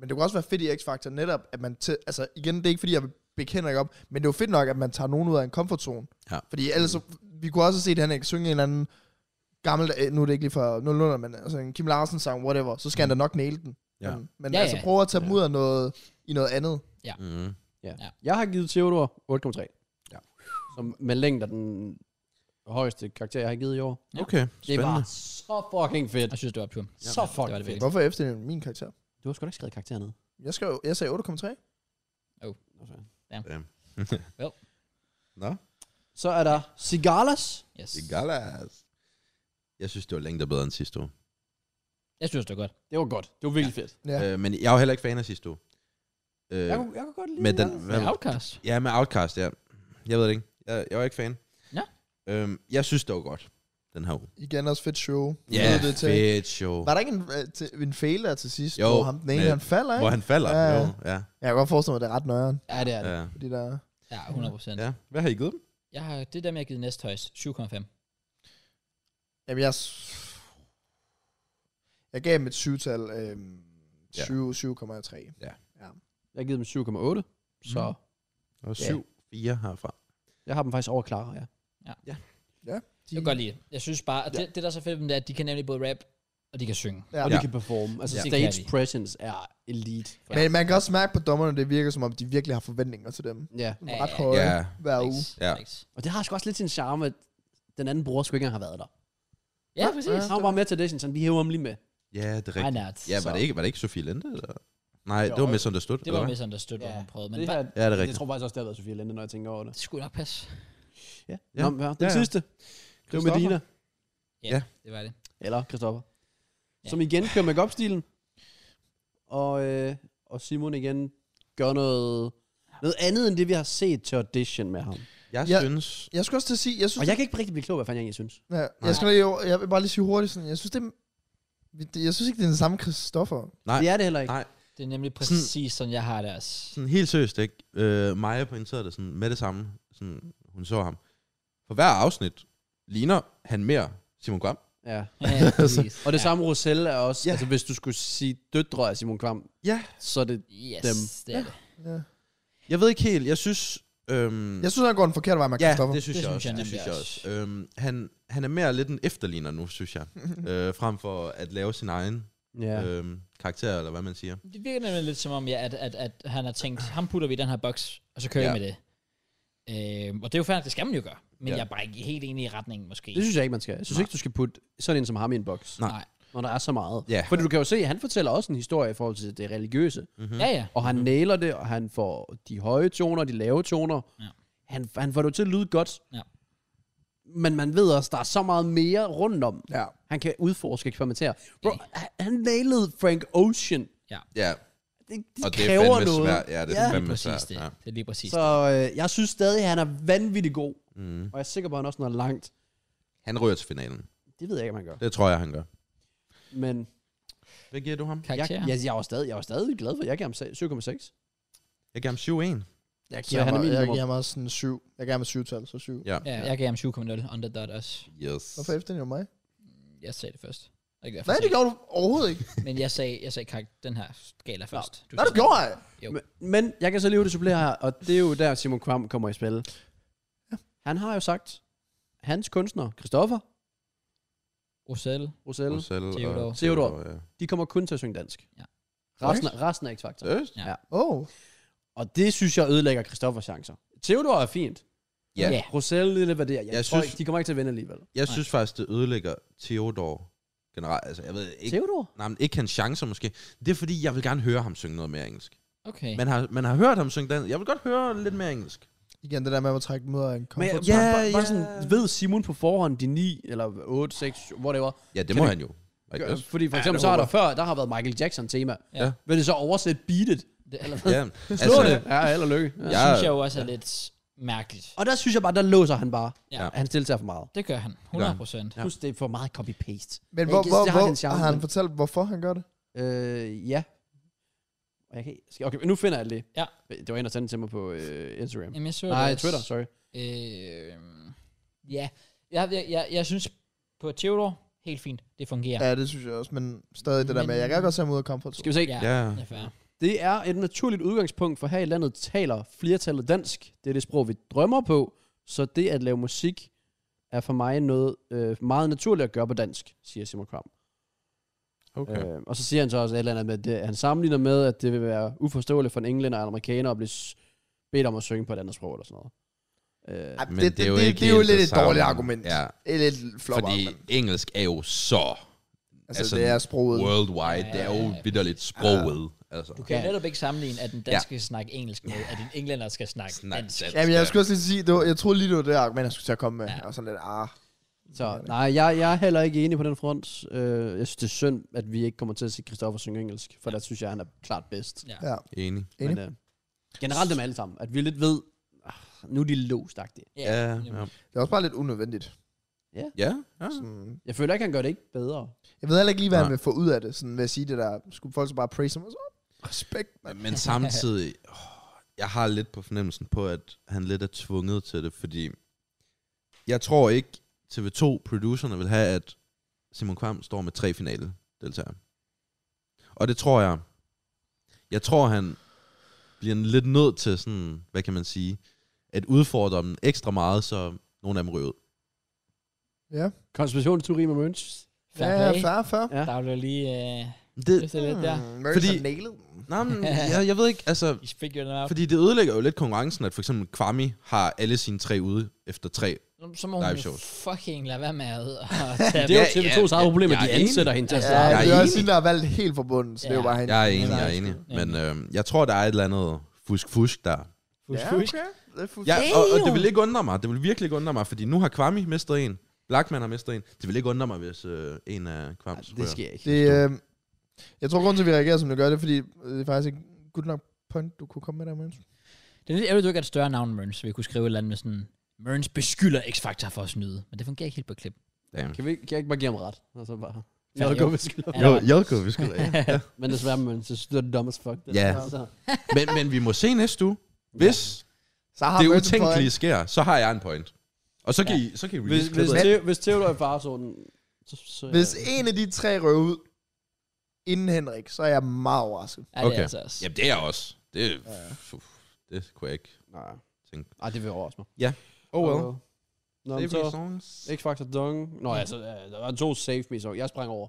S3: Men det kunne også være fedt i X-Factor netop, at man til, altså igen, det er ikke fordi, jeg vil bekende ikke op, men det er jo fedt nok, at man tager nogen ud af en komfortzone.
S4: Ja.
S3: Fordi ellers, så, vi kunne også se, at han ikke synge en eller anden gammel, øh, nu er det ikke lige fra 00, men altså en Kim Larsen sang, whatever, så skal han da nok næle den.
S4: Ja.
S3: Men, men
S1: Ja,
S3: ja, altså
S1: ja.
S3: prøv at tage dem ud af noget, i noget andet.
S4: Mm.
S2: Jeg har givet Theodor 8,3.
S4: Ja.
S2: Som med længder den højeste karakter, jeg har givet i år.
S4: Okay,
S2: Det
S4: spændende.
S2: var så fucking fedt.
S1: Jeg synes, det var optur. Ja,
S2: Så fucking
S1: det var det virkelig.
S3: Hvorfor efterligner du min karakter?
S2: Du har sgu da ikke skrevet karakter ned.
S3: Jeg, skrev, jeg sagde 8,3.
S4: Nå,
S2: Så er der Cigalas.
S1: Yes.
S4: det galas. Jeg synes, det var længder bedre end sidste år.
S1: Jeg synes, det var godt.
S2: Det var godt. Det var virkelig ja. fedt.
S3: Ja.
S4: Øh, men jeg er jo heller ikke fan af sidste år. Øh,
S2: Jeg kunne, jeg kunne godt lide
S4: med den,
S1: Hvad
S4: hvad,
S1: er Outcast?
S4: ja, med Outcast, ja. Jeg ved det ikke. Jeg, jeg var ikke fan.
S1: Nå.
S4: Øhm, jeg synes, det var godt, den her uge.
S3: Igen også fedt show.
S4: Ja,
S3: Ved det til.
S4: fedt show.
S3: Var der ikke en, øh, til- en fail der til sidst,
S4: Jo,
S3: jo, hvor ham den ene,
S4: med-
S3: han falder, ikke?
S4: Hvor han falder.
S3: Ja,
S4: Ja,
S3: ja.
S4: jo, ja.
S3: Jeg kan godt forestille mig, at det er ret nøjeren,
S2: Ja, det er det.
S4: ja.
S3: fordi der...
S1: Ja, 100 procent. Ja.
S4: Ja. Hvad har I givet dem?
S1: Jeg har, det er dem, jeg har givet næsthøjst. 7,5.
S3: Jamen, jeg... s- Jeg gav dem et syvtal. Øh,
S4: Ja.
S3: 20, 7,3.
S2: Jeg har givet dem 7,8, så
S1: Mhm.
S2: mm.
S4: Og
S3: Ja.
S4: syv, fire herfra.
S2: jeg har dem faktisk over Clara, ja.
S1: Jeg kan godt lide det. Jeg synes bare, at det, det, der er så fedt med dem, det er, at de kan nemlig både rap, og de kan synge.
S3: Ja.
S2: Og
S4: Ja.
S2: de kan performe. Altså
S1: Ja.
S2: ja.
S1: Det kan
S2: stage
S1: de.
S2: presence er elite. for dem.
S3: Men man kan også mærke på dommerne, det virker som om, de virkelig har forventninger til dem.
S2: Ja.
S3: Som
S1: Ja,
S3: er ret
S1: ja, ja.
S3: høje
S4: Ja.
S3: hver uge.
S1: Niks,
S4: Ja.
S1: niks.
S2: Og det har sgu også lidt sin charme, at den anden bror sgu ikke engang har været der.
S1: Ja, præcis.
S2: Han var bare med til det, sådan, vi hæver ham lige med.
S4: Ja, det er
S1: Nej,
S4: rigtigt.
S1: nært.
S4: Ja, var det ikke, var det ikke Sofie Linde? Eller? Nej, det var Misunderstood.
S1: Det var misunderstood, hvor
S2: Ja.
S1: han prøvede. Men
S2: det,
S1: det
S2: her,
S4: Ja, det er
S2: jeg
S4: rigtigt.
S2: tror faktisk også, det har været Sofie Linde, når jeg tænker over det.
S1: det skulle nok passe.
S2: Ja.
S4: Ja.
S2: Nå, men hvad? Den
S4: Ja, ja.
S2: sidste. Det var
S4: Christoffer.
S2: Medina.
S4: Ja.
S1: Det var det.
S2: Eller Christoffer.
S1: Ja.
S2: Ja. Som igen kører make stilen og, øh, og Simon igen gør noget, noget andet, end det vi har set til audition med ham.
S4: Jeg
S3: Ja.
S4: synes...
S3: Jeg skulle også til at sige, jeg synes,
S2: Og jeg kan ikke rigtig blive klog, hvad fanden jeg egentlig synes.
S3: Ja, jeg, skal lige, over- jeg vil bare lige sige hurtigt sådan, jeg synes, det, er- det- jeg synes ikke, det er den samme Christoffer.
S4: Nej.
S2: Det er det heller ikke.
S4: Nej.
S1: Det er nemlig præcis sådan, jeg har det også.
S4: Sådan helt seriøst, ikke? Øh, Maja pointerede det sådan med det samme, sådan, hun så ham. For hver afsnit ligner han mere Simon Gram.
S2: Ja.
S1: Ja,
S4: *laughs*
S1: præcis.
S2: Og det
S1: Ja.
S2: samme Roselle er også,
S4: Ja.
S2: ja. altså hvis du skulle sige døtre af Simon Kvam,
S4: Ja.
S2: så er det...
S1: Yes,
S2: dem.
S1: det er det.
S3: Ja.
S4: Jeg ved ikke helt, jeg synes... Øhm,
S3: Jeg synes, han går den forkerte vej med
S4: ja,
S3: Christoffer.
S4: det synes
S1: Det
S4: jeg
S1: synes
S4: også.
S1: jeg
S4: Det
S1: nemlig
S4: synes jeg
S1: også.
S4: også. Øhm, han, han er mere lidt en efterligner nu, synes jeg. øh, frem for at lave sin egen
S2: Ja. Øh.
S4: ja. øhm, karakter, eller hvad man siger.
S1: Det virker nemlig lidt som om, ja, at, at, at han har tænkt, ham putter vi i den her boks, og så kører ja. jeg
S4: Ja.
S1: med det. Øhm, og det er jo fair, det skal man jo gøre. Men ja.
S4: Ja.
S1: jeg er bare ikke helt enig i retningen, måske.
S2: Det synes jeg ikke, man skal. Jeg synes
S4: Nej.
S2: ikke, du skal putte sådan en som ham i en boks,
S4: Nej.
S1: Nej.
S2: når der er så meget.
S4: Ja.
S2: Fordi du kan jo se, at han fortæller også en historie i forhold til det religiøse.
S4: Mm-hmm.
S1: Ja, ja.
S2: Og han nailer det, og han får de høje toner, de lave toner.
S1: Ja.
S2: Han, han får det jo til at lyde godt.
S1: Ja.
S2: Men man ved også, der er så meget mere rundt om.
S3: Ja.
S2: Han kan udforske, eksperimentere. Bro,
S1: Enig.
S2: han- han nailede Frank Ocean.
S4: ja.
S2: Det, det
S4: Og det er
S2: kræver
S4: fandme
S2: noget.
S4: svært. Ja, det er
S1: Det er lige
S4: fandme
S1: præcis
S4: svært.
S1: det.
S4: Ja.
S1: Det er lige præcis
S2: Så
S1: det.
S2: øh, jeg synes stadig, at han er vanvittig god.
S4: Mm.
S2: Og jeg er sikker på, at han også når langt.
S4: Han ryger til finalen.
S2: Det ved jeg ikke, om han gør.
S4: Det tror jeg, han gør.
S2: Men
S4: Hvad giver du ham?
S2: jeg,
S1: Karakter.
S2: jeg, jeg, var stadig, jeg var stadig glad for, at jeg gav ham 7,6.
S4: Jeg giver ham 7-1.
S2: Jeg
S3: Så
S2: giver
S3: jeg,
S2: han er min
S3: jeg, jeg
S2: nummer.
S3: giver ham også sådan syv. Jeg gav ham et syvtal, så syv.
S4: Ja.
S1: Ja, jeg gav ham 7,0 underdot også.
S4: Yes.
S3: Hvorfor efter den jo mig?
S1: Jeg sagde det først. Det er ikke derfor,
S3: Nej,
S1: jeg
S3: det
S1: sagde
S3: gjorde du overhovedet ikke.
S1: det. Men jeg sagde, jeg sagde karakter, den her skala først. Du
S3: Nej,
S1: sagde-
S3: det gjorde jeg.
S1: Jo.
S2: Men, men jeg kan så lige supplere her, og det er jo der, Simon Kvam kommer i spil. Han har jo sagt, hans kunstner, Christoffer,
S1: Rosel.
S2: Roselle,
S4: Marcel og
S1: Theodor.
S2: Theodor.
S4: ja.
S2: de kommer kun til at synge dansk.
S1: Ja.
S2: Resten, af- resten er X-Factor.
S4: Seriøst?
S3: Oh.
S2: Og det synes jeg ødelægger Christoffers chancer. Theodor er fint.
S4: Ja.
S1: Ja.
S2: Roselle, det er hvad det er. Jeg, jeg
S4: Jeg
S2: tror
S4: synes-
S2: ikke, de kommer ikke til at vinde alligevel.
S4: Jeg synes faktisk, det ødelægger Theodor generelt. Altså, jeg ved ikke...
S2: Theodor?
S4: Nej, men ikke hans chancer måske. Det er fordi, jeg vil gerne høre ham synge noget mere engelsk.
S1: Okay.
S4: Man har, man har hørt ham synge dansk. Jeg vil godt høre lidt mere engelsk.
S3: Igen, det der med at trække dem ud af en
S2: Men
S3: comfort.
S2: ja, bare,
S4: Ja,
S2: bare, bare
S4: ja.
S2: sådan, ved Simon på forhånd de 9, eller 8, 6, whatever.
S4: Ja, det
S2: Kan
S4: må
S2: det-
S4: han jo. I
S2: Gør,
S4: guess.
S2: fordi for eksempel ja, så har der før, der har været Michael Jackson tema.
S1: Ja.
S2: Vil det så oversætte beatet?
S1: *laughs* Det,
S2: Eller hvad?
S4: Ja,
S2: Slå det. Ja, eller lykke. Ja.
S1: det synes jeg jo også er lidt mærkeligt.
S2: Og der synes jeg bare, der låser han bare.
S1: Ja.
S2: Ja. Han deltager for meget.
S1: Det gør han. 100 procent.
S2: Ja. Plus, det er for meget copy-paste.
S3: Men
S2: Jeg
S3: hvor,
S2: kan-
S3: hvor,
S2: det har
S3: hvor
S2: den charme,
S3: har han
S2: men-
S3: fortalt, hvorfor han gør det?
S2: Øh, ja. Og Jeg kan, ikke- skal- okay, nu finder jeg det lige.
S1: Ja.
S2: Det var en, der sendte til mig på øh, Instagram.
S1: Jamen, jeg så det
S2: Nej,
S1: også.
S2: Twitter, sorry.
S1: Øh, ja, jeg, jeg, jeg, jeg synes på Theodor, helt fint, det fungerer.
S3: Ja, det synes jeg også, men stadig det der med,
S1: Men-
S3: jeg kan godt se ham ud af comfort.
S2: Skal vi se. Ja.
S1: ja.
S4: Ja.
S1: Det er fair.
S2: Det er et naturligt udgangspunkt, for her i landet taler flertallet dansk. Det er det sprog, vi drømmer på. Så det at lave musik er for mig noget øh, meget naturligt at gøre på dansk, siger Simon Kram.
S4: Okay.
S2: Øh, og så siger han så også et eller andet med, at det, han sammenligner med, at det vil være uforståeligt for en englænder og en amerikaner at blive s- bedt om at synge på et andet sprog eller sådan noget. Øh,
S3: Ej,
S4: Men det, det, er jo ikke
S3: det er jo
S4: helt
S3: lidt
S4: det
S3: et
S4: samme.
S3: dårligt argument.
S4: Ja,
S3: Det er lidt flot
S4: fordi
S3: argument.
S4: engelsk er jo så
S3: Altså,
S4: altså,
S3: det er sproget.
S4: worldwide. Det er jo vidderligt sproget. Altså.
S1: Du kan jo netop ikke sammenligne, at den
S4: Ja.
S1: danske ja. skal snakke engelsk med, at en englænder skal snakke
S4: Snak
S1: dansk.
S4: dansk.
S3: Jamen, jeg skulle også lige sige, det var, jeg troede lige, det var det argument, jeg skulle til at komme med.
S1: Ja.
S3: Og sådan lidt, ah.
S2: så nej, jeg, jeg er heller ikke enig på den front. Øh, jeg synes, det er synd, at vi ikke kommer til at se Christoffer synge engelsk, for der synes jeg, han er klart bedst.
S1: Ja.
S3: Ja.
S4: Enig.
S2: Men, øh, generelt dem alle sammen, at vi lidt ved, ah, nu er de låst -agtige.
S1: Ja,
S4: Ja, ja.
S1: nemlig.
S3: Det er også bare lidt unødvendigt.
S4: Mm. Ja, ja.
S3: Sådan,
S2: Jeg føler ikke, han gør det ikke bedre.
S3: Jeg ved heller ikke lige, hvad han
S4: Nej.
S3: vil få ud af det, sådan ved at sige det der. Skulle folk så bare praise ham og så, "Åh, respekt, mand.
S4: Men samtidig... åh, jeg har lidt på fornemmelsen på, at han lidt er tvunget til det, fordi jeg tror ikke, TV2-producerne vil have, at Simon Kvam står med tre finale deltagere. Og det tror jeg. Jeg tror, han bliver lidt nødt til sådan, hvad kan man sige, at udfordre dem ekstra meget, så nogle af dem ryger ud.
S3: Ja,
S2: Konspirationsteori med Møns.
S1: Fair
S3: ja,
S1: play.
S3: fair, fair.
S2: Ja.
S1: Der er jo lige øh, *laughs*
S4: Det,
S1: løftet lidt der.
S3: Mm, Fordi...
S4: Fordi-
S3: Nailed.
S4: nej, men, jeg, jeg ved ikke, altså,
S1: I fik jo den op.
S4: Fordi det ødelægger jo lidt konkurrencen, at for eksempel Kwami har alle sine tre ude efter tre.
S1: Nå, Så må hun
S4: live
S1: jo
S4: shows.
S1: fucking lade være med
S4: *laughs*
S1: at og tage
S2: Det er jo
S4: Ja,
S2: TV2's
S4: ja,
S2: eget problem, at
S4: jeg
S2: de
S4: er enig.
S2: ansætter hende til at
S3: Ja,
S2: starte.
S4: jeg er
S3: det er også
S4: enig.
S3: hende, der har valgt helt forbundet, så det er jo
S1: Ja.
S3: bare hende.
S4: Jeg er enig,
S1: nej,
S4: jeg er enig. Men øh, jeg tror, der er et eller andet fusk-fusk der.
S3: Ja,
S1: Fusk, fusk.
S3: okay. Det er fusk.
S4: Ja, og, og det vil ikke undre mig. Det vil virkelig ikke undre mig, fordi nu har Kwami mistet en. Blackman har mistet en. Det vil ikke undre mig, hvis øh, en af
S2: Ja,
S4: Kwams
S2: det
S4: ryger.
S2: sker ikke.
S3: Det, øh, jeg tror, grunden til, at vi reagerer, som vi gør, det er, fordi øh, det er faktisk ikke good nok point, du kunne komme med der, Møns.
S1: Det er lidt ærgerligt, du ikke er et større navn, Mørns, så vi kunne skrive et eller andet med sådan, Mørns beskylder X-Factor for at snyde. Men det fungerer ikke helt på klip.
S4: Damn.
S2: Kan, vi, ikke- kan jeg ikke bare give ham ret? Og så bare...
S1: Ja,
S2: Jeg vil
S1: jo.
S2: gå ved skyld.
S1: *laughs* Ja, der var-
S4: Jelko, vi skulle
S2: Men desværre, men så er det dumb as fuck. Det
S4: Ja.
S2: der. Så-
S4: men, men vi må se næste uge. Hvis
S3: Så har
S4: det
S3: Møns en
S4: utænkelige sker, så har jeg en point. Og så kan, I, så kan I
S2: Hvis,
S4: release
S2: hvis,
S4: klippet.
S2: Theo, hvis Theodor er i farezonen, så, så
S3: point. Hvis en af de tre røver ud inden Henrik, så er jeg meget overrasket.
S1: Ja, det
S4: Okay.
S1: er altså også.
S4: Jamen, det er jeg også. Det, pff, det kunne jeg ikke
S2: Nej,
S4: tænke.
S2: Ej, det vil overraske mig.
S4: Oh well.
S2: Nå,
S4: Save
S2: men
S4: me
S2: så...
S4: songs.
S2: X-Factor Dung. Nå, altså, øh, der var to save me, så jeg sprang over.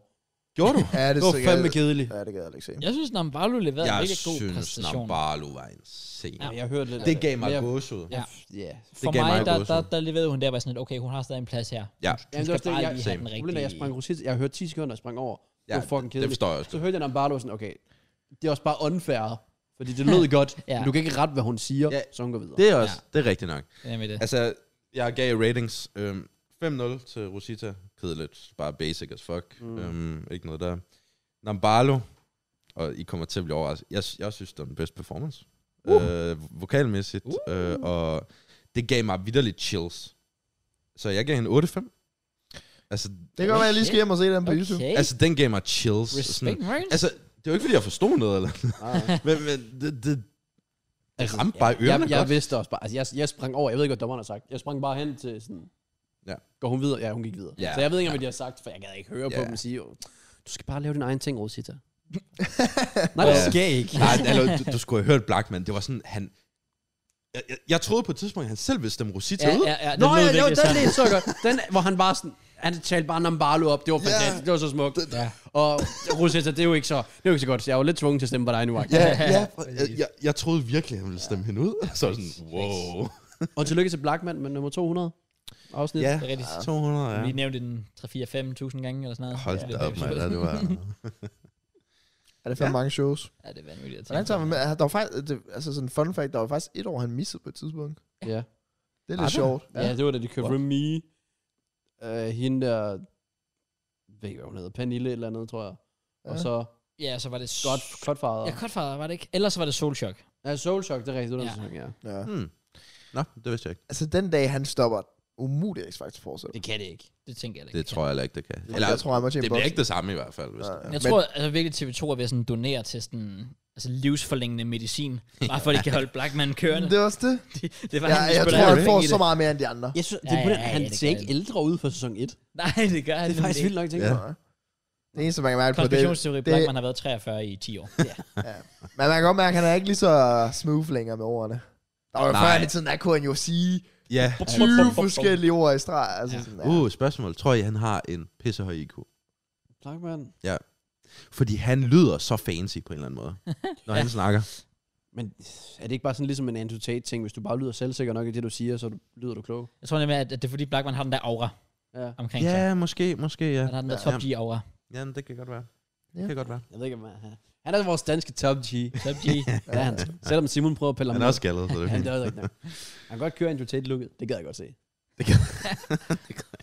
S4: Gjorde du?
S3: Ja, det,
S2: Det
S3: er
S2: var
S3: sikkert-
S2: fandme kedeligt.
S3: Ja, det gad jeg ikke se.
S1: Jeg synes, Nambalo leverede en
S4: jeg
S1: virkelig god
S4: synes,
S1: præstation.
S4: Nambalo var en scene.
S2: Ja,
S4: Ja.
S2: jeg hørte lidt
S4: Det
S2: af
S4: gav mig
S2: Men jeg-
S4: gåsehud.
S1: Ja.
S2: Ja.
S1: For
S4: gav
S1: mig,
S4: mig
S1: der,
S4: gåsehud.
S1: der, der leverede hun der bare sådan lidt, okay, hun har stadig en plads her.
S4: Ja.
S1: Hun
S2: Jamen, det
S1: skal
S2: var det,
S1: bare
S2: jeg,
S1: lige have
S4: same.
S1: den
S2: problemet er, jeg
S1: rigtige.
S2: sprang rosit. Jeg hørte 10 sekunder, og sprang over. Det var fucking
S4: det
S2: kedeligt.
S4: forstår jeg også.
S2: Så hørte jeg Nambalo og sådan, okay, det er også bare unfair. Fordi det lød godt,
S1: Ja.
S2: men du kan ikke rette, hvad hun siger,
S4: Ja.
S2: så hun går videre.
S4: Det er også,
S1: Ja.
S4: ja. det er rigtigt nok.
S1: Det er med det.
S4: Altså, jeg gav ratings øhm, 5-0 til Rosita. Kedeligt. Bare basic as fuck.
S2: Mm.
S4: Mm. Øhm, ikke noget der. Nambalo. Og I kommer til at blive overrasket. Jeg, jeg synes, det var den bedste performance. Uh. Øh, vokalmæssigt. Uh. Øh, og det gav mig vidderligt chills. Så jeg gav hende 8-5. Altså,
S3: Det kan godt være, jeg lige skal hjem og se den på YouTube.
S1: Okay.
S4: altså den gav mig chills. og
S1: Respect, Mørns.
S4: Altså, det var ikke, fordi jeg forstod noget, eller
S2: Nej.
S4: *laughs* men, men det, det, det
S2: Altså,
S4: ramte bare i ørerne
S2: Jeg, jeg
S4: godt.
S2: vidste også bare, altså jeg, jeg sprang over, jeg ved ikke, hvad dommeren har sagt. Jeg sprang bare hen til sådan,
S4: Ja.
S2: går hun videre? Ja, hun gik videre.
S4: Ja.
S2: Så jeg ved ikke, hvad de har sagt, for jeg gad ikke høre på
S4: Ja.
S2: dem sige, "Åh, du skal bare lave din egen ting,
S4: *laughs*
S2: Rosita. Nej, det
S4: Ja.
S2: skal ikke.
S4: Nej, altså, du, du skulle have hørt Blackman. Det var sådan, han... Jeg, jeg, jeg troede på et tidspunkt, at han selv ville stemme Rosita
S1: Ja,
S4: ud.
S1: ja, ja, det
S2: Nå,
S1: lød
S2: ja, jo,
S1: virkelig
S2: den
S1: sådan.
S2: er så godt. Den, hvor han bare sådan, han talte bare Nambalo op, det var fantastisk, det var så smukt.
S1: Ja.
S2: Og Rosetta, det er jo ikke så, det er jo ikke så godt, så jeg var lidt tvunget til at stemme på dig nu.
S4: Ja,
S2: Ja.
S4: ja, jeg, jeg, jeg troede virkelig, at han ville stemme hende ud. Så var jeg sådan, wow.
S2: Og tillykke til Blackman med nummer 200 afsnit.
S4: Ja,
S1: Det er rigtigt.
S4: 200, ja.
S1: Vi nævnte den 3-4-5.000 gange eller sådan noget.
S4: Hold
S1: Ja,
S4: da
S1: det er
S4: op, mand.
S1: virkelig
S4: Ja,
S1: sjovt.
S4: det var...
S3: Er det fandme mange shows?
S1: Ja, det er vanvittigt at tænke
S3: Hvordan tager
S1: på.
S3: man med? Der var faktisk, det, altså sådan en fun fact, der var faktisk et år, han missede på et tidspunkt.
S2: Ja.
S3: Det er
S4: Var
S3: lidt
S4: det?
S3: sjovt.
S2: Ja, det var da de købte
S4: What?
S2: Remy. Øh, hende der... Jeg ved ikke, hvad hun hedder. Pernille et eller andet, tror jeg. Ja. Og
S3: Ja.
S2: så
S1: Ja, så var det...
S2: godt, Godfather.
S1: Ja, Godfather var det ikke. Ellers var det Solchok.
S2: Ja, Soul Shock, det er rigtigt.
S1: Ja.
S2: Det ja. Sæson, ja.
S3: Ja.
S4: Hmm. Nå, det vidste jeg ikke.
S3: Altså den dag, han stopper, umuligt X Factor fortsætter.
S2: Det kan det ikke.
S1: Det tænker jeg da ikke.
S4: Det tror jeg heller ikke, det kan.
S3: Eller, jeg tror, han må tjene
S4: det bliver ikke det samme i hvert fald. Hvis det.
S3: boksen.
S1: Jeg tror altså virkelig, TV2 er ved at sådan donere til sådan altså livsforlængende medicin, bare for at de kan holde Blackman kørende.
S3: men, det er også det.
S1: Det, det var
S3: Ja,
S1: han,
S3: jeg tror, han får så meget mere end de andre.
S2: Jeg synes,
S1: Ja,
S2: det er på
S1: ja,
S2: den,
S1: ja,
S2: han
S1: ja, det
S2: ser
S1: gør
S2: ikke
S1: det.
S2: ældre ud for sæson 1. Det
S1: Nej, det gør han
S2: er faktisk vildt nok, tænker
S4: Ja.
S2: jeg.
S3: Ja. Det eneste, man kan mærke på det.
S1: Konspirationsteori,
S3: det-
S1: Blackman har været 43 i 10 år.
S3: Men man kan godt mærke, at han er ikke lige så smooth længere med ordene. Der var jo
S4: Nej.
S3: før i tiden, der kunne han jo sige
S4: Ja.
S3: 20 forskellige ord i streg. Altså,
S1: Ja.
S3: sådan, ja.
S4: Uh, spørgsmål. Tror I, han har en pissehøj IQ?
S2: Blackman.
S4: Fordi han lyder så fancy på en eller anden måde, når han snakker.
S2: Men er det ikke bare sådan ligesom en Andrew Tate-ting? Hvis du bare lyder selvsikker nok i det, du siger, så du, lyder du klog.
S1: Jeg tror nemlig, at at det er fordi Blackman har den der aura
S2: Ja.
S1: omkring sig.
S4: Ja, måske, måske, ja.
S1: Han har den der
S4: Ja.
S1: top G aura.
S4: Ja, det kan godt være.
S3: Ja.
S4: Det kan godt være.
S2: Jeg ved ikke, om han han er vores danske top G.
S1: Top G.
S2: Ja, han. Selvom Simon prøver at pille ham
S4: Han er
S2: ned.
S4: også skaldet, så det er
S2: Han
S4: fint.
S2: det er rigtigt. nok. Han kan godt køre Andrew Tate-looket. Det gad jeg godt se.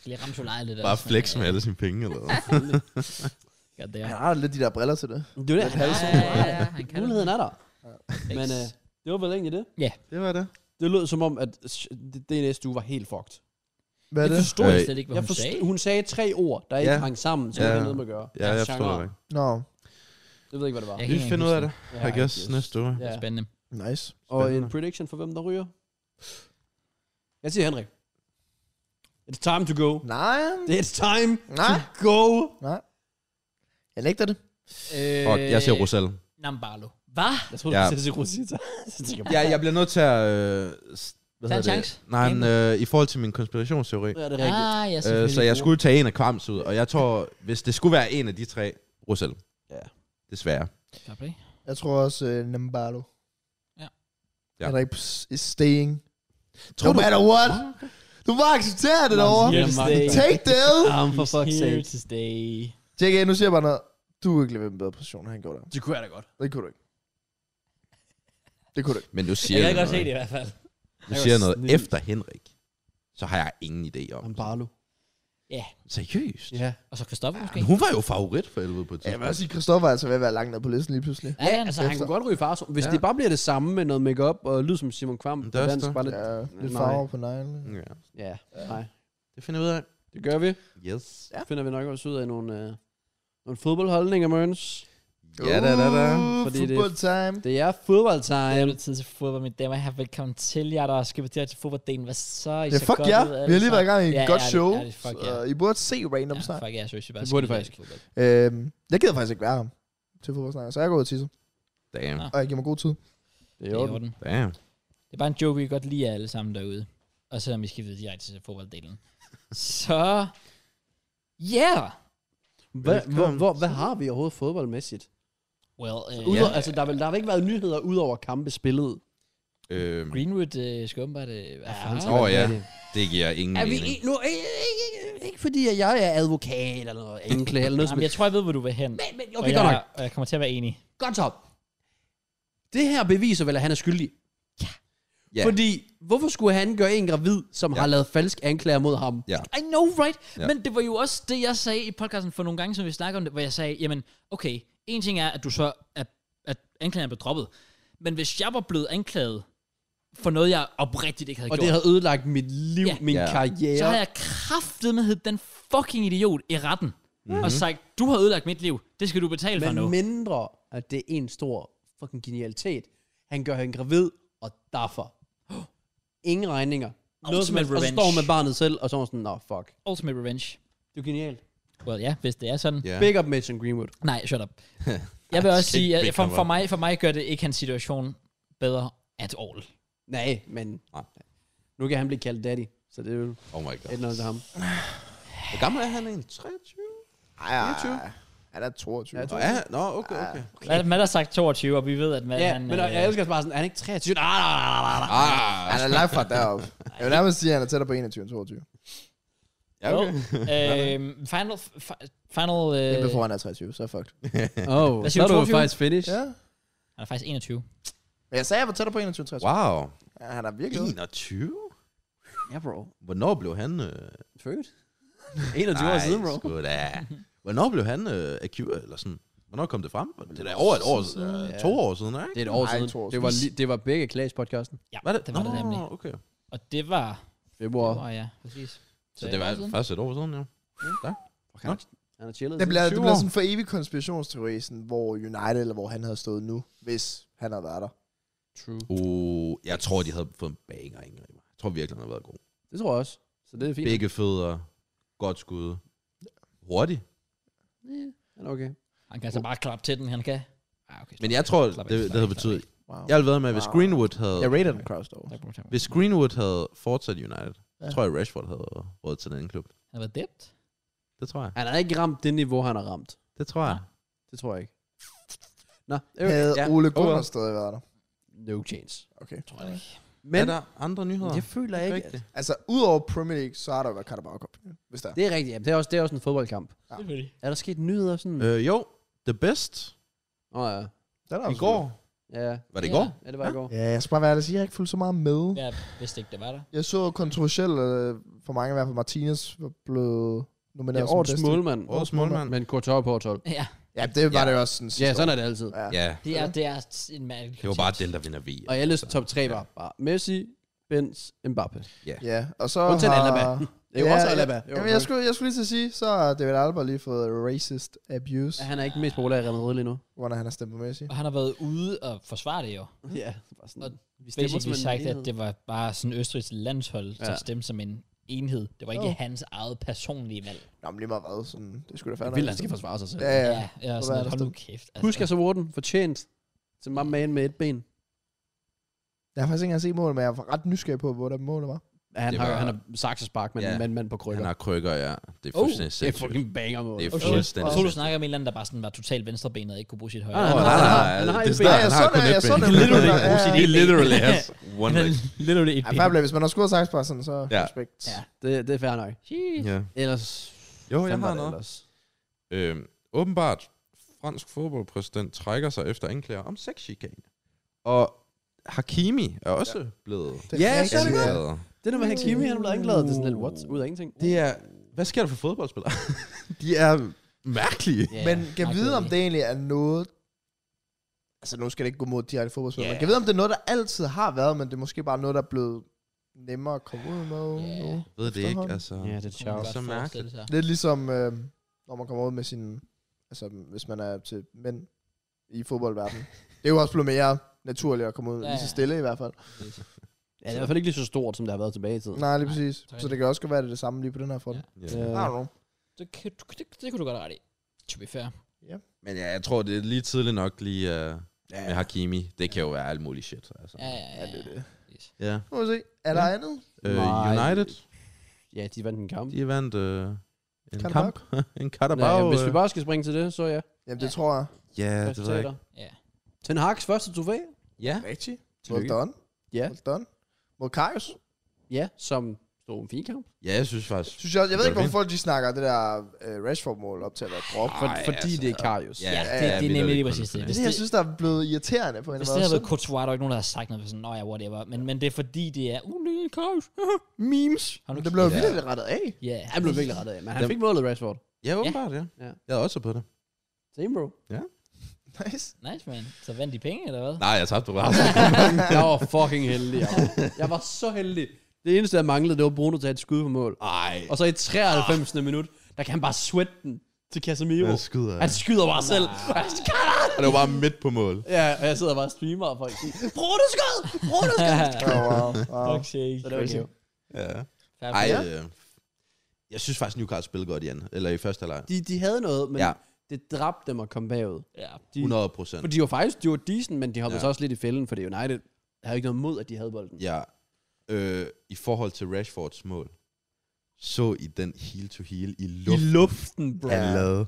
S1: Lige ramte jo lejet lidt.
S4: Bare flex med alle sine penge, eller hvad?
S1: Ja, det er.
S3: Han har da lidt de der briller til det.
S2: Men Det er det,
S3: Lidt
S2: han
S3: halsen.
S1: Ja, ja, ja, han kan
S2: kan. Muligheden er der. Men øh, det var vel egentlig det.
S4: Det var det.
S2: Det lød som om, at sh- det, det næste uge var helt fucked.
S3: Hvad er
S1: jeg
S3: det?
S1: forstod jeg
S4: Øh,
S1: slet ikke, hvad
S2: Jeg
S1: hun
S2: forst-
S1: sagde.
S2: hun sagde tre ord, der ikke
S4: Ja.
S2: hang sammen, som
S4: Ja.
S2: ja. havde noget med at gøre.
S4: Ja, jeg
S2: Genre.
S4: forstår det ikke.
S3: Nå.
S2: Jeg ved ikke, hvad det var.
S1: Jeg kan
S4: Vi
S1: ikke
S4: finder ud af det,
S1: huske
S4: I guess, næste uge.
S1: det.
S2: Ja.
S1: Spændende.
S3: Nice.
S2: Og en
S4: Spændende.
S2: prediction for, hvem der ryger. Jeg siger Henrik. It's time to go.
S3: Nej.
S2: It's time
S3: Nej.
S2: to go.
S3: Nej. Jeg nægter det.
S1: Øh,
S4: Fuck, jeg siger Rosal.
S1: Nambalo. Hvad?
S2: Jeg troede,
S4: Ja.
S2: du skulle til Rosita. *laughs* Så tænker jeg,
S4: Ja, jeg bliver nødt til at... Øh, s- hvad
S1: Tag en
S4: hedder det?
S1: chance.
S4: Nej, men, øh, i forhold til min konspirationsteori.
S2: ja, det er rigtigt.
S1: Ah, ja,
S4: Øh,
S1: selvfølgelig.
S4: så jeg skulle tage en af Kvams ud, og jeg tror, hvis det skulle være en af de tre, Rosal.
S2: Ja.
S4: Desværre.
S1: Fair play.
S3: Jeg tror også uh, Nambalo.
S1: Ja.
S4: Ja.
S3: Ja. Han er ikke s- is staying. no
S4: Tror du-
S3: matter what. Du må acceptere det derovre.
S2: Ja,
S1: Here to
S2: mange
S1: stay.
S2: tak.
S3: Take that.
S2: Um, for fuck's
S1: He's here
S2: sake.
S1: to stay.
S3: Tjek af, nu siger jeg bare noget. Du kunne ikke leve en bedre position, han gjorde der.
S2: Det kunne jeg da godt.
S3: Det kunne du ikke. Det kunne du ikke.
S4: Men du
S1: Jeg
S4: siger,
S1: kan
S4: noget,
S1: godt se det i hvert fald.
S4: du
S2: Jeg
S4: siger
S2: var
S4: noget
S2: snildt.
S4: efter Henrik. Så har jeg ingen idé om.
S2: Om Barlo.
S4: Seriøst?
S2: Ja.
S1: Og så Christoffer måske?
S4: Men Hun var jo favorit for helvede på et
S3: Ja, jeg vil
S4: tidspunkt.
S3: også sige, Christoffer er altså ved at være langt ned på listen lige pludselig.
S1: Ja, ja,
S2: Altså,
S1: altså,
S2: han
S3: Efter.
S2: kunne godt ryge i farsom. Hvis
S4: Ja.
S2: det bare bliver det samme med noget makeup og lyd som Simon Kvam.
S4: Men det
S2: Det
S4: er
S2: er
S4: også
S2: dansk,
S4: det.
S2: bare lidt.
S3: Ja, lidt
S2: Nej.
S3: farver på neglene.
S4: Ja.
S2: Ja, nej.
S4: Det finder vi ud af.
S2: Det gør vi.
S4: Yes.
S2: Ja. Finder vi nok også ud af nogle, øh, nogle fodboldholdninger, Mørens.
S4: Ja, da, da, da.
S3: Uh,
S2: Fordi det-
S3: football time.
S2: Det er fodboldtime.
S1: Det er blevet tid til fodbold, mine damer og herrer. Velkommen til jer, der skal til til fodbolddelen. Hvad så? I
S3: Ja,
S1: ser
S3: fuck
S1: godt
S3: ja.
S1: ud alle
S3: Vi har lige været i gang i et
S1: Ja,
S3: godt
S1: ærligt,
S3: show.
S1: ærligt, fuck
S3: så,
S1: ja.
S3: I burde se random
S1: sammen.
S3: snak.
S1: Ja, fuck, jeg synes, jeg bare
S2: Det burde
S1: skal
S2: det
S1: lide fodbold.
S3: Øhm, jeg gider faktisk ikke være ham til fodboldsnak, så jeg går ud og tisser.
S4: Damn.
S1: Ah.
S3: Og jeg giver mig god tid.
S2: Det
S1: Det
S2: er
S1: er i
S2: jo
S1: orden.
S4: Damn.
S1: Det er bare en joke, vi kan godt lide jer alle sammen derude. Og selvom vi skal videre direkte til fodbolddelen. så... Yeah!
S2: Hvad,
S4: Velkommen.
S2: hvor, hvor, hvad har vi overhovedet fodboldmæssigt?
S1: Well, uh,
S2: Udover,
S4: Ja.
S2: altså, der, har vel, der har vel ikke været nyheder udover kampe spillet.
S4: Øhm,
S1: Greenwood uh, skal åbenbart uh, være far.
S4: Åh oh, ja, det giver ingen
S2: Er vi
S4: mening.
S2: en, nu, ikke, ikke, ikke fordi, at jeg er advokat eller noget, anklager eller noget som
S1: Jamen, jeg tror, jeg ved, hvor du vil hen.
S2: Men, men
S1: og,
S2: okay, godt nok.
S1: jeg, og jeg kommer til at være enig.
S2: Godt top. Det her beviser vel, at han er skyldig.
S4: Ja.
S2: Ja. Fordi, hvorfor skulle han gøre en gravid, som
S4: Ja.
S2: ja. har lavet falsk anklager mod ham?
S4: Ja.
S1: I know, right?
S4: Ja.
S1: Ja. Men det var jo også det, jeg sagde i podcasten for nogle gange, som vi snakker om det, hvor jeg sagde, jamen, okay, en ting er, at du så, er, at anklageren blev droppet. Men hvis jeg var blevet anklaget for noget, jeg oprigtigt ikke havde
S2: Og
S1: gjort,
S2: det har ødelagt mit liv,
S1: Ja.
S2: ja. min
S4: Ja.
S2: ja. karriere.
S1: så har jeg kraftet med hed den fucking idiot i retten. Mm-hmm. Og sagt, du har ødelagt mit liv. Det skal du betale for
S2: Mhm. Men
S1: nu.
S2: mindre, at det er en stor fucking genialitet. Han gør hende gravid, og derfor. *gasps* Ingen regninger. Noget som helst. Og så
S1: revenge.
S2: står hun med barnet selv, og så er hun sådan, nå, fuck.
S1: Ultimate revenge.
S2: Det er genialt.
S1: Well, ja, hvis det er sådan.
S4: Ja.
S2: Big up Mason Greenwood.
S1: Nej,
S2: *laughs*
S1: shut up. Jeg vil også
S4: skal ikke
S1: sige, at
S4: big
S1: for,
S4: ham
S1: for,
S4: up.
S1: mig, for mig gør det ikke hans situation bedre at all.
S2: Nej, men
S4: Nej.
S2: nu kan han blive kaldt daddy, så det er jo
S4: Oh my god.
S2: et eller andet til ham.
S4: Hvor gammel er han egentlig? 23?
S3: Ej, ej,
S4: 24?
S3: ej. Han er 22.
S2: Ja,
S4: Nå, ja. Nå, okay, okay.
S1: Okay. Matt har sagt 22, og vi ved, at Matt,
S2: Ja,
S1: han...
S2: men
S1: øh,
S2: jeg elsker også bare sådan, er han ikke 23? Nej, nej, nej, nej, nej.
S4: Ah,
S3: Han er langt fra deroppe. Jeg vil nærmest sige, at han er tættere på 21 end 22.
S4: ja, *laughs* okay.
S1: øhm, final... fi- Final... Øh,
S3: Det er before han er 23, så fuck.
S2: Oh,
S1: Hvad
S2: så
S1: siger
S2: er
S1: du,
S2: du
S1: 22?
S2: faktisk finish.
S3: Ja.
S1: han er faktisk 21.
S3: Men jeg sagde, at jeg var tættere på 21 end 23.
S4: Wow.
S3: Ja, han er virkelig...
S4: 21?
S2: Ja, bro.
S4: Hvornår blev han... Øh...
S2: Født. 21 år siden, bro.
S4: sgu da. Hvornår blev han øh, accused, eller sådan? Hvornår kom det frem? Det er da over et år, øh,
S2: Ja.
S4: to år siden, ikke?
S2: Det er et år
S3: Nej,
S2: siden.
S3: to år
S2: Det var, li- det var begge Klaas podcasten.
S1: Ja,
S4: Var det?
S1: det var
S4: Nå,
S1: det nemlig.
S4: okay.
S1: Og det var...
S2: Februar.
S1: Åh oh, ja, præcis.
S4: Så det var
S1: siden.
S4: faktisk et år siden, ja.
S2: Han har- Han har chillet.
S3: Det bliver, det
S4: Syv
S3: bliver
S4: år.
S3: sådan for evig konspirationsteori, sådan, hvor United eller hvor han havde stået nu, hvis han havde været der.
S2: True.
S4: Uh, jeg tror, de havde fået en banger, Ingrid. Jeg tror virkelig, han har været god.
S2: Det tror jeg også. Så det er fint.
S4: Begge fødder. Godt skud. Hurtigt.
S2: Han er okay.
S1: Han kan altså bare klappe til den, han kan. Ah, okay.
S4: Men jeg tror,
S1: Slap af,
S4: det,
S1: slap
S4: det
S1: af,
S4: havde
S1: slap
S4: betydet...
S3: Wow.
S4: Jeg ville være med, hvis
S3: Wow.
S4: Greenwood havde...
S3: Jeg rated den cross dog.
S1: Tak for det.
S4: Hvis Greenwood havde fortsat United, ja.
S3: Ja.
S4: tror jeg, Rashford havde råd til den anden klub.
S1: Han var døbt.
S4: Det tror jeg.
S2: Han har ikke ramt det niveau, han har ramt.
S4: Det tror jeg.
S2: Det tror jeg ikke. Nå,
S3: Havde
S2: ja.
S3: Ole
S4: Oh,
S3: Gunnar
S4: well.
S3: stadig været der.
S2: no chance.
S3: Okay.
S1: Tror jeg ikke.
S4: Men, er
S2: Men
S4: der andre nyheder?
S2: jeg føler ikke...
S4: rigtigt.
S3: Altså, udover Premier League, så har der jo været Carabao Cup, hvis der er.
S2: Det er rigtigt. Ja, det, er også, det er også en fodboldkamp.
S3: Ja.
S1: Selvfølgelig.
S2: Er der sket nyheder sådan? Åh
S4: Øh, jo, The Best
S2: øh. oh, ja.
S3: Den er
S4: i går.
S2: Ja.
S4: Var det i
S1: Ja.
S4: går?
S2: ja, det var i går.
S3: Ja, jeg skal bare være ærlig og sige, jeg har ikke fulgt så meget med.
S1: Jeg vidste ikke, det var der.
S3: Jeg så kontroversielt, øh, for mange i hvert fald, Martinez var blevet
S2: Ja,
S3: nomineret som
S2: årets
S3: bedste.
S2: målmand.
S4: Årets målmand.
S2: Men Courtois på 12.
S1: Ja,
S3: Ja, det var
S4: Ja.
S3: det jo også sådan
S2: Ja,
S3: sidste
S2: sådan er det altid.
S3: år. Ja.
S4: Ja,
S1: det er, det er en mærkelig
S4: det var bare den, der vinder V.
S2: Og alles top 3 var bare Messi, Benz, Mbappe.
S3: ja, og så
S2: Undtagen
S3: har...
S2: Alaba. Det er jo
S3: Ja,
S2: også
S3: ja.
S2: Alaba. Jo,
S3: Jamen, jeg skulle, jeg skulle lige til at sige, så har David Alba lige fået racist abuse,
S2: Ja, han er ikke den mest populær i Real Madrid lige nu.
S3: hvor han har stemt på Messi.
S1: Og han har været ude og forsvare det jo.
S2: Ja, bare sådan.
S1: Og
S2: vi stemmer som
S1: Basically
S2: en
S1: sagt, at
S2: enhed.
S1: det var bare sådan Østrigs landshold, ja.
S2: Ja.
S1: som stemte som en enhed. Det var ikke
S3: Jo.
S1: hans eget personlige valg.
S3: Nå, men lige meget hvad, sådan, det skulle da
S2: Det er
S3: fandme.
S2: vildt, han skal forsvare sig selv.
S3: Ja, ja. ja.
S1: ja
S3: hvad er
S1: sådan,
S3: der
S1: hold nu kæft. Altså.
S2: Husk altså Warden, fortjent. Til my man med et ben.
S3: Jeg har faktisk ikke engang set målet, men jeg var ret nysgerrig på, hvor der målet
S2: *laughs*
S3: var.
S2: Ja, han,
S4: Det
S2: har,
S4: var-
S2: han har saksespark, men
S4: Ja.
S2: ja. mand, mand på krykker.
S4: Han har krykker, ja. Det er
S1: Oh,
S4: fuldstændig
S2: Det er
S4: sindssygt.
S2: fucking Oh, banger måde.
S4: Det er
S1: Okay.
S4: fuldstændig
S1: Jeg tror, du
S4: sindssygt.
S1: snakker om en eller anden, der bare sådan var totalt venstrebenet og ikke kunne bruge sit højre.
S2: Ah,
S4: Åh,
S2: han
S4: nej,
S2: har-
S4: nej,
S2: han har
S4: nej,
S2: et
S4: det
S2: ben.
S4: er snart,
S3: Ja,
S4: han har
S3: sådan
S4: kun
S3: er jeg,
S4: et ben.
S3: sådan er jeg.
S1: Literally ikke bruge sit
S4: He
S1: ene ben.
S4: literally has one
S1: Han er
S4: leg.
S1: *laughs* literally et
S3: Ej,
S1: ben.
S3: fair play, hvis man har skudt saksespark, sådan, så
S4: Ja.
S3: ja. respekt.
S1: Ja.
S3: Ja.
S2: Det, det er fair nok.
S1: Shit.
S4: Ja.
S2: Ellers...
S4: Jo, jeg
S2: Hvem var
S4: har
S2: det
S4: noget.
S2: ellers?
S4: Øhm, åbenbart, fransk fodboldpræsident trækker sig efter anklager om sexchikane. Og Hakimi er også ja. blevet
S3: Det
S2: Ja,
S3: rigtigt,
S2: så er det godt.
S4: anklaget.
S2: Det der med Hakimi, han blev anklaget. Det er sådan lidt, what? Ud af ingenting.
S4: Det er... Hvad sker der for fodboldspillere? De er mærkelige.
S1: Ja,
S3: Men
S1: ja.
S3: kan
S1: Nej,
S3: vide,
S1: det-
S3: om det egentlig er noget... Altså, nu skal det ikke gå mod direkte fodboldspillere.
S4: Ja.
S3: Yeah. Man kan vide, om det er noget, der altid har været, men det er måske bare noget, der er blevet nemmere at komme ud med.
S1: Ja.
S3: Yeah.
S4: Ved det ikke,
S3: Efterhånden.
S4: altså.
S2: Ja,
S4: Ja.
S2: det er
S1: Kunne man
S2: sjovt.
S1: godt
S4: Så
S1: forestille
S4: mærkeligt.
S1: sig.
S3: Lidt ligesom, øh, når man kommer ud med sin... Altså, hvis man er til mænd i
S1: *laughs*
S3: fodboldverdenen. det er jo også blevet mere naturligt at komme ud,
S1: Ja,
S3: ja, lige så
S1: ja.
S3: stille i hvert fald.
S2: Ja, det er i hvert fald ikke lige så stort, som det har været tilbage i tiden.
S3: Nej, lige
S1: Nej,
S3: præcis.
S1: det er
S3: så det kan også godt være, at det er det samme lige på den her front. Øh,
S1: Ja.
S3: Ja.
S4: Ja.
S3: I don't know.
S1: Det, kan, det, det kunne du godt have ret i. To be fair.
S4: Men ja, jeg tror, det er lige tidligt nok lige uh, med Hakimi. Det kan jo være alt muligt shit. Altså.
S1: Ja, ja, ja.
S3: Ja, det er det.
S4: Ja.
S3: Nu må vi se. Er der andet?
S4: Øh,
S2: Nej.
S4: United,
S2: Ja, de vandt en kamp.
S4: de vandt øh, en
S3: Carabao.
S4: kamp. *laughs* en
S2: Nej,
S4: Carabao.
S2: jamen, hvis vi
S4: øh,
S2: bare skal springe til det, så ja.
S3: Jamen, det
S1: Ja.
S3: tror jeg.
S4: Ja, det ved jeg ikke.
S2: Resultater.
S1: Ja.
S2: Ten Hag's første trofæ.
S4: Ja.
S3: Rigtigt. Well
S2: Tillykke.
S3: done.
S2: Ja.
S3: Well done. Mod Karius.
S2: Ja, som stod en fin kamp.
S4: ja, jeg synes faktisk...
S3: Synes jeg, også- jeg ved
S4: Det
S3: ikke,
S4: var
S3: hvorfor folk de snakker det der uh, Rashford-mål op til at være drop.
S2: For,
S3: For,
S4: Ej,
S2: Ej, fordi
S4: altså.
S2: altså, det er Karius.
S1: Ja, det- det er
S4: vi
S1: nemlig
S4: lader
S1: lige
S4: kun
S1: præcis det.
S4: fornemme.
S3: det,
S1: Hvis
S3: er det, jeg
S1: det-
S3: synes, der er blevet irriterende på en
S1: Hvis
S3: eller
S1: det havde
S3: anden
S1: været
S3: måde.
S1: Courtois, er der ikke nogen, der har sagt noget for sådan, nå ja, whatever. Men, men det er fordi, det er, uh, lille Kraus.
S3: Memes.
S1: Har du
S3: Det blev
S4: kigget?
S3: vildt rettet af.
S1: *laughs* Ja.
S2: Han blev virkelig rettet af, men han
S4: Dem-
S2: fik målet Rashford.
S4: Ja, åbenbart, ja.
S2: Ja.
S4: Jeg er også på det.
S2: Same bro.
S3: Nice.
S1: Nice, man. Så vandt de penge, eller hvad? *laughs*
S4: Nej, jeg tabte bare.
S2: *laughs* jeg var fucking heldig. Jeg var, jeg var så heldig. Det eneste, jeg manglede, det var Bruno til at have et skud på mål.
S4: Ej.
S2: Og så i 93. minut, der kan han bare sweat den til Casemiro.
S4: Jeg skyder.
S2: Han skyder bare selv. Og jeg skal-
S4: Og det var bare midt på mål.
S2: Ja, og jeg sidder bare og streamer, og folk siger, Bruno skød! Bruno skød!
S3: Oh, wow.
S1: *laughs*
S3: wow.
S1: Fuck sake.
S2: Så det var okay.
S4: Ja.
S1: Fair
S4: Ej,
S1: play.
S4: øh, jeg synes faktisk, Newcastle spillede godt igen. Eller i første halvleg.
S2: De, de havde noget, men
S4: Ja.
S2: ja. det dræbte dem at komme bagud.
S1: Ja.
S2: De,
S4: 100 procent.
S2: For de var faktisk, de var decent, men de hoppede
S4: Ja.
S2: ja. så også lidt i fælden, fordi United havde ikke noget mod, at de havde bolden.
S4: Ja. Øh, I forhold til Rashfords mål, så I den heel-to-heel i luften,
S2: luften, bro.
S4: han lavede.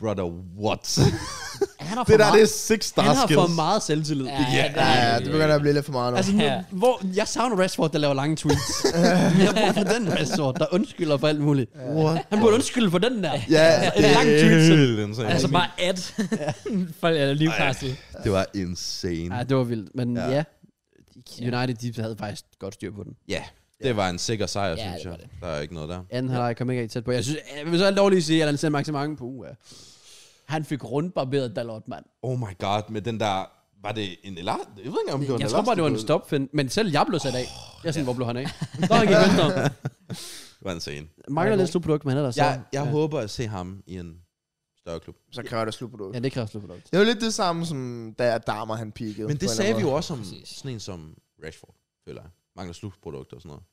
S4: Brother, what?
S1: Han har
S4: det
S1: for
S4: der, det
S1: meget.
S4: er six star
S2: Han har
S4: skills.
S2: for meget selvtillid.
S1: Ja,
S2: Ja.
S1: ja,
S3: Ja, ja, det begynder at blive lidt for meget nu.
S2: Altså, nu,
S1: Ja.
S2: hvor, jeg savner Rashford, der laver lange
S4: *laughs*
S2: tweets. Men jeg bruger for den Rashford, der undskylder for alt muligt.
S4: What?
S2: Han burde undskylde for den der.
S4: Ja,
S2: En
S4: det
S2: lang
S4: er
S2: tweet, så-
S4: helt insane.
S1: Altså bare at *laughs* folk er Newcastle.
S4: Det var insane.
S2: Ja, Ah, det var vildt. Men
S4: Ja.
S2: ja. ja, United, de havde faktisk godt styr på den.
S4: Ja, det var en sikker sejr,
S1: Ja,
S4: synes
S1: det var
S4: jeg. Der er ikke noget der.
S2: Anden halvleg kom ikke rigtig tæt på. Jeg synes, jeg vil så dog lige sige, at han sendte maksimang på uge. Han fik rundbarberet Dalot, mand.
S4: Oh my god, med den der... Var det en eller? Jeg ved ikke, om det var en
S2: Jeg tror bare, det var en
S4: elastiko.
S2: stopfin. Men selv jeg blev sat af. Jeg er sådan, hvor blev han
S4: *laughs*
S2: af? Nå, han gik venstre.
S4: Det var en scene.
S2: Mangler lidt slutprodukt, men han er der så.
S4: Jeg, jeg ja. håber at se ham i en større klub.
S3: Så kræver det slut på det.
S2: Ja, det kræver slutprodukt.
S3: Det var lidt det samme, som da Adama han peakede.
S4: Men
S3: på en
S4: det
S3: eller
S4: sagde vi
S3: anden
S4: jo
S3: måde.
S4: også om
S1: Præcis.
S4: sådan en som Rashford, føler jeg. Mangler slutprodukter og sådan noget.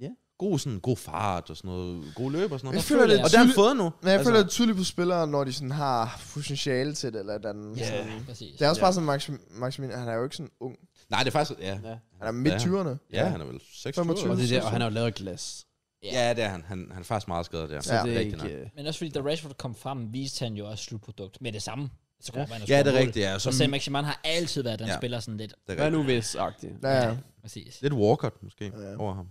S2: Ja.
S4: God, sådan, god fart og sådan noget. God løb og sådan
S3: Jeg
S4: noget.
S3: føler, det er
S4: Og det har han
S3: tydeligt,
S4: fået nu. Altså,
S3: men jeg føler, det er tydeligt på spillere, når de sådan har potentiale til det, eller et eller andet.
S1: Ja,
S3: Sådan.
S1: præcis.
S3: Det er også bare sådan, Maxim- Maximilian, han er jo ikke sådan ung.
S4: Nej, det er faktisk... Ja,
S2: Ja.
S3: Han er midt 20'erne.
S4: ja han er vel 26
S3: 25.
S2: Og,
S4: eller
S2: det er der, og han
S4: sådan
S2: har jo lavet glas.
S4: noget. Ja, det er han. Han, han er faktisk meget skadet der.
S2: Så ja, det er
S4: Rigtig
S2: ikke...
S4: nok.
S2: øh,
S1: Men også fordi, da Rashford kom frem, viste han jo også slutprodukt med det samme. Så ja.
S4: Ja, det er rigtigt. Ja.
S1: Så
S4: Som,
S1: Sam Maximan har altid været den
S4: Ja.
S1: ja. spiller sådan lidt.
S4: det er
S2: Hvad
S4: rigtigt.
S2: nu hvis, agtigt.
S3: Ja, ja.
S1: Præcis.
S4: Lidt Walcott måske ja.
S3: Ja.
S4: over ham.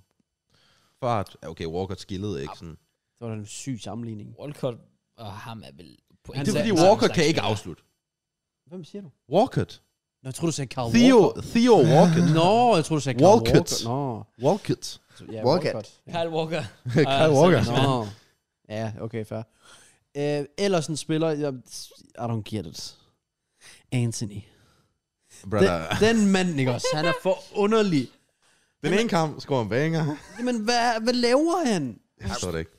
S4: Fart. Ja, Okay, Walcott skillede ikke sådan.
S2: Det var da en syg sammenligning.
S1: Walcott og ham er vel... På
S2: Han-
S4: Det er fordi
S2: samme
S4: Walcott kan ikke afslutte.
S2: Hvem siger du?
S4: Walcott.
S2: Nå, jeg tror du sagde Carl
S4: Theo,
S2: Walker.
S4: Theo Walcott.
S2: *laughs* Nå, jeg tror du sagde Carl
S4: Walcott.
S2: Walker. Nå.
S4: Walcott.
S2: Så- Ja,
S3: Walcott.
S2: Ja.
S1: Kyle Walker.
S4: Kyle Walker.
S1: Sam Maximan.
S2: Nå. Ja, okay, fair. Øh, ellers en spiller, jeg, I don't get it. Anthony. Den,
S4: Brother.
S2: den mand, ikke også? Han er for underlig.
S4: Den ene kamp scorer en banger.
S2: Jamen, hvad, hvad laver han?
S4: Jeg forstår det ikke.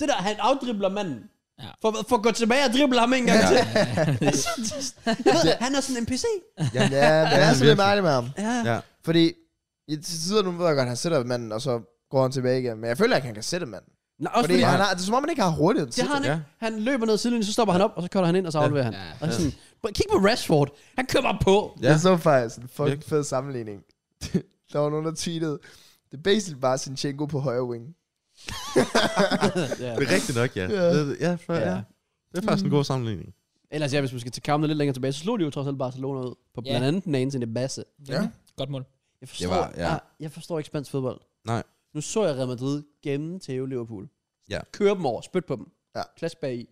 S2: Det der, han afdribler manden.
S1: Ja.
S2: For, for at gå tilbage og drible ham en gang til. Altså, jeg ved, han er sådan en NPC.
S3: Jamen, ja, men det er sådan lidt
S4: virkelig.
S3: mærkeligt med ham.
S2: Ja.
S4: Ja.
S3: Fordi i til tider nu ved jeg godt, at han sætter manden, og så går han tilbage igen. Men jeg føler ikke, han kan sætte manden.
S2: Nå, også
S3: Fordi
S2: fordi,
S3: han har, det er som om, han ikke har hurtigheden til
S2: det har han
S4: Ja.
S2: ikke. Han løber ned sidelinjen, så stopper han op, og så kører han ind, og så afleverer han.
S1: Ja.
S2: Og sådan, "Bro, kig på Rashford. Han kører bare på.
S3: Ja.
S4: Ja.
S3: Jeg så faktisk en fucking
S4: Virkelig.
S3: fed sammenligning. *laughs* der var nogen, der tweetede, det er basically bare Sinchenko på højre wing.
S2: Ja.
S4: Det er rigtigt nok, ja.
S3: Ja.
S4: Det, ja, for,
S2: Ja. Mm.
S4: ja. det er faktisk en god sammenligning.
S2: Ellers ja, hvis man skal tage kampene lidt længere tilbage, så slog de jo trods alt Barcelona ud. På blandt andet den ene sin det basse.
S3: Ja.
S1: Godt mål.
S2: Jeg forstår,
S4: var- ja.
S2: jeg, jeg forstår ikke spansk fodbold.
S4: Nej.
S2: Nu så jeg Real Madrid gennem til Liverpool.
S4: Ja. Mm.
S2: Køre dem over, spyt på dem.
S3: Ja.
S2: Klask bag i.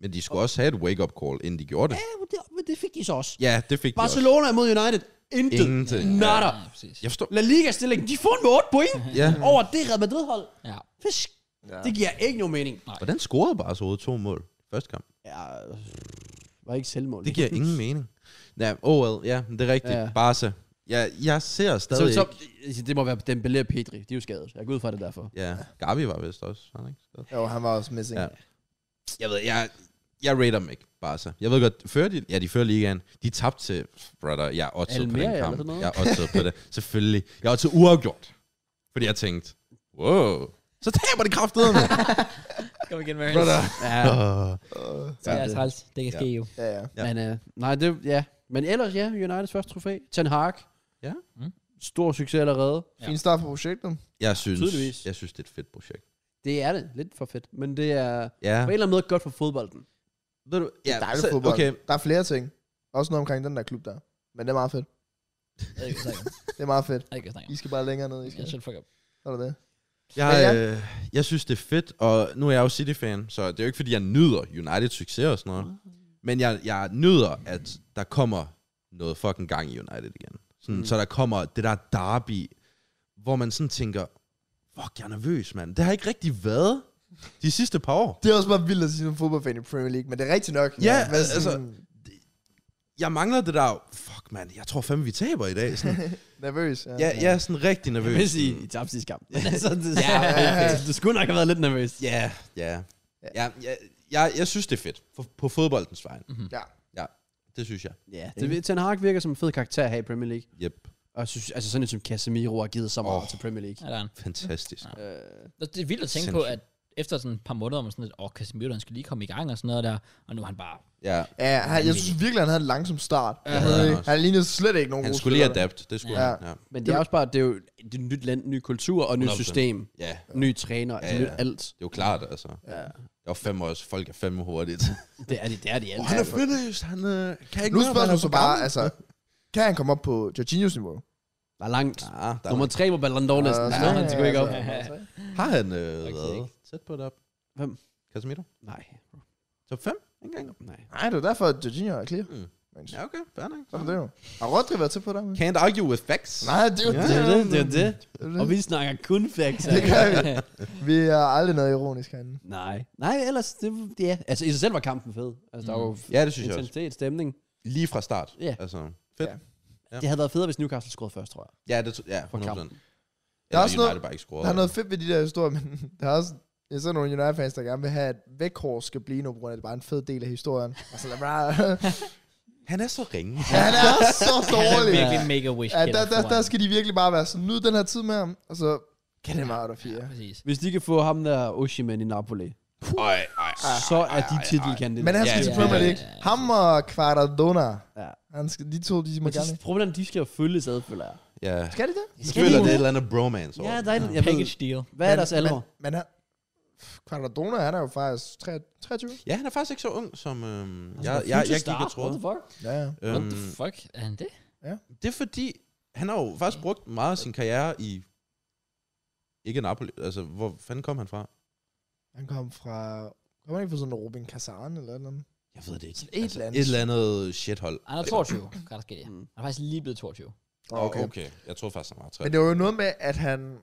S4: Men de skulle også have et wake-up call, inden de gjorde det.
S2: Ja, men det, men det fik de så også.
S4: Ja, det fik de
S2: Barcelona imod United. Intet.
S4: også. Ingenting.
S2: Nada.
S1: Ja, præcis.
S4: Jeg forstår.
S2: La Liga-stillingen, de får en med 8 point
S4: Ja.
S2: over det Real Madrid-hold.
S1: Ja.
S2: Fisk.
S3: Ja.
S2: Det giver ikke nogen mening.
S4: Hvordan scorede bare så to mål første kamp?
S2: Ja, var ikke selvmål.
S4: Det giver ingen mening. Ja, oh well, ja, det er rigtigt.
S2: Ja.
S4: Ja. Barca. Ja, jeg ser
S2: så,
S4: stadig
S2: så,
S4: ikke.
S2: det må være Dembélé og Pedri. De er jo skadet. Jeg går ud fra det derfor.
S4: Ja, Gavi var vist også. var Han ikke? Så-
S3: Jo, han var også missing. Ja.
S4: Ja. Jeg ved, jeg, jeg rater dem ikke, Barca. Jeg ved godt, fører de, ja, de fører ligaen. De tabte til, brother, jeg er oddset på
S2: Almeria
S4: den
S2: eller
S4: kamp.
S2: sådan noget?
S4: Jeg er oddset
S2: *laughs*
S4: på det, selvfølgelig. Jeg er oddset uafgjort. Fordi jeg tænkte, wow, så taber de kraftedeme,
S1: Kom igen, Mary.
S4: brother.
S2: *laughs* Ja.
S4: Uh,
S1: Det er træls. Det kan ske jo.
S3: Øh, Ja, ja.
S4: Ja.
S2: Men øh, nej, det, ja. Men ellers, ja, Uniteds første trofæ. Ten Hag.
S4: Ja.
S1: Mm.
S2: Stor succes allerede.
S1: Ja.
S3: Fin start på projektet.
S4: jeg, synes,
S2: Tydeligvis.
S4: jeg synes, det er et fedt projekt.
S2: Det er det. Lidt for fedt. Men det er
S4: Ja.
S2: på en eller anden måde godt for fodbolden.
S4: Ved du,
S3: Ja,
S4: ja,
S3: Dejlig
S4: så-
S3: fodbold.
S4: Okay,
S3: Der er flere ting. Også noget omkring den der klub der. Men det er meget fedt.
S1: Jeg ved ikke, hvad jeg snakker om.
S3: Det er meget
S1: Jeg
S3: fedt.
S1: ved ikke, hvad jeg snakker
S3: I skal bare længere ned. I
S1: om.
S3: skal.
S1: Jeg shut the fuck up.
S3: Er det det?
S4: jeg,
S3: Men
S4: øh, jeg synes, det er fedt, og nu er jeg jo City-fan, så det er jo ikke, fordi jeg nyder United succes og sådan noget. Men jeg, jeg nyder, at der kommer noget fucking gang i United igen. Sådan,
S2: Mm.
S4: mm. Så der kommer det der derby, hvor man sådan tænker, fuck, jeg er nervøs, mand. Det har ikke rigtig været de sidste par år.
S3: Det er også bare vildt at sige som fodboldfan i Premier League, men det er rigtigt nok.
S4: Ja,
S3: men sådan,
S4: altså, Jeg mangler det der, fuck, mand, jeg tror fandme, vi taber i dag. Sådan,
S3: Nervøs.
S4: jeg, jeg er sådan rigtig nervøs.
S2: Hvis I, I tabte sidste *laughs* kamp. altså, det,
S1: Ja,
S3: ja, ja.
S2: Du skulle nok have været lidt nervøs.
S4: Ja, ja. Ja, jeg, jeg, jeg synes, det er fedt. For, på fodboldens vej. Mm-hmm.
S3: Ja.
S4: Ja, det synes jeg.
S2: Ja, det, Ten Hag virker som en fed karakter her i Premier League.
S4: Yep.
S2: Og jeg synes, altså sådan en som Casemiro har givet så meget oh.
S4: Åh.
S2: til Premier League.
S1: Ja, der er en.
S4: Fantastisk.
S1: Ja.
S2: Øh,
S1: Det er vildt at tænke på, at efter sådan et par måneder, om sådan lidt, åh, Casemiro, han skal lige komme i gang og sådan noget der, og nu er han bare...
S4: Ja.
S3: Ja, han, jeg synes virkelig, han havde en langsom start.
S1: Ja,
S3: Han,
S4: det
S3: havde,
S4: havde
S3: ikke-
S4: han også.
S3: han lignede slet ikke nogen
S4: Han
S3: gode
S4: skulle lige
S3: spillere.
S4: adapte, det skulle
S3: Ja.
S4: ja. han. Ja.
S2: men det er også bare, det er jo det er et nyt land, ny kultur og nyt
S4: 100%.
S2: system.
S4: ja,
S2: Ny træner, altså
S4: Ja, ja.
S2: nyt alt.
S4: det er jo klart, altså.
S2: Ja.
S4: Jeg var fem år, så folk er fem år hurtigt.
S3: *laughs*
S2: Det er det, det er de alt.
S4: finished, han øh, kan
S3: Nu spørger du så bare, altså, kan han komme op på Jorginhos niveau?
S2: Der er langt.
S4: Ja, der
S2: Nummer
S4: Nummer...
S2: tre på Ballon d'Or næsten.
S3: Altså,
S2: Ja, han skal ikke op.
S3: altså, altså.
S4: Har han øh,
S1: Okay.
S4: været tæt på det op?
S2: Hvem?
S4: Casemiro?
S2: Nej.
S4: Top 5? Ikke engang.
S2: Nej.
S3: Nej, det er derfor, at Jorginho er clear.
S4: Mm.
S3: Men
S4: Ja, okay. Fair nok.
S3: sådan er det jo. Har Rodri været til på dig? men?
S4: Can't argue with facts.
S3: Nej, det er jo
S4: Ja.
S2: Det er
S3: det.
S2: det, det er det.
S3: Det er det.
S2: Og vi snakker kun facts.
S3: Det gør vi. Vi er aldrig noget ironisk herinde.
S2: Nej. Nej, ellers, det, ja. Altså, i sig selv var kampen fed. Altså, der var jo
S4: Mm. Ja, det synes jeg også.
S2: intensitet, stemning.
S4: Lige fra start.
S2: Ja.
S4: Altså, fedt.
S3: Ja.
S4: Ja,
S2: Det havde været federe, hvis Newcastle scorede først, tror jeg.
S4: ja det ja, 100%.
S2: For
S4: Eller
S2: kampen.
S3: Der er også
S4: United
S3: noget-
S4: bare ikke scoret.
S3: Der er noget fedt ved de der historier, men *laughs* der er også jeg ser nogle United-fans, der gerne vil have, at vækhår skal blive nu, på grund af, at det bare er en fed del af historien. Altså, lad bare...
S4: Han er så ringe.
S3: han er så
S1: Han er
S3: dårlig.
S1: virkelig mega wish
S3: Ja, der, der, der, skal de virkelig bare være sådan, nyd den her tid med ham, og så kan det meget af
S1: Ja,
S3: fire.
S1: præcis.
S2: Hvis de kan få ham der Oshiman i Napoli,
S4: *laughs* Ej, ej,
S3: Ah.
S4: ej.
S2: så er
S4: ah,
S2: de titelkandidater.
S3: Men han skal
S4: Ja,
S3: til
S4: ja,
S3: Premier
S4: ja,
S3: League.
S1: ja, ja.
S3: Ham og Quaradona,
S2: Ja.
S3: han skal, de to, de må
S2: Men
S3: gerne...
S2: de, problemet er, at de skal jo følges ad, føler jeg.
S4: Ja.
S3: Skal de det?
S4: Jeg føler,
S2: de-
S4: det er et eller andet bromance over
S2: Ja,
S4: det.
S2: der er en, jeg ved, Altså,
S1: Package deal.
S2: hvad er deres
S3: Men-
S2: alvor?
S3: Men, men han, Quaradona, han er jo faktisk 3 23.
S4: Ja, han er faktisk ikke så ung, som øhm,
S2: Altså,
S4: jeg,
S2: der er
S4: jeg, jeg
S2: future
S4: gik og
S2: star. What the
S4: troede.
S2: fuck?
S3: Ja, ja.
S1: What the
S4: Øhm,
S1: fuck er han det?
S4: det er fordi, han har jo faktisk brugt meget af sin karriere i... Ikke Napoli, altså hvor fanden kom han fra?
S3: Han kom fra... Kom han ikke fra sådan Robin Kazan eller noget?
S4: Jeg ved det ikke.
S3: Sådan
S4: Altså,
S3: et eller andet.
S4: Et eller andet shithold.
S1: Han er 22, kan der ske
S4: Mm.
S1: det. Han er faktisk lige blevet 22.
S4: Okay. okay. Jeg troede faktisk, han var 3.
S3: Men det var jo noget med, at han...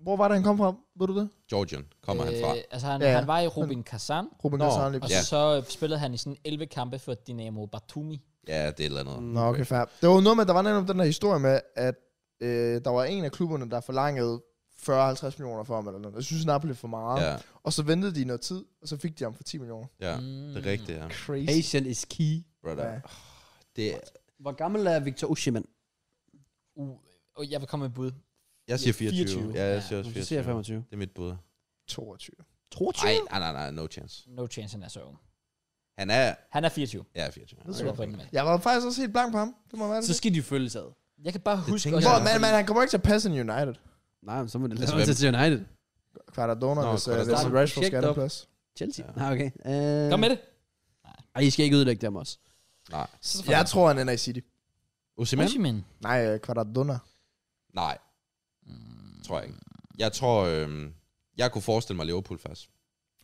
S3: Hvor var det, han kom fra? Ved du det?
S4: Georgian kommer øh, han fra.
S1: Øh, altså, han,
S3: Ja, ja.
S1: han var i Rubin Kazan,
S3: Ruben
S4: Nå,
S3: Kazan lige
S1: og
S4: Ja.
S1: så øh, spillede han i sådan 11 kampe for Dynamo Batumi.
S4: Ja, det er et eller andet.
S3: Nå, okay, fair. Det var jo noget med, at der var netop den der historie med, at øh, der var en af klubberne, der forlangede 40-50 millioner for ham eller noget. Jeg synes, Napoli er for meget. Ja.
S4: Ja,
S3: Og så ventede de noget tid, og så fik de ham for 10 millioner.
S4: ja.
S1: Mm.
S4: Det er rigtigt, ja.
S3: Crazy.
S2: Patient is key.
S4: Brother. Ah,
S3: Ja.
S4: Det,
S2: Hvor gammel er Victor Osimhen?
S1: Uh, og jeg vil komme med et bud.
S4: jeg siger 24.
S2: 24.
S4: Ja, jeg siger
S2: Ja,
S4: også
S2: så siger jeg
S4: 24.
S2: 25.
S4: Det er mit bud.
S3: 22.
S2: 22?
S4: Ej, nej, nej, nej, no chance.
S1: No chance, han er så ung.
S4: Han er,
S1: Han er 24.
S4: ja, 24.
S3: Det
S1: Så
S3: tror
S1: jeg pointen med.
S3: Jeg var faktisk også helt blank på ham. Det må være det.
S2: Så skal de følges ad.
S1: Jeg kan bare huske
S4: tænker
S1: også...
S4: jeg.
S3: Hvor,
S1: at-
S3: man, man, han kommer ikke til at passe en United.
S2: Nej, men så må det
S4: Altså,
S2: lade være
S4: hvem-
S2: til United.
S3: Kvaradona,
S4: Nå,
S3: hvis, øh, hvis
S4: Kvaradona.
S3: Rashford skal
S2: Tjek
S3: have
S2: op.
S3: en plads.
S2: Chelsea.
S4: Ja.
S2: Nej, okay. Øh,
S1: Kom med det.
S2: Ej, I skal ikke ødelægge dem også.
S4: Nej.
S3: Jeg tror, han ender i City.
S4: Osimhen?
S1: Osimhen.
S3: Nej, øh, Kvaradona.
S4: Nej,
S1: Mm.
S4: tror jeg ikke. Jeg tror, øhm, jeg kunne forestille mig Liverpool Øh, faktisk.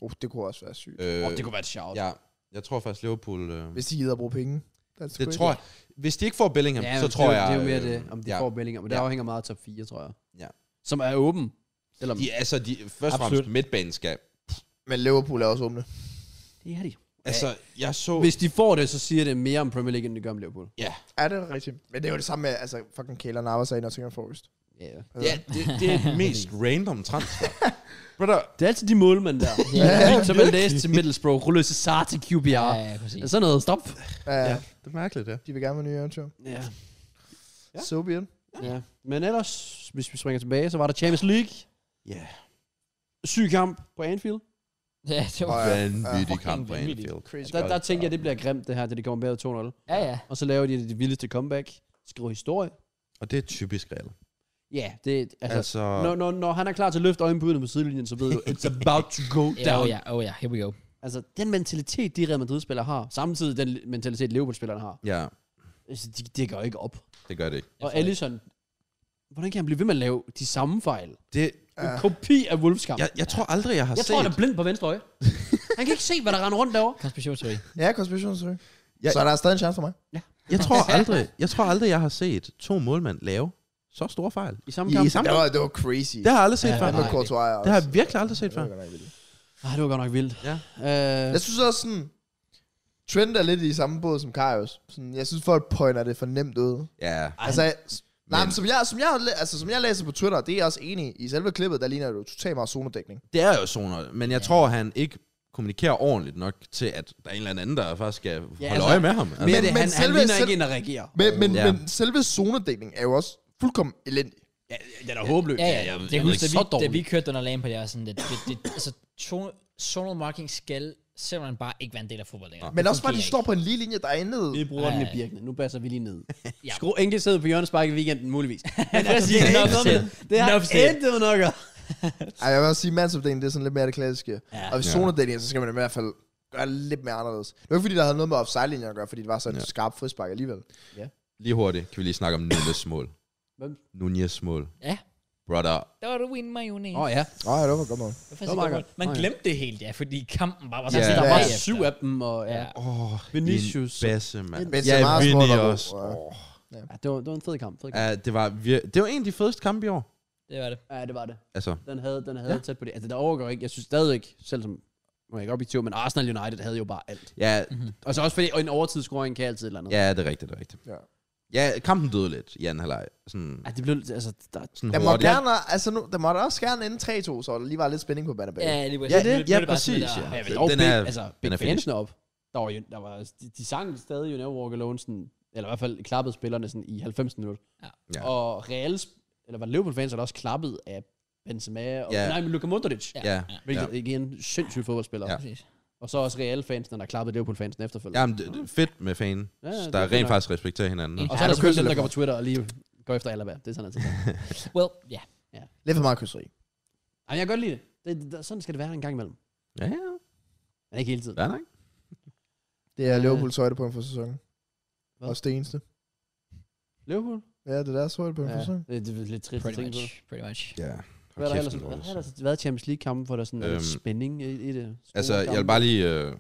S3: Uh, det kunne også være sygt.
S4: Øh,
S2: Åh, det kunne være et shout.
S4: Ja, jeg tror faktisk Liverpool... Øh,
S3: Hvis de gider at bruge penge. That's
S4: det
S3: great.
S4: tror jeg. Hvis de ikke får Bellingham, ja, så
S2: men
S4: tror
S2: det, er
S4: jeg...
S2: jo- Det er jo mere
S4: øh,
S2: det, om de
S4: ja.
S2: får Bellingham. Men det
S4: Ja.
S2: afhænger meget af top 4, tror jeg.
S4: Ja.
S2: Som er åben. Selvom
S4: De, altså, de, først og fremmest
S1: Absolut.
S4: midtbanen skal...
S3: Men Liverpool er også åbne.
S2: det er de.
S4: Altså, jeg så...
S2: Hvis de får det, så siger det mere om Premier League, end det gør om Liverpool.
S4: Ja,
S3: Er det rigtigt? Men det er jo det samme med, altså, fucking Kæler Navas er i Nottingham Forest.
S2: Ja, ja.
S4: ja det, det
S2: *laughs*
S4: er den mest random transfer.
S3: Brother,
S2: Det er altid de målmænd der. *laughs* ja, så man læser til Middlesbrough, rulle Cesar til QPR.
S1: Ja,
S2: Ja,
S1: ja, præcis.
S2: ja. Sådan noget, stop.
S3: uh,
S4: Ja. Det er mærkeligt, ja.
S3: de vil gerne være nye eventyr.
S2: Ja.
S3: Ja.
S4: Ja.
S3: So be it.
S2: ja. Men ellers, hvis vi springer tilbage, så var der Champions League.
S4: Ja.
S2: Syg kamp på Anfield.
S1: Ja, det var...
S3: Og, øh,
S4: Vanvittig
S1: fucking
S4: kamp på
S1: vanvittigt.
S4: Anfield. Altså,
S3: Crazy.
S2: Der, der tænker jeg, det bliver grimt det her, da de kommer bagud 2-0.
S1: Ja, ja.
S2: Og så laver de det vildeste comeback. Skriver historie.
S4: Og det er typisk Real.
S2: Ja, det altså, altså
S4: Altså,
S2: når, når, når han er klar til at løfte øjenbrynene på sidelinjen, så ved du, it's about to go *laughs*
S1: Ja,
S2: down.
S1: oh ja, oh ja, here we go.
S2: Altså, den mentalitet, de Real Madrid-spillere har, samtidig den mentalitet, Liverpool-spillerne har,
S4: ja,
S2: altså, de, det går ikke op.
S4: det gør det ikke.
S2: Og Allison, hvordan kan han blive ved med at lave de samme fejl?
S4: Det,
S2: En kopi af Wolves kamp.
S4: jeg, jeg tror aldrig, jeg har
S2: jeg
S4: set...
S2: tror, han er blind på venstre øje. han kan ikke se, hvad der render rundt derovre.
S1: *laughs* Konspirationsteori.
S3: Ja, konspirationsteori. Ja.
S4: Ja.
S3: Så der er stadig en chance for mig.
S4: Jeg
S2: *laughs*
S4: tror aldrig, jeg tror aldrig, jeg har set to målmænd lave så store fejl.
S2: I samme
S4: I,
S2: kamp.
S4: i samme
S3: Det
S4: kamp.
S3: var, det var crazy.
S4: Det har jeg aldrig set
S2: Ja,
S4: ja,
S3: Ja,
S4: før.
S1: det
S3: med
S1: Nej,
S3: Courtois også.
S4: Det har jeg virkelig aldrig set før.
S3: Det var godt nok vildt.
S2: Ah, det var godt nok vildt.
S4: Ja.
S2: Øh,
S3: Jeg synes også sådan, Trent er lidt i samme båd som Karius. Sådan, jeg synes, folk pointer det for nemt ud.
S4: Ja,
S2: Ej,
S3: Altså, nej, men
S4: men-
S3: som jeg, som, jeg, altså, som jeg læser på Twitter, det er jeg også enig i. I selve klippet, der ligner det jo totalt meget zonedækning.
S4: det er jo zoner, men jeg
S1: Ja.
S4: tror, han ikke kommunikerer ordentligt nok til, at der er en eller anden, der faktisk skal holde
S2: altså,
S4: øje med ham. Altså,
S2: men, det,
S4: men,
S3: men
S2: han, han
S3: selve-
S2: ligner
S3: selv-
S2: ikke en, der reagerer.
S3: Men, men,
S4: Ja.
S3: men selve zonedækningen er jo også fuldkommen elendig.
S2: Ja, den er håbløs.
S1: Ja, ja,
S4: jeg-
S1: det
S4: jeg
S1: er
S4: ved
S1: huske,
S4: ikke,
S1: da
S2: så
S1: vi, da
S2: dårligt.
S1: vi kørte under lagen på det, jeg var sådan, det, det, det, altså, to- zonal marking skal simpelthen bare ikke være en del af fodbold længere.
S3: Men
S1: Det
S3: også bare, de
S1: fungerer
S3: står på en lige linje, der er intet.
S2: Vi bruger den i
S1: Ej.
S2: Birkene. Nu passer vi lige ned.
S1: Ja.
S2: ja. Skru enkelt sidder på Jørgens Park i weekenden, muligvis. *laughs* Men altså,
S1: ikke.
S2: det, er
S1: Enough
S2: ikke noget
S1: said.
S2: med- det har
S1: Enough said.
S2: intet nok at-
S3: Ej, jeg vil også sige, mandsopdelingen, det er sådan lidt mere det klassiske.
S1: Ja.
S3: Og hvis
S4: Ja.
S3: zonedækning, så skal man i hvert fald gøre det lidt mere anderledes. Det var ikke, fordi der havde noget med offside-linjen at gøre, fordi det var sådan en
S4: Ja.
S3: skarp frispark alligevel.
S4: Altså, lige hurtigt, kan vi lige snakke om Nunes mål.
S2: Hvem?
S4: Nunes mål.
S1: Ja.
S4: Brother,
S1: Der var du win mayonnaise.
S2: Åh ja,
S3: Åh, oh, det var godt nok.
S1: Det var
S2: Det var
S1: faktisk
S2: meget
S1: godt. Man
S2: godt.
S1: glemte det helt, ja, fordi kampen bare var
S4: Ja.
S1: sådan
S2: der var
S1: bagefter.
S2: syv af dem, og ja.
S1: Ja.
S4: åh,
S2: Vinicius.
S4: din Basse, mand.
S3: Benzema
S4: Ja,
S3: scorede
S4: Vinny
S3: der
S4: også.
S3: god, ja.
S4: Åh.
S2: ja det, var, det var en fed kamp. Fed kamp.
S4: Ja, det var, vir- det var en af de fedeste kampe i år.
S1: Det var det.
S2: Ja. det var det.
S4: Altså,
S2: Den havde, den havde tæt på det. Altså, der overgår ikke. Jeg synes stadigvæk, selv som nu er jeg ikke objektiv, men Arsenal United havde jo bare alt.
S4: ja,
S2: Og så også fordi og en overtidsscoring kan altid et eller andet.
S4: ja, det er rigtigt, det er rigtigt.
S3: Ja.
S4: Ja, kampen døde lidt i anden halvleg. Sådan,
S2: Ja, det blev altså, der,
S4: sådan
S3: Der må,
S4: hurtigt.
S3: gerne, altså nu, der måtte også gerne ende 3-2, så der lige var lidt spænding på banen.
S1: Ja, det var
S4: Ja,
S1: sådan,
S4: det-
S1: blev bare
S4: ja,
S1: sådan
S4: præcis,
S1: lidt,
S4: ja.
S1: ah,
S2: Ja,
S1: jeg
S2: men,
S1: ved
S2: og
S4: den
S2: big,
S4: er-
S2: altså,
S4: den
S2: big
S4: er finished.
S2: fansene op. Der var, jo, der var, altså, de, de sang stadig You Never Walk Alone, sådan, eller i hvert fald klappede spillerne sådan i 90 minutter.
S1: Ja.
S4: Ja.
S2: Og Real, sp- eller var det Liverpool fans, der også klappede af Benzema og
S4: Ja.
S2: nej, men Luka Modric.
S1: Ja.
S4: Ja, ja.
S2: Hvilket ja. igen, sindssygt fodboldspiller.
S4: Ja.
S2: Ja.
S1: præcis.
S2: Og så også Real fansen, der klappede Liverpool fansen efterfølgende.
S4: Jamen, det, det er fedt med fanen.
S2: Ja,
S4: Ja,
S2: ja, det
S4: der
S2: er
S4: rent
S2: fint nok.
S4: faktisk respekterer hinanden.
S1: Ja.
S2: Og så
S3: Ja,
S2: er der
S3: du
S2: selvfølgelig
S3: kysser
S2: dem, der
S3: lidt
S2: går på Twitter og lige går efter Alaba. Det er sådan altid.
S1: Well, ja.
S3: Lidt for meget kysseri.
S2: Jamen, jeg kan godt lide det. det, det der, sådan skal det være en gang imellem.
S4: Ja, ja.
S2: Men ikke hele tiden.
S4: Fair nok.
S3: Det er
S2: Ja.
S3: Liverpools højdepunkt for sæsonen.
S2: Hvad?
S3: Også det eneste.
S2: Liverpool?
S3: Ja, det er deres højdepunkt for
S2: Ja,
S3: sæsonen.
S2: det, det er lidt trist at
S1: Pretty
S2: tænke
S1: much.
S2: på.
S1: Pretty much.
S4: Ja.
S2: Hvad har der
S4: Hold
S2: ellers
S4: kæft,
S2: hvad
S4: en
S2: har der
S4: røvelse.
S2: ellers været Champions League-kampen, hvor der sådan er
S4: Øhm,
S2: lidt spænding i, i det? Store
S4: Altså, jeg vil
S2: kampe.
S4: bare lige... Øh,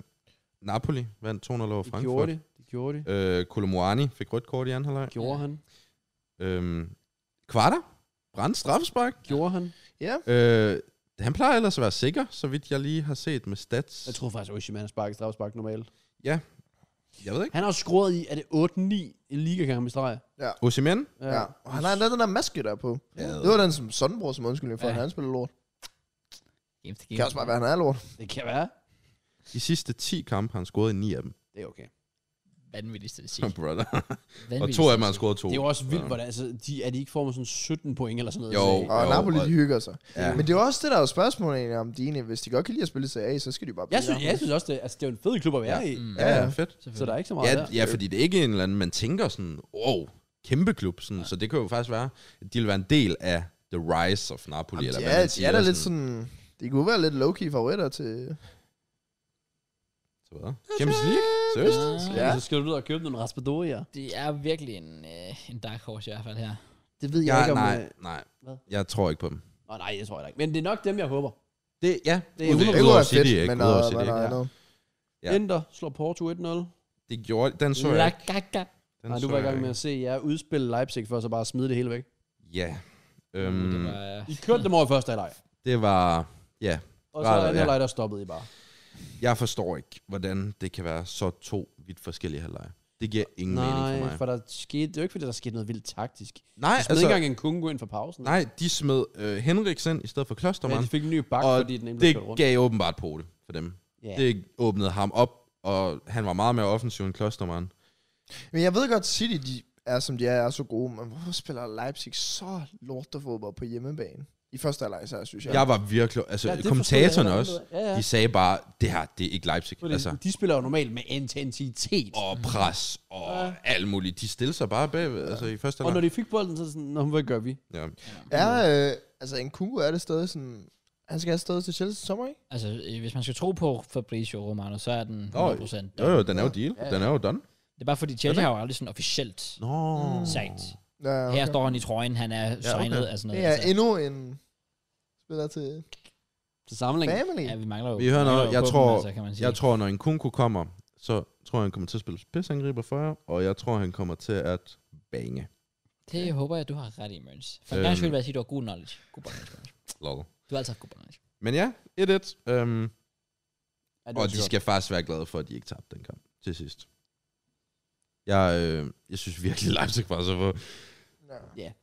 S4: Napoli vandt 2-0 over
S2: De gjorde
S4: Frankfurt.
S2: det. De gjorde det.
S4: Øh, Kolomoani fik rødt kort i anden halvleg.
S2: Gjorde
S1: Ja.
S2: han.
S4: Øhm, Kvarter brændte straffespark.
S2: Gjorde han.
S3: Ja.
S4: Øh, han plejer ellers at være sikker, så vidt jeg lige har set med stats.
S2: Jeg troede faktisk, at Oshima sparkede straffespark normalt.
S4: Ja. Jeg ved ikke.
S2: Han har scoret i, er det 8-9 i ligakamp i streg?
S4: Osimhen?
S3: Ja. Og han har endda den der maske der på.
S4: Ja.
S3: Det var den som sådan bruger som undskyldning for,
S1: Ja.
S3: at han spiller lort.
S1: Game to
S3: Det
S1: game.
S3: kan også bare være, at han er lort.
S2: Det kan være.
S4: De sidste 10 kampe har han scoret i 9 af dem.
S2: Det er okay.
S1: Vanvittig statistik.
S4: Brother.
S1: Vanvittig
S4: og to af dem har
S1: statistik.
S4: han scoret to.
S2: Det er jo også vildt,
S4: Ja.
S2: hvordan altså, de, er de ikke får med sådan 17 point eller sådan noget. Altså,
S4: Jo.
S2: Så-
S3: Og
S4: Jo,
S3: Napoli,
S4: og-
S3: de hygger sig.
S4: Ja.
S3: Men det er jo også det, der er spørgsmålet egentlig om Dine. Hvis de godt kan lide at spille i Serie A, så skal de bare
S2: Jeg
S3: blive
S2: synes, jeg synes også, det, altså, det er jo en fed klub at være
S4: Ja.
S2: i.
S1: Mm,
S4: Ja, ja, fedt.
S2: Så der er ikke så meget
S4: Ja,
S2: der.
S4: ja, fordi det er ikke en eller anden, man tænker sådan, wow, kæmpe klub. Sådan, Så det kan jo faktisk være, at de vil være en del af the rise of Napoli.
S3: Jamen,
S4: eller
S3: de
S4: hvad
S3: er,
S4: man
S3: de
S4: siger,
S3: er da lidt sådan... De kunne være lidt low-key favoritter til...
S4: Så hvad? Champions League? Seriøst?
S1: Ja.
S2: Ja. Så skal du ud og købe nogle raspadorier.
S1: Det er virkelig en, øh, en dark horse i hvert fald her.
S2: Det ved jeg
S4: Ja,
S2: ikke om...
S4: nej, nej.
S2: Hvad?
S4: Jeg tror ikke på dem.
S2: Nå, nej, det tror jeg da ikke. Men det er nok dem, jeg håber.
S4: Det, ja,
S2: Det er
S4: ude-
S2: udelukkende.
S4: udover
S3: kunne være
S4: City, ikke?
S3: men
S4: Udover
S3: øh,
S4: City,
S3: men,
S4: ikke?
S3: øh,
S2: Ja.
S3: no.
S4: Ja.
S2: Ja. Inter slår Porto 1-0.
S4: Det gjorde den så
S1: La
S4: jeg ikke.
S1: gaga.
S4: Den
S2: Nej,
S4: så
S2: du var i
S4: jeg
S2: gang med
S4: ikke.
S2: at se jer udspille Leipzig for så bare at smide det hele væk.
S4: Ja.
S1: Det
S4: Øhm,
S1: var, øh,
S2: I kørte dem over i første halvleg.
S4: det var... Ja,
S2: Og så
S4: Right,
S2: er anden
S4: ja.
S2: halvleg, der stoppede I bare.
S4: jeg forstår ikke, hvordan det kan være så to vidt forskellige halvleje. Det giver ingen mening for
S2: Nej,
S4: mig.
S2: for der skete, det er jo ikke, fordi der skete noget vildt taktisk. De
S4: Nej,
S2: smed altså, ikke
S4: altså,
S2: engang en kungo ind for pausen.
S4: nej, de smed øh, Henriksen i stedet for
S2: ja,
S4: Klostermann.
S2: de fik en ny bak,
S4: Og
S2: fordi den ene blev kørt
S4: Det
S2: rundt.
S4: gav åbenbart på det for dem.
S2: Ja.
S4: Det åbnede ham op, og han var meget mere offensiv end Klostermann.
S3: Men jeg ved godt, City, de er som de er, er så gode, men hvorfor spiller Leipzig så lortet fodbold på hjemmebane? I første halvleg, så synes jeg.
S4: Jeg var virkelig... Altså,
S2: Ja,
S4: ja,
S2: det
S4: kommentatorerne
S2: forstod jeg
S4: også,
S2: heller ikke. Ja, ja.
S4: de sagde bare, det her, det er ikke Leipzig.
S2: Fordi
S4: Altså,
S2: De spiller jo normalt med intensitet. Og,
S4: og pres, og alt muligt. De stillede sig bare bagved, altså i første
S2: og når
S4: halvleg.
S2: de fik bolden, så er det sådan, "Nå, hvad gør vi?
S4: Ja.
S3: Er, øh, altså, en kugo er det stadig sådan... Han skal afsted til Chelsea til sommer, ikke?
S1: altså, øh, hvis man skal tro på Fabrizio Romano, så er den 100%.
S4: Nå, Jo,
S1: done.
S4: jo, den er jo deal. Den er jo done.
S1: Det er bare fordi, Chelsea har jo aldrig sådan officielt
S4: Nå.
S2: Mm.
S1: sagt.
S3: Ja, okay.
S1: Her står han i trøjen, han er signet
S4: okay.
S1: af sådan noget. Altså,
S3: Det
S2: altså.
S3: er endnu en spiller til
S2: Til sammenlæng.
S3: family.
S1: ja, vi mangler jo.
S4: Vi hører
S1: mangler
S4: noget.
S1: jo
S4: Jeg
S1: på dem,
S4: tror-
S1: kan man sige.
S4: Jeg tror, når en kunku kommer, så tror jeg, han kommer til at spille spidsangriber for jer, og jeg tror, han kommer til at bange.
S1: Det håber jeg, du har ret i, Mørns. For øhm.
S4: Øhm.
S1: jeg skulle være sige, du har god knowledge. God knowledge, Mørns.
S4: Lol.
S1: Du har altid haft god knowledge.
S4: Men ja, 1-1. Øhm,
S2: Ja, det var
S4: Og de
S2: sjovt.
S4: skal faktisk være glade for, at de ikke tabte den kamp til sidst. Jeg, øh, jeg synes virkelig, Leipzig var så for...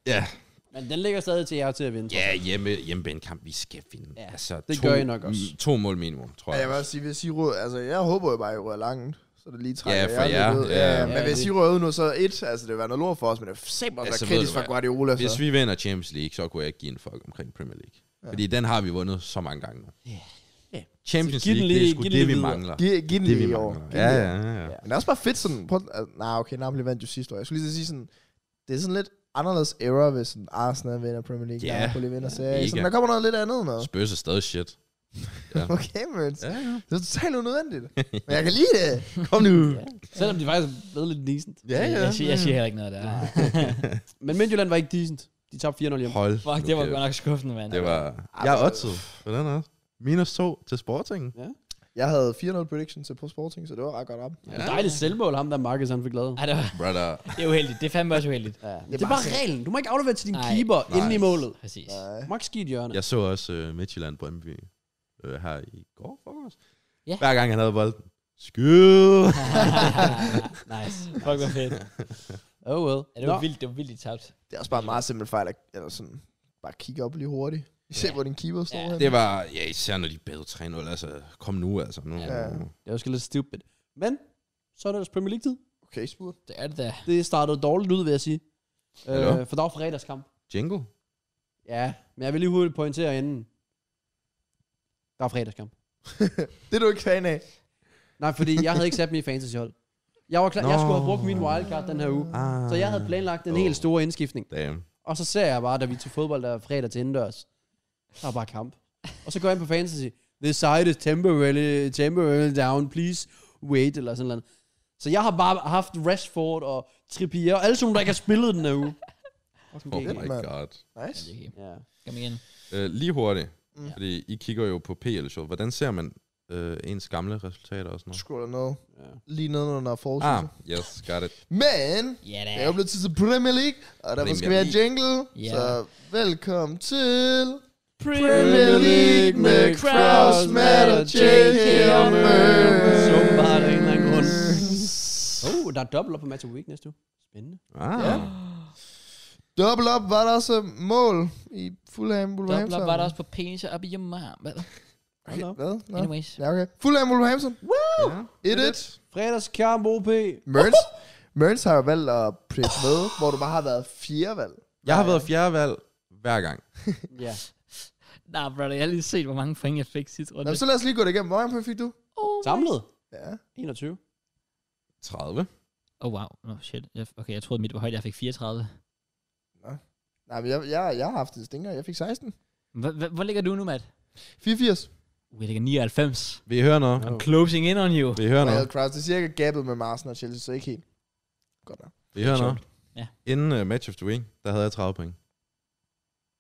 S3: Ja.
S2: Men den ligger stadig til jer til at vinde. tror jeg.
S4: Ja, hjemme, hjemmebanekamp, vi skal finde.
S2: Ja,
S4: altså,
S2: det
S4: to,
S2: gør I nok også.
S4: mm, To mål minimum, tror
S3: Ja,
S4: jeg.
S3: jeg vil også sige, hvis I rød, altså jeg håber jo bare, at I rører langt, så det lige trækker
S4: Ja, for
S3: jer
S4: jer,
S3: lidt ud.
S4: ja.
S3: Ja, men
S2: Ja,
S3: hvis
S2: det-
S3: I rører ud nu, så et, altså det vil være noget lort for os, men det er simpelthen
S4: Ja,
S3: ja,
S4: så Altså, ved
S3: kritisk
S4: du hvad.
S3: for Guardiola. Så.
S4: Hvis vi vinder Champions League, så kunne jeg ikke give en fuck omkring Premier League. Ja. Fordi den har vi vundet så mange gange nu.
S2: Ja. Ja.
S4: Champions
S2: Så giv den
S4: League,
S2: lige-
S4: det er sgu
S2: giv
S4: det,
S2: den lige
S4: vi
S2: videre.
S4: mangler.
S3: Giv, giv den
S4: Det, vi
S3: lige i år.
S4: mangler.
S3: Giv
S4: Ja,
S3: den lige i år.
S4: ja, ja. ja.
S3: Men det er også bare fedt sådan, prøv, altså, nej okay, Napoli vandt jo sidste år. Jeg skulle lige til at sige sådan, det er sådan lidt anderledes era, hvis sådan Arsenal vinder Premier League,
S4: Ja.
S3: yeah. Napoli vinder serie.
S4: Mega.
S3: Sådan, der kommer noget lidt andet med.
S4: Spurs er stadig shit.
S3: Okay, men
S4: Ja, ja.
S3: det er totalt
S4: *laughs*
S3: unødvendigt. Men jeg kan lide det.
S4: Kom nu!
S2: Selvom de faktisk er blevet lidt decent.
S4: Ja, ja.
S1: Jeg, siger, jeg siger heller ikke noget der.
S2: Men Midtjylland var ikke decent. De tabte 4-0 hjemme.
S4: Hold
S1: Fuck,
S4: nu
S1: det var
S4: kæft.
S1: godt nok skuffende, mand.
S4: Det var... Jeg er oddset. Hvordan er det? Minus to til Sporting.
S3: Jeg havde 4-0 prediction til på Sporting, så det var ret godt op.
S2: Ja. Dejligt selvmål, ham der Marcus, han fik lavet.
S1: Ej, det var,
S4: Brother.
S1: det er uheldigt. Det er fandme også uheldigt.
S2: Ja, det,
S3: bare
S2: er bare
S3: sådan-
S2: reglen. Du må ikke aflevere til din
S1: Nej.
S2: keeper
S4: Nej.
S2: inden i målet.
S1: Præcis.
S3: Nej.
S2: Max skidt hjørne.
S4: Jeg så også øh, Midtjylland Brøndby øh, her i går forårs.
S1: Ja.
S4: Ja. Hver gang han havde bolden. *laughs* Skyd!
S1: nice. Fuck, hvor fedt.
S2: Oh well.
S1: Ja, det var vildt, det var vildt, I tabt.
S3: Det er også bare en meget simpel fejl, at eller sådan, bare kigge op lige hurtigt. *laughs* I ser,
S1: Ja.
S3: hvor din keeper står
S1: Ja.
S3: henne.
S4: det var, ja, især når de bad 3-0, altså, kom nu, altså. Nu.
S1: Ja.
S4: Ja.
S2: Det var sgu lidt stupid. Men, så er det også Premier League-tid.
S3: Okay, spurgt.
S1: Det er det da.
S2: Det startede dårligt ud, vil jeg sige.
S4: Hallo?
S2: Øh, for der var fredagskamp.
S4: Jingle?
S2: Ja, men jeg vil lige hurtigt pointere inden. Der er fredagskamp.
S3: Det er du ikke fan af.
S2: Nej, fordi jeg havde ikke sat min fantasyhold. Jeg, var klar, jeg skulle have brugt min wildcard den her uge.
S4: Ah.
S2: Så jeg havde planlagt den
S4: Åh.
S2: helt store indskiftning.
S4: Damn.
S2: Og så ser jeg bare, da vi til fodbold der er fredag til indendørs. Der er bare kamp. Og så går jeg ind på fantasy. The site is temporarily, temporarily down. Please wait. Eller sådan noget. Så jeg har bare haft Rashford og Trippier og alle sådan, nogle, der ikke har spillet den her uge. Fucking
S4: Oh
S2: GG.
S4: my
S3: mand.
S4: god.
S1: Ja,
S3: Nice.
S1: det er okay.
S2: Ja.
S1: Kom igen.
S4: Øh, lige hurtigt,
S3: Mm.
S4: mm. fordi I kigger jo på pl -showet. Hvordan ser man øh, ens gamle resultater og sådan noget?
S3: Scroller ned.
S2: ja.
S3: Lige ned under forholdet.
S4: Ah,
S3: Ah.
S4: yes, got it.
S3: Men,
S1: Ja, da.
S3: det er jo blevet tid til Premier League, og der skal
S4: Premier
S3: være
S4: League.
S3: jingle.
S1: Ja.
S3: Så velkommen til
S2: Premier League med Kraus, Matt og JK og Mørk. Så åbenbart af en eller anden grund. Oh, der er dobbelt op på Match of the Week næste uge. Spændende.
S4: Ah.
S3: Ja. Double up var der også mål i Fulham Wolverhampton.
S1: Dobbler var der også på penis og op i hjemmar.
S2: Hold da op.
S3: Hvad? Nå.
S1: Anyways.
S3: Ja, okay. Fulham Wolverhampton.
S4: Ja.
S3: 1-1.
S2: Fredagskamp OP.
S3: Merns. Merns har jo valgt at prikke med, hvor du bare har været fire valg.
S4: Jeg har været fjerde valg hver gang.
S2: Ja.
S1: Nej, brother, jeg har lige set, hvor mange point jeg fik sidste runde.
S3: Nå, men så lad os lige gå det igennem. Hvor mange point fik du?
S1: oh,
S2: Samlet.
S3: Ja.
S2: 21.
S4: 30.
S1: Oh, wow. No, shit. Jeg- Okay, jeg troede, mit var højt. Jeg fik 34.
S3: Nej, men jeg, jeg, jeg har haft det stinker. Jeg fik 16.
S1: Hva- hva- Hvor ligger du nu, Matt?
S3: 84.
S1: Vi ligger 99.
S4: Vi hører noget.
S2: Ja.
S1: I'm closing in on you.
S4: Vi hører
S3: Wild
S4: noget.
S3: Crowds. Det er cirka gappet med Marsen og Chelsea, så ikke helt. Godt nok.
S4: Vi hører noget.
S1: Ja.
S4: Inden uh, match of the week, der havde jeg 30 point.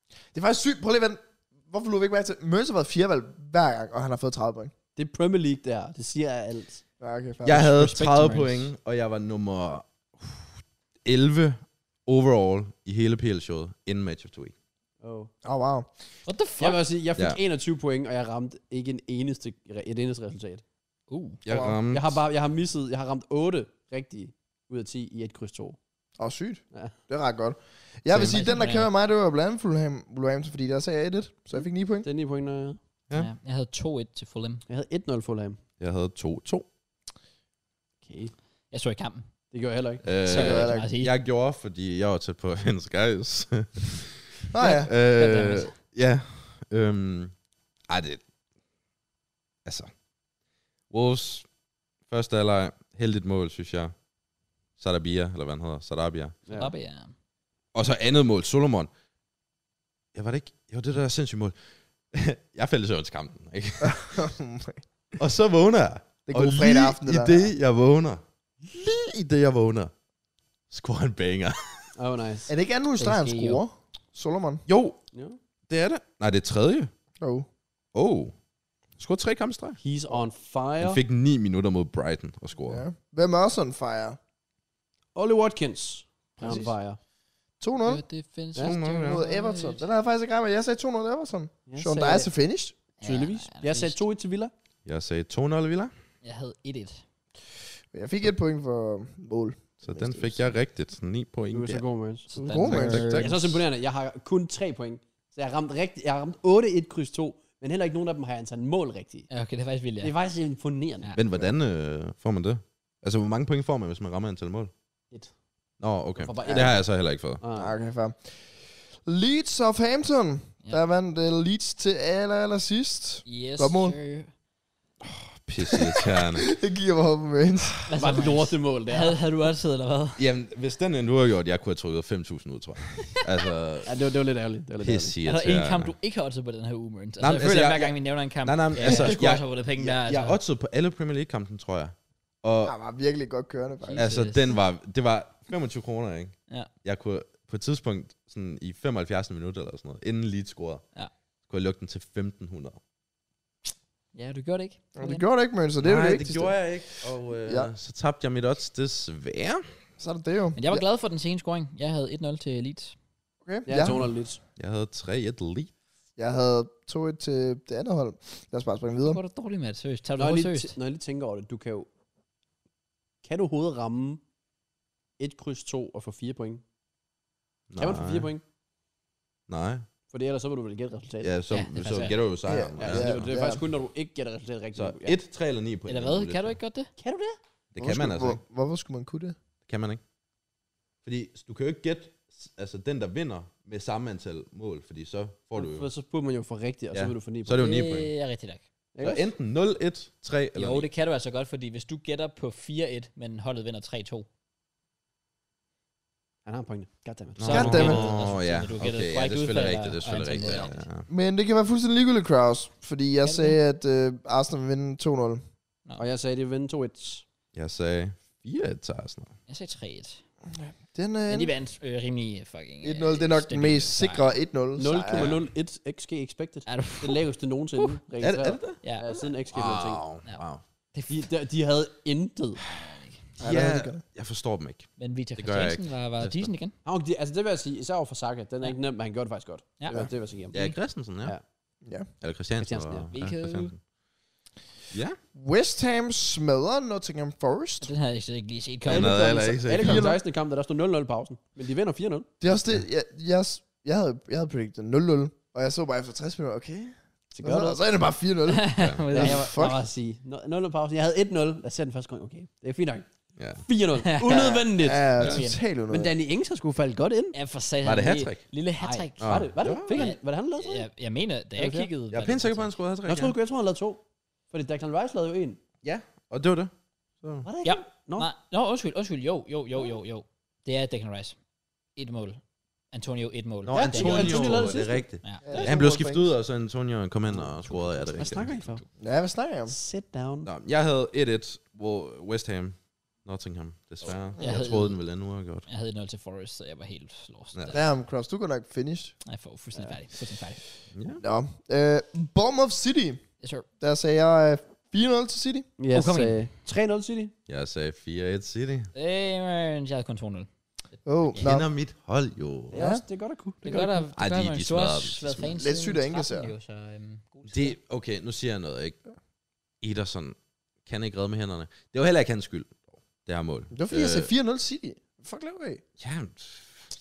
S3: Det er faktisk sygt. Prøv lige at vente. Hvorfor lå vi ikke mærke til? Merns har været fire valg hver gang, og han har fået 30 point.
S2: Det er Premier League, det her. Det siger jeg alt.
S3: Ja, okay, fair.
S4: Jeg havde
S1: respect
S4: 30
S1: to Marines.
S4: point, og jeg var nummer 11 overall i hele PL-showet inden match of the week.
S2: Oh.
S3: Oh, wow.
S1: What the
S2: Jeg
S1: fuck?
S2: vil også sige, jeg fik
S4: Ja.
S2: ja. 21 point, og jeg ramte ikke en eneste, et eneste resultat.
S1: Uh.
S4: Jeg
S3: Wow.
S4: ramte...
S2: Jeg har, bare, jeg har misset, jeg har ramt 8 rigtige ud af 10 i et kryds 2.
S3: Åh, oh, sygt.
S2: Ja.
S3: Det er ret godt. Jeg vil
S1: Same.
S3: sige, den der
S1: Ja.
S3: kæmper mig, det var blandt andet Fulham, Wolverhampton, fordi der sagde jeg 1-1, så jeg fik 9 point.
S2: Det er 9 point, når jeg-
S4: Ja.
S1: Ja. Jeg havde 2-1 til Fulham.
S2: jeg havde 1-0 Fulham.
S4: Jeg havde 2-2.
S2: Okay.
S1: Jeg så i kampen.
S2: Det gjorde jeg heller ikke.
S4: Øh,
S1: Så kan
S3: jeg
S1: jeg
S3: da
S1: bare sige.
S4: jeg gjorde, fordi jeg var tæt på *laughs* Hendes Geis.
S3: Nå ja. *laughs*
S4: øh,
S1: Goddammit.
S4: ja. Øhm, ej, det... Altså... Wolves, første halvleg, heldigt mål, synes jeg. Sarabia, eller hvad han hedder, Sarabia.
S1: Ja. Oppe, ja.
S4: Og så andet mål, Solomon. Jeg var det ikke... Jo, det der sindssygt mål. *laughs* jeg faldt i søvn til kampen, ikke? *laughs* Og så vågner jeg.
S3: Oh det er
S4: og
S3: god fredag aften,
S4: i
S3: det der.
S4: det, jeg vågner. Lige i det, jeg vågner. Scorer en banger.
S2: Oh, nice.
S3: Er det ikke anden
S1: Det
S3: udstræk, han
S1: sker jo.
S3: scorer? Solomon?
S4: Jo,
S2: Ja.
S4: det er det. Nej, det er tredje.
S3: Jo. Oh.
S4: Oh. Scorer tre kampe i streg.
S2: He's on fire.
S4: Han fik 9 minutter mod Brighton og scorede.
S3: Ja. Hvem er også on fire?
S2: Ollie Watkins. er On
S3: Præcis.
S2: fire.
S3: 2-0
S1: Defense
S2: Ja.
S3: mod Everton. Den har jeg faktisk ikke regnet med. Jeg sagde 2-0 Everton.
S2: Jeg
S3: Sean
S2: sagde-
S3: Dice er finished.
S2: Tydeligvis. Jeg sagde 2-1 til Villa.
S4: Jeg sagde 2-0 Villa,
S1: Jeg havde 1-1.
S3: Jeg fik et point for mål.
S4: så den fik jeg rigtigt. 9 point
S2: Du er så
S4: der.
S2: god, Mørens.
S1: Så
S3: God
S1: Danmark-
S3: match.
S4: Tak, tak, tak.
S2: Jeg er så også imponerende. Jeg har kun 3 point. Så jeg har ramt, rigtig, jeg har ramt 8 1 kryds 2, men heller ikke nogen af dem har jeg antaget mål rigtigt.
S1: Ja, okay, det er faktisk vildt,
S2: Ja.
S1: ja.
S2: Det er faktisk imponerende.
S1: Ja.
S4: Men hvordan øh, får man det? Altså, hvor mange point får man, hvis man rammer antal mål?
S2: Et.
S4: Nå, okay.
S2: For bare
S4: Det har jeg så heller ikke fået.
S2: Ah.
S3: Ah, Okay, fair. Leeds Southampton.
S1: Ja.
S3: Der vandt øh, Leeds til aller, aller sidst. *laughs*
S1: Yes,
S3: Godt mål.
S1: sir.
S4: Pisse irriterende.
S3: Det giver mig op med Mørens.
S1: Hvad
S2: Det
S1: så,
S2: var et
S1: Mads?
S2: lortemål der.
S1: Havde, havde du også siddet, eller hvad?
S4: *laughs* Jamen, hvis den endnu har gjort, jeg kunne have trykket 5.000 ud, tror jeg. Altså,
S2: Ja, det var, det var lidt ærgerligt. Det var lidt ærgerligt.
S4: Pisse
S1: Er der
S4: irriterende.
S1: en kamp, du ikke har oddset på den her uge, Mørens? Altså,
S4: Nej,
S1: nej,
S4: men
S1: jeg føler,
S4: altså,
S1: at hver
S4: jeg-
S1: gang vi nævner en kamp,
S4: Nej, nej, men
S1: ja, *laughs*
S4: altså,
S1: jeg skulle
S4: jeg-
S1: også have vundet penge der.
S4: Jeg,
S1: Altså.
S4: jeg oddsede på alle Premier League-kampen, tror jeg. Og
S3: Han var virkelig godt kørende, faktisk.
S4: altså,
S1: Jesus.
S4: den var, det var 25 kroner, ikke?
S1: Ja.
S4: Jeg kunne på et tidspunkt, sådan i 75 minutter eller sådan noget, inden Leeds scorede,
S1: Ja.
S4: kunne jeg lukke den til 1.500.
S1: altså. Ja, du gjorde det ikke.
S3: Men det gjorde det ikke, Mørens, så det er jo det
S4: Nej, det
S3: vigtigste.
S4: gjorde jeg ikke. Og øh,
S3: Ja.
S4: ja. så tabte jeg mit odds desværre.
S3: Så er det det jo.
S1: Men jeg var glad for den sene scoring. Jeg havde 1-0 til Elite.
S3: Okay.
S2: Ja,
S3: Jeg,
S2: 200 lidt.
S4: Jeg havde 3-1 Leeds.
S3: jeg havde 2-1 til det andet hold. Lad os bare springe
S1: Det
S3: videre.
S1: var da dårligt, Matt. Seriøst. Tager du
S2: Når jeg,
S1: det
S2: lige,
S1: seriøst?
S2: t- når jeg lige tænker over det, du kan jo... Kan du hovedet ramme 1 kryds 2 og få 4 point? Kan man få 4 point?
S4: Nej.
S2: For ellers så vil du vel gætte resultatet.
S4: Ja, så,
S1: Ja, altså-
S4: ja,
S1: det
S4: så
S1: passer.
S4: gætter du jo sejren.
S2: Ja,
S3: Ja,
S2: ja, det, det, er
S3: ja.
S2: faktisk kun, når du ikke gætter resultatet rigtigt.
S4: Så
S2: ja.
S4: 1, 3 eller 9 point.
S1: Eller hvad? Kan du ikke godt det?
S2: Kan du det?
S4: Det
S3: Hvorfor
S4: kan man
S3: skulle-
S4: altså
S3: hvor,
S4: ikke.
S3: Hvorfor skulle man kunne det?
S4: Kan man ikke? Fordi du kan jo ikke gætte altså, den, der vinder med samme antal mål, fordi så får du
S2: For
S4: jo...
S2: så burde man jo få rigtigt, og så
S4: Ja.
S2: vil du få 9
S4: Så er det jo 9 point.
S1: Det er rigtigt nok.
S4: Så enten 0, 1, 3 eller
S1: Jo,
S4: 9.
S1: det kan du altså godt, fordi hvis du gætter på 4-1, men holdet vinder 3-2,
S2: Han har en pointe. Goddammit.
S4: Nå,
S1: så
S3: Goddammit.
S1: gættet
S4: Åh, ja.
S1: resultatet. Du gættede
S4: Okay, ja,
S1: korrekt
S4: det er selvfølgelig
S1: udfald
S4: rigtigt. Det er
S1: og-
S4: selvfølgelig
S1: og
S4: rigtigt.
S1: antal
S4: Ja,
S1: mål.
S4: ja.
S3: Men det kan være fuldstændig ligegyldigt, Kraus. Fordi jeg
S1: Kan det
S3: sagde, at øh, Arsenal vil vinde 2-0.
S2: Og jeg sagde, det er vinde 2-1.
S4: Jeg sagde 4 til Arsenal.
S1: Jeg sagde 3-1.
S3: Den, øh,
S1: Men de vandt øh, rimelig fucking... øh,
S3: 1-0, det er nok den
S1: stabil
S3: mest
S1: sejr.
S3: sikre 1-0. sejr.
S2: 0,01 XG expected.
S1: Er du...
S2: Det laveste nogensinde. Uh,
S4: Er det, er det Ah. det?
S1: Ja,
S2: Ja, siden XG blev ting.
S4: Wow,
S1: Ja.
S4: wow.
S1: det er
S2: De, de, de havde intet.
S3: Ja, det er det
S4: Ja, jeg forstår dem ikke.
S1: Men Victor
S4: Det gør jeg
S1: Christiansen var, var
S4: Næste.
S1: decent igen.
S2: Han var- de- Altså det vil jeg sige, især over for Saka, den er ikke nem, men han gjorde det faktisk godt.
S1: Ja.
S2: Det, var, det vil jeg sige.
S4: Mm. Ja, Christensen, ja.
S2: Ja.
S3: Ja.
S4: Eller Christiansen.
S2: Christiansen, ja.
S4: og-
S1: Hvilket-
S4: Christiansen. Ja.
S3: West Ham smadrer Nottingham Forest.
S1: Den havde jeg slet ikke lige set komme. *laughs*
S4: Den havde jeg heller ikke set
S2: Alle
S4: komme.
S2: kom 16. kamp, der stod 0-0 i pausen. Men de vinder 4-0.
S3: Det er også det, jeg, jeg, jeg havde, jeg havde predicted 0-0, og jeg så bare efter 60 minutter, okay.
S2: Det
S3: Og så, og så er det bare 4-0.
S1: Men
S2: Ja,
S1: jeg
S2: jeg
S1: var-
S2: var
S3: fuck.
S2: bare sige, "Nå, 0-0 pausen. Jeg havde 1-0. Jeg ser den første gang. Okay, det er fint nok. 4-0.
S4: Ja.
S1: *laughs*
S2: Unødvendigt.
S3: ja,
S1: Ja.
S3: totalt unødvendigt.
S2: Men Danny Ings har skulle falde godt ind.
S1: Ja, for satan.
S4: Var det
S1: lige-
S4: hattrick?
S1: Lille hat-trick.
S4: Ej.
S2: Ah. Var det, var det?
S4: Ja.
S2: Fik han, var det han, der lavede
S1: Jeg, jeg mener, da
S2: Er
S1: jeg
S2: det det?
S1: kiggede...
S4: Jeg
S1: var
S4: er
S1: det
S4: pænt sikker på, at han
S1: hat-trick.
S4: skulle have
S2: Jeg tror,
S4: tre
S2: jeg tror, han lavede to. Fordi Declan Rice lavede jo en.
S4: Og det var det. Så.
S2: Var det
S1: Ja.
S2: ikke? Nå.
S1: Nej, nå, undskyld, undskyld. Jo, jo, jo, jo, jo. Det er Declan Rice. Et mål. Antonio, et mål.
S4: Nå,
S2: Ja,
S4: Antonio,
S2: Antonio lavede det
S4: det er
S2: sidste.
S4: rigtigt.
S1: Ja.
S3: Ja,
S4: Han blev skiftet ud, og så Antonio kom ind og scorede. Ja, det er
S2: Hvad
S4: rigtigt.
S2: snakker I for?
S3: Ja, hvad snakker jeg om?
S2: Sit down.
S4: Nå, jeg havde 1-1, hvor West Ham, Nottingham, desværre. Jeg, jeg
S1: havde-
S4: troede, den ville ende uafgjort.
S1: Jeg havde 0 til Forest, så jeg var helt lost.
S4: Ja.
S1: Ja.
S3: Der er om Kraus, du går nok finish.
S1: Jeg får fuldstændig færdig. Fuldstændig færdig.
S4: Ja.
S3: Nå. Øh, Bournemouth City,
S1: Yes, sir.
S3: der sagde jeg øh, 4-0 til City.
S1: Yes,
S2: Yes, øh,
S1: kom ind.
S2: 3-0 City.
S4: Jeg sagde 4-1 City.
S1: Amen, jeg havde kun 2-0.
S3: Oh, nå.
S4: Kender mit hold jo.
S2: Det
S3: Ja.
S2: er, også, det er godt at kunne.
S1: Det er godt, at det
S4: Ej,
S1: gør,
S4: de-
S1: man
S4: de
S1: jo
S4: smadrer
S1: også
S4: dem. De
S1: været fan
S4: smadrer
S3: Lidt
S1: siden
S3: sygt at ikke
S1: 13
S3: ser.
S1: jo, så, øhm, god tid.
S4: Det, okay, nu siger jeg noget, ikke? Ederson kan ikke redde med hænderne. Det var heller ikke hans skyld, det her mål. Øh,
S3: Det var fordi, jeg sagde 4-0 City. Fuck laver I?
S4: Ja,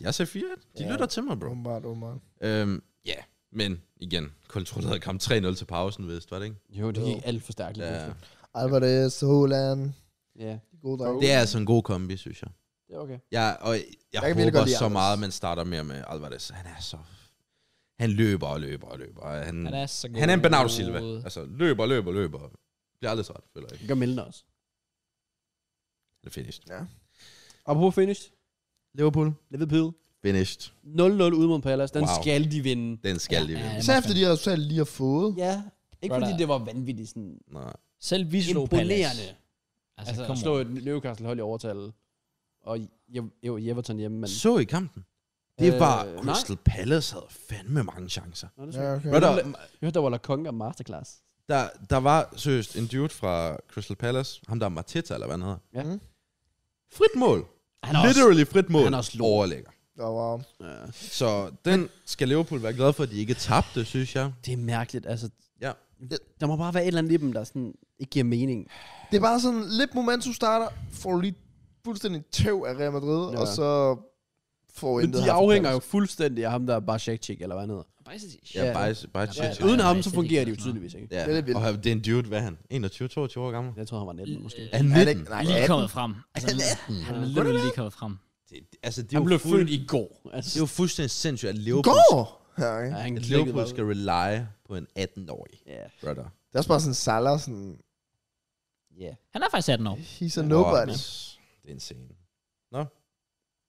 S4: jeg sagde 4 De
S3: Ja.
S4: lytter til mig, bro.
S3: Åbenbart, åbenbart.
S4: Øhm, ja, men igen, kontrolleret kamp 3-0 til pausen, vist, var det ikke?
S2: Jo, det gik alt for stærkt. lige
S4: Ja.
S2: pludselig.
S3: Alvarez, Holland.
S2: Ja,
S3: De gode drenge.
S4: Det er altså en god kombi, synes jeg.
S2: det er okay.
S4: Jeg, og jeg, jeg
S3: kan virkelig
S4: håber
S3: godt lide
S4: så
S3: Alvarez.
S4: meget, at man starter mere med Alvarez. Han er så... Han løber og løber og løber. og Han,
S1: Han er så god.
S4: han er en Bernardo Silva. Altså, løber og løber og løber. Bliver aldrig træt, føler jeg ikke.
S2: Det gør Milner også.
S4: Det er finished.
S2: Og på finished.
S4: Liverpool.
S2: Liverpool.
S4: Finished.
S2: 0-0 ude mod Palace. Den
S4: Wow.
S2: skal de vinde.
S4: Den skal lige
S1: Ja,
S4: vinde.
S1: det
S3: Især efter de resultater, de lige har fået.
S2: Ja. Ikke
S1: Brother.
S2: fordi det var vanvittigt sådan
S4: Nej.
S1: Selv vi slog
S2: imponerende.
S1: Palace.
S2: Altså,
S1: kom
S2: altså slå et Newcastle hold i overtal. Og jo, jo, Everton hjemme, men...
S4: Så i kampen. Det
S2: Øh,
S4: var
S2: nej.
S4: Crystal Palace havde fandme mange chancer.
S2: Nå, det er
S3: Ja,
S2: svært.
S3: okay.
S4: Hvad der,
S2: Jeg hørte, der var La Conga Masterclass.
S4: der, der var seriøst en dude fra Crystal Palace, ham der er Mateta, eller hvad han hedder.
S2: Ja.
S3: Mm.
S4: Frit mål.
S2: Han
S4: Literally frit mål.
S2: han er også lort.
S4: overlægger.
S3: Oh, wow.
S2: Ja.
S4: Så den skal Liverpool være glad for, at de ikke tabte, synes jeg.
S2: Det er mærkeligt, altså.
S4: Ja.
S2: Der må bare være et eller andet i dem, der sådan ikke giver mening.
S3: Det er bare sådan, lidt momentum starter, får du lige fuldstændig tæv af Real Madrid,
S2: Ja.
S3: og så får
S2: Men
S3: intet
S2: de
S3: her for
S2: afhænger jo
S3: Palace.
S2: fuldstændig af ham, der er bare check eller hvad han hedder.
S1: Bajsetic.
S4: Ja,
S2: Ja.
S4: bare, bare
S1: Ja,
S4: ja,
S1: ja.
S2: Uden ham,
S1: nej,
S2: så
S1: det er
S2: fungerer
S1: ikke
S2: de jo
S1: noget.
S2: tydeligvis ikke.
S4: ja.
S3: Det er lidt vildt.
S4: Og det er en dude, hvad er han? 21-22 år gammel?
S2: Jeg tror, han var 19 måske. Altså,
S4: Er han
S3: Er det
S4: 19?
S3: ikke- Nej,
S1: Lige
S3: 18.
S1: kommet frem. Altså, han er lidt lige kommet frem.
S4: Det, det- altså, det er
S2: Han
S4: jo
S2: blev
S4: fuld-
S2: født i går. Altså,
S4: Det er jo fuldstændig sindssygt, at Liverpool,
S3: Går! Ja, okay.
S2: ja, han
S4: at
S2: klikkede
S4: Liverpool
S2: bare
S4: skal rely på en 18-årig.
S2: ud. Ja,
S4: Brother.
S3: Det er også bare sådan, Salah sådan,
S2: ja.
S1: Han er faktisk 18 år.
S3: he's a nobody.
S4: Wow, Det er en scene.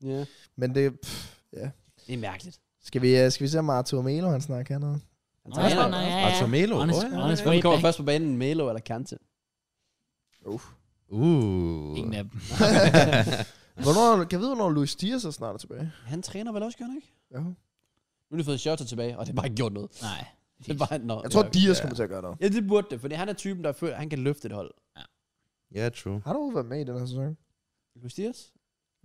S2: Ja.
S3: Men det, pff, ja.
S2: Det er mærkeligt.
S3: Skal vi, øh, skal vi se, om Arthur Melo, han snakker hernede?
S2: Han
S1: Nej, nej, nej.
S4: Og Tomelo.
S1: On his-
S4: Åh, ja,
S1: on his
S4: ja,
S1: way
S2: Hvem kommer
S1: back.
S2: først på banen? Melo eller Kante?
S4: ja. Uh.
S1: Ingen af dem.
S3: Hvornår, kan jeg vide, hvornår Luis Diaz er snart tilbage?
S2: Han træner vel også, gør han ikke?
S3: Ja.
S2: Nu har de fået Shota tilbage, og det har bare ikke gjort noget.
S1: Nej.
S2: Det er bare, nå,
S3: Jeg tror,
S2: ja.
S3: Diaz
S4: Ja.
S3: kommer til at gøre noget.
S2: Ja, det burde det, fordi han er typen, der føler, han kan løfte et hold.
S4: *laughs* Ja, yeah, true.
S3: Har du overhovedet været med i den her sæson?
S2: Luis Diaz?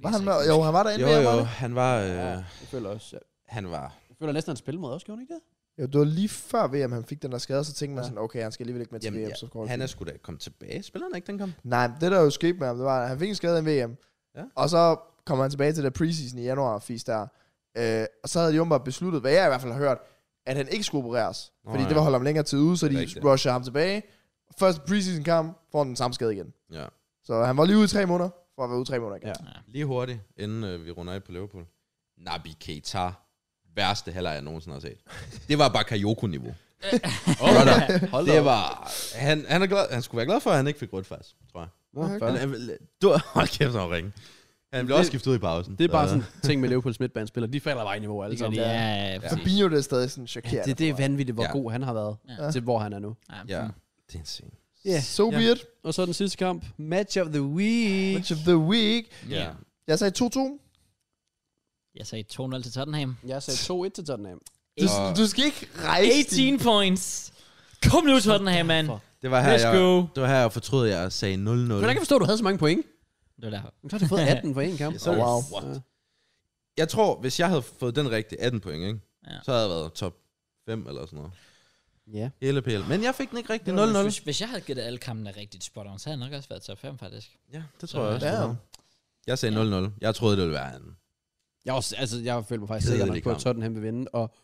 S3: Var han med? Jo, han var derinde
S4: Jo,
S3: med,
S4: jo,
S3: jo.
S4: han var... Øh,
S2: Jeg føler også, ja.
S4: han var...
S2: jeg føler næsten, han spiller mod også, gjorde han ikke det?
S3: jo, det var lige før VM, han fik den der skade, så tænkte man
S2: Ja.
S3: sådan, okay, han skal alligevel ikke med til
S4: Jamen,
S3: VM,
S4: ja,
S3: så skår
S4: Han er sgu da kommet tilbage. Spiller han ikke den kamp?
S3: Nej, det der jo skete med ham, det var, at han fik en skade i VM,
S4: Ja.
S3: og så kommer han tilbage til det preseason i januar, fisk der. Øh, og så havde de åbenbart besluttet, hvad jeg i hvert fald har hørt, at han ikke skulle opereres.
S4: Nå,
S3: fordi
S4: ja.
S3: det var holdt ham længere tid ude, så
S4: Det er
S3: de
S4: rigtigt.
S3: rusher ham tilbage. Første preseason kamp, får han den samme skade igen.
S4: Ja.
S3: Så han var lige ude i tre måneder, for at være ude i tre måneder igen.
S2: Ja.
S4: Lige hurtigt, inden øh, vi runder af på Liverpool. Nabi Keita. Værste halvleg, jeg nogensinde har set. Det var bare
S1: *laughs*
S4: Kajoko-niveau. Brother,
S2: Hold
S4: det var... Han, han, er glad, han skulle være glad for, at han ikke fik rødt faktisk, tror jeg.
S2: Nå,
S3: Okay.
S2: fair.
S4: Han, han, øh, du, *laughs* hold kæft, han var ringe. Han blev
S2: Det-
S4: også skiftet ud i pausen.
S2: Det er bare
S4: Så-
S2: sådan ting med Liverpools midtbanespillere. De falder bare i niveau alle
S1: Det gør
S2: sammen.
S1: de, ja, ja,
S4: Ja.
S1: ja.
S3: Fabinho, det er stadig sådan chokerende.
S2: Det, det er vanvittigt, hvor
S4: Ja.
S2: god han har været
S1: Ja.
S2: til, hvor han er nu.
S4: Ja,
S1: Ja.
S4: det er en scene.
S2: Ja.
S3: So be it.
S2: Og så den sidste kamp. Match of the week.
S3: Match of the week.
S4: Ja.
S3: Jeg sagde 2-2.
S1: Jeg sagde 2-0 til Tottenham.
S2: Jeg sagde 2-1 til Tottenham.
S3: Du,
S4: Og-
S3: du skal ikke rejse din-
S1: 18 points. Kom nu, Tottenham, mand.
S4: Det var her,
S1: Let's
S4: jeg,
S1: go.
S4: det var her, jeg fortrød, at jeg sagde 0-0.
S2: Hvordan kan jeg forstå, at du havde så mange point?
S1: Det var derfor.
S2: Du har du *laughs* fået 18 på én kamp.
S4: Yes, sir.
S3: Oh, wow.
S2: Ja.
S4: Jeg tror, hvis jeg havde fået den rigtige 18 point, ikke?
S1: Ja.
S4: så havde jeg været top 5 eller sådan noget.
S2: Ja.
S4: Hele PL. Men jeg fik den ikke rigtig
S1: Det var-
S4: 0-0.
S1: Hvis, hvis jeg havde gættet alle kampene rigtigt spot on, så havde jeg nok også været top 5, faktisk.
S4: Ja, det
S1: Så-
S4: tror jeg også.
S3: Ja.
S4: det var. Jeg sagde 0-0. Jeg troede, det ville være en.
S2: Jeg, var, også- altså, jeg følte mig faktisk
S4: Kedelig
S2: sikker nok på, at
S4: kamp.
S2: Tottenham vil vinde, og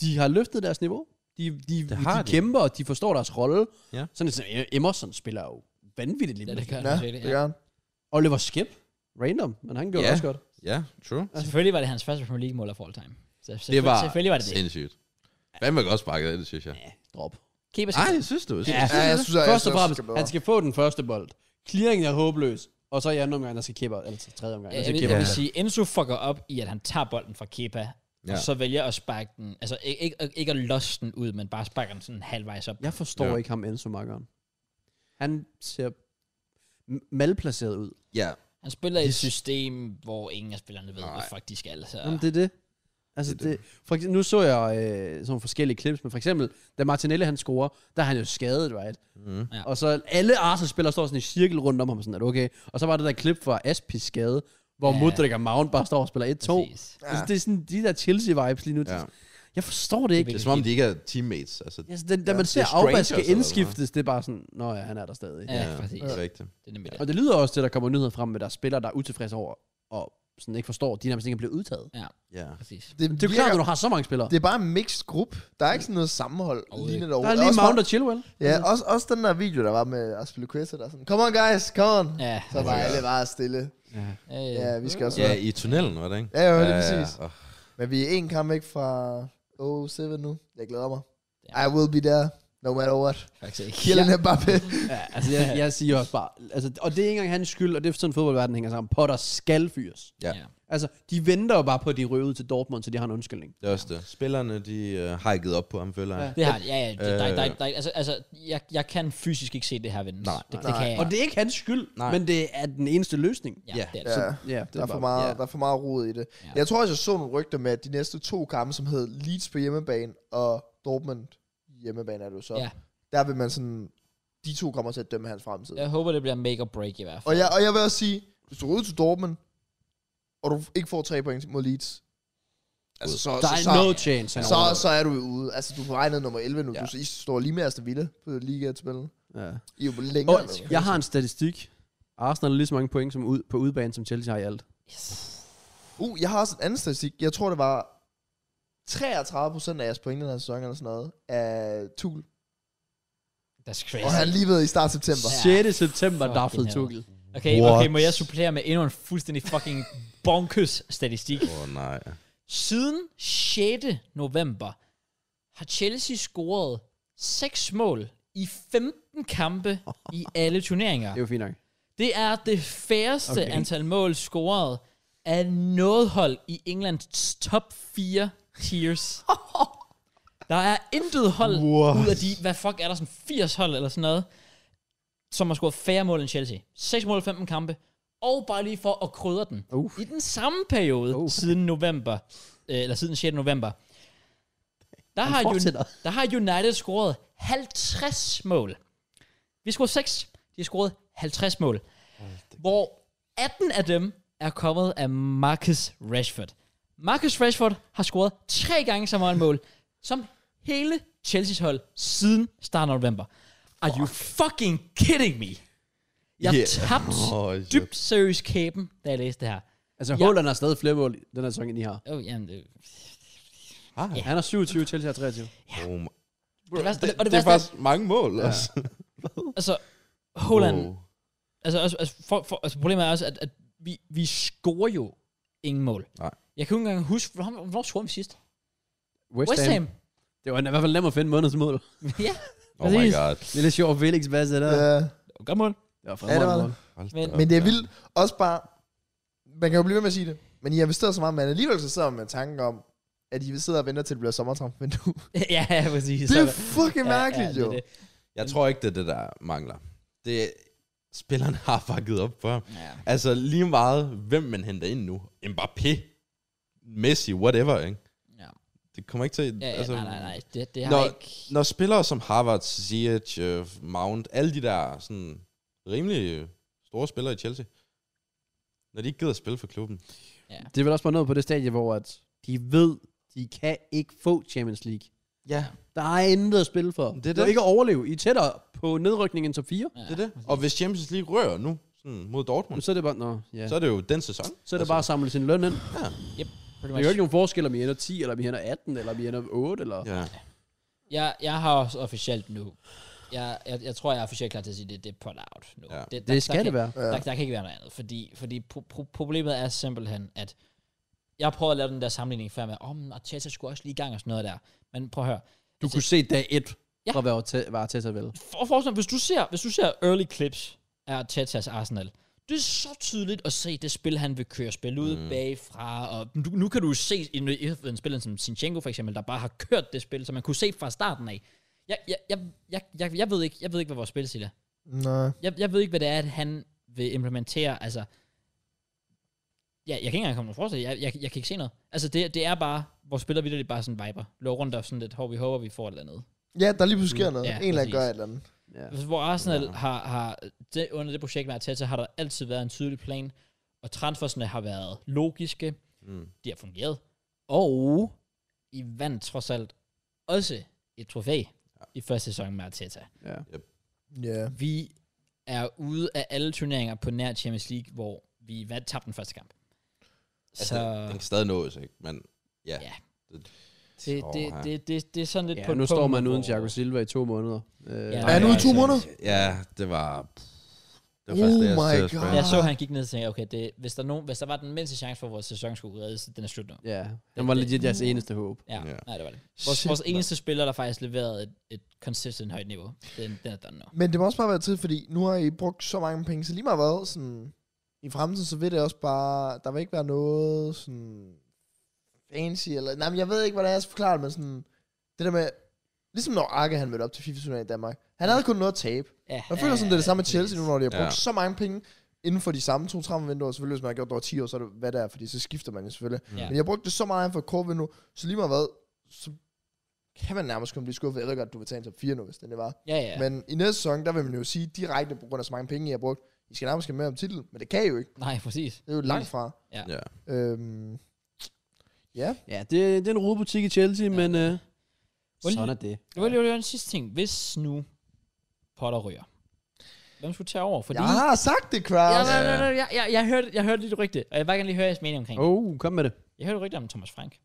S2: de har løftet deres niveau. De, de, de,
S4: har
S2: de,
S4: de.
S2: kæmper, og de forstår deres rolle.
S4: Ja.
S2: Sådan sådan, Emerson spiller jo vanvittigt lige
S1: Ja,
S2: nu.
S1: det gør
S3: Ja,
S1: jeg
S3: det gør han.
S2: Oliver Skip, random, men han gjorde det
S4: Ja.
S2: også godt.
S4: Ja, true.
S1: Altså, selvfølgelig var det hans første Premier League-mål af all time. Så selvfølgelig,
S4: Det var
S1: selvfølgelig var det det.
S4: sindssygt. Hvad med godt sparket af det, synes jeg.
S2: Ja, drop.
S1: Keeper
S4: Ej, det synes du. Det
S2: Ja,
S4: synes
S3: Ja, jeg synes, at
S2: Først og
S3: Ashley også
S2: fremmest,
S3: skal bedre.
S2: han skal få den første bold. Clearingen er håbløs. Og så i anden omgang, der skal kæppe, altså tredje omgang,
S1: Jeg,
S2: der
S1: jeg,
S2: skal
S1: vil,
S2: kæppe.
S1: jeg vil
S4: Ja.
S1: sige, Enzo fucker op i, at han tager bolden fra Kepa, ja.
S4: Ja.
S1: og så vælger at sparke den, altså ikke, ikke, ikke at losse den ud, men bare sparker den sådan halvvejs op.
S2: Jeg forstår
S4: Ja.
S2: ja. ikke ham Enzo Makkeren. Han ser m- malplaceret ud.
S4: Ja,
S1: Han spiller i et
S4: Yes.
S1: system, hvor ingen af spillerne ved, hvad
S4: Nej.
S1: fuck de skal. Så.
S2: Jamen, det er det. Altså, det,
S4: Det er
S2: det. For eksempel, nu så jeg øh, sådan nogle forskellige clips, men for eksempel, da Martinelli han scorer, der er han jo skadet, right?
S4: Mhm.
S1: Ja.
S2: Og så alle Arsenal-spillere står sådan i cirkel rundt om ham, sådan, er du okay? Og så var det der klip fra Aspis skade, hvor
S1: Ja.
S2: ja. Mudrik og Mount bare står og spiller 1-2.
S1: Præcis.
S2: Altså, det er sådan de der Chelsea-vibes lige nu.
S4: ja.
S2: Ja. Jeg forstår det
S4: Det
S2: ikke.
S4: er som om, de ikke er teammates. Altså,
S2: Altså, den, da
S3: Ja,
S2: man
S4: det er
S2: ser
S4: strangers
S2: afvaske
S4: eller hvad?
S2: indskiftes, det er bare sådan, nå ja, han er der stadig.
S1: Ja,
S4: ja,
S1: præcis.
S4: det er rigtigt.
S1: Det er nemlig det.
S2: Og det lyder også til, at der kommer nyheder frem med, der er spillere, der er utilfredse over, og sådan ikke forstår, at de nærmest ikke er blevet udtaget.
S4: Ja.
S1: Præcis.
S2: Det er jo klart, når du har så mange spillere.
S3: det er bare en mixed gruppe. Der er ikke sådan noget sammenhold
S1: Overhovedet
S3: lignende
S1: ikke.
S3: derovre.
S2: der er lige
S3: Også
S2: Mount og Chilwell.
S3: Ja, også, også den der video, der var med Aspilicueta, der er sådan, come on guys, come on. Ja.
S1: Ja,
S3: Så var alle bare stille.
S1: ja, ja.
S3: Ja, vi skal også
S4: Ja,
S3: være.
S4: i tunnelen, var det ikke?
S3: Ja, jo, lige præcis.
S4: åh.
S3: Men vi er en kamp væk fra 07 nu. Jeg glæder mig.
S1: Ja.
S3: I will be there, no matter what.
S1: faktisk ikke.
S3: Kylian Mbappé.
S2: Ja, altså jeg, jeg siger også bare, altså, og det er ikke engang hans skyld, og det er sådan, fodboldverdenen hænger sammen. Potter skal fyres.
S4: Ja.
S1: Ja.
S2: Altså, de venter jo bare på, at de røver ud til Dortmund, så de har en undskyldning.
S4: Det er også det. Spillerne, de øh, har ikke givet op på ham, føler jeg.
S2: Ja.
S1: Det har ja, ja, det, der, der,
S4: Øh.
S1: der, altså, altså jeg, jeg kan fysisk ikke se det her vinde.
S4: Nej.
S1: det, det kan jeg.
S2: Og det er ikke hans skyld,
S4: Nej.
S2: Nej. men det er den eneste løsning.
S1: ja,
S4: Ja.
S1: det er det.
S3: Ja,
S2: Ja, det
S3: der
S2: er
S3: er, for
S2: bare,
S3: meget,
S4: ja.
S3: der er for meget rod i det.
S1: Ja.
S3: Jeg tror også, jeg så nogle rygter med, at de næste to kampe, som hed Leeds på hjemmebane og Dortmund hjemmebane er det jo så.
S1: Ja.
S3: Der vil man sådan, de to kommer til at dømme hans fremtid.
S1: Jeg håber, det bliver make or break i hvert fald.
S3: Og jeg, og jeg vil også sige, hvis du går ud til Dortmund, og du ikke får tre point mod Leeds, altså, så,
S2: der
S3: så,
S2: er
S3: så,
S2: no chance. han overlever.
S3: så, så, er du jo ude. Altså, du er på vej ned nummer 11 nu. Ja.
S2: Ja.
S3: Du I står lige med Aston Villa på ligatabellen.
S2: Ja.
S3: I er jo længere.
S2: Og
S3: nede.
S2: jeg har en statistik. Arsenal har lige så mange point som ud, på udbanen, som Chelsea har i alt.
S1: Yes.
S3: Uh, jeg har også en anden statistik. Jeg tror, det var 33 procent af jeres point i den her sæson, eller sådan noget, af Tuchel.
S1: That's
S3: Og
S1: crazy.
S3: han lige ved i start september.
S1: Ja.
S2: 6. september,
S1: Fucking
S2: der er fed
S1: hell.
S2: Tuchel.
S1: Okay,
S4: What?
S1: okay, må jeg supplere med endnu en fuldstændig fucking bonkøs statistik.
S4: Åh, oh, nej.
S1: Siden 6. november har Chelsea scoret 6 mål i 15 kampe i alle turneringer.
S2: Det er jo fint nok.
S1: Det er det færreste okay.
S2: Okay.
S1: antal mål scoret af noget hold i Englands top 4 tiers. Der er intet hold
S4: What?
S1: ud af de, hvad fuck er der, sådan 80 hold eller sådan noget, som har scoret færre mål end Chelsea. 6 mål i 15 kampe. Og bare lige for at krydre den.
S2: Uh.
S1: I den samme periode,
S2: Uh.
S1: siden november, øh, eller siden 6. november, der har,
S2: fortsætter.
S1: Un- der har United scoret 50 mål. Vi scorede 6, de har scoret 50 mål. Hvor 18 af dem er kommet af Marcus Rashford. Marcus Rashford har scoret tre gange så mange mål, som hele Chelsea's hold siden starten af november. Are you fucking kidding me? Jeg
S4: Yeah.
S1: yeah. tabte
S4: Åh,
S1: oh,
S4: shit.
S1: dybt seriøs kæben, da jeg læste det her.
S2: Altså, Holland har stadig flere mål i den her sæson, end I har.
S1: Oh, jamen, det,
S4: Ah,
S2: Han har 27, Chelsea har 23.
S4: oh, my-
S1: det, værste,
S4: det,
S1: og det,
S4: det er
S1: værste,
S4: faktisk mange mål, ja. også.
S1: altså, Holland,
S4: Wow.
S1: Altså, altså, altså, for, for, altså problemet er også, at, at vi, vi scorer jo ingen mål.
S4: Nej.
S1: Jeg kan jo ikke engang huske, hvornår, hvornår scorede vi sidst?
S2: West,
S1: West Ham.
S2: Det var i hvert fald nemt at finde månedens mål.
S1: ja,
S4: Oh my
S1: Præcis.
S4: god.
S2: Det er lidt sjovt, Felix Basse der.
S3: Ja.
S1: godt mål.
S2: Det var
S3: Ja, det var
S2: fremragende mål.
S4: Hold
S1: Men-
S4: da op,
S3: Men det er
S4: ja.
S3: vildt. Også bare, man kan jo blive ved med at sige det, men I har investeret så meget, men alligevel så sidder man med tanken om, at I sidder og venter til det bliver
S1: *laughs*
S3: sommertransfervindue.
S1: ja, ja, præcis.
S3: Det er
S1: Så-
S3: fucking
S1: Ja, ja,
S3: mærkeligt,
S1: det er
S3: jo.
S1: det.
S4: Jeg tror ikke, det er det, der mangler. Det er- Spillerne har bare givet op for ham.
S1: Ja.
S4: Altså lige meget, hvem man henter ind nu. Mbappé, Messi, whatever, ikke?
S1: Ja.
S4: Det kommer ikke til... altså-
S1: Ja, ja, nej, nej, nej. Det, det har
S4: Når,
S1: ikke...
S4: når spillere som Harvard, Ziyech, øh, Mount, alle de der sådan rimelig øh, store spillere i Chelsea, når de ikke gider at spille for klubben.
S2: Det er vel også bare noget på det stadie, hvor at de ved, de kan ikke få Champions League.
S3: Ja.
S2: Der er intet at spille for. Det
S4: er
S2: er det.
S4: det.
S2: ikke at overleve. I er tættere på nedrykning end top 4.
S1: Ja.
S4: Det er det. Og hvis Champions League rører nu sådan mod Dortmund,
S2: Men så er det bare, nå, ja.
S4: så
S2: så,
S4: er det jo den sæson.
S2: så
S3: Altså-
S2: er det bare at samle sin løn ind.
S1: Pretty
S2: Der er jo ikke nogen forskel, om I ender 10, eller om I ender 18, eller om I ender 8, eller... Ja.
S4: Altså, Ja.
S1: Jeg, jeg har også officielt nu. Jeg, jeg, jeg tror, jeg er officielt klar til at sige, at det, det er put out nu.
S4: Ja.
S1: Det,
S2: Det skal
S1: kan,
S2: det være.
S1: Der, der kan ikke være noget andet. Fordi, fordi pro- pro- problemet er simpelthen, at jeg prøvede at lave den der sammenligning før med, om oh, Arteta skulle også lige i gang og sådan noget der. Men prøv at høre.
S2: Du
S1: Altså,
S2: kunne se dag 1,
S1: Ja.
S2: fra hvad var Tessa vel.
S1: for, for, hvis, du ser, hvis du ser early clips af Artetas Arsenal, det er så tydeligt at se det spil, han vil køre spil ud mm. bagfra. Og nu, nu kan du se en, en spiller som Sinchenko for eksempel, der bare har kørt det spil, som man kunne se fra starten af. Jeg, jeg, jeg, jeg, jeg, jeg, ved, ikke, jeg ved ikke, hvad vores spilstil er.
S3: Nej.
S1: Jeg, jeg ved ikke, hvad det er, at han vil implementere. Altså, ja, jeg kan ikke engang komme med forslag. Jeg, jeg, jeg kan ikke se noget. Altså, det, det er bare, vores spillere vildt, det er bare sådan viber. Lå rundt og sådan lidt, hvor vi håber, vi får et eller andet.
S3: Ja, der lige pludselig sker noget.
S1: Mm. Ja,
S3: en eller
S1: præcis.
S3: anden gør et eller andet.
S2: Ja.
S1: Altså, Hvor Arsenal ja. har, har det, under det projekt med Arteta, har der altid været en tydelig plan, og transfersene har været logiske,
S4: Mm.
S1: de har fungeret, og I vandt trods alt også et trofæ ja. i første sæson med Arteta.
S2: ja.
S3: Ja.
S1: Vi er ude af alle turneringer på nær Champions League, hvor vi vandt tabte den første kamp. Så
S4: Altså, den kan stadig nås, ikke? Men ja.
S1: Ja.
S4: Det,
S1: det,
S4: Åh,
S1: det,
S4: ja.
S1: det, det, det er sådan lidt
S2: ja
S1: på
S2: nu står
S1: punkt,
S2: man uden
S1: hvor-
S2: Thiago Silva i to måneder. Øh,
S1: Ja.
S3: Er han ude i to
S4: altså,
S3: måneder?
S4: Ja, det var... Det
S3: Oh my
S4: sad og
S3: God.
S4: spurgte.
S1: Jeg så, han gik ned og tænkte, okay, det, hvis, der er nogen, hvis der var den mindste chance for, at vores sæson skulle reddes, den er slut nu.
S2: Ja, han var legit jeres eneste håb.
S1: Ja,
S4: Ja.
S1: yeah. nej, det var det. Vores,
S3: Shit,
S1: vores
S3: mand.
S1: eneste spiller, der faktisk leverede et, et consistent højt niveau, den, den er done nu.
S3: Men det må også bare være tid, fordi nu har I brugt så mange penge, så lige meget hvad, sådan, i fremtiden, så vil det også bare, der vil ikke være noget sådan fancy, eller, nej, men jeg ved ikke, hvordan jeg skal forklare det, men sådan, det der med, ligesom når Arke han mødte op til fifa turneringen i Danmark, han havde kun noget at tabe.
S1: Ja,
S3: Jeg føler sådan, det er det samme med Chelsea nu, når de har brugt
S4: Ja.
S3: ja. så mange penge inden for de samme to transfervinduer, selvfølgelig hvis man har gjort det over 10 år, så er det hvad det er, fordi så skifter man jo selvfølgelig.
S1: Ja.
S3: Ja. Men jeg brugte det så meget inden for et kort vindue, så lige meget hvad, så kan man nærmest kun blive skuffet. Jeg ved godt, du vil tage en top 4 nu, hvis det var.
S1: Ja, ja.
S3: Ja. Men i næste sæson, der vil man jo sige direkte på grund af så mange penge, I har brugt. I skal nærmest have med om titlen, men det kan I jo ikke.
S1: Nej, præcis.
S3: Det er jo langt fra.
S4: Ja.
S3: Øhm, ja,
S2: Ja, det, det er en rodebutik i Chelsea, ja. men øh,
S1: Hvor-
S2: sådan er det.
S1: Det var lige det var den sidste ting. Hvis nu Potter ryger, hvem skulle tage over? Fordi...
S3: jeg har sagt det,
S1: Ja,
S3: Kraus.
S1: nej, nej, nej, jeg, jeg, jeg, hørte, jeg hørte lige det rygte, og jeg vil bare gerne lige høre jeres mening omkring. det.
S2: Oh, kom med det.
S1: Jeg hørte et rygte om Thomas Frank.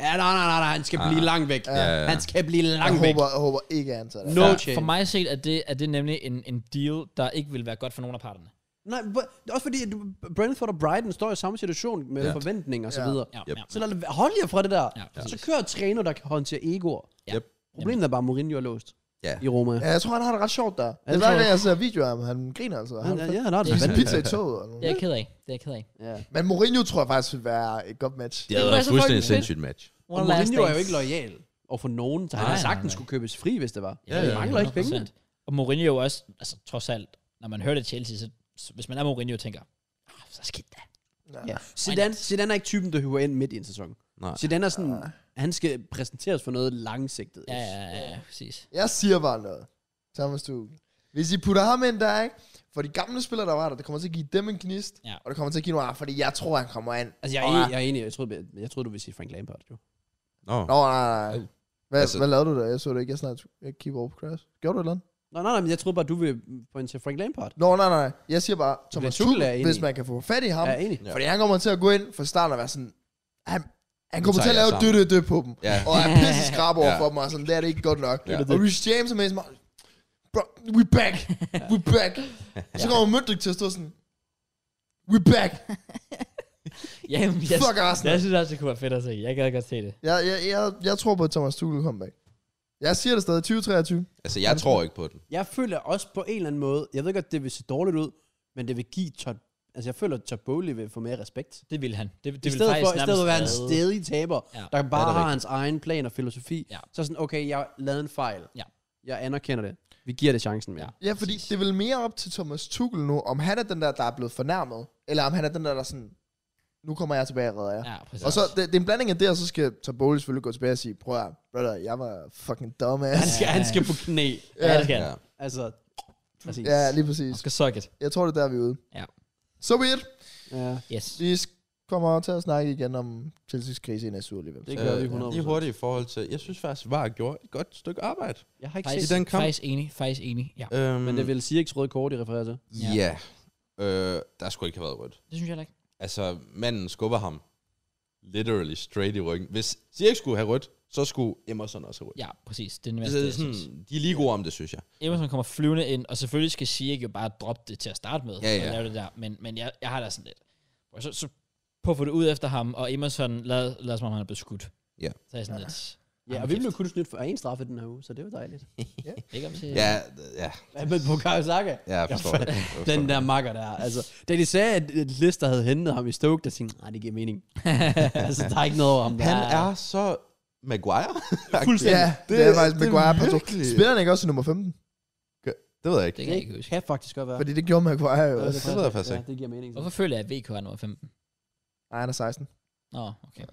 S2: Ja, nej, nej, nej, nej, han skal
S4: Ah.
S2: blive langt væk.
S4: Ja, ja.
S2: Han skal blive
S3: Jeg
S2: langt væk.
S3: håber, jeg håber ikke, at han tager det.
S2: No
S4: Ja.
S2: chance.
S1: For mig set er det, er det nemlig en, en deal, der ikke vil være godt for nogen af parterne.
S2: Nej, hvor- det er også fordi, at du- Brentford og Brighton står i samme situation med
S4: Ja.
S2: ja. forventninger og så
S3: Ja.
S2: videre.
S1: Ja,
S4: Yep.
S1: ja.
S2: Så lad, hold jer fra det der.
S1: Ja,
S2: Ja.
S1: præcis.
S2: Så kører træner, der kan håndtere egoer.
S1: Ja.
S4: Yep.
S2: Problemet er bare, at Mourinho er låst
S4: Ja.
S2: i Roma.
S3: Ja, jeg tror, han har det ret sjovt der. Det
S2: det
S3: er
S2: tror
S3: hver
S2: jeg
S3: gang, jeg ser videoer af ham, han griner altså.
S2: Han,
S3: Han
S2: ja, han har det
S1: Det er
S3: spiser
S2: vanvittigt.
S3: pizza i toget.
S1: Det
S3: Eller
S1: er
S3: noget.
S1: jeg ked af. Det er jeg ked af.
S2: Ja.
S3: Men Mourinho tror jeg faktisk vil være et godt match.
S4: Det
S1: Det
S4: havde
S1: var
S4: været
S1: så
S4: fuldstændig
S1: fucking fedt.
S4: sindssygt match.
S2: Og Mourinho er jo ikke lojal over for nogen, så han
S1: Nej, nej,
S2: har sagtens
S1: nej.
S2: skulle købes fri, hvis det var.
S1: Ja, ja,
S2: det mangler ikke penge.
S1: 100%. Og Mourinho er jo også, altså trods alt, når man hører det Chelsea, så, så hvis man er Mourinho, tænker, ah, så skidt da.
S2: Ja. Zidane, Zidane er ikke typen, der hører ind midt i en sæson.
S4: Nej.
S2: Zidane er sådan, han skal præsenteres for noget langsigtet.
S1: Ja, ja, ja, ja, præcis.
S3: Jeg siger bare noget. Thomas Tuchel. Hvis I putter ham ind der, ikke? For de gamle spillere, der var der, det kommer til at give dem en gnist.
S1: Ja.
S3: Og det kommer til at give noget, af, fordi jeg tror, han kommer ind.
S2: Altså, jeg er, enig, jeg er enig. Jeg troede, jeg, jeg troede, du ville sige Frank Lampard, jo.
S3: Nå,
S4: Nå.
S3: nej, nej,
S1: Øh.
S3: nej. Hvad, altså,
S4: Altså-
S3: hvad lavede du der? Jeg så det ikke. Jeg snart jeg keep over på Crash. Gjorde du et eller andet?
S2: Nå, nej, nej, men jeg troede bare, du ville pointere Frank Lampard.
S3: Nå, nej, nej. Jeg siger bare, Thomas
S2: Tuchel er
S3: Tuchel,
S2: enig.
S3: hvis man kan få fat i ham.
S2: Jeg
S3: Ja,
S2: er enig.
S4: Ja.
S3: fordi han kommer til at gå ind for starten og være sådan... Han, han kommer til
S4: tager
S3: at lave
S4: jeg
S3: dø,
S4: sammen.
S3: dø, dø på dem.
S4: Ja.
S3: Og *laughs* er pisse skrab over
S4: Ja.
S3: for dem, og er sådan, det er det ikke godt nok.
S4: Ja.
S3: Og Rich James er med sådan, bro, we back, we back. Så kommer Møndrik til at stå sådan, we back,
S1: Ja, jamen, *laughs* jeg,
S3: fuck Arsenal.
S1: jeg synes også, det kunne være fedt at se. Jeg gad godt se det.
S3: Jeg, jeg, jeg, jeg tror på, at Thomas Tuchel kommer back. Jeg siger det stadig, 2023.
S4: Altså, jeg tror ikke på den.
S2: Jeg føler også på en eller anden måde, jeg ved godt, det vil se dårligt ud, men det vil give Todd, altså jeg føler, at Todd Bowley vil få mere respekt.
S1: Det ville han. Det, det
S2: I
S1: ville
S2: stedet
S1: faktisk
S2: for, i stedet for at være en
S1: nærmest
S2: stedig taber,
S1: Ja.
S2: ja. der bare
S4: det er
S2: har hans egen plan og filosofi,
S1: Ja.
S2: ja. så er sådan, okay, jeg lavede en fejl.
S1: Ja.
S2: Jeg anerkender det. Vi giver det chancen mere.
S1: Ja.
S2: Ja.
S3: Ja, fordi det er vel mere op til Thomas Tuchel nu, om han er den der, der er blevet fornærmet, eller om han er den der, der er sådan, nu kommer jeg tilbage og redder jer. Ja.
S1: Ja, præcis.
S3: Og så, det, det er en blanding af det, og så skal Taboli selvfølgelig gå tilbage og sige, prøv at høre, brother, jeg var fucking
S2: Han,
S3: dumbass.
S2: skal, han skal på knæ.
S1: ja, det skal
S4: Ja.
S1: han.
S2: Altså, præcis.
S3: Ja, lige
S1: Han
S3: præcis.
S1: skal suck it.
S3: Jeg tror, det er der, vi er ude.
S1: Ja.
S3: Så so weird.
S2: Ja.
S1: Yes.
S3: Vi kommer til at snakke igen om Chelsea's krise i næste uge alligevel.
S2: Det gør vi 100%.
S4: Øh, Lige hurtigt i forhold til, jeg synes faktisk, VAR gjorde et godt stykke arbejde.
S2: Jeg har ikke
S1: Faktisk,
S4: I den kamp?
S1: faktisk enig, faktisk enig. Ja,
S4: Øhm,
S2: Men det vil sige ikke røde kort, I refererer til.
S1: Ja.
S4: Ja. Øh, der skulle ikke have været rødt.
S1: det synes jeg heller ikke.
S4: Altså, manden skubber ham literally straight i ryggen. Hvis Ziyech skulle have rødt, så skulle Emerson også have rødt.
S1: Ja, præcis. Det er den værste,
S4: Altså,
S1: jeg synes.
S4: sådan, de er lige gode om det, synes jeg.
S1: Emerson kommer flyvende ind, og selvfølgelig skal Sieg jo bare droppe det til at starte med,
S4: Ja, ja.
S1: og lave det der, men, men jeg, jeg har da sådan lidt, og så, så puffer det ud efter ham, og Emerson lad, lad som om han er blevet skudt.
S4: Ja.
S1: Så er jeg sådan lidt, "Ah,
S2: Ja, og vi blev kun snydt for en straffe den her uge, så det var dejligt.
S4: *laughs*
S1: ikke om til,
S4: Ja, ja,
S2: Men på Karasaka,
S4: ja jeg forstår det. Jeg forstår
S2: den
S4: det.
S2: der makker der, altså, da de sagde, at at Lister havde hentet ham i Stoke, der tænkte, nej, det giver mening. altså, der er ikke noget over ham. Der
S4: Han er så Maguire.
S2: Fuldstændig.
S3: Øh, Ja, det, det er faktisk
S4: det er
S3: Maguire på to.
S4: virkelig-
S3: Spiller han ikke også i nummer 15?
S4: det ved jeg ikke.
S1: det kan jeg
S2: Det
S1: ikke huske.
S2: kan faktisk godt være.
S3: Fordi det gjorde Maguire jo
S2: Ja,
S3: også.
S4: det ved jeg faktisk
S2: ja,
S4: ikke.
S2: det giver mening. så.
S1: *laughs* Hvorfor føler jeg, at VK er nummer 15?
S3: Nej, han er 16.
S1: Nå, okay.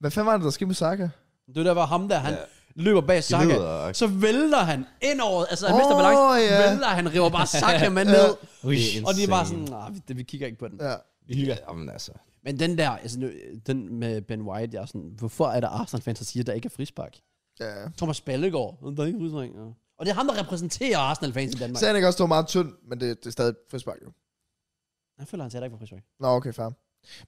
S3: Hvad fanden var det, der skete med Saka?
S2: Det der var ham der, han
S4: Ja.
S2: løber bag Saka.
S4: Glider.
S2: Så vælter han ind over, altså han
S3: Åh,
S2: mister balancen,
S3: ja.
S2: vælter, han river *laughs* bare Saka med ned.
S1: Ui.
S4: Det er
S2: og de er bare
S4: insane.
S2: sådan, nej, vi, vi kigger ikke på den.
S3: Ja.
S4: Ja, Jamen altså.
S2: Men den der, altså nu, den med Ben White, jeg er sådan, hvorfor er der Arsenal-fans, der siger, at der ikke er frispark?
S3: ja.
S2: Thomas Ballegaard, der er ikke frispark. Ja. Og det er ham, der repræsenterer Arsenal-fans i Danmark.
S3: Sagde han ikke også, det var meget tynd, men det, det er stadig frispark jo.
S2: Jeg føler, han sagde, der ikke var frispark.
S3: Nå, okay, fair.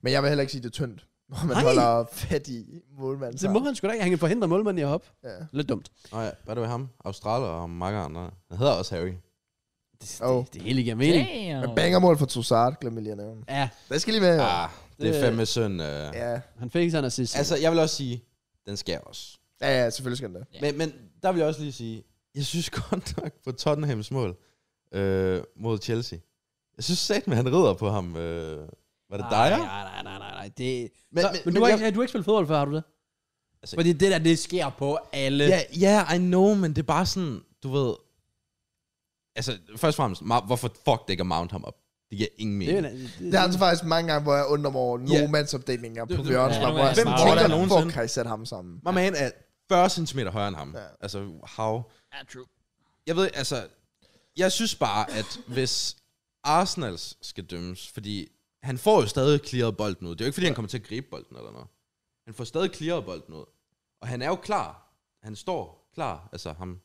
S3: Men jeg vil heller ikke sige, det er tyndt, *laughs* når man
S2: Nej.
S3: holder fat i målmanden.
S2: Det må han sgu da ikke. Han kan forhindre målmanden i at hoppe.
S3: Ja.
S2: Lidt dumt.
S4: Nå ja, hvad er det med ham? Australier og mange andre. Han hedder også Harry.
S2: Det,
S3: Oh.
S2: det, det hele giver mening.
S3: Men
S1: Damn.
S3: bangermål for Trussard, glem jeg lige at nævne.
S2: Ja,
S3: Det skal lige med. Ja.
S4: Ah, det er
S2: Det-
S4: fandme synd. Øh.
S3: Ja,
S2: han fik sådan en assist.
S4: Altså, jeg vil også sige, den skal også.
S3: ja, ja selvfølgelig skal han det.
S1: Ja.
S4: Men, men der vil jeg også lige sige, jeg synes *laughs* godt nok på Tottenhams mål øh, mod Chelsea. Jeg synes satme, han rider på ham. Øh, var det dig?
S2: Nej, nej, nej, nej, nej, nej. Det... Men,
S4: Men-
S2: så, men,
S4: men-
S2: men, du,
S4: men
S2: har
S4: jeg-
S2: ikke, du har ikke spillet fodbold før, har du det?
S4: Altså-
S2: Fordi det der, det sker på alle.
S4: Ja, yeah, I know, men det er bare sådan, du ved... Altså, først og fremmest, ma- hvorfor fuck det ikke at mount ham op? Det giver ingen
S2: Det, er
S4: mening.
S2: en- det,
S3: Det er altså faktisk mange gange, hvor jeg undrer mig over no-mands-opdelinger på
S4: Det- det-
S3: Bjørns.
S1: ja,
S3: hvor jeg
S1: hvem
S3: sådan,
S1: tænker
S3: Hvordan
S4: nogensinde?
S3: fuck har I sat ham sammen?
S4: My man er 40 cm højere end ham.
S3: Ja.
S4: Altså, how?
S1: Ja, true.
S4: Jeg ved, altså... Jeg synes bare, at hvis Arsenals skal dømmes, fordi han får jo stadig clearet bolden ud. Det er jo ikke, fordi han kommer til at gribe bolden eller noget. Han får stadig clearet bolden ud. Og han er jo klar. Han står klar. Altså ham,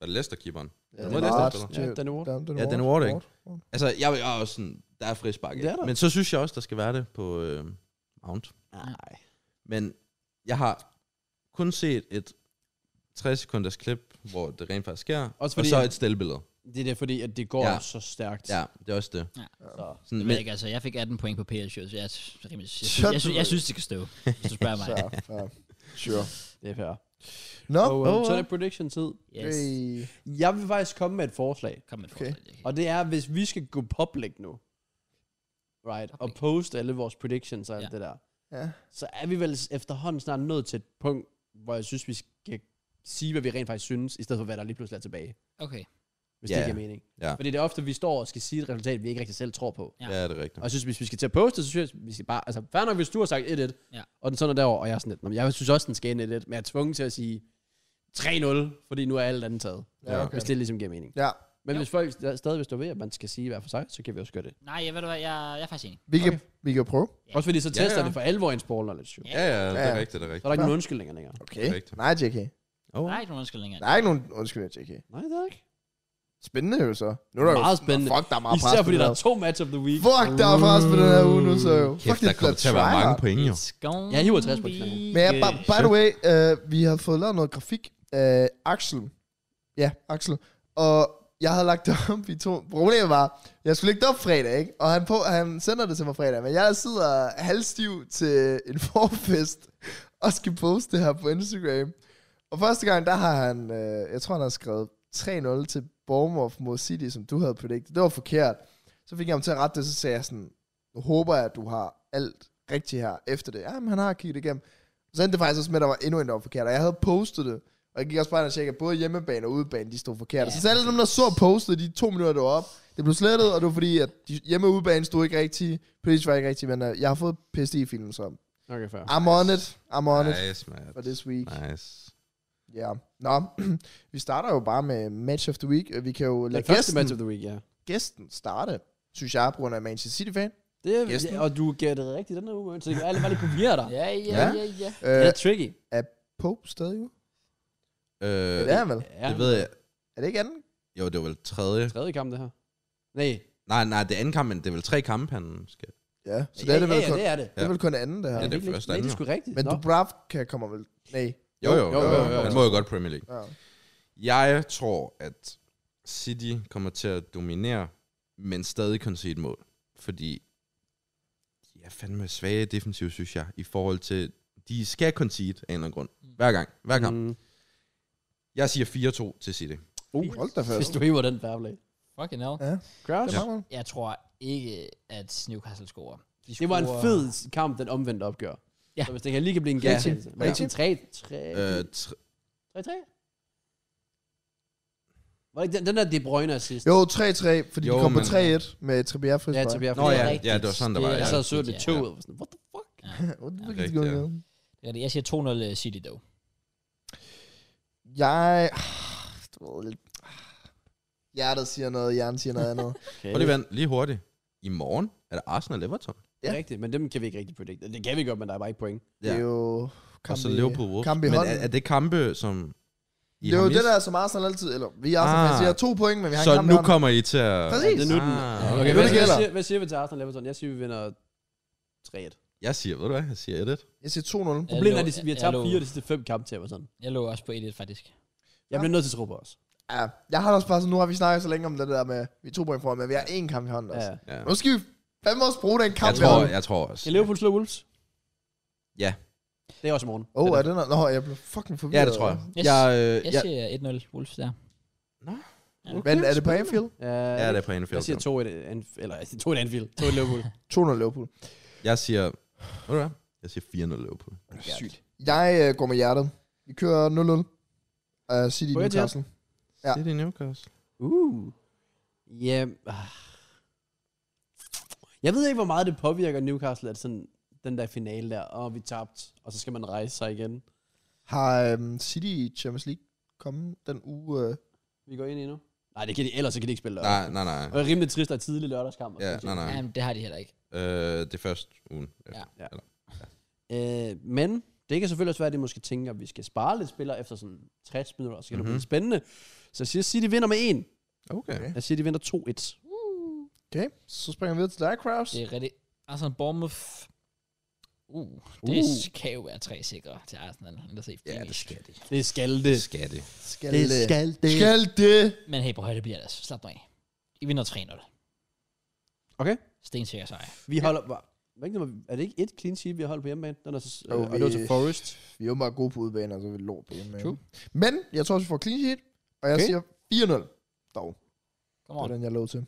S4: var det Leicester-keeperen?
S3: Ja,
S4: Var
S3: det
S4: Leicester,
S3: var
S4: der spiller?
S2: Ja, Danny Ward.
S4: Ja, Danny Ward, ikke? Altså, jeg, jeg er også sådan, der er frispark.
S2: Det er
S4: ikke?
S2: der.
S4: Men så synes jeg også, der skal være det på øh, Mount.
S2: Nej.
S4: Men jeg har kun set et 60 sekunders klip, hvor det rent faktisk sker.
S2: Også
S4: og
S2: fordi-
S4: så et stillbillede.
S2: Det er der, fordi, at det går
S4: Ja.
S2: så stærkt.
S4: Ja, det er også det.
S2: Så.
S1: Det
S4: Sådan,
S1: ved jeg
S4: men,
S1: ikke, altså. Jeg fik 18 point på PS, så jeg, jeg, jeg,
S3: Shut
S1: jeg, jeg, synes, jeg synes, det kan stå, hvis du
S2: Ah,
S1: spørger mig.
S3: Så, ja. Sure.
S2: Det er fair.
S3: Nå,
S2: Og, øh,
S4: oh,
S2: så er
S4: oh.
S2: det prediction-tid.
S1: Yes.
S3: hey.
S2: Jeg vil faktisk komme med et forslag.
S1: Kom med et
S3: Okay.
S1: forslag.
S2: Og det er, hvis vi skal gå public nu, right, og poste alle vores predictions og alt
S1: Ja.
S2: ja. det der,
S3: Ja.
S2: så er vi vel efterhånden snart nået til et punkt, hvor jeg synes, vi skal sige, hvad vi rent faktisk synes, i stedet for, hvad der lige pludselig er tilbage,
S1: Okay.
S2: hvis
S4: Ja.
S2: det giver mening.
S4: Ja.
S2: Fordi det er ofte, vi står og skal sige et resultat, vi ikke rigtig selv tror på.
S4: ja, det er rigtigt.
S2: Og jeg synes, hvis vi skal til at poste, så synes jeg, vi skal bare... Altså, fair nok, hvis du har sagt 1-1,
S1: Ja.
S2: og den sådan er derovre, og jeg er sådan lidt... "Nå, men Jeg synes også, den skal ind 1-1, men jeg er tvunget til at sige 3-0, fordi nu er alt andet taget.
S3: Ja,
S4: Ja.
S3: okay.
S2: Hvis det ligesom giver mening.
S3: Ja.
S2: Men
S1: Jo.
S2: hvis folk st- stadig vil stå ved, at man skal sige hver for sig, så kan vi også gøre det.
S1: Nej, jeg ved du hvad, jeg, jeg er faktisk enig.
S3: Vi kan, vi kan prøve.
S1: Ja.
S2: Også fordi så
S4: Ja,
S2: tester
S4: ja.
S2: det for alvor ens ball knowledge. Jo.
S4: Ja, ja, det
S3: Ja,
S4: er
S3: ja.
S4: rigtigt, det er
S2: Så er der
S4: rigtigt.
S2: ikke
S3: Nå.
S2: nogen undskyldninger længere.
S3: Okay.
S4: Rigtigt.
S3: Nej, JK.
S4: Oh.
S1: Der er ikke nogen undskyldninger.
S3: Der er ikke nogen undskyld, JK.
S2: Nej, det er der ikke.
S3: Spændende jo så. Nu er der
S2: Meget
S3: jo,
S2: spændende.
S3: Fuck, der er meget
S2: Især
S3: pres på
S2: fordi
S3: det
S2: der
S3: her.
S2: er to match of the week.
S3: Fuck, der er pres på den her uge nu, så jo. Fuck,
S4: Kæft, der
S3: er
S4: kommer til at være
S3: tryhard.
S4: mange point, jo.
S1: It's gonna
S2: Jeg hiver 60 point.
S1: be
S3: Men ja, by,
S1: good.
S3: by the way, øh, vi har fået lavet noget grafik. Øh, Axel. Ja, Axel. Og jeg havde lagt det *laughs* op i to. Problemet var, jeg skulle lægge det op fredag, ikke? Og han, på, han sender det til mig fredag, men jeg sidder halvstiv til en *laughs* forfest og skal poste det her på Instagram. Og første gang, der har han, øh, jeg tror han har skrevet 3-0 til Bournemouth mod City, som du havde predicted. Det var forkert. Så fik jeg ham til at rette det, så sagde jeg sådan, nu håber jeg, at du har alt rigtigt her efter det. Jamen, han har kigget igennem. Så endte det faktisk også med, at der var endnu en, der var forkert. Og jeg havde postet det. Og jeg gik også bare ind og tjekkede, at både hjemmebane og udebane, de stod forkert.
S1: Ja,
S3: Ja, så alle dem, der så postet de to minutter, det var op, det blev slettet, og det var fordi, at de hjemme og udebane stod ikke rigtigt. Politisk var ikke rigtigt, men uh, jeg har fået PSD-filmen så.
S2: Mm. Okay, fair.
S3: I'm on it. I'm on it
S4: Nice, man.
S3: for this week.
S4: Nice.
S3: Ja. Yeah. Nå, *clears throat* vi starter jo bare med match of the week. Vi kan jo
S2: Det
S3: lade
S2: er første match
S3: gæsten,
S2: of the week, ja.
S3: gæsten starte, synes jeg, på grund af at jeg er Manchester City-fan.
S2: Det Det,
S3: Gæsten.
S2: ja, og du gættede rigtigt den her uge, så det kan alle bare lige kopiere dig.
S1: Ja, ja,
S3: Ja.
S1: ja, ja.
S3: Øh,
S2: Det er tricky.
S3: Pope stadig jo.
S4: Øh,
S3: Det er han vel.
S2: Ja,
S4: Det ved jeg.
S3: Er det ikke anden?
S4: Jo, det var vel tredje.
S2: tredje kamp, det her. Nej,
S4: Nej, nej, det er anden kamp, men det er vel tre kampe, han skal.
S3: Ja, så det er det
S2: ja,
S3: vel
S2: ja,
S3: kun,
S2: det er det.
S3: det er vel kun anden, det her.
S4: Ja, det er
S2: ikke-
S4: første
S2: Nej, det
S4: anden,
S2: er
S4: jo.
S2: sgu rigtigt.
S3: Men
S2: Nå.
S3: Dubravka kommer vel... Nej.
S4: Jo, jo, jo, jo, jo.
S3: jo.
S4: Han må jo godt Premier League.
S3: Ja.
S4: Jeg tror, at City kommer til at dominere, men stadig kun se et mål. Fordi de er fandme svage defensivt, synes jeg, i forhold til... De skal concede af en eller anden grund. Hver gang. Hver gang. Mm.
S2: Mm.
S4: Jeg siger 4-2 til City.
S2: Uh,
S3: Hold da fast.
S2: hvis du hiver den fair play.
S1: Fucking hell.
S3: Ja.
S2: Crouch?
S3: Det, er meget,
S1: Jeg tror ikke, at Newcastle scorer. De
S2: Det var en
S1: scorer-
S2: fed kamp, den omvendte opgør.
S1: Ja.
S2: Så hvis den kan lige kan blive en
S3: Ja.
S2: gentagelse. Var det ikke
S3: Rigtigt.
S2: sådan 3
S4: Øh,
S2: 3
S4: tr-
S2: 3 3 Var det ikke den, den der De Bruyne assist?
S3: Jo, 3-3, fordi jo,
S4: Jo,
S3: de kom på
S4: men-
S3: 3-1 med Trippier
S2: Ja,
S3: frispark.
S2: til Bjerg.
S4: Nå
S2: Det er
S4: ja,
S2: rigtigt.
S1: rigtigt.
S4: ja, det var sådan, der var.
S1: Det er
S2: Jeg
S4: Ja.
S2: sad og så det
S1: Ja.
S2: 2 ud. og var sådan, What the fuck?
S3: What the
S4: Ja,
S3: fuck is
S4: rigtigt,
S3: going
S4: ja.
S3: on?
S1: Det er det. Jeg siger 2-0 City, dog.
S3: Jeg... ah, Du ved lidt... ah. Hjertet siger noget, hjernen siger noget andet.
S2: Okay.
S4: Prøv lige, vand, lige hurtigt. I morgen er det Arsenal-Everton.
S2: Det er rigtigt, men dem kan vi ikke rigtig predict. Det kan vi godt, men der er bare ikke point.
S3: Det er jo...
S4: Og så Liverpool-Wolves.
S3: Kamp i
S4: Men
S3: hånden.
S4: er, er det kampe, som I
S3: Det er
S4: har
S3: jo
S4: mist?
S3: det der, som Arsenal altid... Eller vi er Arsenal, ah.
S4: Ah.
S3: siger to point, men vi har en
S4: Så
S3: kamp i
S4: nu
S3: hånden.
S4: kommer I til at...
S3: Præcis.
S2: Det er nu den.
S4: Ah.
S2: Okay,
S3: det
S2: hvad, hvad,
S3: gælder.
S2: siger, hvad siger vi til Arsenal Everton? Jeg siger, vi vinder 3-1.
S4: Jeg siger, ved du hvad? Jeg siger 1
S3: Jeg siger 2-0.
S2: Problemet er,
S1: lå-
S2: at vi har
S1: jeg
S2: tabt
S1: lå-
S2: fire af de sidste fem kampe til Everton.
S1: Jeg lå også på 1-1, faktisk.
S2: Jeg bliver nødt til at tro på os.
S3: Ja, jeg har det også bare sådan, nu har vi snakket så længe om det der med, vi er to point foran, men vi har én kamp i hånden også.
S2: Ja.
S3: Ja.
S4: Ja.
S3: Nu skal vi fandme også bruge den kamp
S4: Jeg
S3: i
S4: tror,
S3: hånden.
S4: jeg tror også.
S2: Kan Liverpool slå Wolves?
S4: Ja.
S2: Det er også i morgen.
S3: Åh, oh, er det noget? Nå, jeg blev fucking forvirret.
S4: Ja, det tror jeg.
S1: Yes.
S4: Jeg, øh,
S1: Jeg
S4: jeg,
S1: siger 1-0 Wolves der.
S3: Men er det på Anfield?
S2: Uh,
S4: Ja, det er på Anfield.
S2: Jeg siger 2-1 Anfield. Eller jeg siger 2-1 Anfield. 2-1
S4: *laughs*
S2: Liverpool.
S3: 2-0 Liverpool.
S4: Jeg siger... Ved du hvad? Jeg siger 4-0 Liverpool.
S2: Sygt.
S3: Jeg øh, går med hjertet. Vi kører 0-0. Uh, City
S2: På Etihad?
S3: Newcastle. Ja.
S4: City Newcastle.
S2: Uh. Ja. ah. Jeg ved ikke, hvor meget det påvirker Newcastle, at sådan den der finale der, og vi tabt, og så skal man rejse sig igen.
S3: Har um, City i Champions League kommet den uge? Øh,
S2: Vi går ind i nu. Nej, det kan de, ellers så kan de ikke spille lørdag.
S4: Nej, nej, nej.
S2: Og det er rimelig trist, at der er tidlig lørdagskamp. og
S4: Ja,
S2: sådan
S4: nej,
S2: noget.
S4: nej.
S1: Jamen, det har de heller ikke.
S4: Øh, det er først ugen.
S1: Ja.
S2: Øh, men det kan selvfølgelig også være, at de måske tænker, at vi skal spare lidt spillere efter sådan 60 minutter, og så kan mm-hmm. det
S4: Mhm.
S2: blive spændende. Så jeg siger, at City vinder med en.
S4: Okay.
S2: Jeg siger, at de vinder 2-1.
S3: Okay, så springer vi videre til dig, Kraus.
S1: Det er rigtigt. Arsenal Bournemouth. Uh, det
S2: Uh.
S1: kan jo være tre sikre til Arsenal. Lad os se.
S4: Ja, det skal det.
S2: Det skal
S4: Det
S2: det.
S4: skal det.
S2: skal
S3: Skal Skal det?
S1: Men hey, på højde bliver det altså. Slap dig af. I vinder 3-0.
S2: Okay.
S1: Stensikker sejr.
S2: Vi holder... Ja. Er det ikke et clean sheet, vi har holdt på hjemmebane? Den er så, øh,
S3: Jo,
S2: og det var
S3: vi-
S2: til Forest.
S3: Vi er jo meget gode på udebane, og så er vi lort på hjemme.
S1: True.
S3: Men jeg tror, vi får clean sheet, og jeg
S2: Okay.
S3: okay. siger 4-0. Dog,
S1: Kom
S3: det
S1: on.
S3: er den, jeg lå til.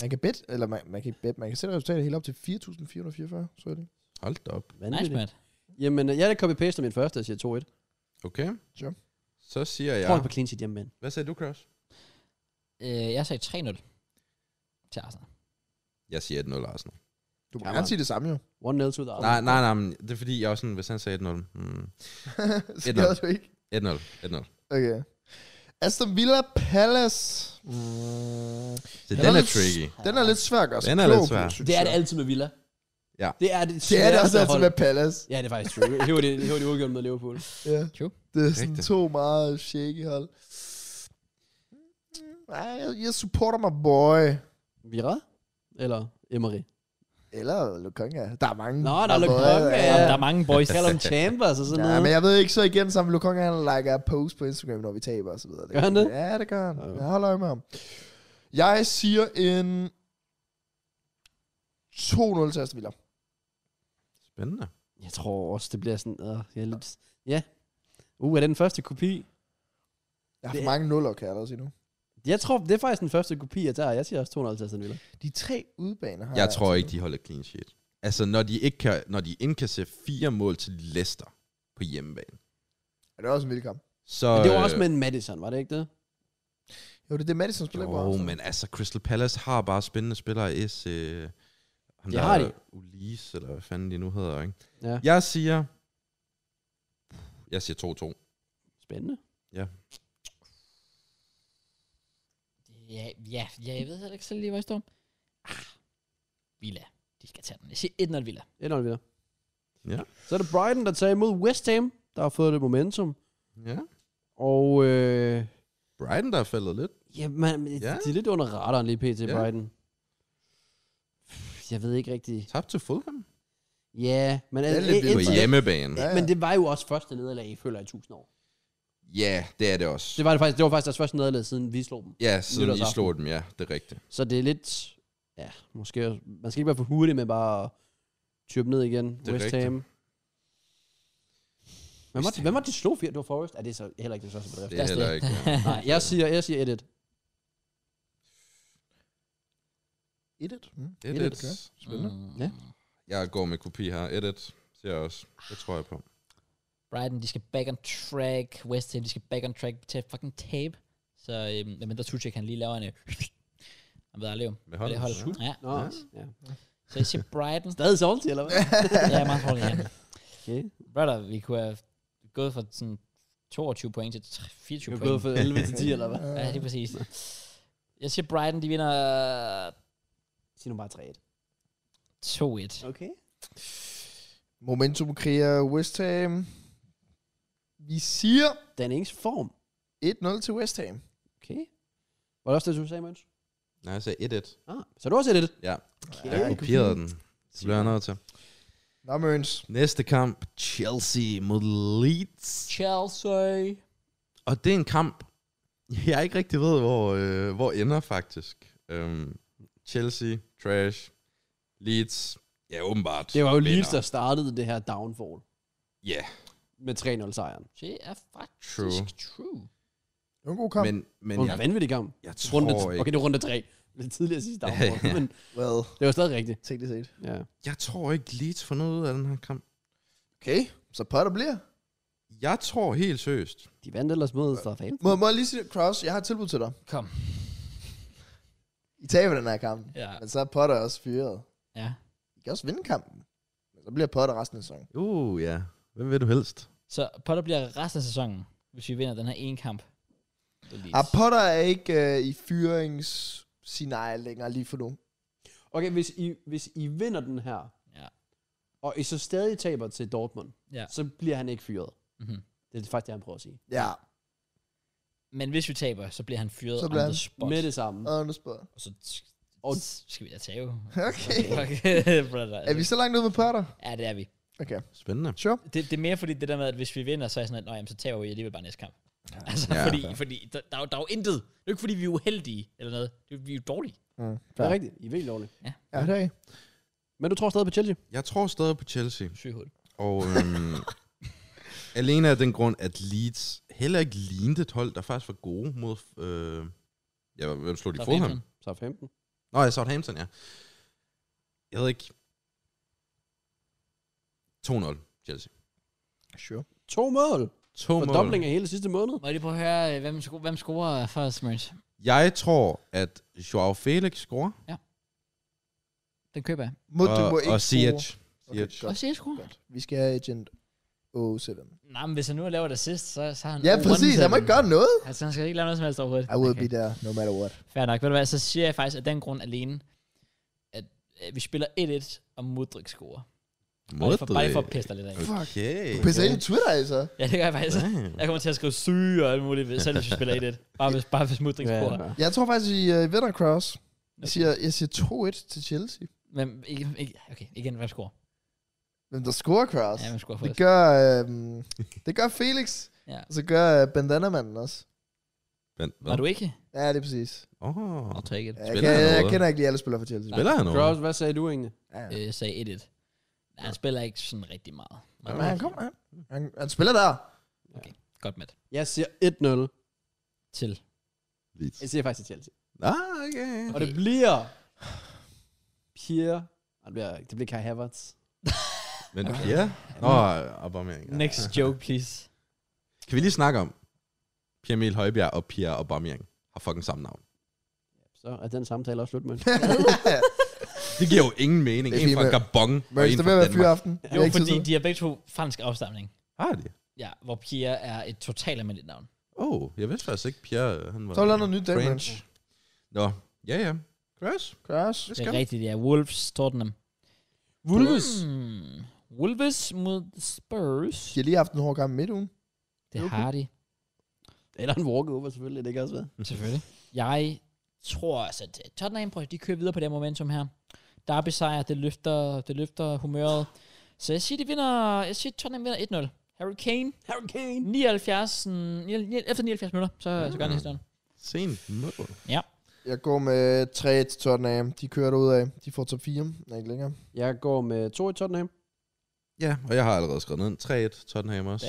S3: Man kan bet, eller man, man kan ikke bet, man kan sætte resultatet helt op til 4.444, så er det.
S4: Hold da op.
S1: Nice,
S2: Vanvittigt.
S1: Matt.
S2: Jamen, øh, jeg er copy-paste min første, jeg siger 2-1. Ja.
S4: Okay.
S3: Sure.
S4: Så siger jeg...
S2: Prøv på clean sheet hjemmebane.
S4: Hvad sagde du, Kraus?
S1: Øh, jeg sagde 3-0 til Arsenal.
S4: Jeg siger 1-0 Arsenal.
S3: Du må
S2: Come
S3: gerne
S2: on.
S3: sige det *laughs* samme jo.
S2: 1-0 to the Arsenal.
S4: Nej, nej, nej. Men det er fordi, jeg også sådan, hvis han sagde 1-0. Mm.
S3: så gør du ikke.
S4: 1-0. 1-0.
S3: Okay. Aston Villa Palace. Mm.
S4: Så
S3: Den
S4: den
S3: er
S4: er
S3: lidt-
S4: tricky.
S3: Den er lidt svær at gøre sig
S4: Den er lidt
S3: klog på,
S4: svær.
S3: synes
S2: Det er
S3: jeg.
S2: det altid med Villa.
S4: Ja.
S2: Det er det,
S3: Det er det også
S2: sværeste
S3: altid
S2: hold.
S3: med Palace.
S2: Ja, det er faktisk true. Hiver det, hiver det udgjort med Liverpool.
S3: Ja.
S1: True.
S3: Det er sådan
S4: Rigtigt.
S3: to meget shaky hold. Mm, Nej, jeg, jeg supporter mig boy.
S2: Vira? Eller Emery?
S3: Eller Lukonga. Der er mange.
S2: Nå, der
S3: my
S2: er
S3: boy.
S2: Lukonga.
S1: Ja.
S2: Ja.
S1: Der er mange boys.
S2: Callum Chambers og sådan
S3: Ja,
S2: noget.
S3: men jeg ved ikke så igen, som Lukonga han lægger post på Instagram, når vi taber og så videre.
S2: Gør han det?
S3: Ja, det gør han.
S2: Okay.
S3: Jeg holder øje med ham. Jeg siger en 2-0 til Aston Villa.
S4: Spændende.
S2: Jeg tror også, det bliver sådan... Øh, jeg er lidt, ja. Uh, er det den første kopi?
S3: Jeg har
S2: Det
S3: for
S2: er-
S3: mange nuller, kan jeg allerede sige nu.
S2: Jeg tror, det er faktisk den første kopi, jeg tager. Jeg siger også 200 til Aston Villa.
S3: De tre udbaner har
S4: Jeg tror ikke, de holder clean sheet. Altså, når de, ikke kan, når de indkasserer fire mål til Leicester på hjemmebane,
S3: Ja, det er også en vild kamp.
S4: så...
S2: Men det var
S4: øh,
S2: også med en Madison, var det ikke det?
S3: Jo, det er det, Madison spiller på.
S4: Jo,
S3: Arsenal.
S4: men altså, Crystal Palace har bare spændende spillere. S, øh, ham
S2: Det
S4: der
S2: har de.
S4: Ulis, eller hvad fanden de nu hedder, ikke?
S2: Ja.
S4: Jeg siger... Jeg siger
S2: Spændende.
S1: Ja, ja, ja, jeg ved heller ikke selv lige, hvor jeg står. Ah, Villa. De De skal tage den. Jeg siger 1-0 Villa.
S2: Ender videre.
S4: Ja.
S2: Så er det Brighton, der tager imod West Ham, der har fået det momentum.
S4: Ja.
S2: Og øh,
S4: Brighton, der er faldet lidt.
S2: ja, man, ja.
S4: Ja.
S2: de er lidt under radaren lige pt. Ja.
S4: Ja.
S2: Brighton. Jeg ved ikke rigtigt.
S4: Tabt til Fulham.
S2: Ja, men,
S3: Det er
S2: altså,
S3: lidt
S2: et-
S3: vildt,
S4: På
S2: et-
S3: faktisk.
S4: hjemmebane.
S3: Ja, ja.
S2: men det var jo også første nederlag, I føler, i 1000 år.
S4: Ja, det er det også.
S2: Det var, det, faktisk, det var faktisk deres første nederlag, siden vi slog dem.
S4: Ja, siden I
S2: Nytårsaften.
S4: slog dem, ja. Det er rigtigt.
S2: Så det er lidt... Ja, måske... også- Man skal ikke være for hurtig med bare at type ned igen.
S4: er
S2: Det West
S4: rigtigt.
S2: Ham. Hvem var,
S4: West Ham.
S2: hvem var det, de slog fire? Det var Forrest? Er det er så heller ikke den største bedrift?
S4: Det er
S1: Lad os
S4: heller
S1: det.
S4: ikke. ja.
S2: Nej, jeg siger, jeg siger 1-1.
S3: Edit. Mm.
S4: Et,
S2: Et,
S4: et.
S2: okay.
S4: Spændende.
S1: Mm.
S2: Ja.
S4: øh, Jeg går med kopi her. Et, et. Ser jeg også. Det tror jeg på.
S1: Brighton, de skal back on track. West Ham, de skal back on track til at fucking tabe. Så øhm, medmindre Tuchek, han lige laver en... øh, Han ved aldrig om. Hvad
S4: Med holdet.
S1: det holder. Ja.
S2: Nå,
S4: Ja.
S2: ja.
S1: Så jeg siger Brighton.
S2: Stadig salty, eller hvad?
S1: ja, meget dårligt, ja.
S2: Okay.
S1: Brother, vi kunne have gået fra sådan 22 point til tre- 24
S2: Du
S1: point.
S2: er gået fra 11 til 10,
S3: *laughs*
S2: eller hvad?
S1: Ja, det er præcis. Jeg siger Brighton, de vinder
S2: Sig nu bare 3-1.
S1: 2-1.
S2: Okay.
S3: Momentum kriger West Ham. Vi siger
S2: Dan Ings form.
S3: 1-0 til West Ham.
S2: Okay. Var det også det, du sagde, Møns?
S4: Nej, jeg sagde et, et.
S2: Ah, så er du også 1-1.
S4: Ja,
S2: Okay.
S4: jeg kopierede den. Det bliver jeg nødt til.
S3: Nå, Møns.
S4: Næste kamp. Chelsea mod Leeds.
S1: Chelsea.
S4: Og det er en kamp, *laughs* jeg ikke rigtig ved, hvor, øh, hvor ender faktisk. Øhm, Chelsea, trash, Leeds, ja åbenbart.
S2: Det var jo
S4: vinder.
S2: Leeds, der startede det her downfall
S4: Ja,
S2: med 3-0-sejren.
S1: Det er faktisk
S4: True.
S1: true. true.
S3: Det var en god kamp. Men,
S4: men, men
S2: Det var en
S4: jeg,
S2: vanvittig kamp.
S4: jeg
S2: Runde,
S4: tror
S2: okay,
S4: ikke,
S2: det var runde 3. Lidt tidligere sidste dag,
S4: Ja, ja.
S2: men
S3: well,
S2: det var stadig rigtigt.
S3: teknisk set.
S2: Ja.
S4: jeg tror ikke Leeds får noget ud af den her kamp.
S3: Okay, så potter bliver.
S4: Jeg tror helt seriøst.
S2: De vandt ellers mod Southampton.
S3: Må, må jeg lige sige, Kraus, jeg har et tilbud til dig.
S1: Kom.
S3: I taber den her kamp.
S1: Ja.
S3: Men så er Potter også fyret.
S1: ja.
S3: I kan også vinde kampen. Men så bliver Potter resten af sæsonen.
S4: Uh, ja. Hvem vil du helst?
S1: Så Potter bliver resten af sæsonen, hvis vi vinder den her ene kamp. Det er
S3: Ah,
S1: Leeds.
S3: Potter er ikke øh, i fyringsscenarie længere lige for nu.
S2: Okay, hvis I, hvis I vinder den her,
S1: Ja.
S2: og I så stadig taber til Dortmund,
S1: Ja.
S2: så bliver han ikke fyret.
S1: Mhm.
S2: Det er faktisk det, han prøver at sige.
S3: Ja,
S1: Men hvis vi taber, så bliver han fyret
S3: Så
S1: så
S3: bliver
S1: bliver on the spot.
S2: Med det samme.
S3: og nu spørger
S1: Og så t-
S2: Og
S1: skal vi da tabe.
S3: *laughs* Okay.
S1: Fuck, *laughs* brother.
S3: Er vi så langt ude med Potter?
S1: Ja, det er vi.
S3: Okay,
S4: Spændende.
S3: sure.
S1: Det, det er mere fordi det der med, at hvis vi vinder, så er jeg sådan, at "Nå, jamen, så taber vi alligevel bare næste kamp. Ja. *laughs* Altså,
S4: Ja.
S1: ja, fordi, fordi der, der, er jo- der er jo intet. Det er jo ikke fordi, vi er uheldige eller noget. Det er, vi er jo dårlige.
S3: Mm.
S2: det er rigtigt. I er virkelig dårlige.
S3: Ja, det er I.
S2: Men du tror stadig på Chelsea?
S4: Jeg tror stadig på Chelsea.
S1: Syg hul.
S4: Og øhm, *laughs* alene af den grund, at Leeds heller ikke lignede et hold, der faktisk var gode mod... Øh, ja, hvem slog de? Fulham?
S2: Southampton.
S4: Nå, ja, Southampton, ja. Jeg ved ikke. 2-0, Chelsea.
S3: Sure.
S2: To mål.
S4: 2
S2: Fordobling
S4: mål.
S2: af hele sidste måned.
S1: Må jeg lige prøve at høre, øh, hvem, sko- hvem scorer først, Mørns?
S4: Jeg tror, at Joao Felix scorer.
S1: Den køber jeg.
S3: Må, du må
S4: og,
S3: ikke score.
S4: og Ziyech.
S3: Okay,
S4: Ziyech.
S1: Og
S3: godt,
S1: så jeg scorer.
S3: godt. Vi skal have agent 07.
S1: Nej, men hvis han nu laver det sidst, så, så har han...
S3: Ja,
S1: overrundet
S3: præcis. Jeg må
S1: dem.
S3: ikke gøre noget.
S1: Altså, han skal ikke lave noget som helst overhovedet.
S3: I will be there, no matter what.
S1: Fair nok. Ved du hvad, så siger jeg faktisk, at den grund alene, at øh, vi spiller 1-1, og Mudrik scorer. Bare lige for, bare lige for at pisse dig lidt af.
S4: Okay.
S3: Du pisser ind i Twitter, altså.
S1: Ja, det gør jeg
S3: *laughs*
S1: faktisk. Jeg kommer til at skrive syge og alt muligt, selv hvis vi spiller 1-1. Bare hvis, bare hvis Mudrik
S2: Ja,
S1: scorer.
S2: ja.
S3: Jeg tror faktisk, I uh, vinder, Kraus. Jeg siger, jeg siger 2-1 til Chelsea.
S1: Men, ikke, ikke, okay, igen, hvem scorer?
S3: Hvem der scorer, Kraus?
S1: Ja, hvem scorer
S3: Det
S1: først?
S3: gør, øhm, det gør Felix,
S1: Ja.
S3: og så gør øh, bandanamanden også.
S4: Vent,
S1: Var
S4: hvad?
S1: du ikke?
S3: Ja, det er præcis.
S4: Åh,
S1: I'll take it. Ja.
S3: Ja, Jeg,
S4: Spiller
S3: kan,
S4: han
S3: jeg
S4: noget?
S3: kender ikke lige alle spillere for Chelsea.
S4: spiller han noget?
S2: Cross, hvad sagde du egentlig?
S3: Ja, ja.
S1: Øh, jeg sagde 1-1. Nej, han spiller ikke sådan rigtig meget.
S4: Ja,
S3: Men han kommer, han, han, han spiller
S4: *laughs*
S3: der.
S1: Godt med
S2: Jeg siger 1-0.
S1: til.
S4: Leeds.
S2: Jeg siger faktisk til Chelsea.
S4: Ah, okay.
S2: Og det bliver... Pierre... Nej, det bliver, det bliver Kai Havertz.
S4: Men ja. Nå, Aubameyang. Ja.
S1: Next joke, please.
S4: Kan vi lige snakke om, Pierre Emil Højbjerg og Pierre Aubameyang har fucking samme navn.
S2: Så er den samtale også slut, men... *laughs*
S4: Det giver jo ingen mening.
S3: Det er
S4: En fra
S3: fint, men-
S4: Gabon og
S3: Mørks,
S4: en
S3: det vil
S4: fra
S3: være
S4: Danmark.
S3: fyraften. Det *laughs* er
S1: Jo,
S3: ikke tid
S1: fordi
S3: til.
S1: de har begge to fransk afstamning.
S4: Har de?
S1: Ja, hvor Pierre er et totalt almindeligt navn.
S4: Åh, oh, jeg vidste faktisk ikke, Pierre øh, han var...
S3: Så vil der noget nyt dag,
S4: French.
S3: Mørks.
S4: Nå, ja ja. Chris,
S3: Kraus.
S4: det
S1: Det
S4: skal
S1: er rigtigt, ja. Wolves, Tottenham.
S2: Wolves.
S1: Mm. Wolves mod Spurs.
S3: De har lige haft en hård kamp midt ugen.
S1: Det har de.
S2: Eller en walkover selvfølgelig, det kan også
S3: Mhm.
S2: være.
S1: Selvfølgelig. Jeg tror altså, at Tottenham, prøv, at- de kører videre på det her momentum her. Derby sejr, det løfter, det løfter humøret. Så jeg siger, de vinder, jeg siger, Tottenham vinder 1-0. Harry Kane,
S2: Harry Kane.
S1: 79, mm, ni- ni- efter 79 minutter, så,
S3: Mhm.
S1: så gør han
S4: Mm.
S1: historien.
S4: Sent mål.
S3: Jeg går med 3 til Tottenham. De kører derud af. De får top 4. Nej, ikke længere.
S2: Jeg går med to i Tottenham.
S4: Ja, og jeg har allerede skrevet ned 3-1 Tottenham også.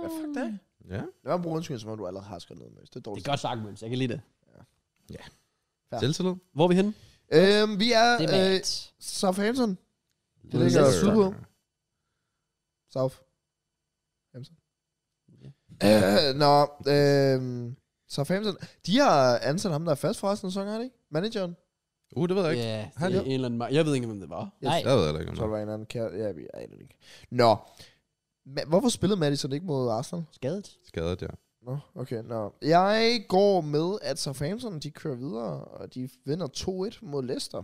S3: Hvad fuck
S1: Damn.
S3: det?
S4: Ja.
S3: Lad mig bruge undskyld, som om du allerede har skrevet ned, Mads. Det er
S2: Det
S3: dårligt.
S2: er godt sagt, Møns. Jeg kan lide det.
S3: Ja.
S4: Selvtillid.
S2: Hvor er vi henne?
S3: Øhm, vi er
S1: Det er
S3: øh,
S1: magt.
S3: Southampton.
S4: Det
S3: ligger sydpå. South. Hampton.
S2: Ja.
S3: Øh, Nå, øhm, Southampton. De har ansat ham, der er fast for resten af sæsonen, har de ikke? Manageren.
S4: Uh, det ved jeg ikke.
S2: Ja,
S4: Han-
S2: det er en eller anden... mar- Jeg ved ikke, hvem det var.
S1: Nej,
S4: Jeg ved heller ikke, om
S3: Jeg tror,
S4: det.
S3: det var en anden kære. Ja, vi er det ikke. Nå. Ma- Hvorfor spillede Madison ikke mod Arsenal?
S2: Skadet.
S4: Skadet, ja.
S3: Nå, okay, nå. Jeg går med, at Southampton, de kører videre, og de vinder 2-1 mod Leicester.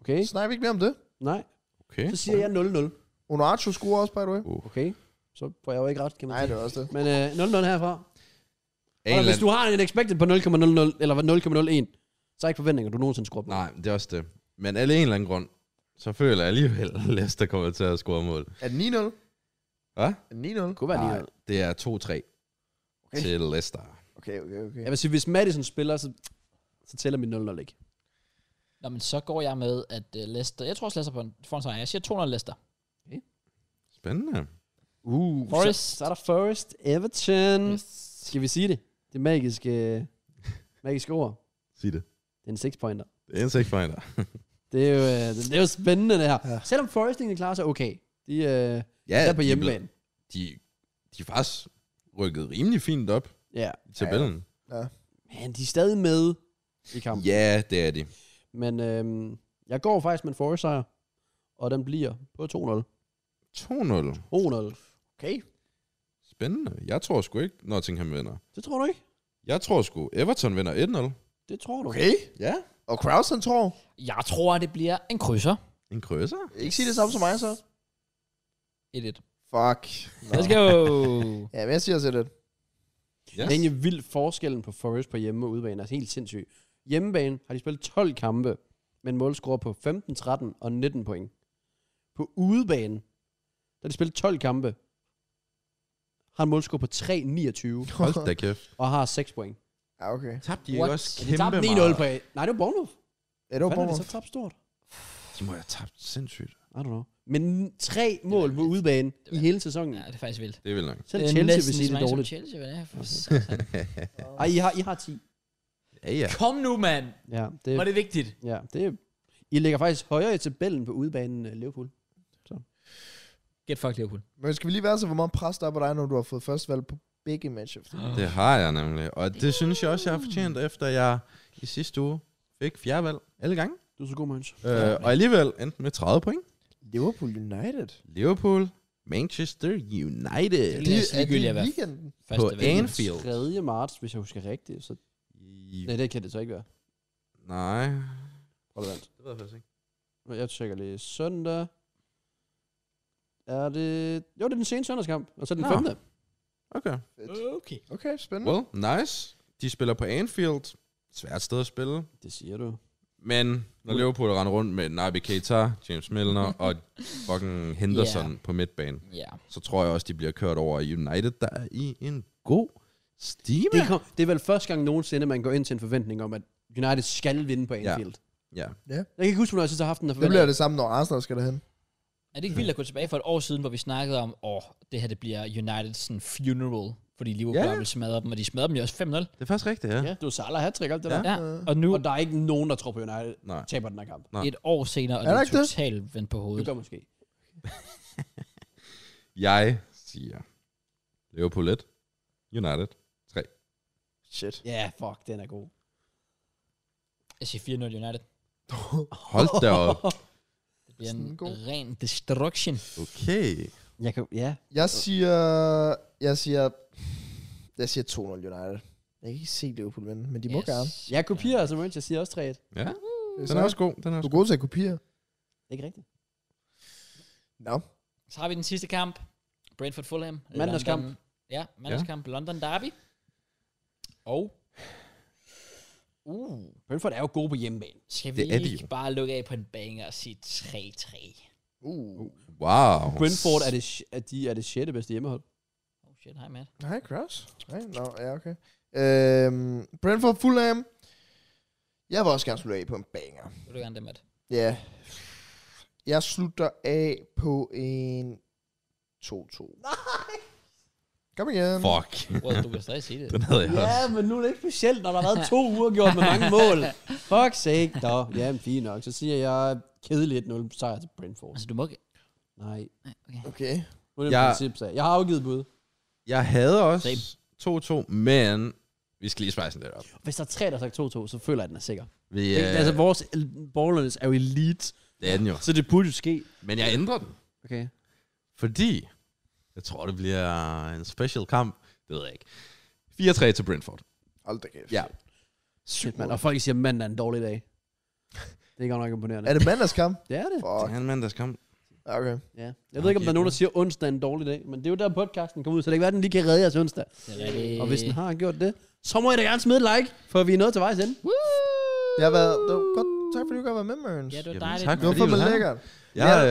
S2: Okay.
S3: Snakker vi ikke mere om det?
S2: Nej.
S4: Okay. Uh,
S2: Så siger jeg 0-0.
S3: Onoacho scorer også, by the way.
S2: Okay. Så får jeg jo ikke ret, kan man
S3: Nej,
S2: sige.
S3: det var også det.
S2: Men øh, 0-0 herfra.
S4: En
S2: Og
S4: eller
S2: hvis du har en expected på 0,00 eller 0,01, så er ikke forventninger, du nogensinde skruer på.
S4: Nej, det er også det. Men af en eller anden grund, så føler jeg alligevel, at Leicester kommer til at score mål.
S3: Er det 9-0?
S4: Hvad?
S3: Er det 9-0?
S2: Det kunne være
S4: Nej,
S2: lige
S4: det er 2-3
S3: Okay.
S4: til Leicester.
S3: Okay, okay, okay.
S2: Jeg vil sige, hvis Madison spiller, så, så tæller mit 0-0 ikke.
S1: Nå, men så går jeg med, at uh, Leicester, jeg tror også Leicester på en, får en sejr. Jeg siger 200 Leicester.
S4: Spændende.
S2: Uh,
S1: Forrest.
S2: Så, så er der Forrest Everton. Yes.
S1: Yes.
S2: Skal vi sige det? Det magiske, magiske ord.
S4: Sig det.
S2: Det er en six-pointer.
S4: Det er en seks pointer.
S2: Det er jo, øh, det er jo spændende, det her.
S3: Ja.
S2: Ja. Selvom Forrest egentlig klarer sig okay. De øh, er
S4: Ja,
S2: på
S4: de er blevet-
S2: hjemmebane.
S4: De, de er faktisk rykket rimelig fint op
S2: Ja.
S4: i tabellen.
S2: Men de er stadig med i kampen. Ja.
S4: Ja, det er de.
S2: Men øh, jeg går faktisk med en Forrest sejr. Og den bliver på 2-0.
S4: 2-0.
S2: 2-0. Okay.
S4: Spændende. Jeg tror sgu ikke, Nottingham vinder.
S2: Det tror du ikke?
S4: Jeg tror sgu, Everton vinder 1-0.
S2: Det tror du.
S3: Okay.
S4: Ja.
S3: Og Krausen tror.
S1: Jeg tror, at det bliver en krydser.
S4: En krydser.
S3: Ikke sige det samme som mig, så.
S1: 1-1.
S3: Fuck.
S1: Let's go.
S3: Ja, men jeg siger også det.
S2: Yes. Det er egentlig vildt forskellen på Forrest på hjemme- og udebane. Altså helt sindssygt. Hjemmebane har de spillet 12 kampe, men målscore på 15, 13 og 19 point. På udebane, der har de spillet 12 kampe, har en målscore på 3, 29
S4: Hold da kæft.
S2: og har 6 point.
S3: Ja, okay.
S4: Tabte
S1: de What?
S4: også
S2: De tabte 9-0 på Nej, det var Bournemouth.
S3: Ja, det
S2: Hvad er
S3: var
S2: det
S3: Bournemouth.
S2: så tabt stort?
S4: De må have tabt sindssygt.
S2: I don't know. Men tre mål på udebane i hele sæsonen.
S1: ja, det er faktisk vildt.
S4: Det er vildt nok.
S2: Selv
S1: Det er
S2: Chelsea vil
S1: næsten
S2: sige
S1: så
S2: det
S1: mange som
S2: dårligt.
S1: Chelsea, hvad det er for satan.
S2: Ej, I har, I har 10.
S4: ja, ja.
S1: Kom nu, mand.
S2: Ja, det,
S1: Var det vigtigt?
S2: ja, det, I ligger faktisk højere i tabellen på udebanen øh, Liverpool.
S1: Get fuck Liverpool.
S3: Men skal vi lige være så, hvor meget pres der er på dig, når du har fået første valg på begge matcher?
S4: Det har jeg nemlig. Og det synes jeg også, jeg har fortjent, efter jeg i sidste uge fik fjerdevalg alle gange.
S2: Du er så god, Møns.
S4: Øh, og alligevel endte med 30 point.
S3: Liverpool United.
S4: Liverpool, Manchester United.
S1: Det er altså
S3: er de
S1: ligegyldigt at
S3: i
S1: være
S3: weekenden?
S1: Første
S4: På
S1: valg.
S4: Anfield.
S2: 3. marts, hvis jeg husker rigtigt. Så...
S4: I-
S2: Nej, det kan det så ikke være.
S4: Nej.
S2: Relevant.
S4: Det ved jeg faktisk ikke.
S2: Men Jeg tjekker lige søndag. Er det... Jo, det er den seneste søndagskamp. Og så den
S4: Nå.
S2: femte.
S4: Okay.
S1: Okay.
S3: Okay, spændende.
S4: Well, nice. De spiller på Anfield. Svært sted at spille.
S2: Det siger du.
S4: Men når Liverpool render rundt med Naby Keita, James *laughs* Milner og fucking Henderson yeah. på midtbanen,
S1: Ja.
S4: så tror jeg også, de bliver kørt over i United, der er i en god stime.
S2: Det, kom, det er vel første gang nogensinde, man går ind til en forventning om, at United skal vinde på Anfield. Ja.
S4: Ja.
S2: Jeg kan ikke huske, hvornår jeg sidst har haft den her
S3: Det bliver
S2: forventning.
S3: det samme, når Arsenal skal derhen.
S1: Er det ikke vildt at gå tilbage for et år siden, hvor vi snakkede om, åh, oh, det her det bliver Uniteds sådan, funeral, fordi Liverpool
S4: Ja.
S1: yeah. vil smadre dem, og de smadrer dem jo også 5-0.
S4: Det er faktisk rigtigt, ja.
S2: Ja, du Salah hat alt det
S4: Ja.
S2: ja. der.
S1: Ja. Og nu,
S2: Og der er ikke nogen, der tror på United
S4: Nej.
S2: taber den her kamp.
S4: Nej.
S1: et år senere, og
S3: Er
S1: det
S3: der
S1: er
S3: ikke det?
S1: totalt vendt på hovedet.
S2: Det gør måske.
S4: Jeg siger Liverpool 1, United 3.
S3: Shit.
S2: Ja, yeah, fuck, den er god.
S1: Jeg siger 4-0 United.
S4: Hold da op.
S1: Det bliver
S3: Sådan
S1: en
S3: god.
S1: ren destruction.
S4: Okay.
S2: Jeg kan, ja.
S3: Jeg siger... Jeg siger... Jeg siger 2-0 United. Jeg kan ikke se Liverpool vinde, men de må gerne.
S2: Jeg kopierer altså, Møns. Jeg siger også 3-1.
S4: Ja,
S3: Det er
S4: den er
S3: sådan.
S4: også god. Den er
S3: Du
S4: også
S3: er god til at kopiere.
S2: Det er ikke rigtigt.
S3: Nå.
S1: Så har vi den sidste kamp. Brentford Fulham.
S2: Mandagskamp.
S1: London- Ja, mandagskamp. London Derby. Og... Uh,
S2: Brentford er jo gode på hjemmebane.
S1: skal vi
S4: Det er de
S1: ikke
S4: jo.
S1: bare lukke af på en banger og sige 3-3?
S3: Uh.
S4: Wow.
S2: Brentford er det, sj- at de er det sjette bedste hjemmehold.
S1: Oh shit, hej Matt.
S3: Nej, Cross. Nej, no, ja, okay. Øhm, Brentford Fulham. Jeg vil også gerne slutte af på en banger.
S1: Vil du gerne det, Matt?
S3: Ja. Jeg slutter af på en 2-2. Nej! Kom igen.
S4: Fuck. *laughs*
S1: Well, du kan stadig sige det.
S4: Den havde jeg også.
S2: Ja, men nu er det ikke specielt, når der har *laughs* været to uger gjort med mange mål. Fuck sake. Nå, jamen fint nok. Så siger jeg kedeligt 1-0 sejr til Brentford.
S1: Altså, du må ikke...
S2: Nej.
S1: Nej, okay.
S3: Okay.
S2: Nu er det
S4: Jeg-
S2: jeg... princip, sag. Jeg har afgivet bud.
S4: Jeg havde også 2-2, men vi skal lige spejse den lidt op.
S2: Hvis der er tre, der har sagt 2-2, så føler jeg, at den er sikker.
S4: Vi,
S2: Yeah.
S4: øh,
S2: Altså, vores ballers er jo elite,
S4: det er den jo.
S2: så det burde jo ske.
S4: Men jeg ændrer den,
S2: Okay.
S4: fordi jeg tror, det bliver en special kamp. Det ved jeg ikke. 4-3 til Brentford.
S3: Hold da kæft.
S4: Ja.
S2: Shit, mand. Og folk siger, at mandag er en dårlig dag. Det er godt nok imponerende.
S3: Er det mandagskamp?
S2: Det er det.
S3: Fuck.
S4: er en mandagskamp.
S3: Okay.
S2: Ja. Jeg ved ikke, om der er nogen, der siger, at onsdag er en dårlig dag, men det er jo der, podcasten kommer ud, så det kan være, at den lige kan redde jeres onsdag.
S1: Det er rigtigt.
S2: Og hvis den har gjort det, så må jeg da gerne smide et like, for vi er nået til vejs ende.
S3: Det har været... Det var godt. Tak fordi du godt var med, Mørens.
S1: Ja, det var
S4: Jamen,
S1: dejligt.
S4: tak
S3: Det
S1: Matt.
S3: var
S4: fordi
S3: fandme
S4: du er her.
S3: lækkert.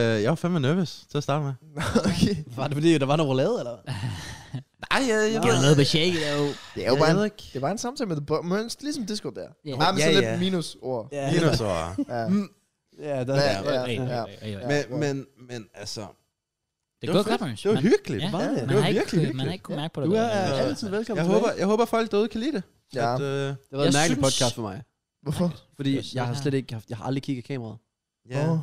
S4: Jeg, øh, jeg var fandme nervøs til at starte med.
S3: okay.
S2: Var det fordi, der var noget roulade, eller hvad?
S4: Nej, jeg, jeg,
S1: Det var noget på shake, der jo.
S3: Det er jo
S4: Jeg
S3: bare
S4: ved
S3: en,
S4: ikke.
S3: det var en samtale med The Bo- Mørens, ligesom Discord der.
S1: Ja.
S3: Nej, men så
S4: Ja,
S3: lidt
S4: ja.
S3: minusord.
S2: Ja,
S4: Dinosaur.
S3: Ja.
S4: Mm,
S2: ja, der,
S3: Ja,
S2: ja,
S3: ja.
S1: Hey, hey, hey, hey.
S4: men, men, men altså...
S1: Det er godt,
S4: fedt.
S1: Matt.
S4: Det var hyggeligt.
S1: Ja,
S2: Var det?
S1: man
S4: Det
S1: har
S4: var
S1: ikke
S4: virkelig
S1: kunne- Man
S4: hyggeligt.
S1: har ikke kunnet mærke på det.
S2: Du er
S1: godt.
S2: altid velkommen
S4: Jeg
S2: tilbage.
S4: håber, jeg håber, folk derude kan lide det.
S3: Ja.
S4: At, øh,
S2: Det var
S1: Jeg
S2: en mærkelig
S1: synes-
S2: podcast for mig.
S3: Hvorfor?
S2: Fordi
S1: Det er sådan
S2: jeg har
S1: her.
S2: slet ikke haft, jeg har aldrig kigget i kameraet.
S4: ja.
S3: Åh.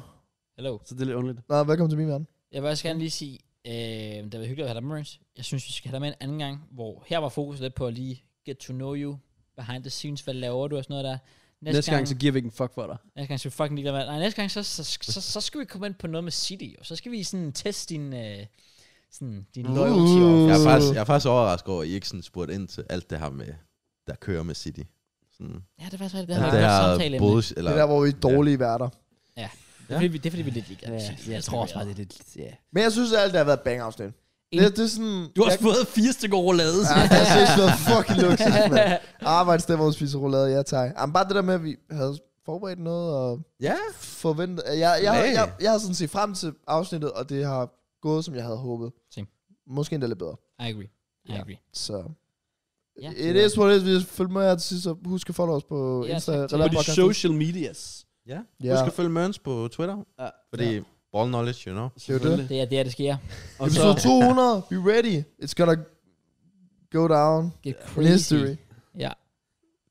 S1: Hello.
S2: Så det er lidt underligt.
S3: Nå, velkommen til min verden.
S1: Jeg vil også gerne lige sige, øh, det var hyggeligt at have dig med, Maurice. Jeg synes, vi skal have dig med en anden gang, hvor her var fokus lidt på at lige get to know you, behind the scenes, hvad laver du og sådan noget der.
S2: Næste, Næste gang, så giver vi ikke en fuck for dig.
S1: næste gang skal vi fucking ligeglade med. Nej, næste gang, så, så, så, så, skal vi komme ind på noget med City, og så skal vi sådan teste din, øh, sådan, din
S3: Uh.
S1: loyalty. over-
S4: Jeg er, faktisk, jeg er faktisk overrasket over, at I ikke sådan spurgte ind til alt det her med, der kører med City. Sådan,
S1: Ja, det var så det, det
S4: alt
S1: har
S4: det
S1: været
S4: her
S1: et samtale.
S4: både,
S1: Både...
S4: eller,
S3: Det er der, hvor vi er dårlige værter.
S1: Det, er, fordi vi- det er fordi, vi er lidt ligeglade. med
S2: Ja,
S1: City.
S2: jeg
S1: Det
S2: tror også
S1: vi
S2: bare,
S1: er.
S2: det er lidt... Ja.
S3: Men jeg synes, at alt det har været et bang-afsnit. Det,
S1: Ingen-
S3: det er sådan...
S2: Du har også fået fire stykker roulade.
S3: Ja, det har seriøst været fucking luksus, mand. Arbejdssted, hvor vi spiser roulade, ja tak. Jamen, bare det der med, at vi havde forberedt noget og
S4: Ja,
S3: forventet... Jeg, jeg, jeg,
S4: Nej.
S3: jeg, jeg har sådan set frem til afsnittet, og det har gået, som jeg havde håbet.
S1: Same.
S3: Måske endda lidt bedre.
S1: I agree. I
S3: Ja.
S1: agree.
S3: Så...
S1: Ja.
S3: It is what it is. Vi følger med her til sidst, og husk at follow os på
S1: Ja,
S3: Insta.
S1: tak.
S3: Ja,
S1: Tak
S2: På de social medias.
S4: ja.
S3: Ja.
S4: Du skal følge Mørns på Twitter,
S2: Ja.
S4: fordi ball knowledge, you know.
S3: Det er jo det.
S1: Det er det, er, det sker.
S2: Og så,
S3: Episode 200. Be ready. It's gonna go down.
S1: Get
S3: In
S1: crazy.
S3: history.
S1: Ja.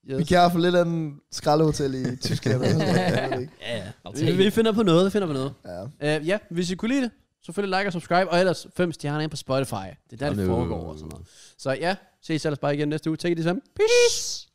S3: Vi
S2: yes.
S3: kan for lidt af en skraldehotel i Tyskland. eller sådan noget. Jeg ved det ikke.
S1: Ja, ja. I'll
S2: vi,
S1: take
S2: vi
S1: it.
S2: finder på noget, vi finder på noget.
S3: ja.
S2: Uh, ja, hvis I kunne lide det, så følg like og subscribe, og ellers fem stjerner ind på Spotify. Det er der, det
S4: Hallo.
S2: foregår og sådan noget. Så ja, ses ellers bare igen næste uge. Take it easy. Peace.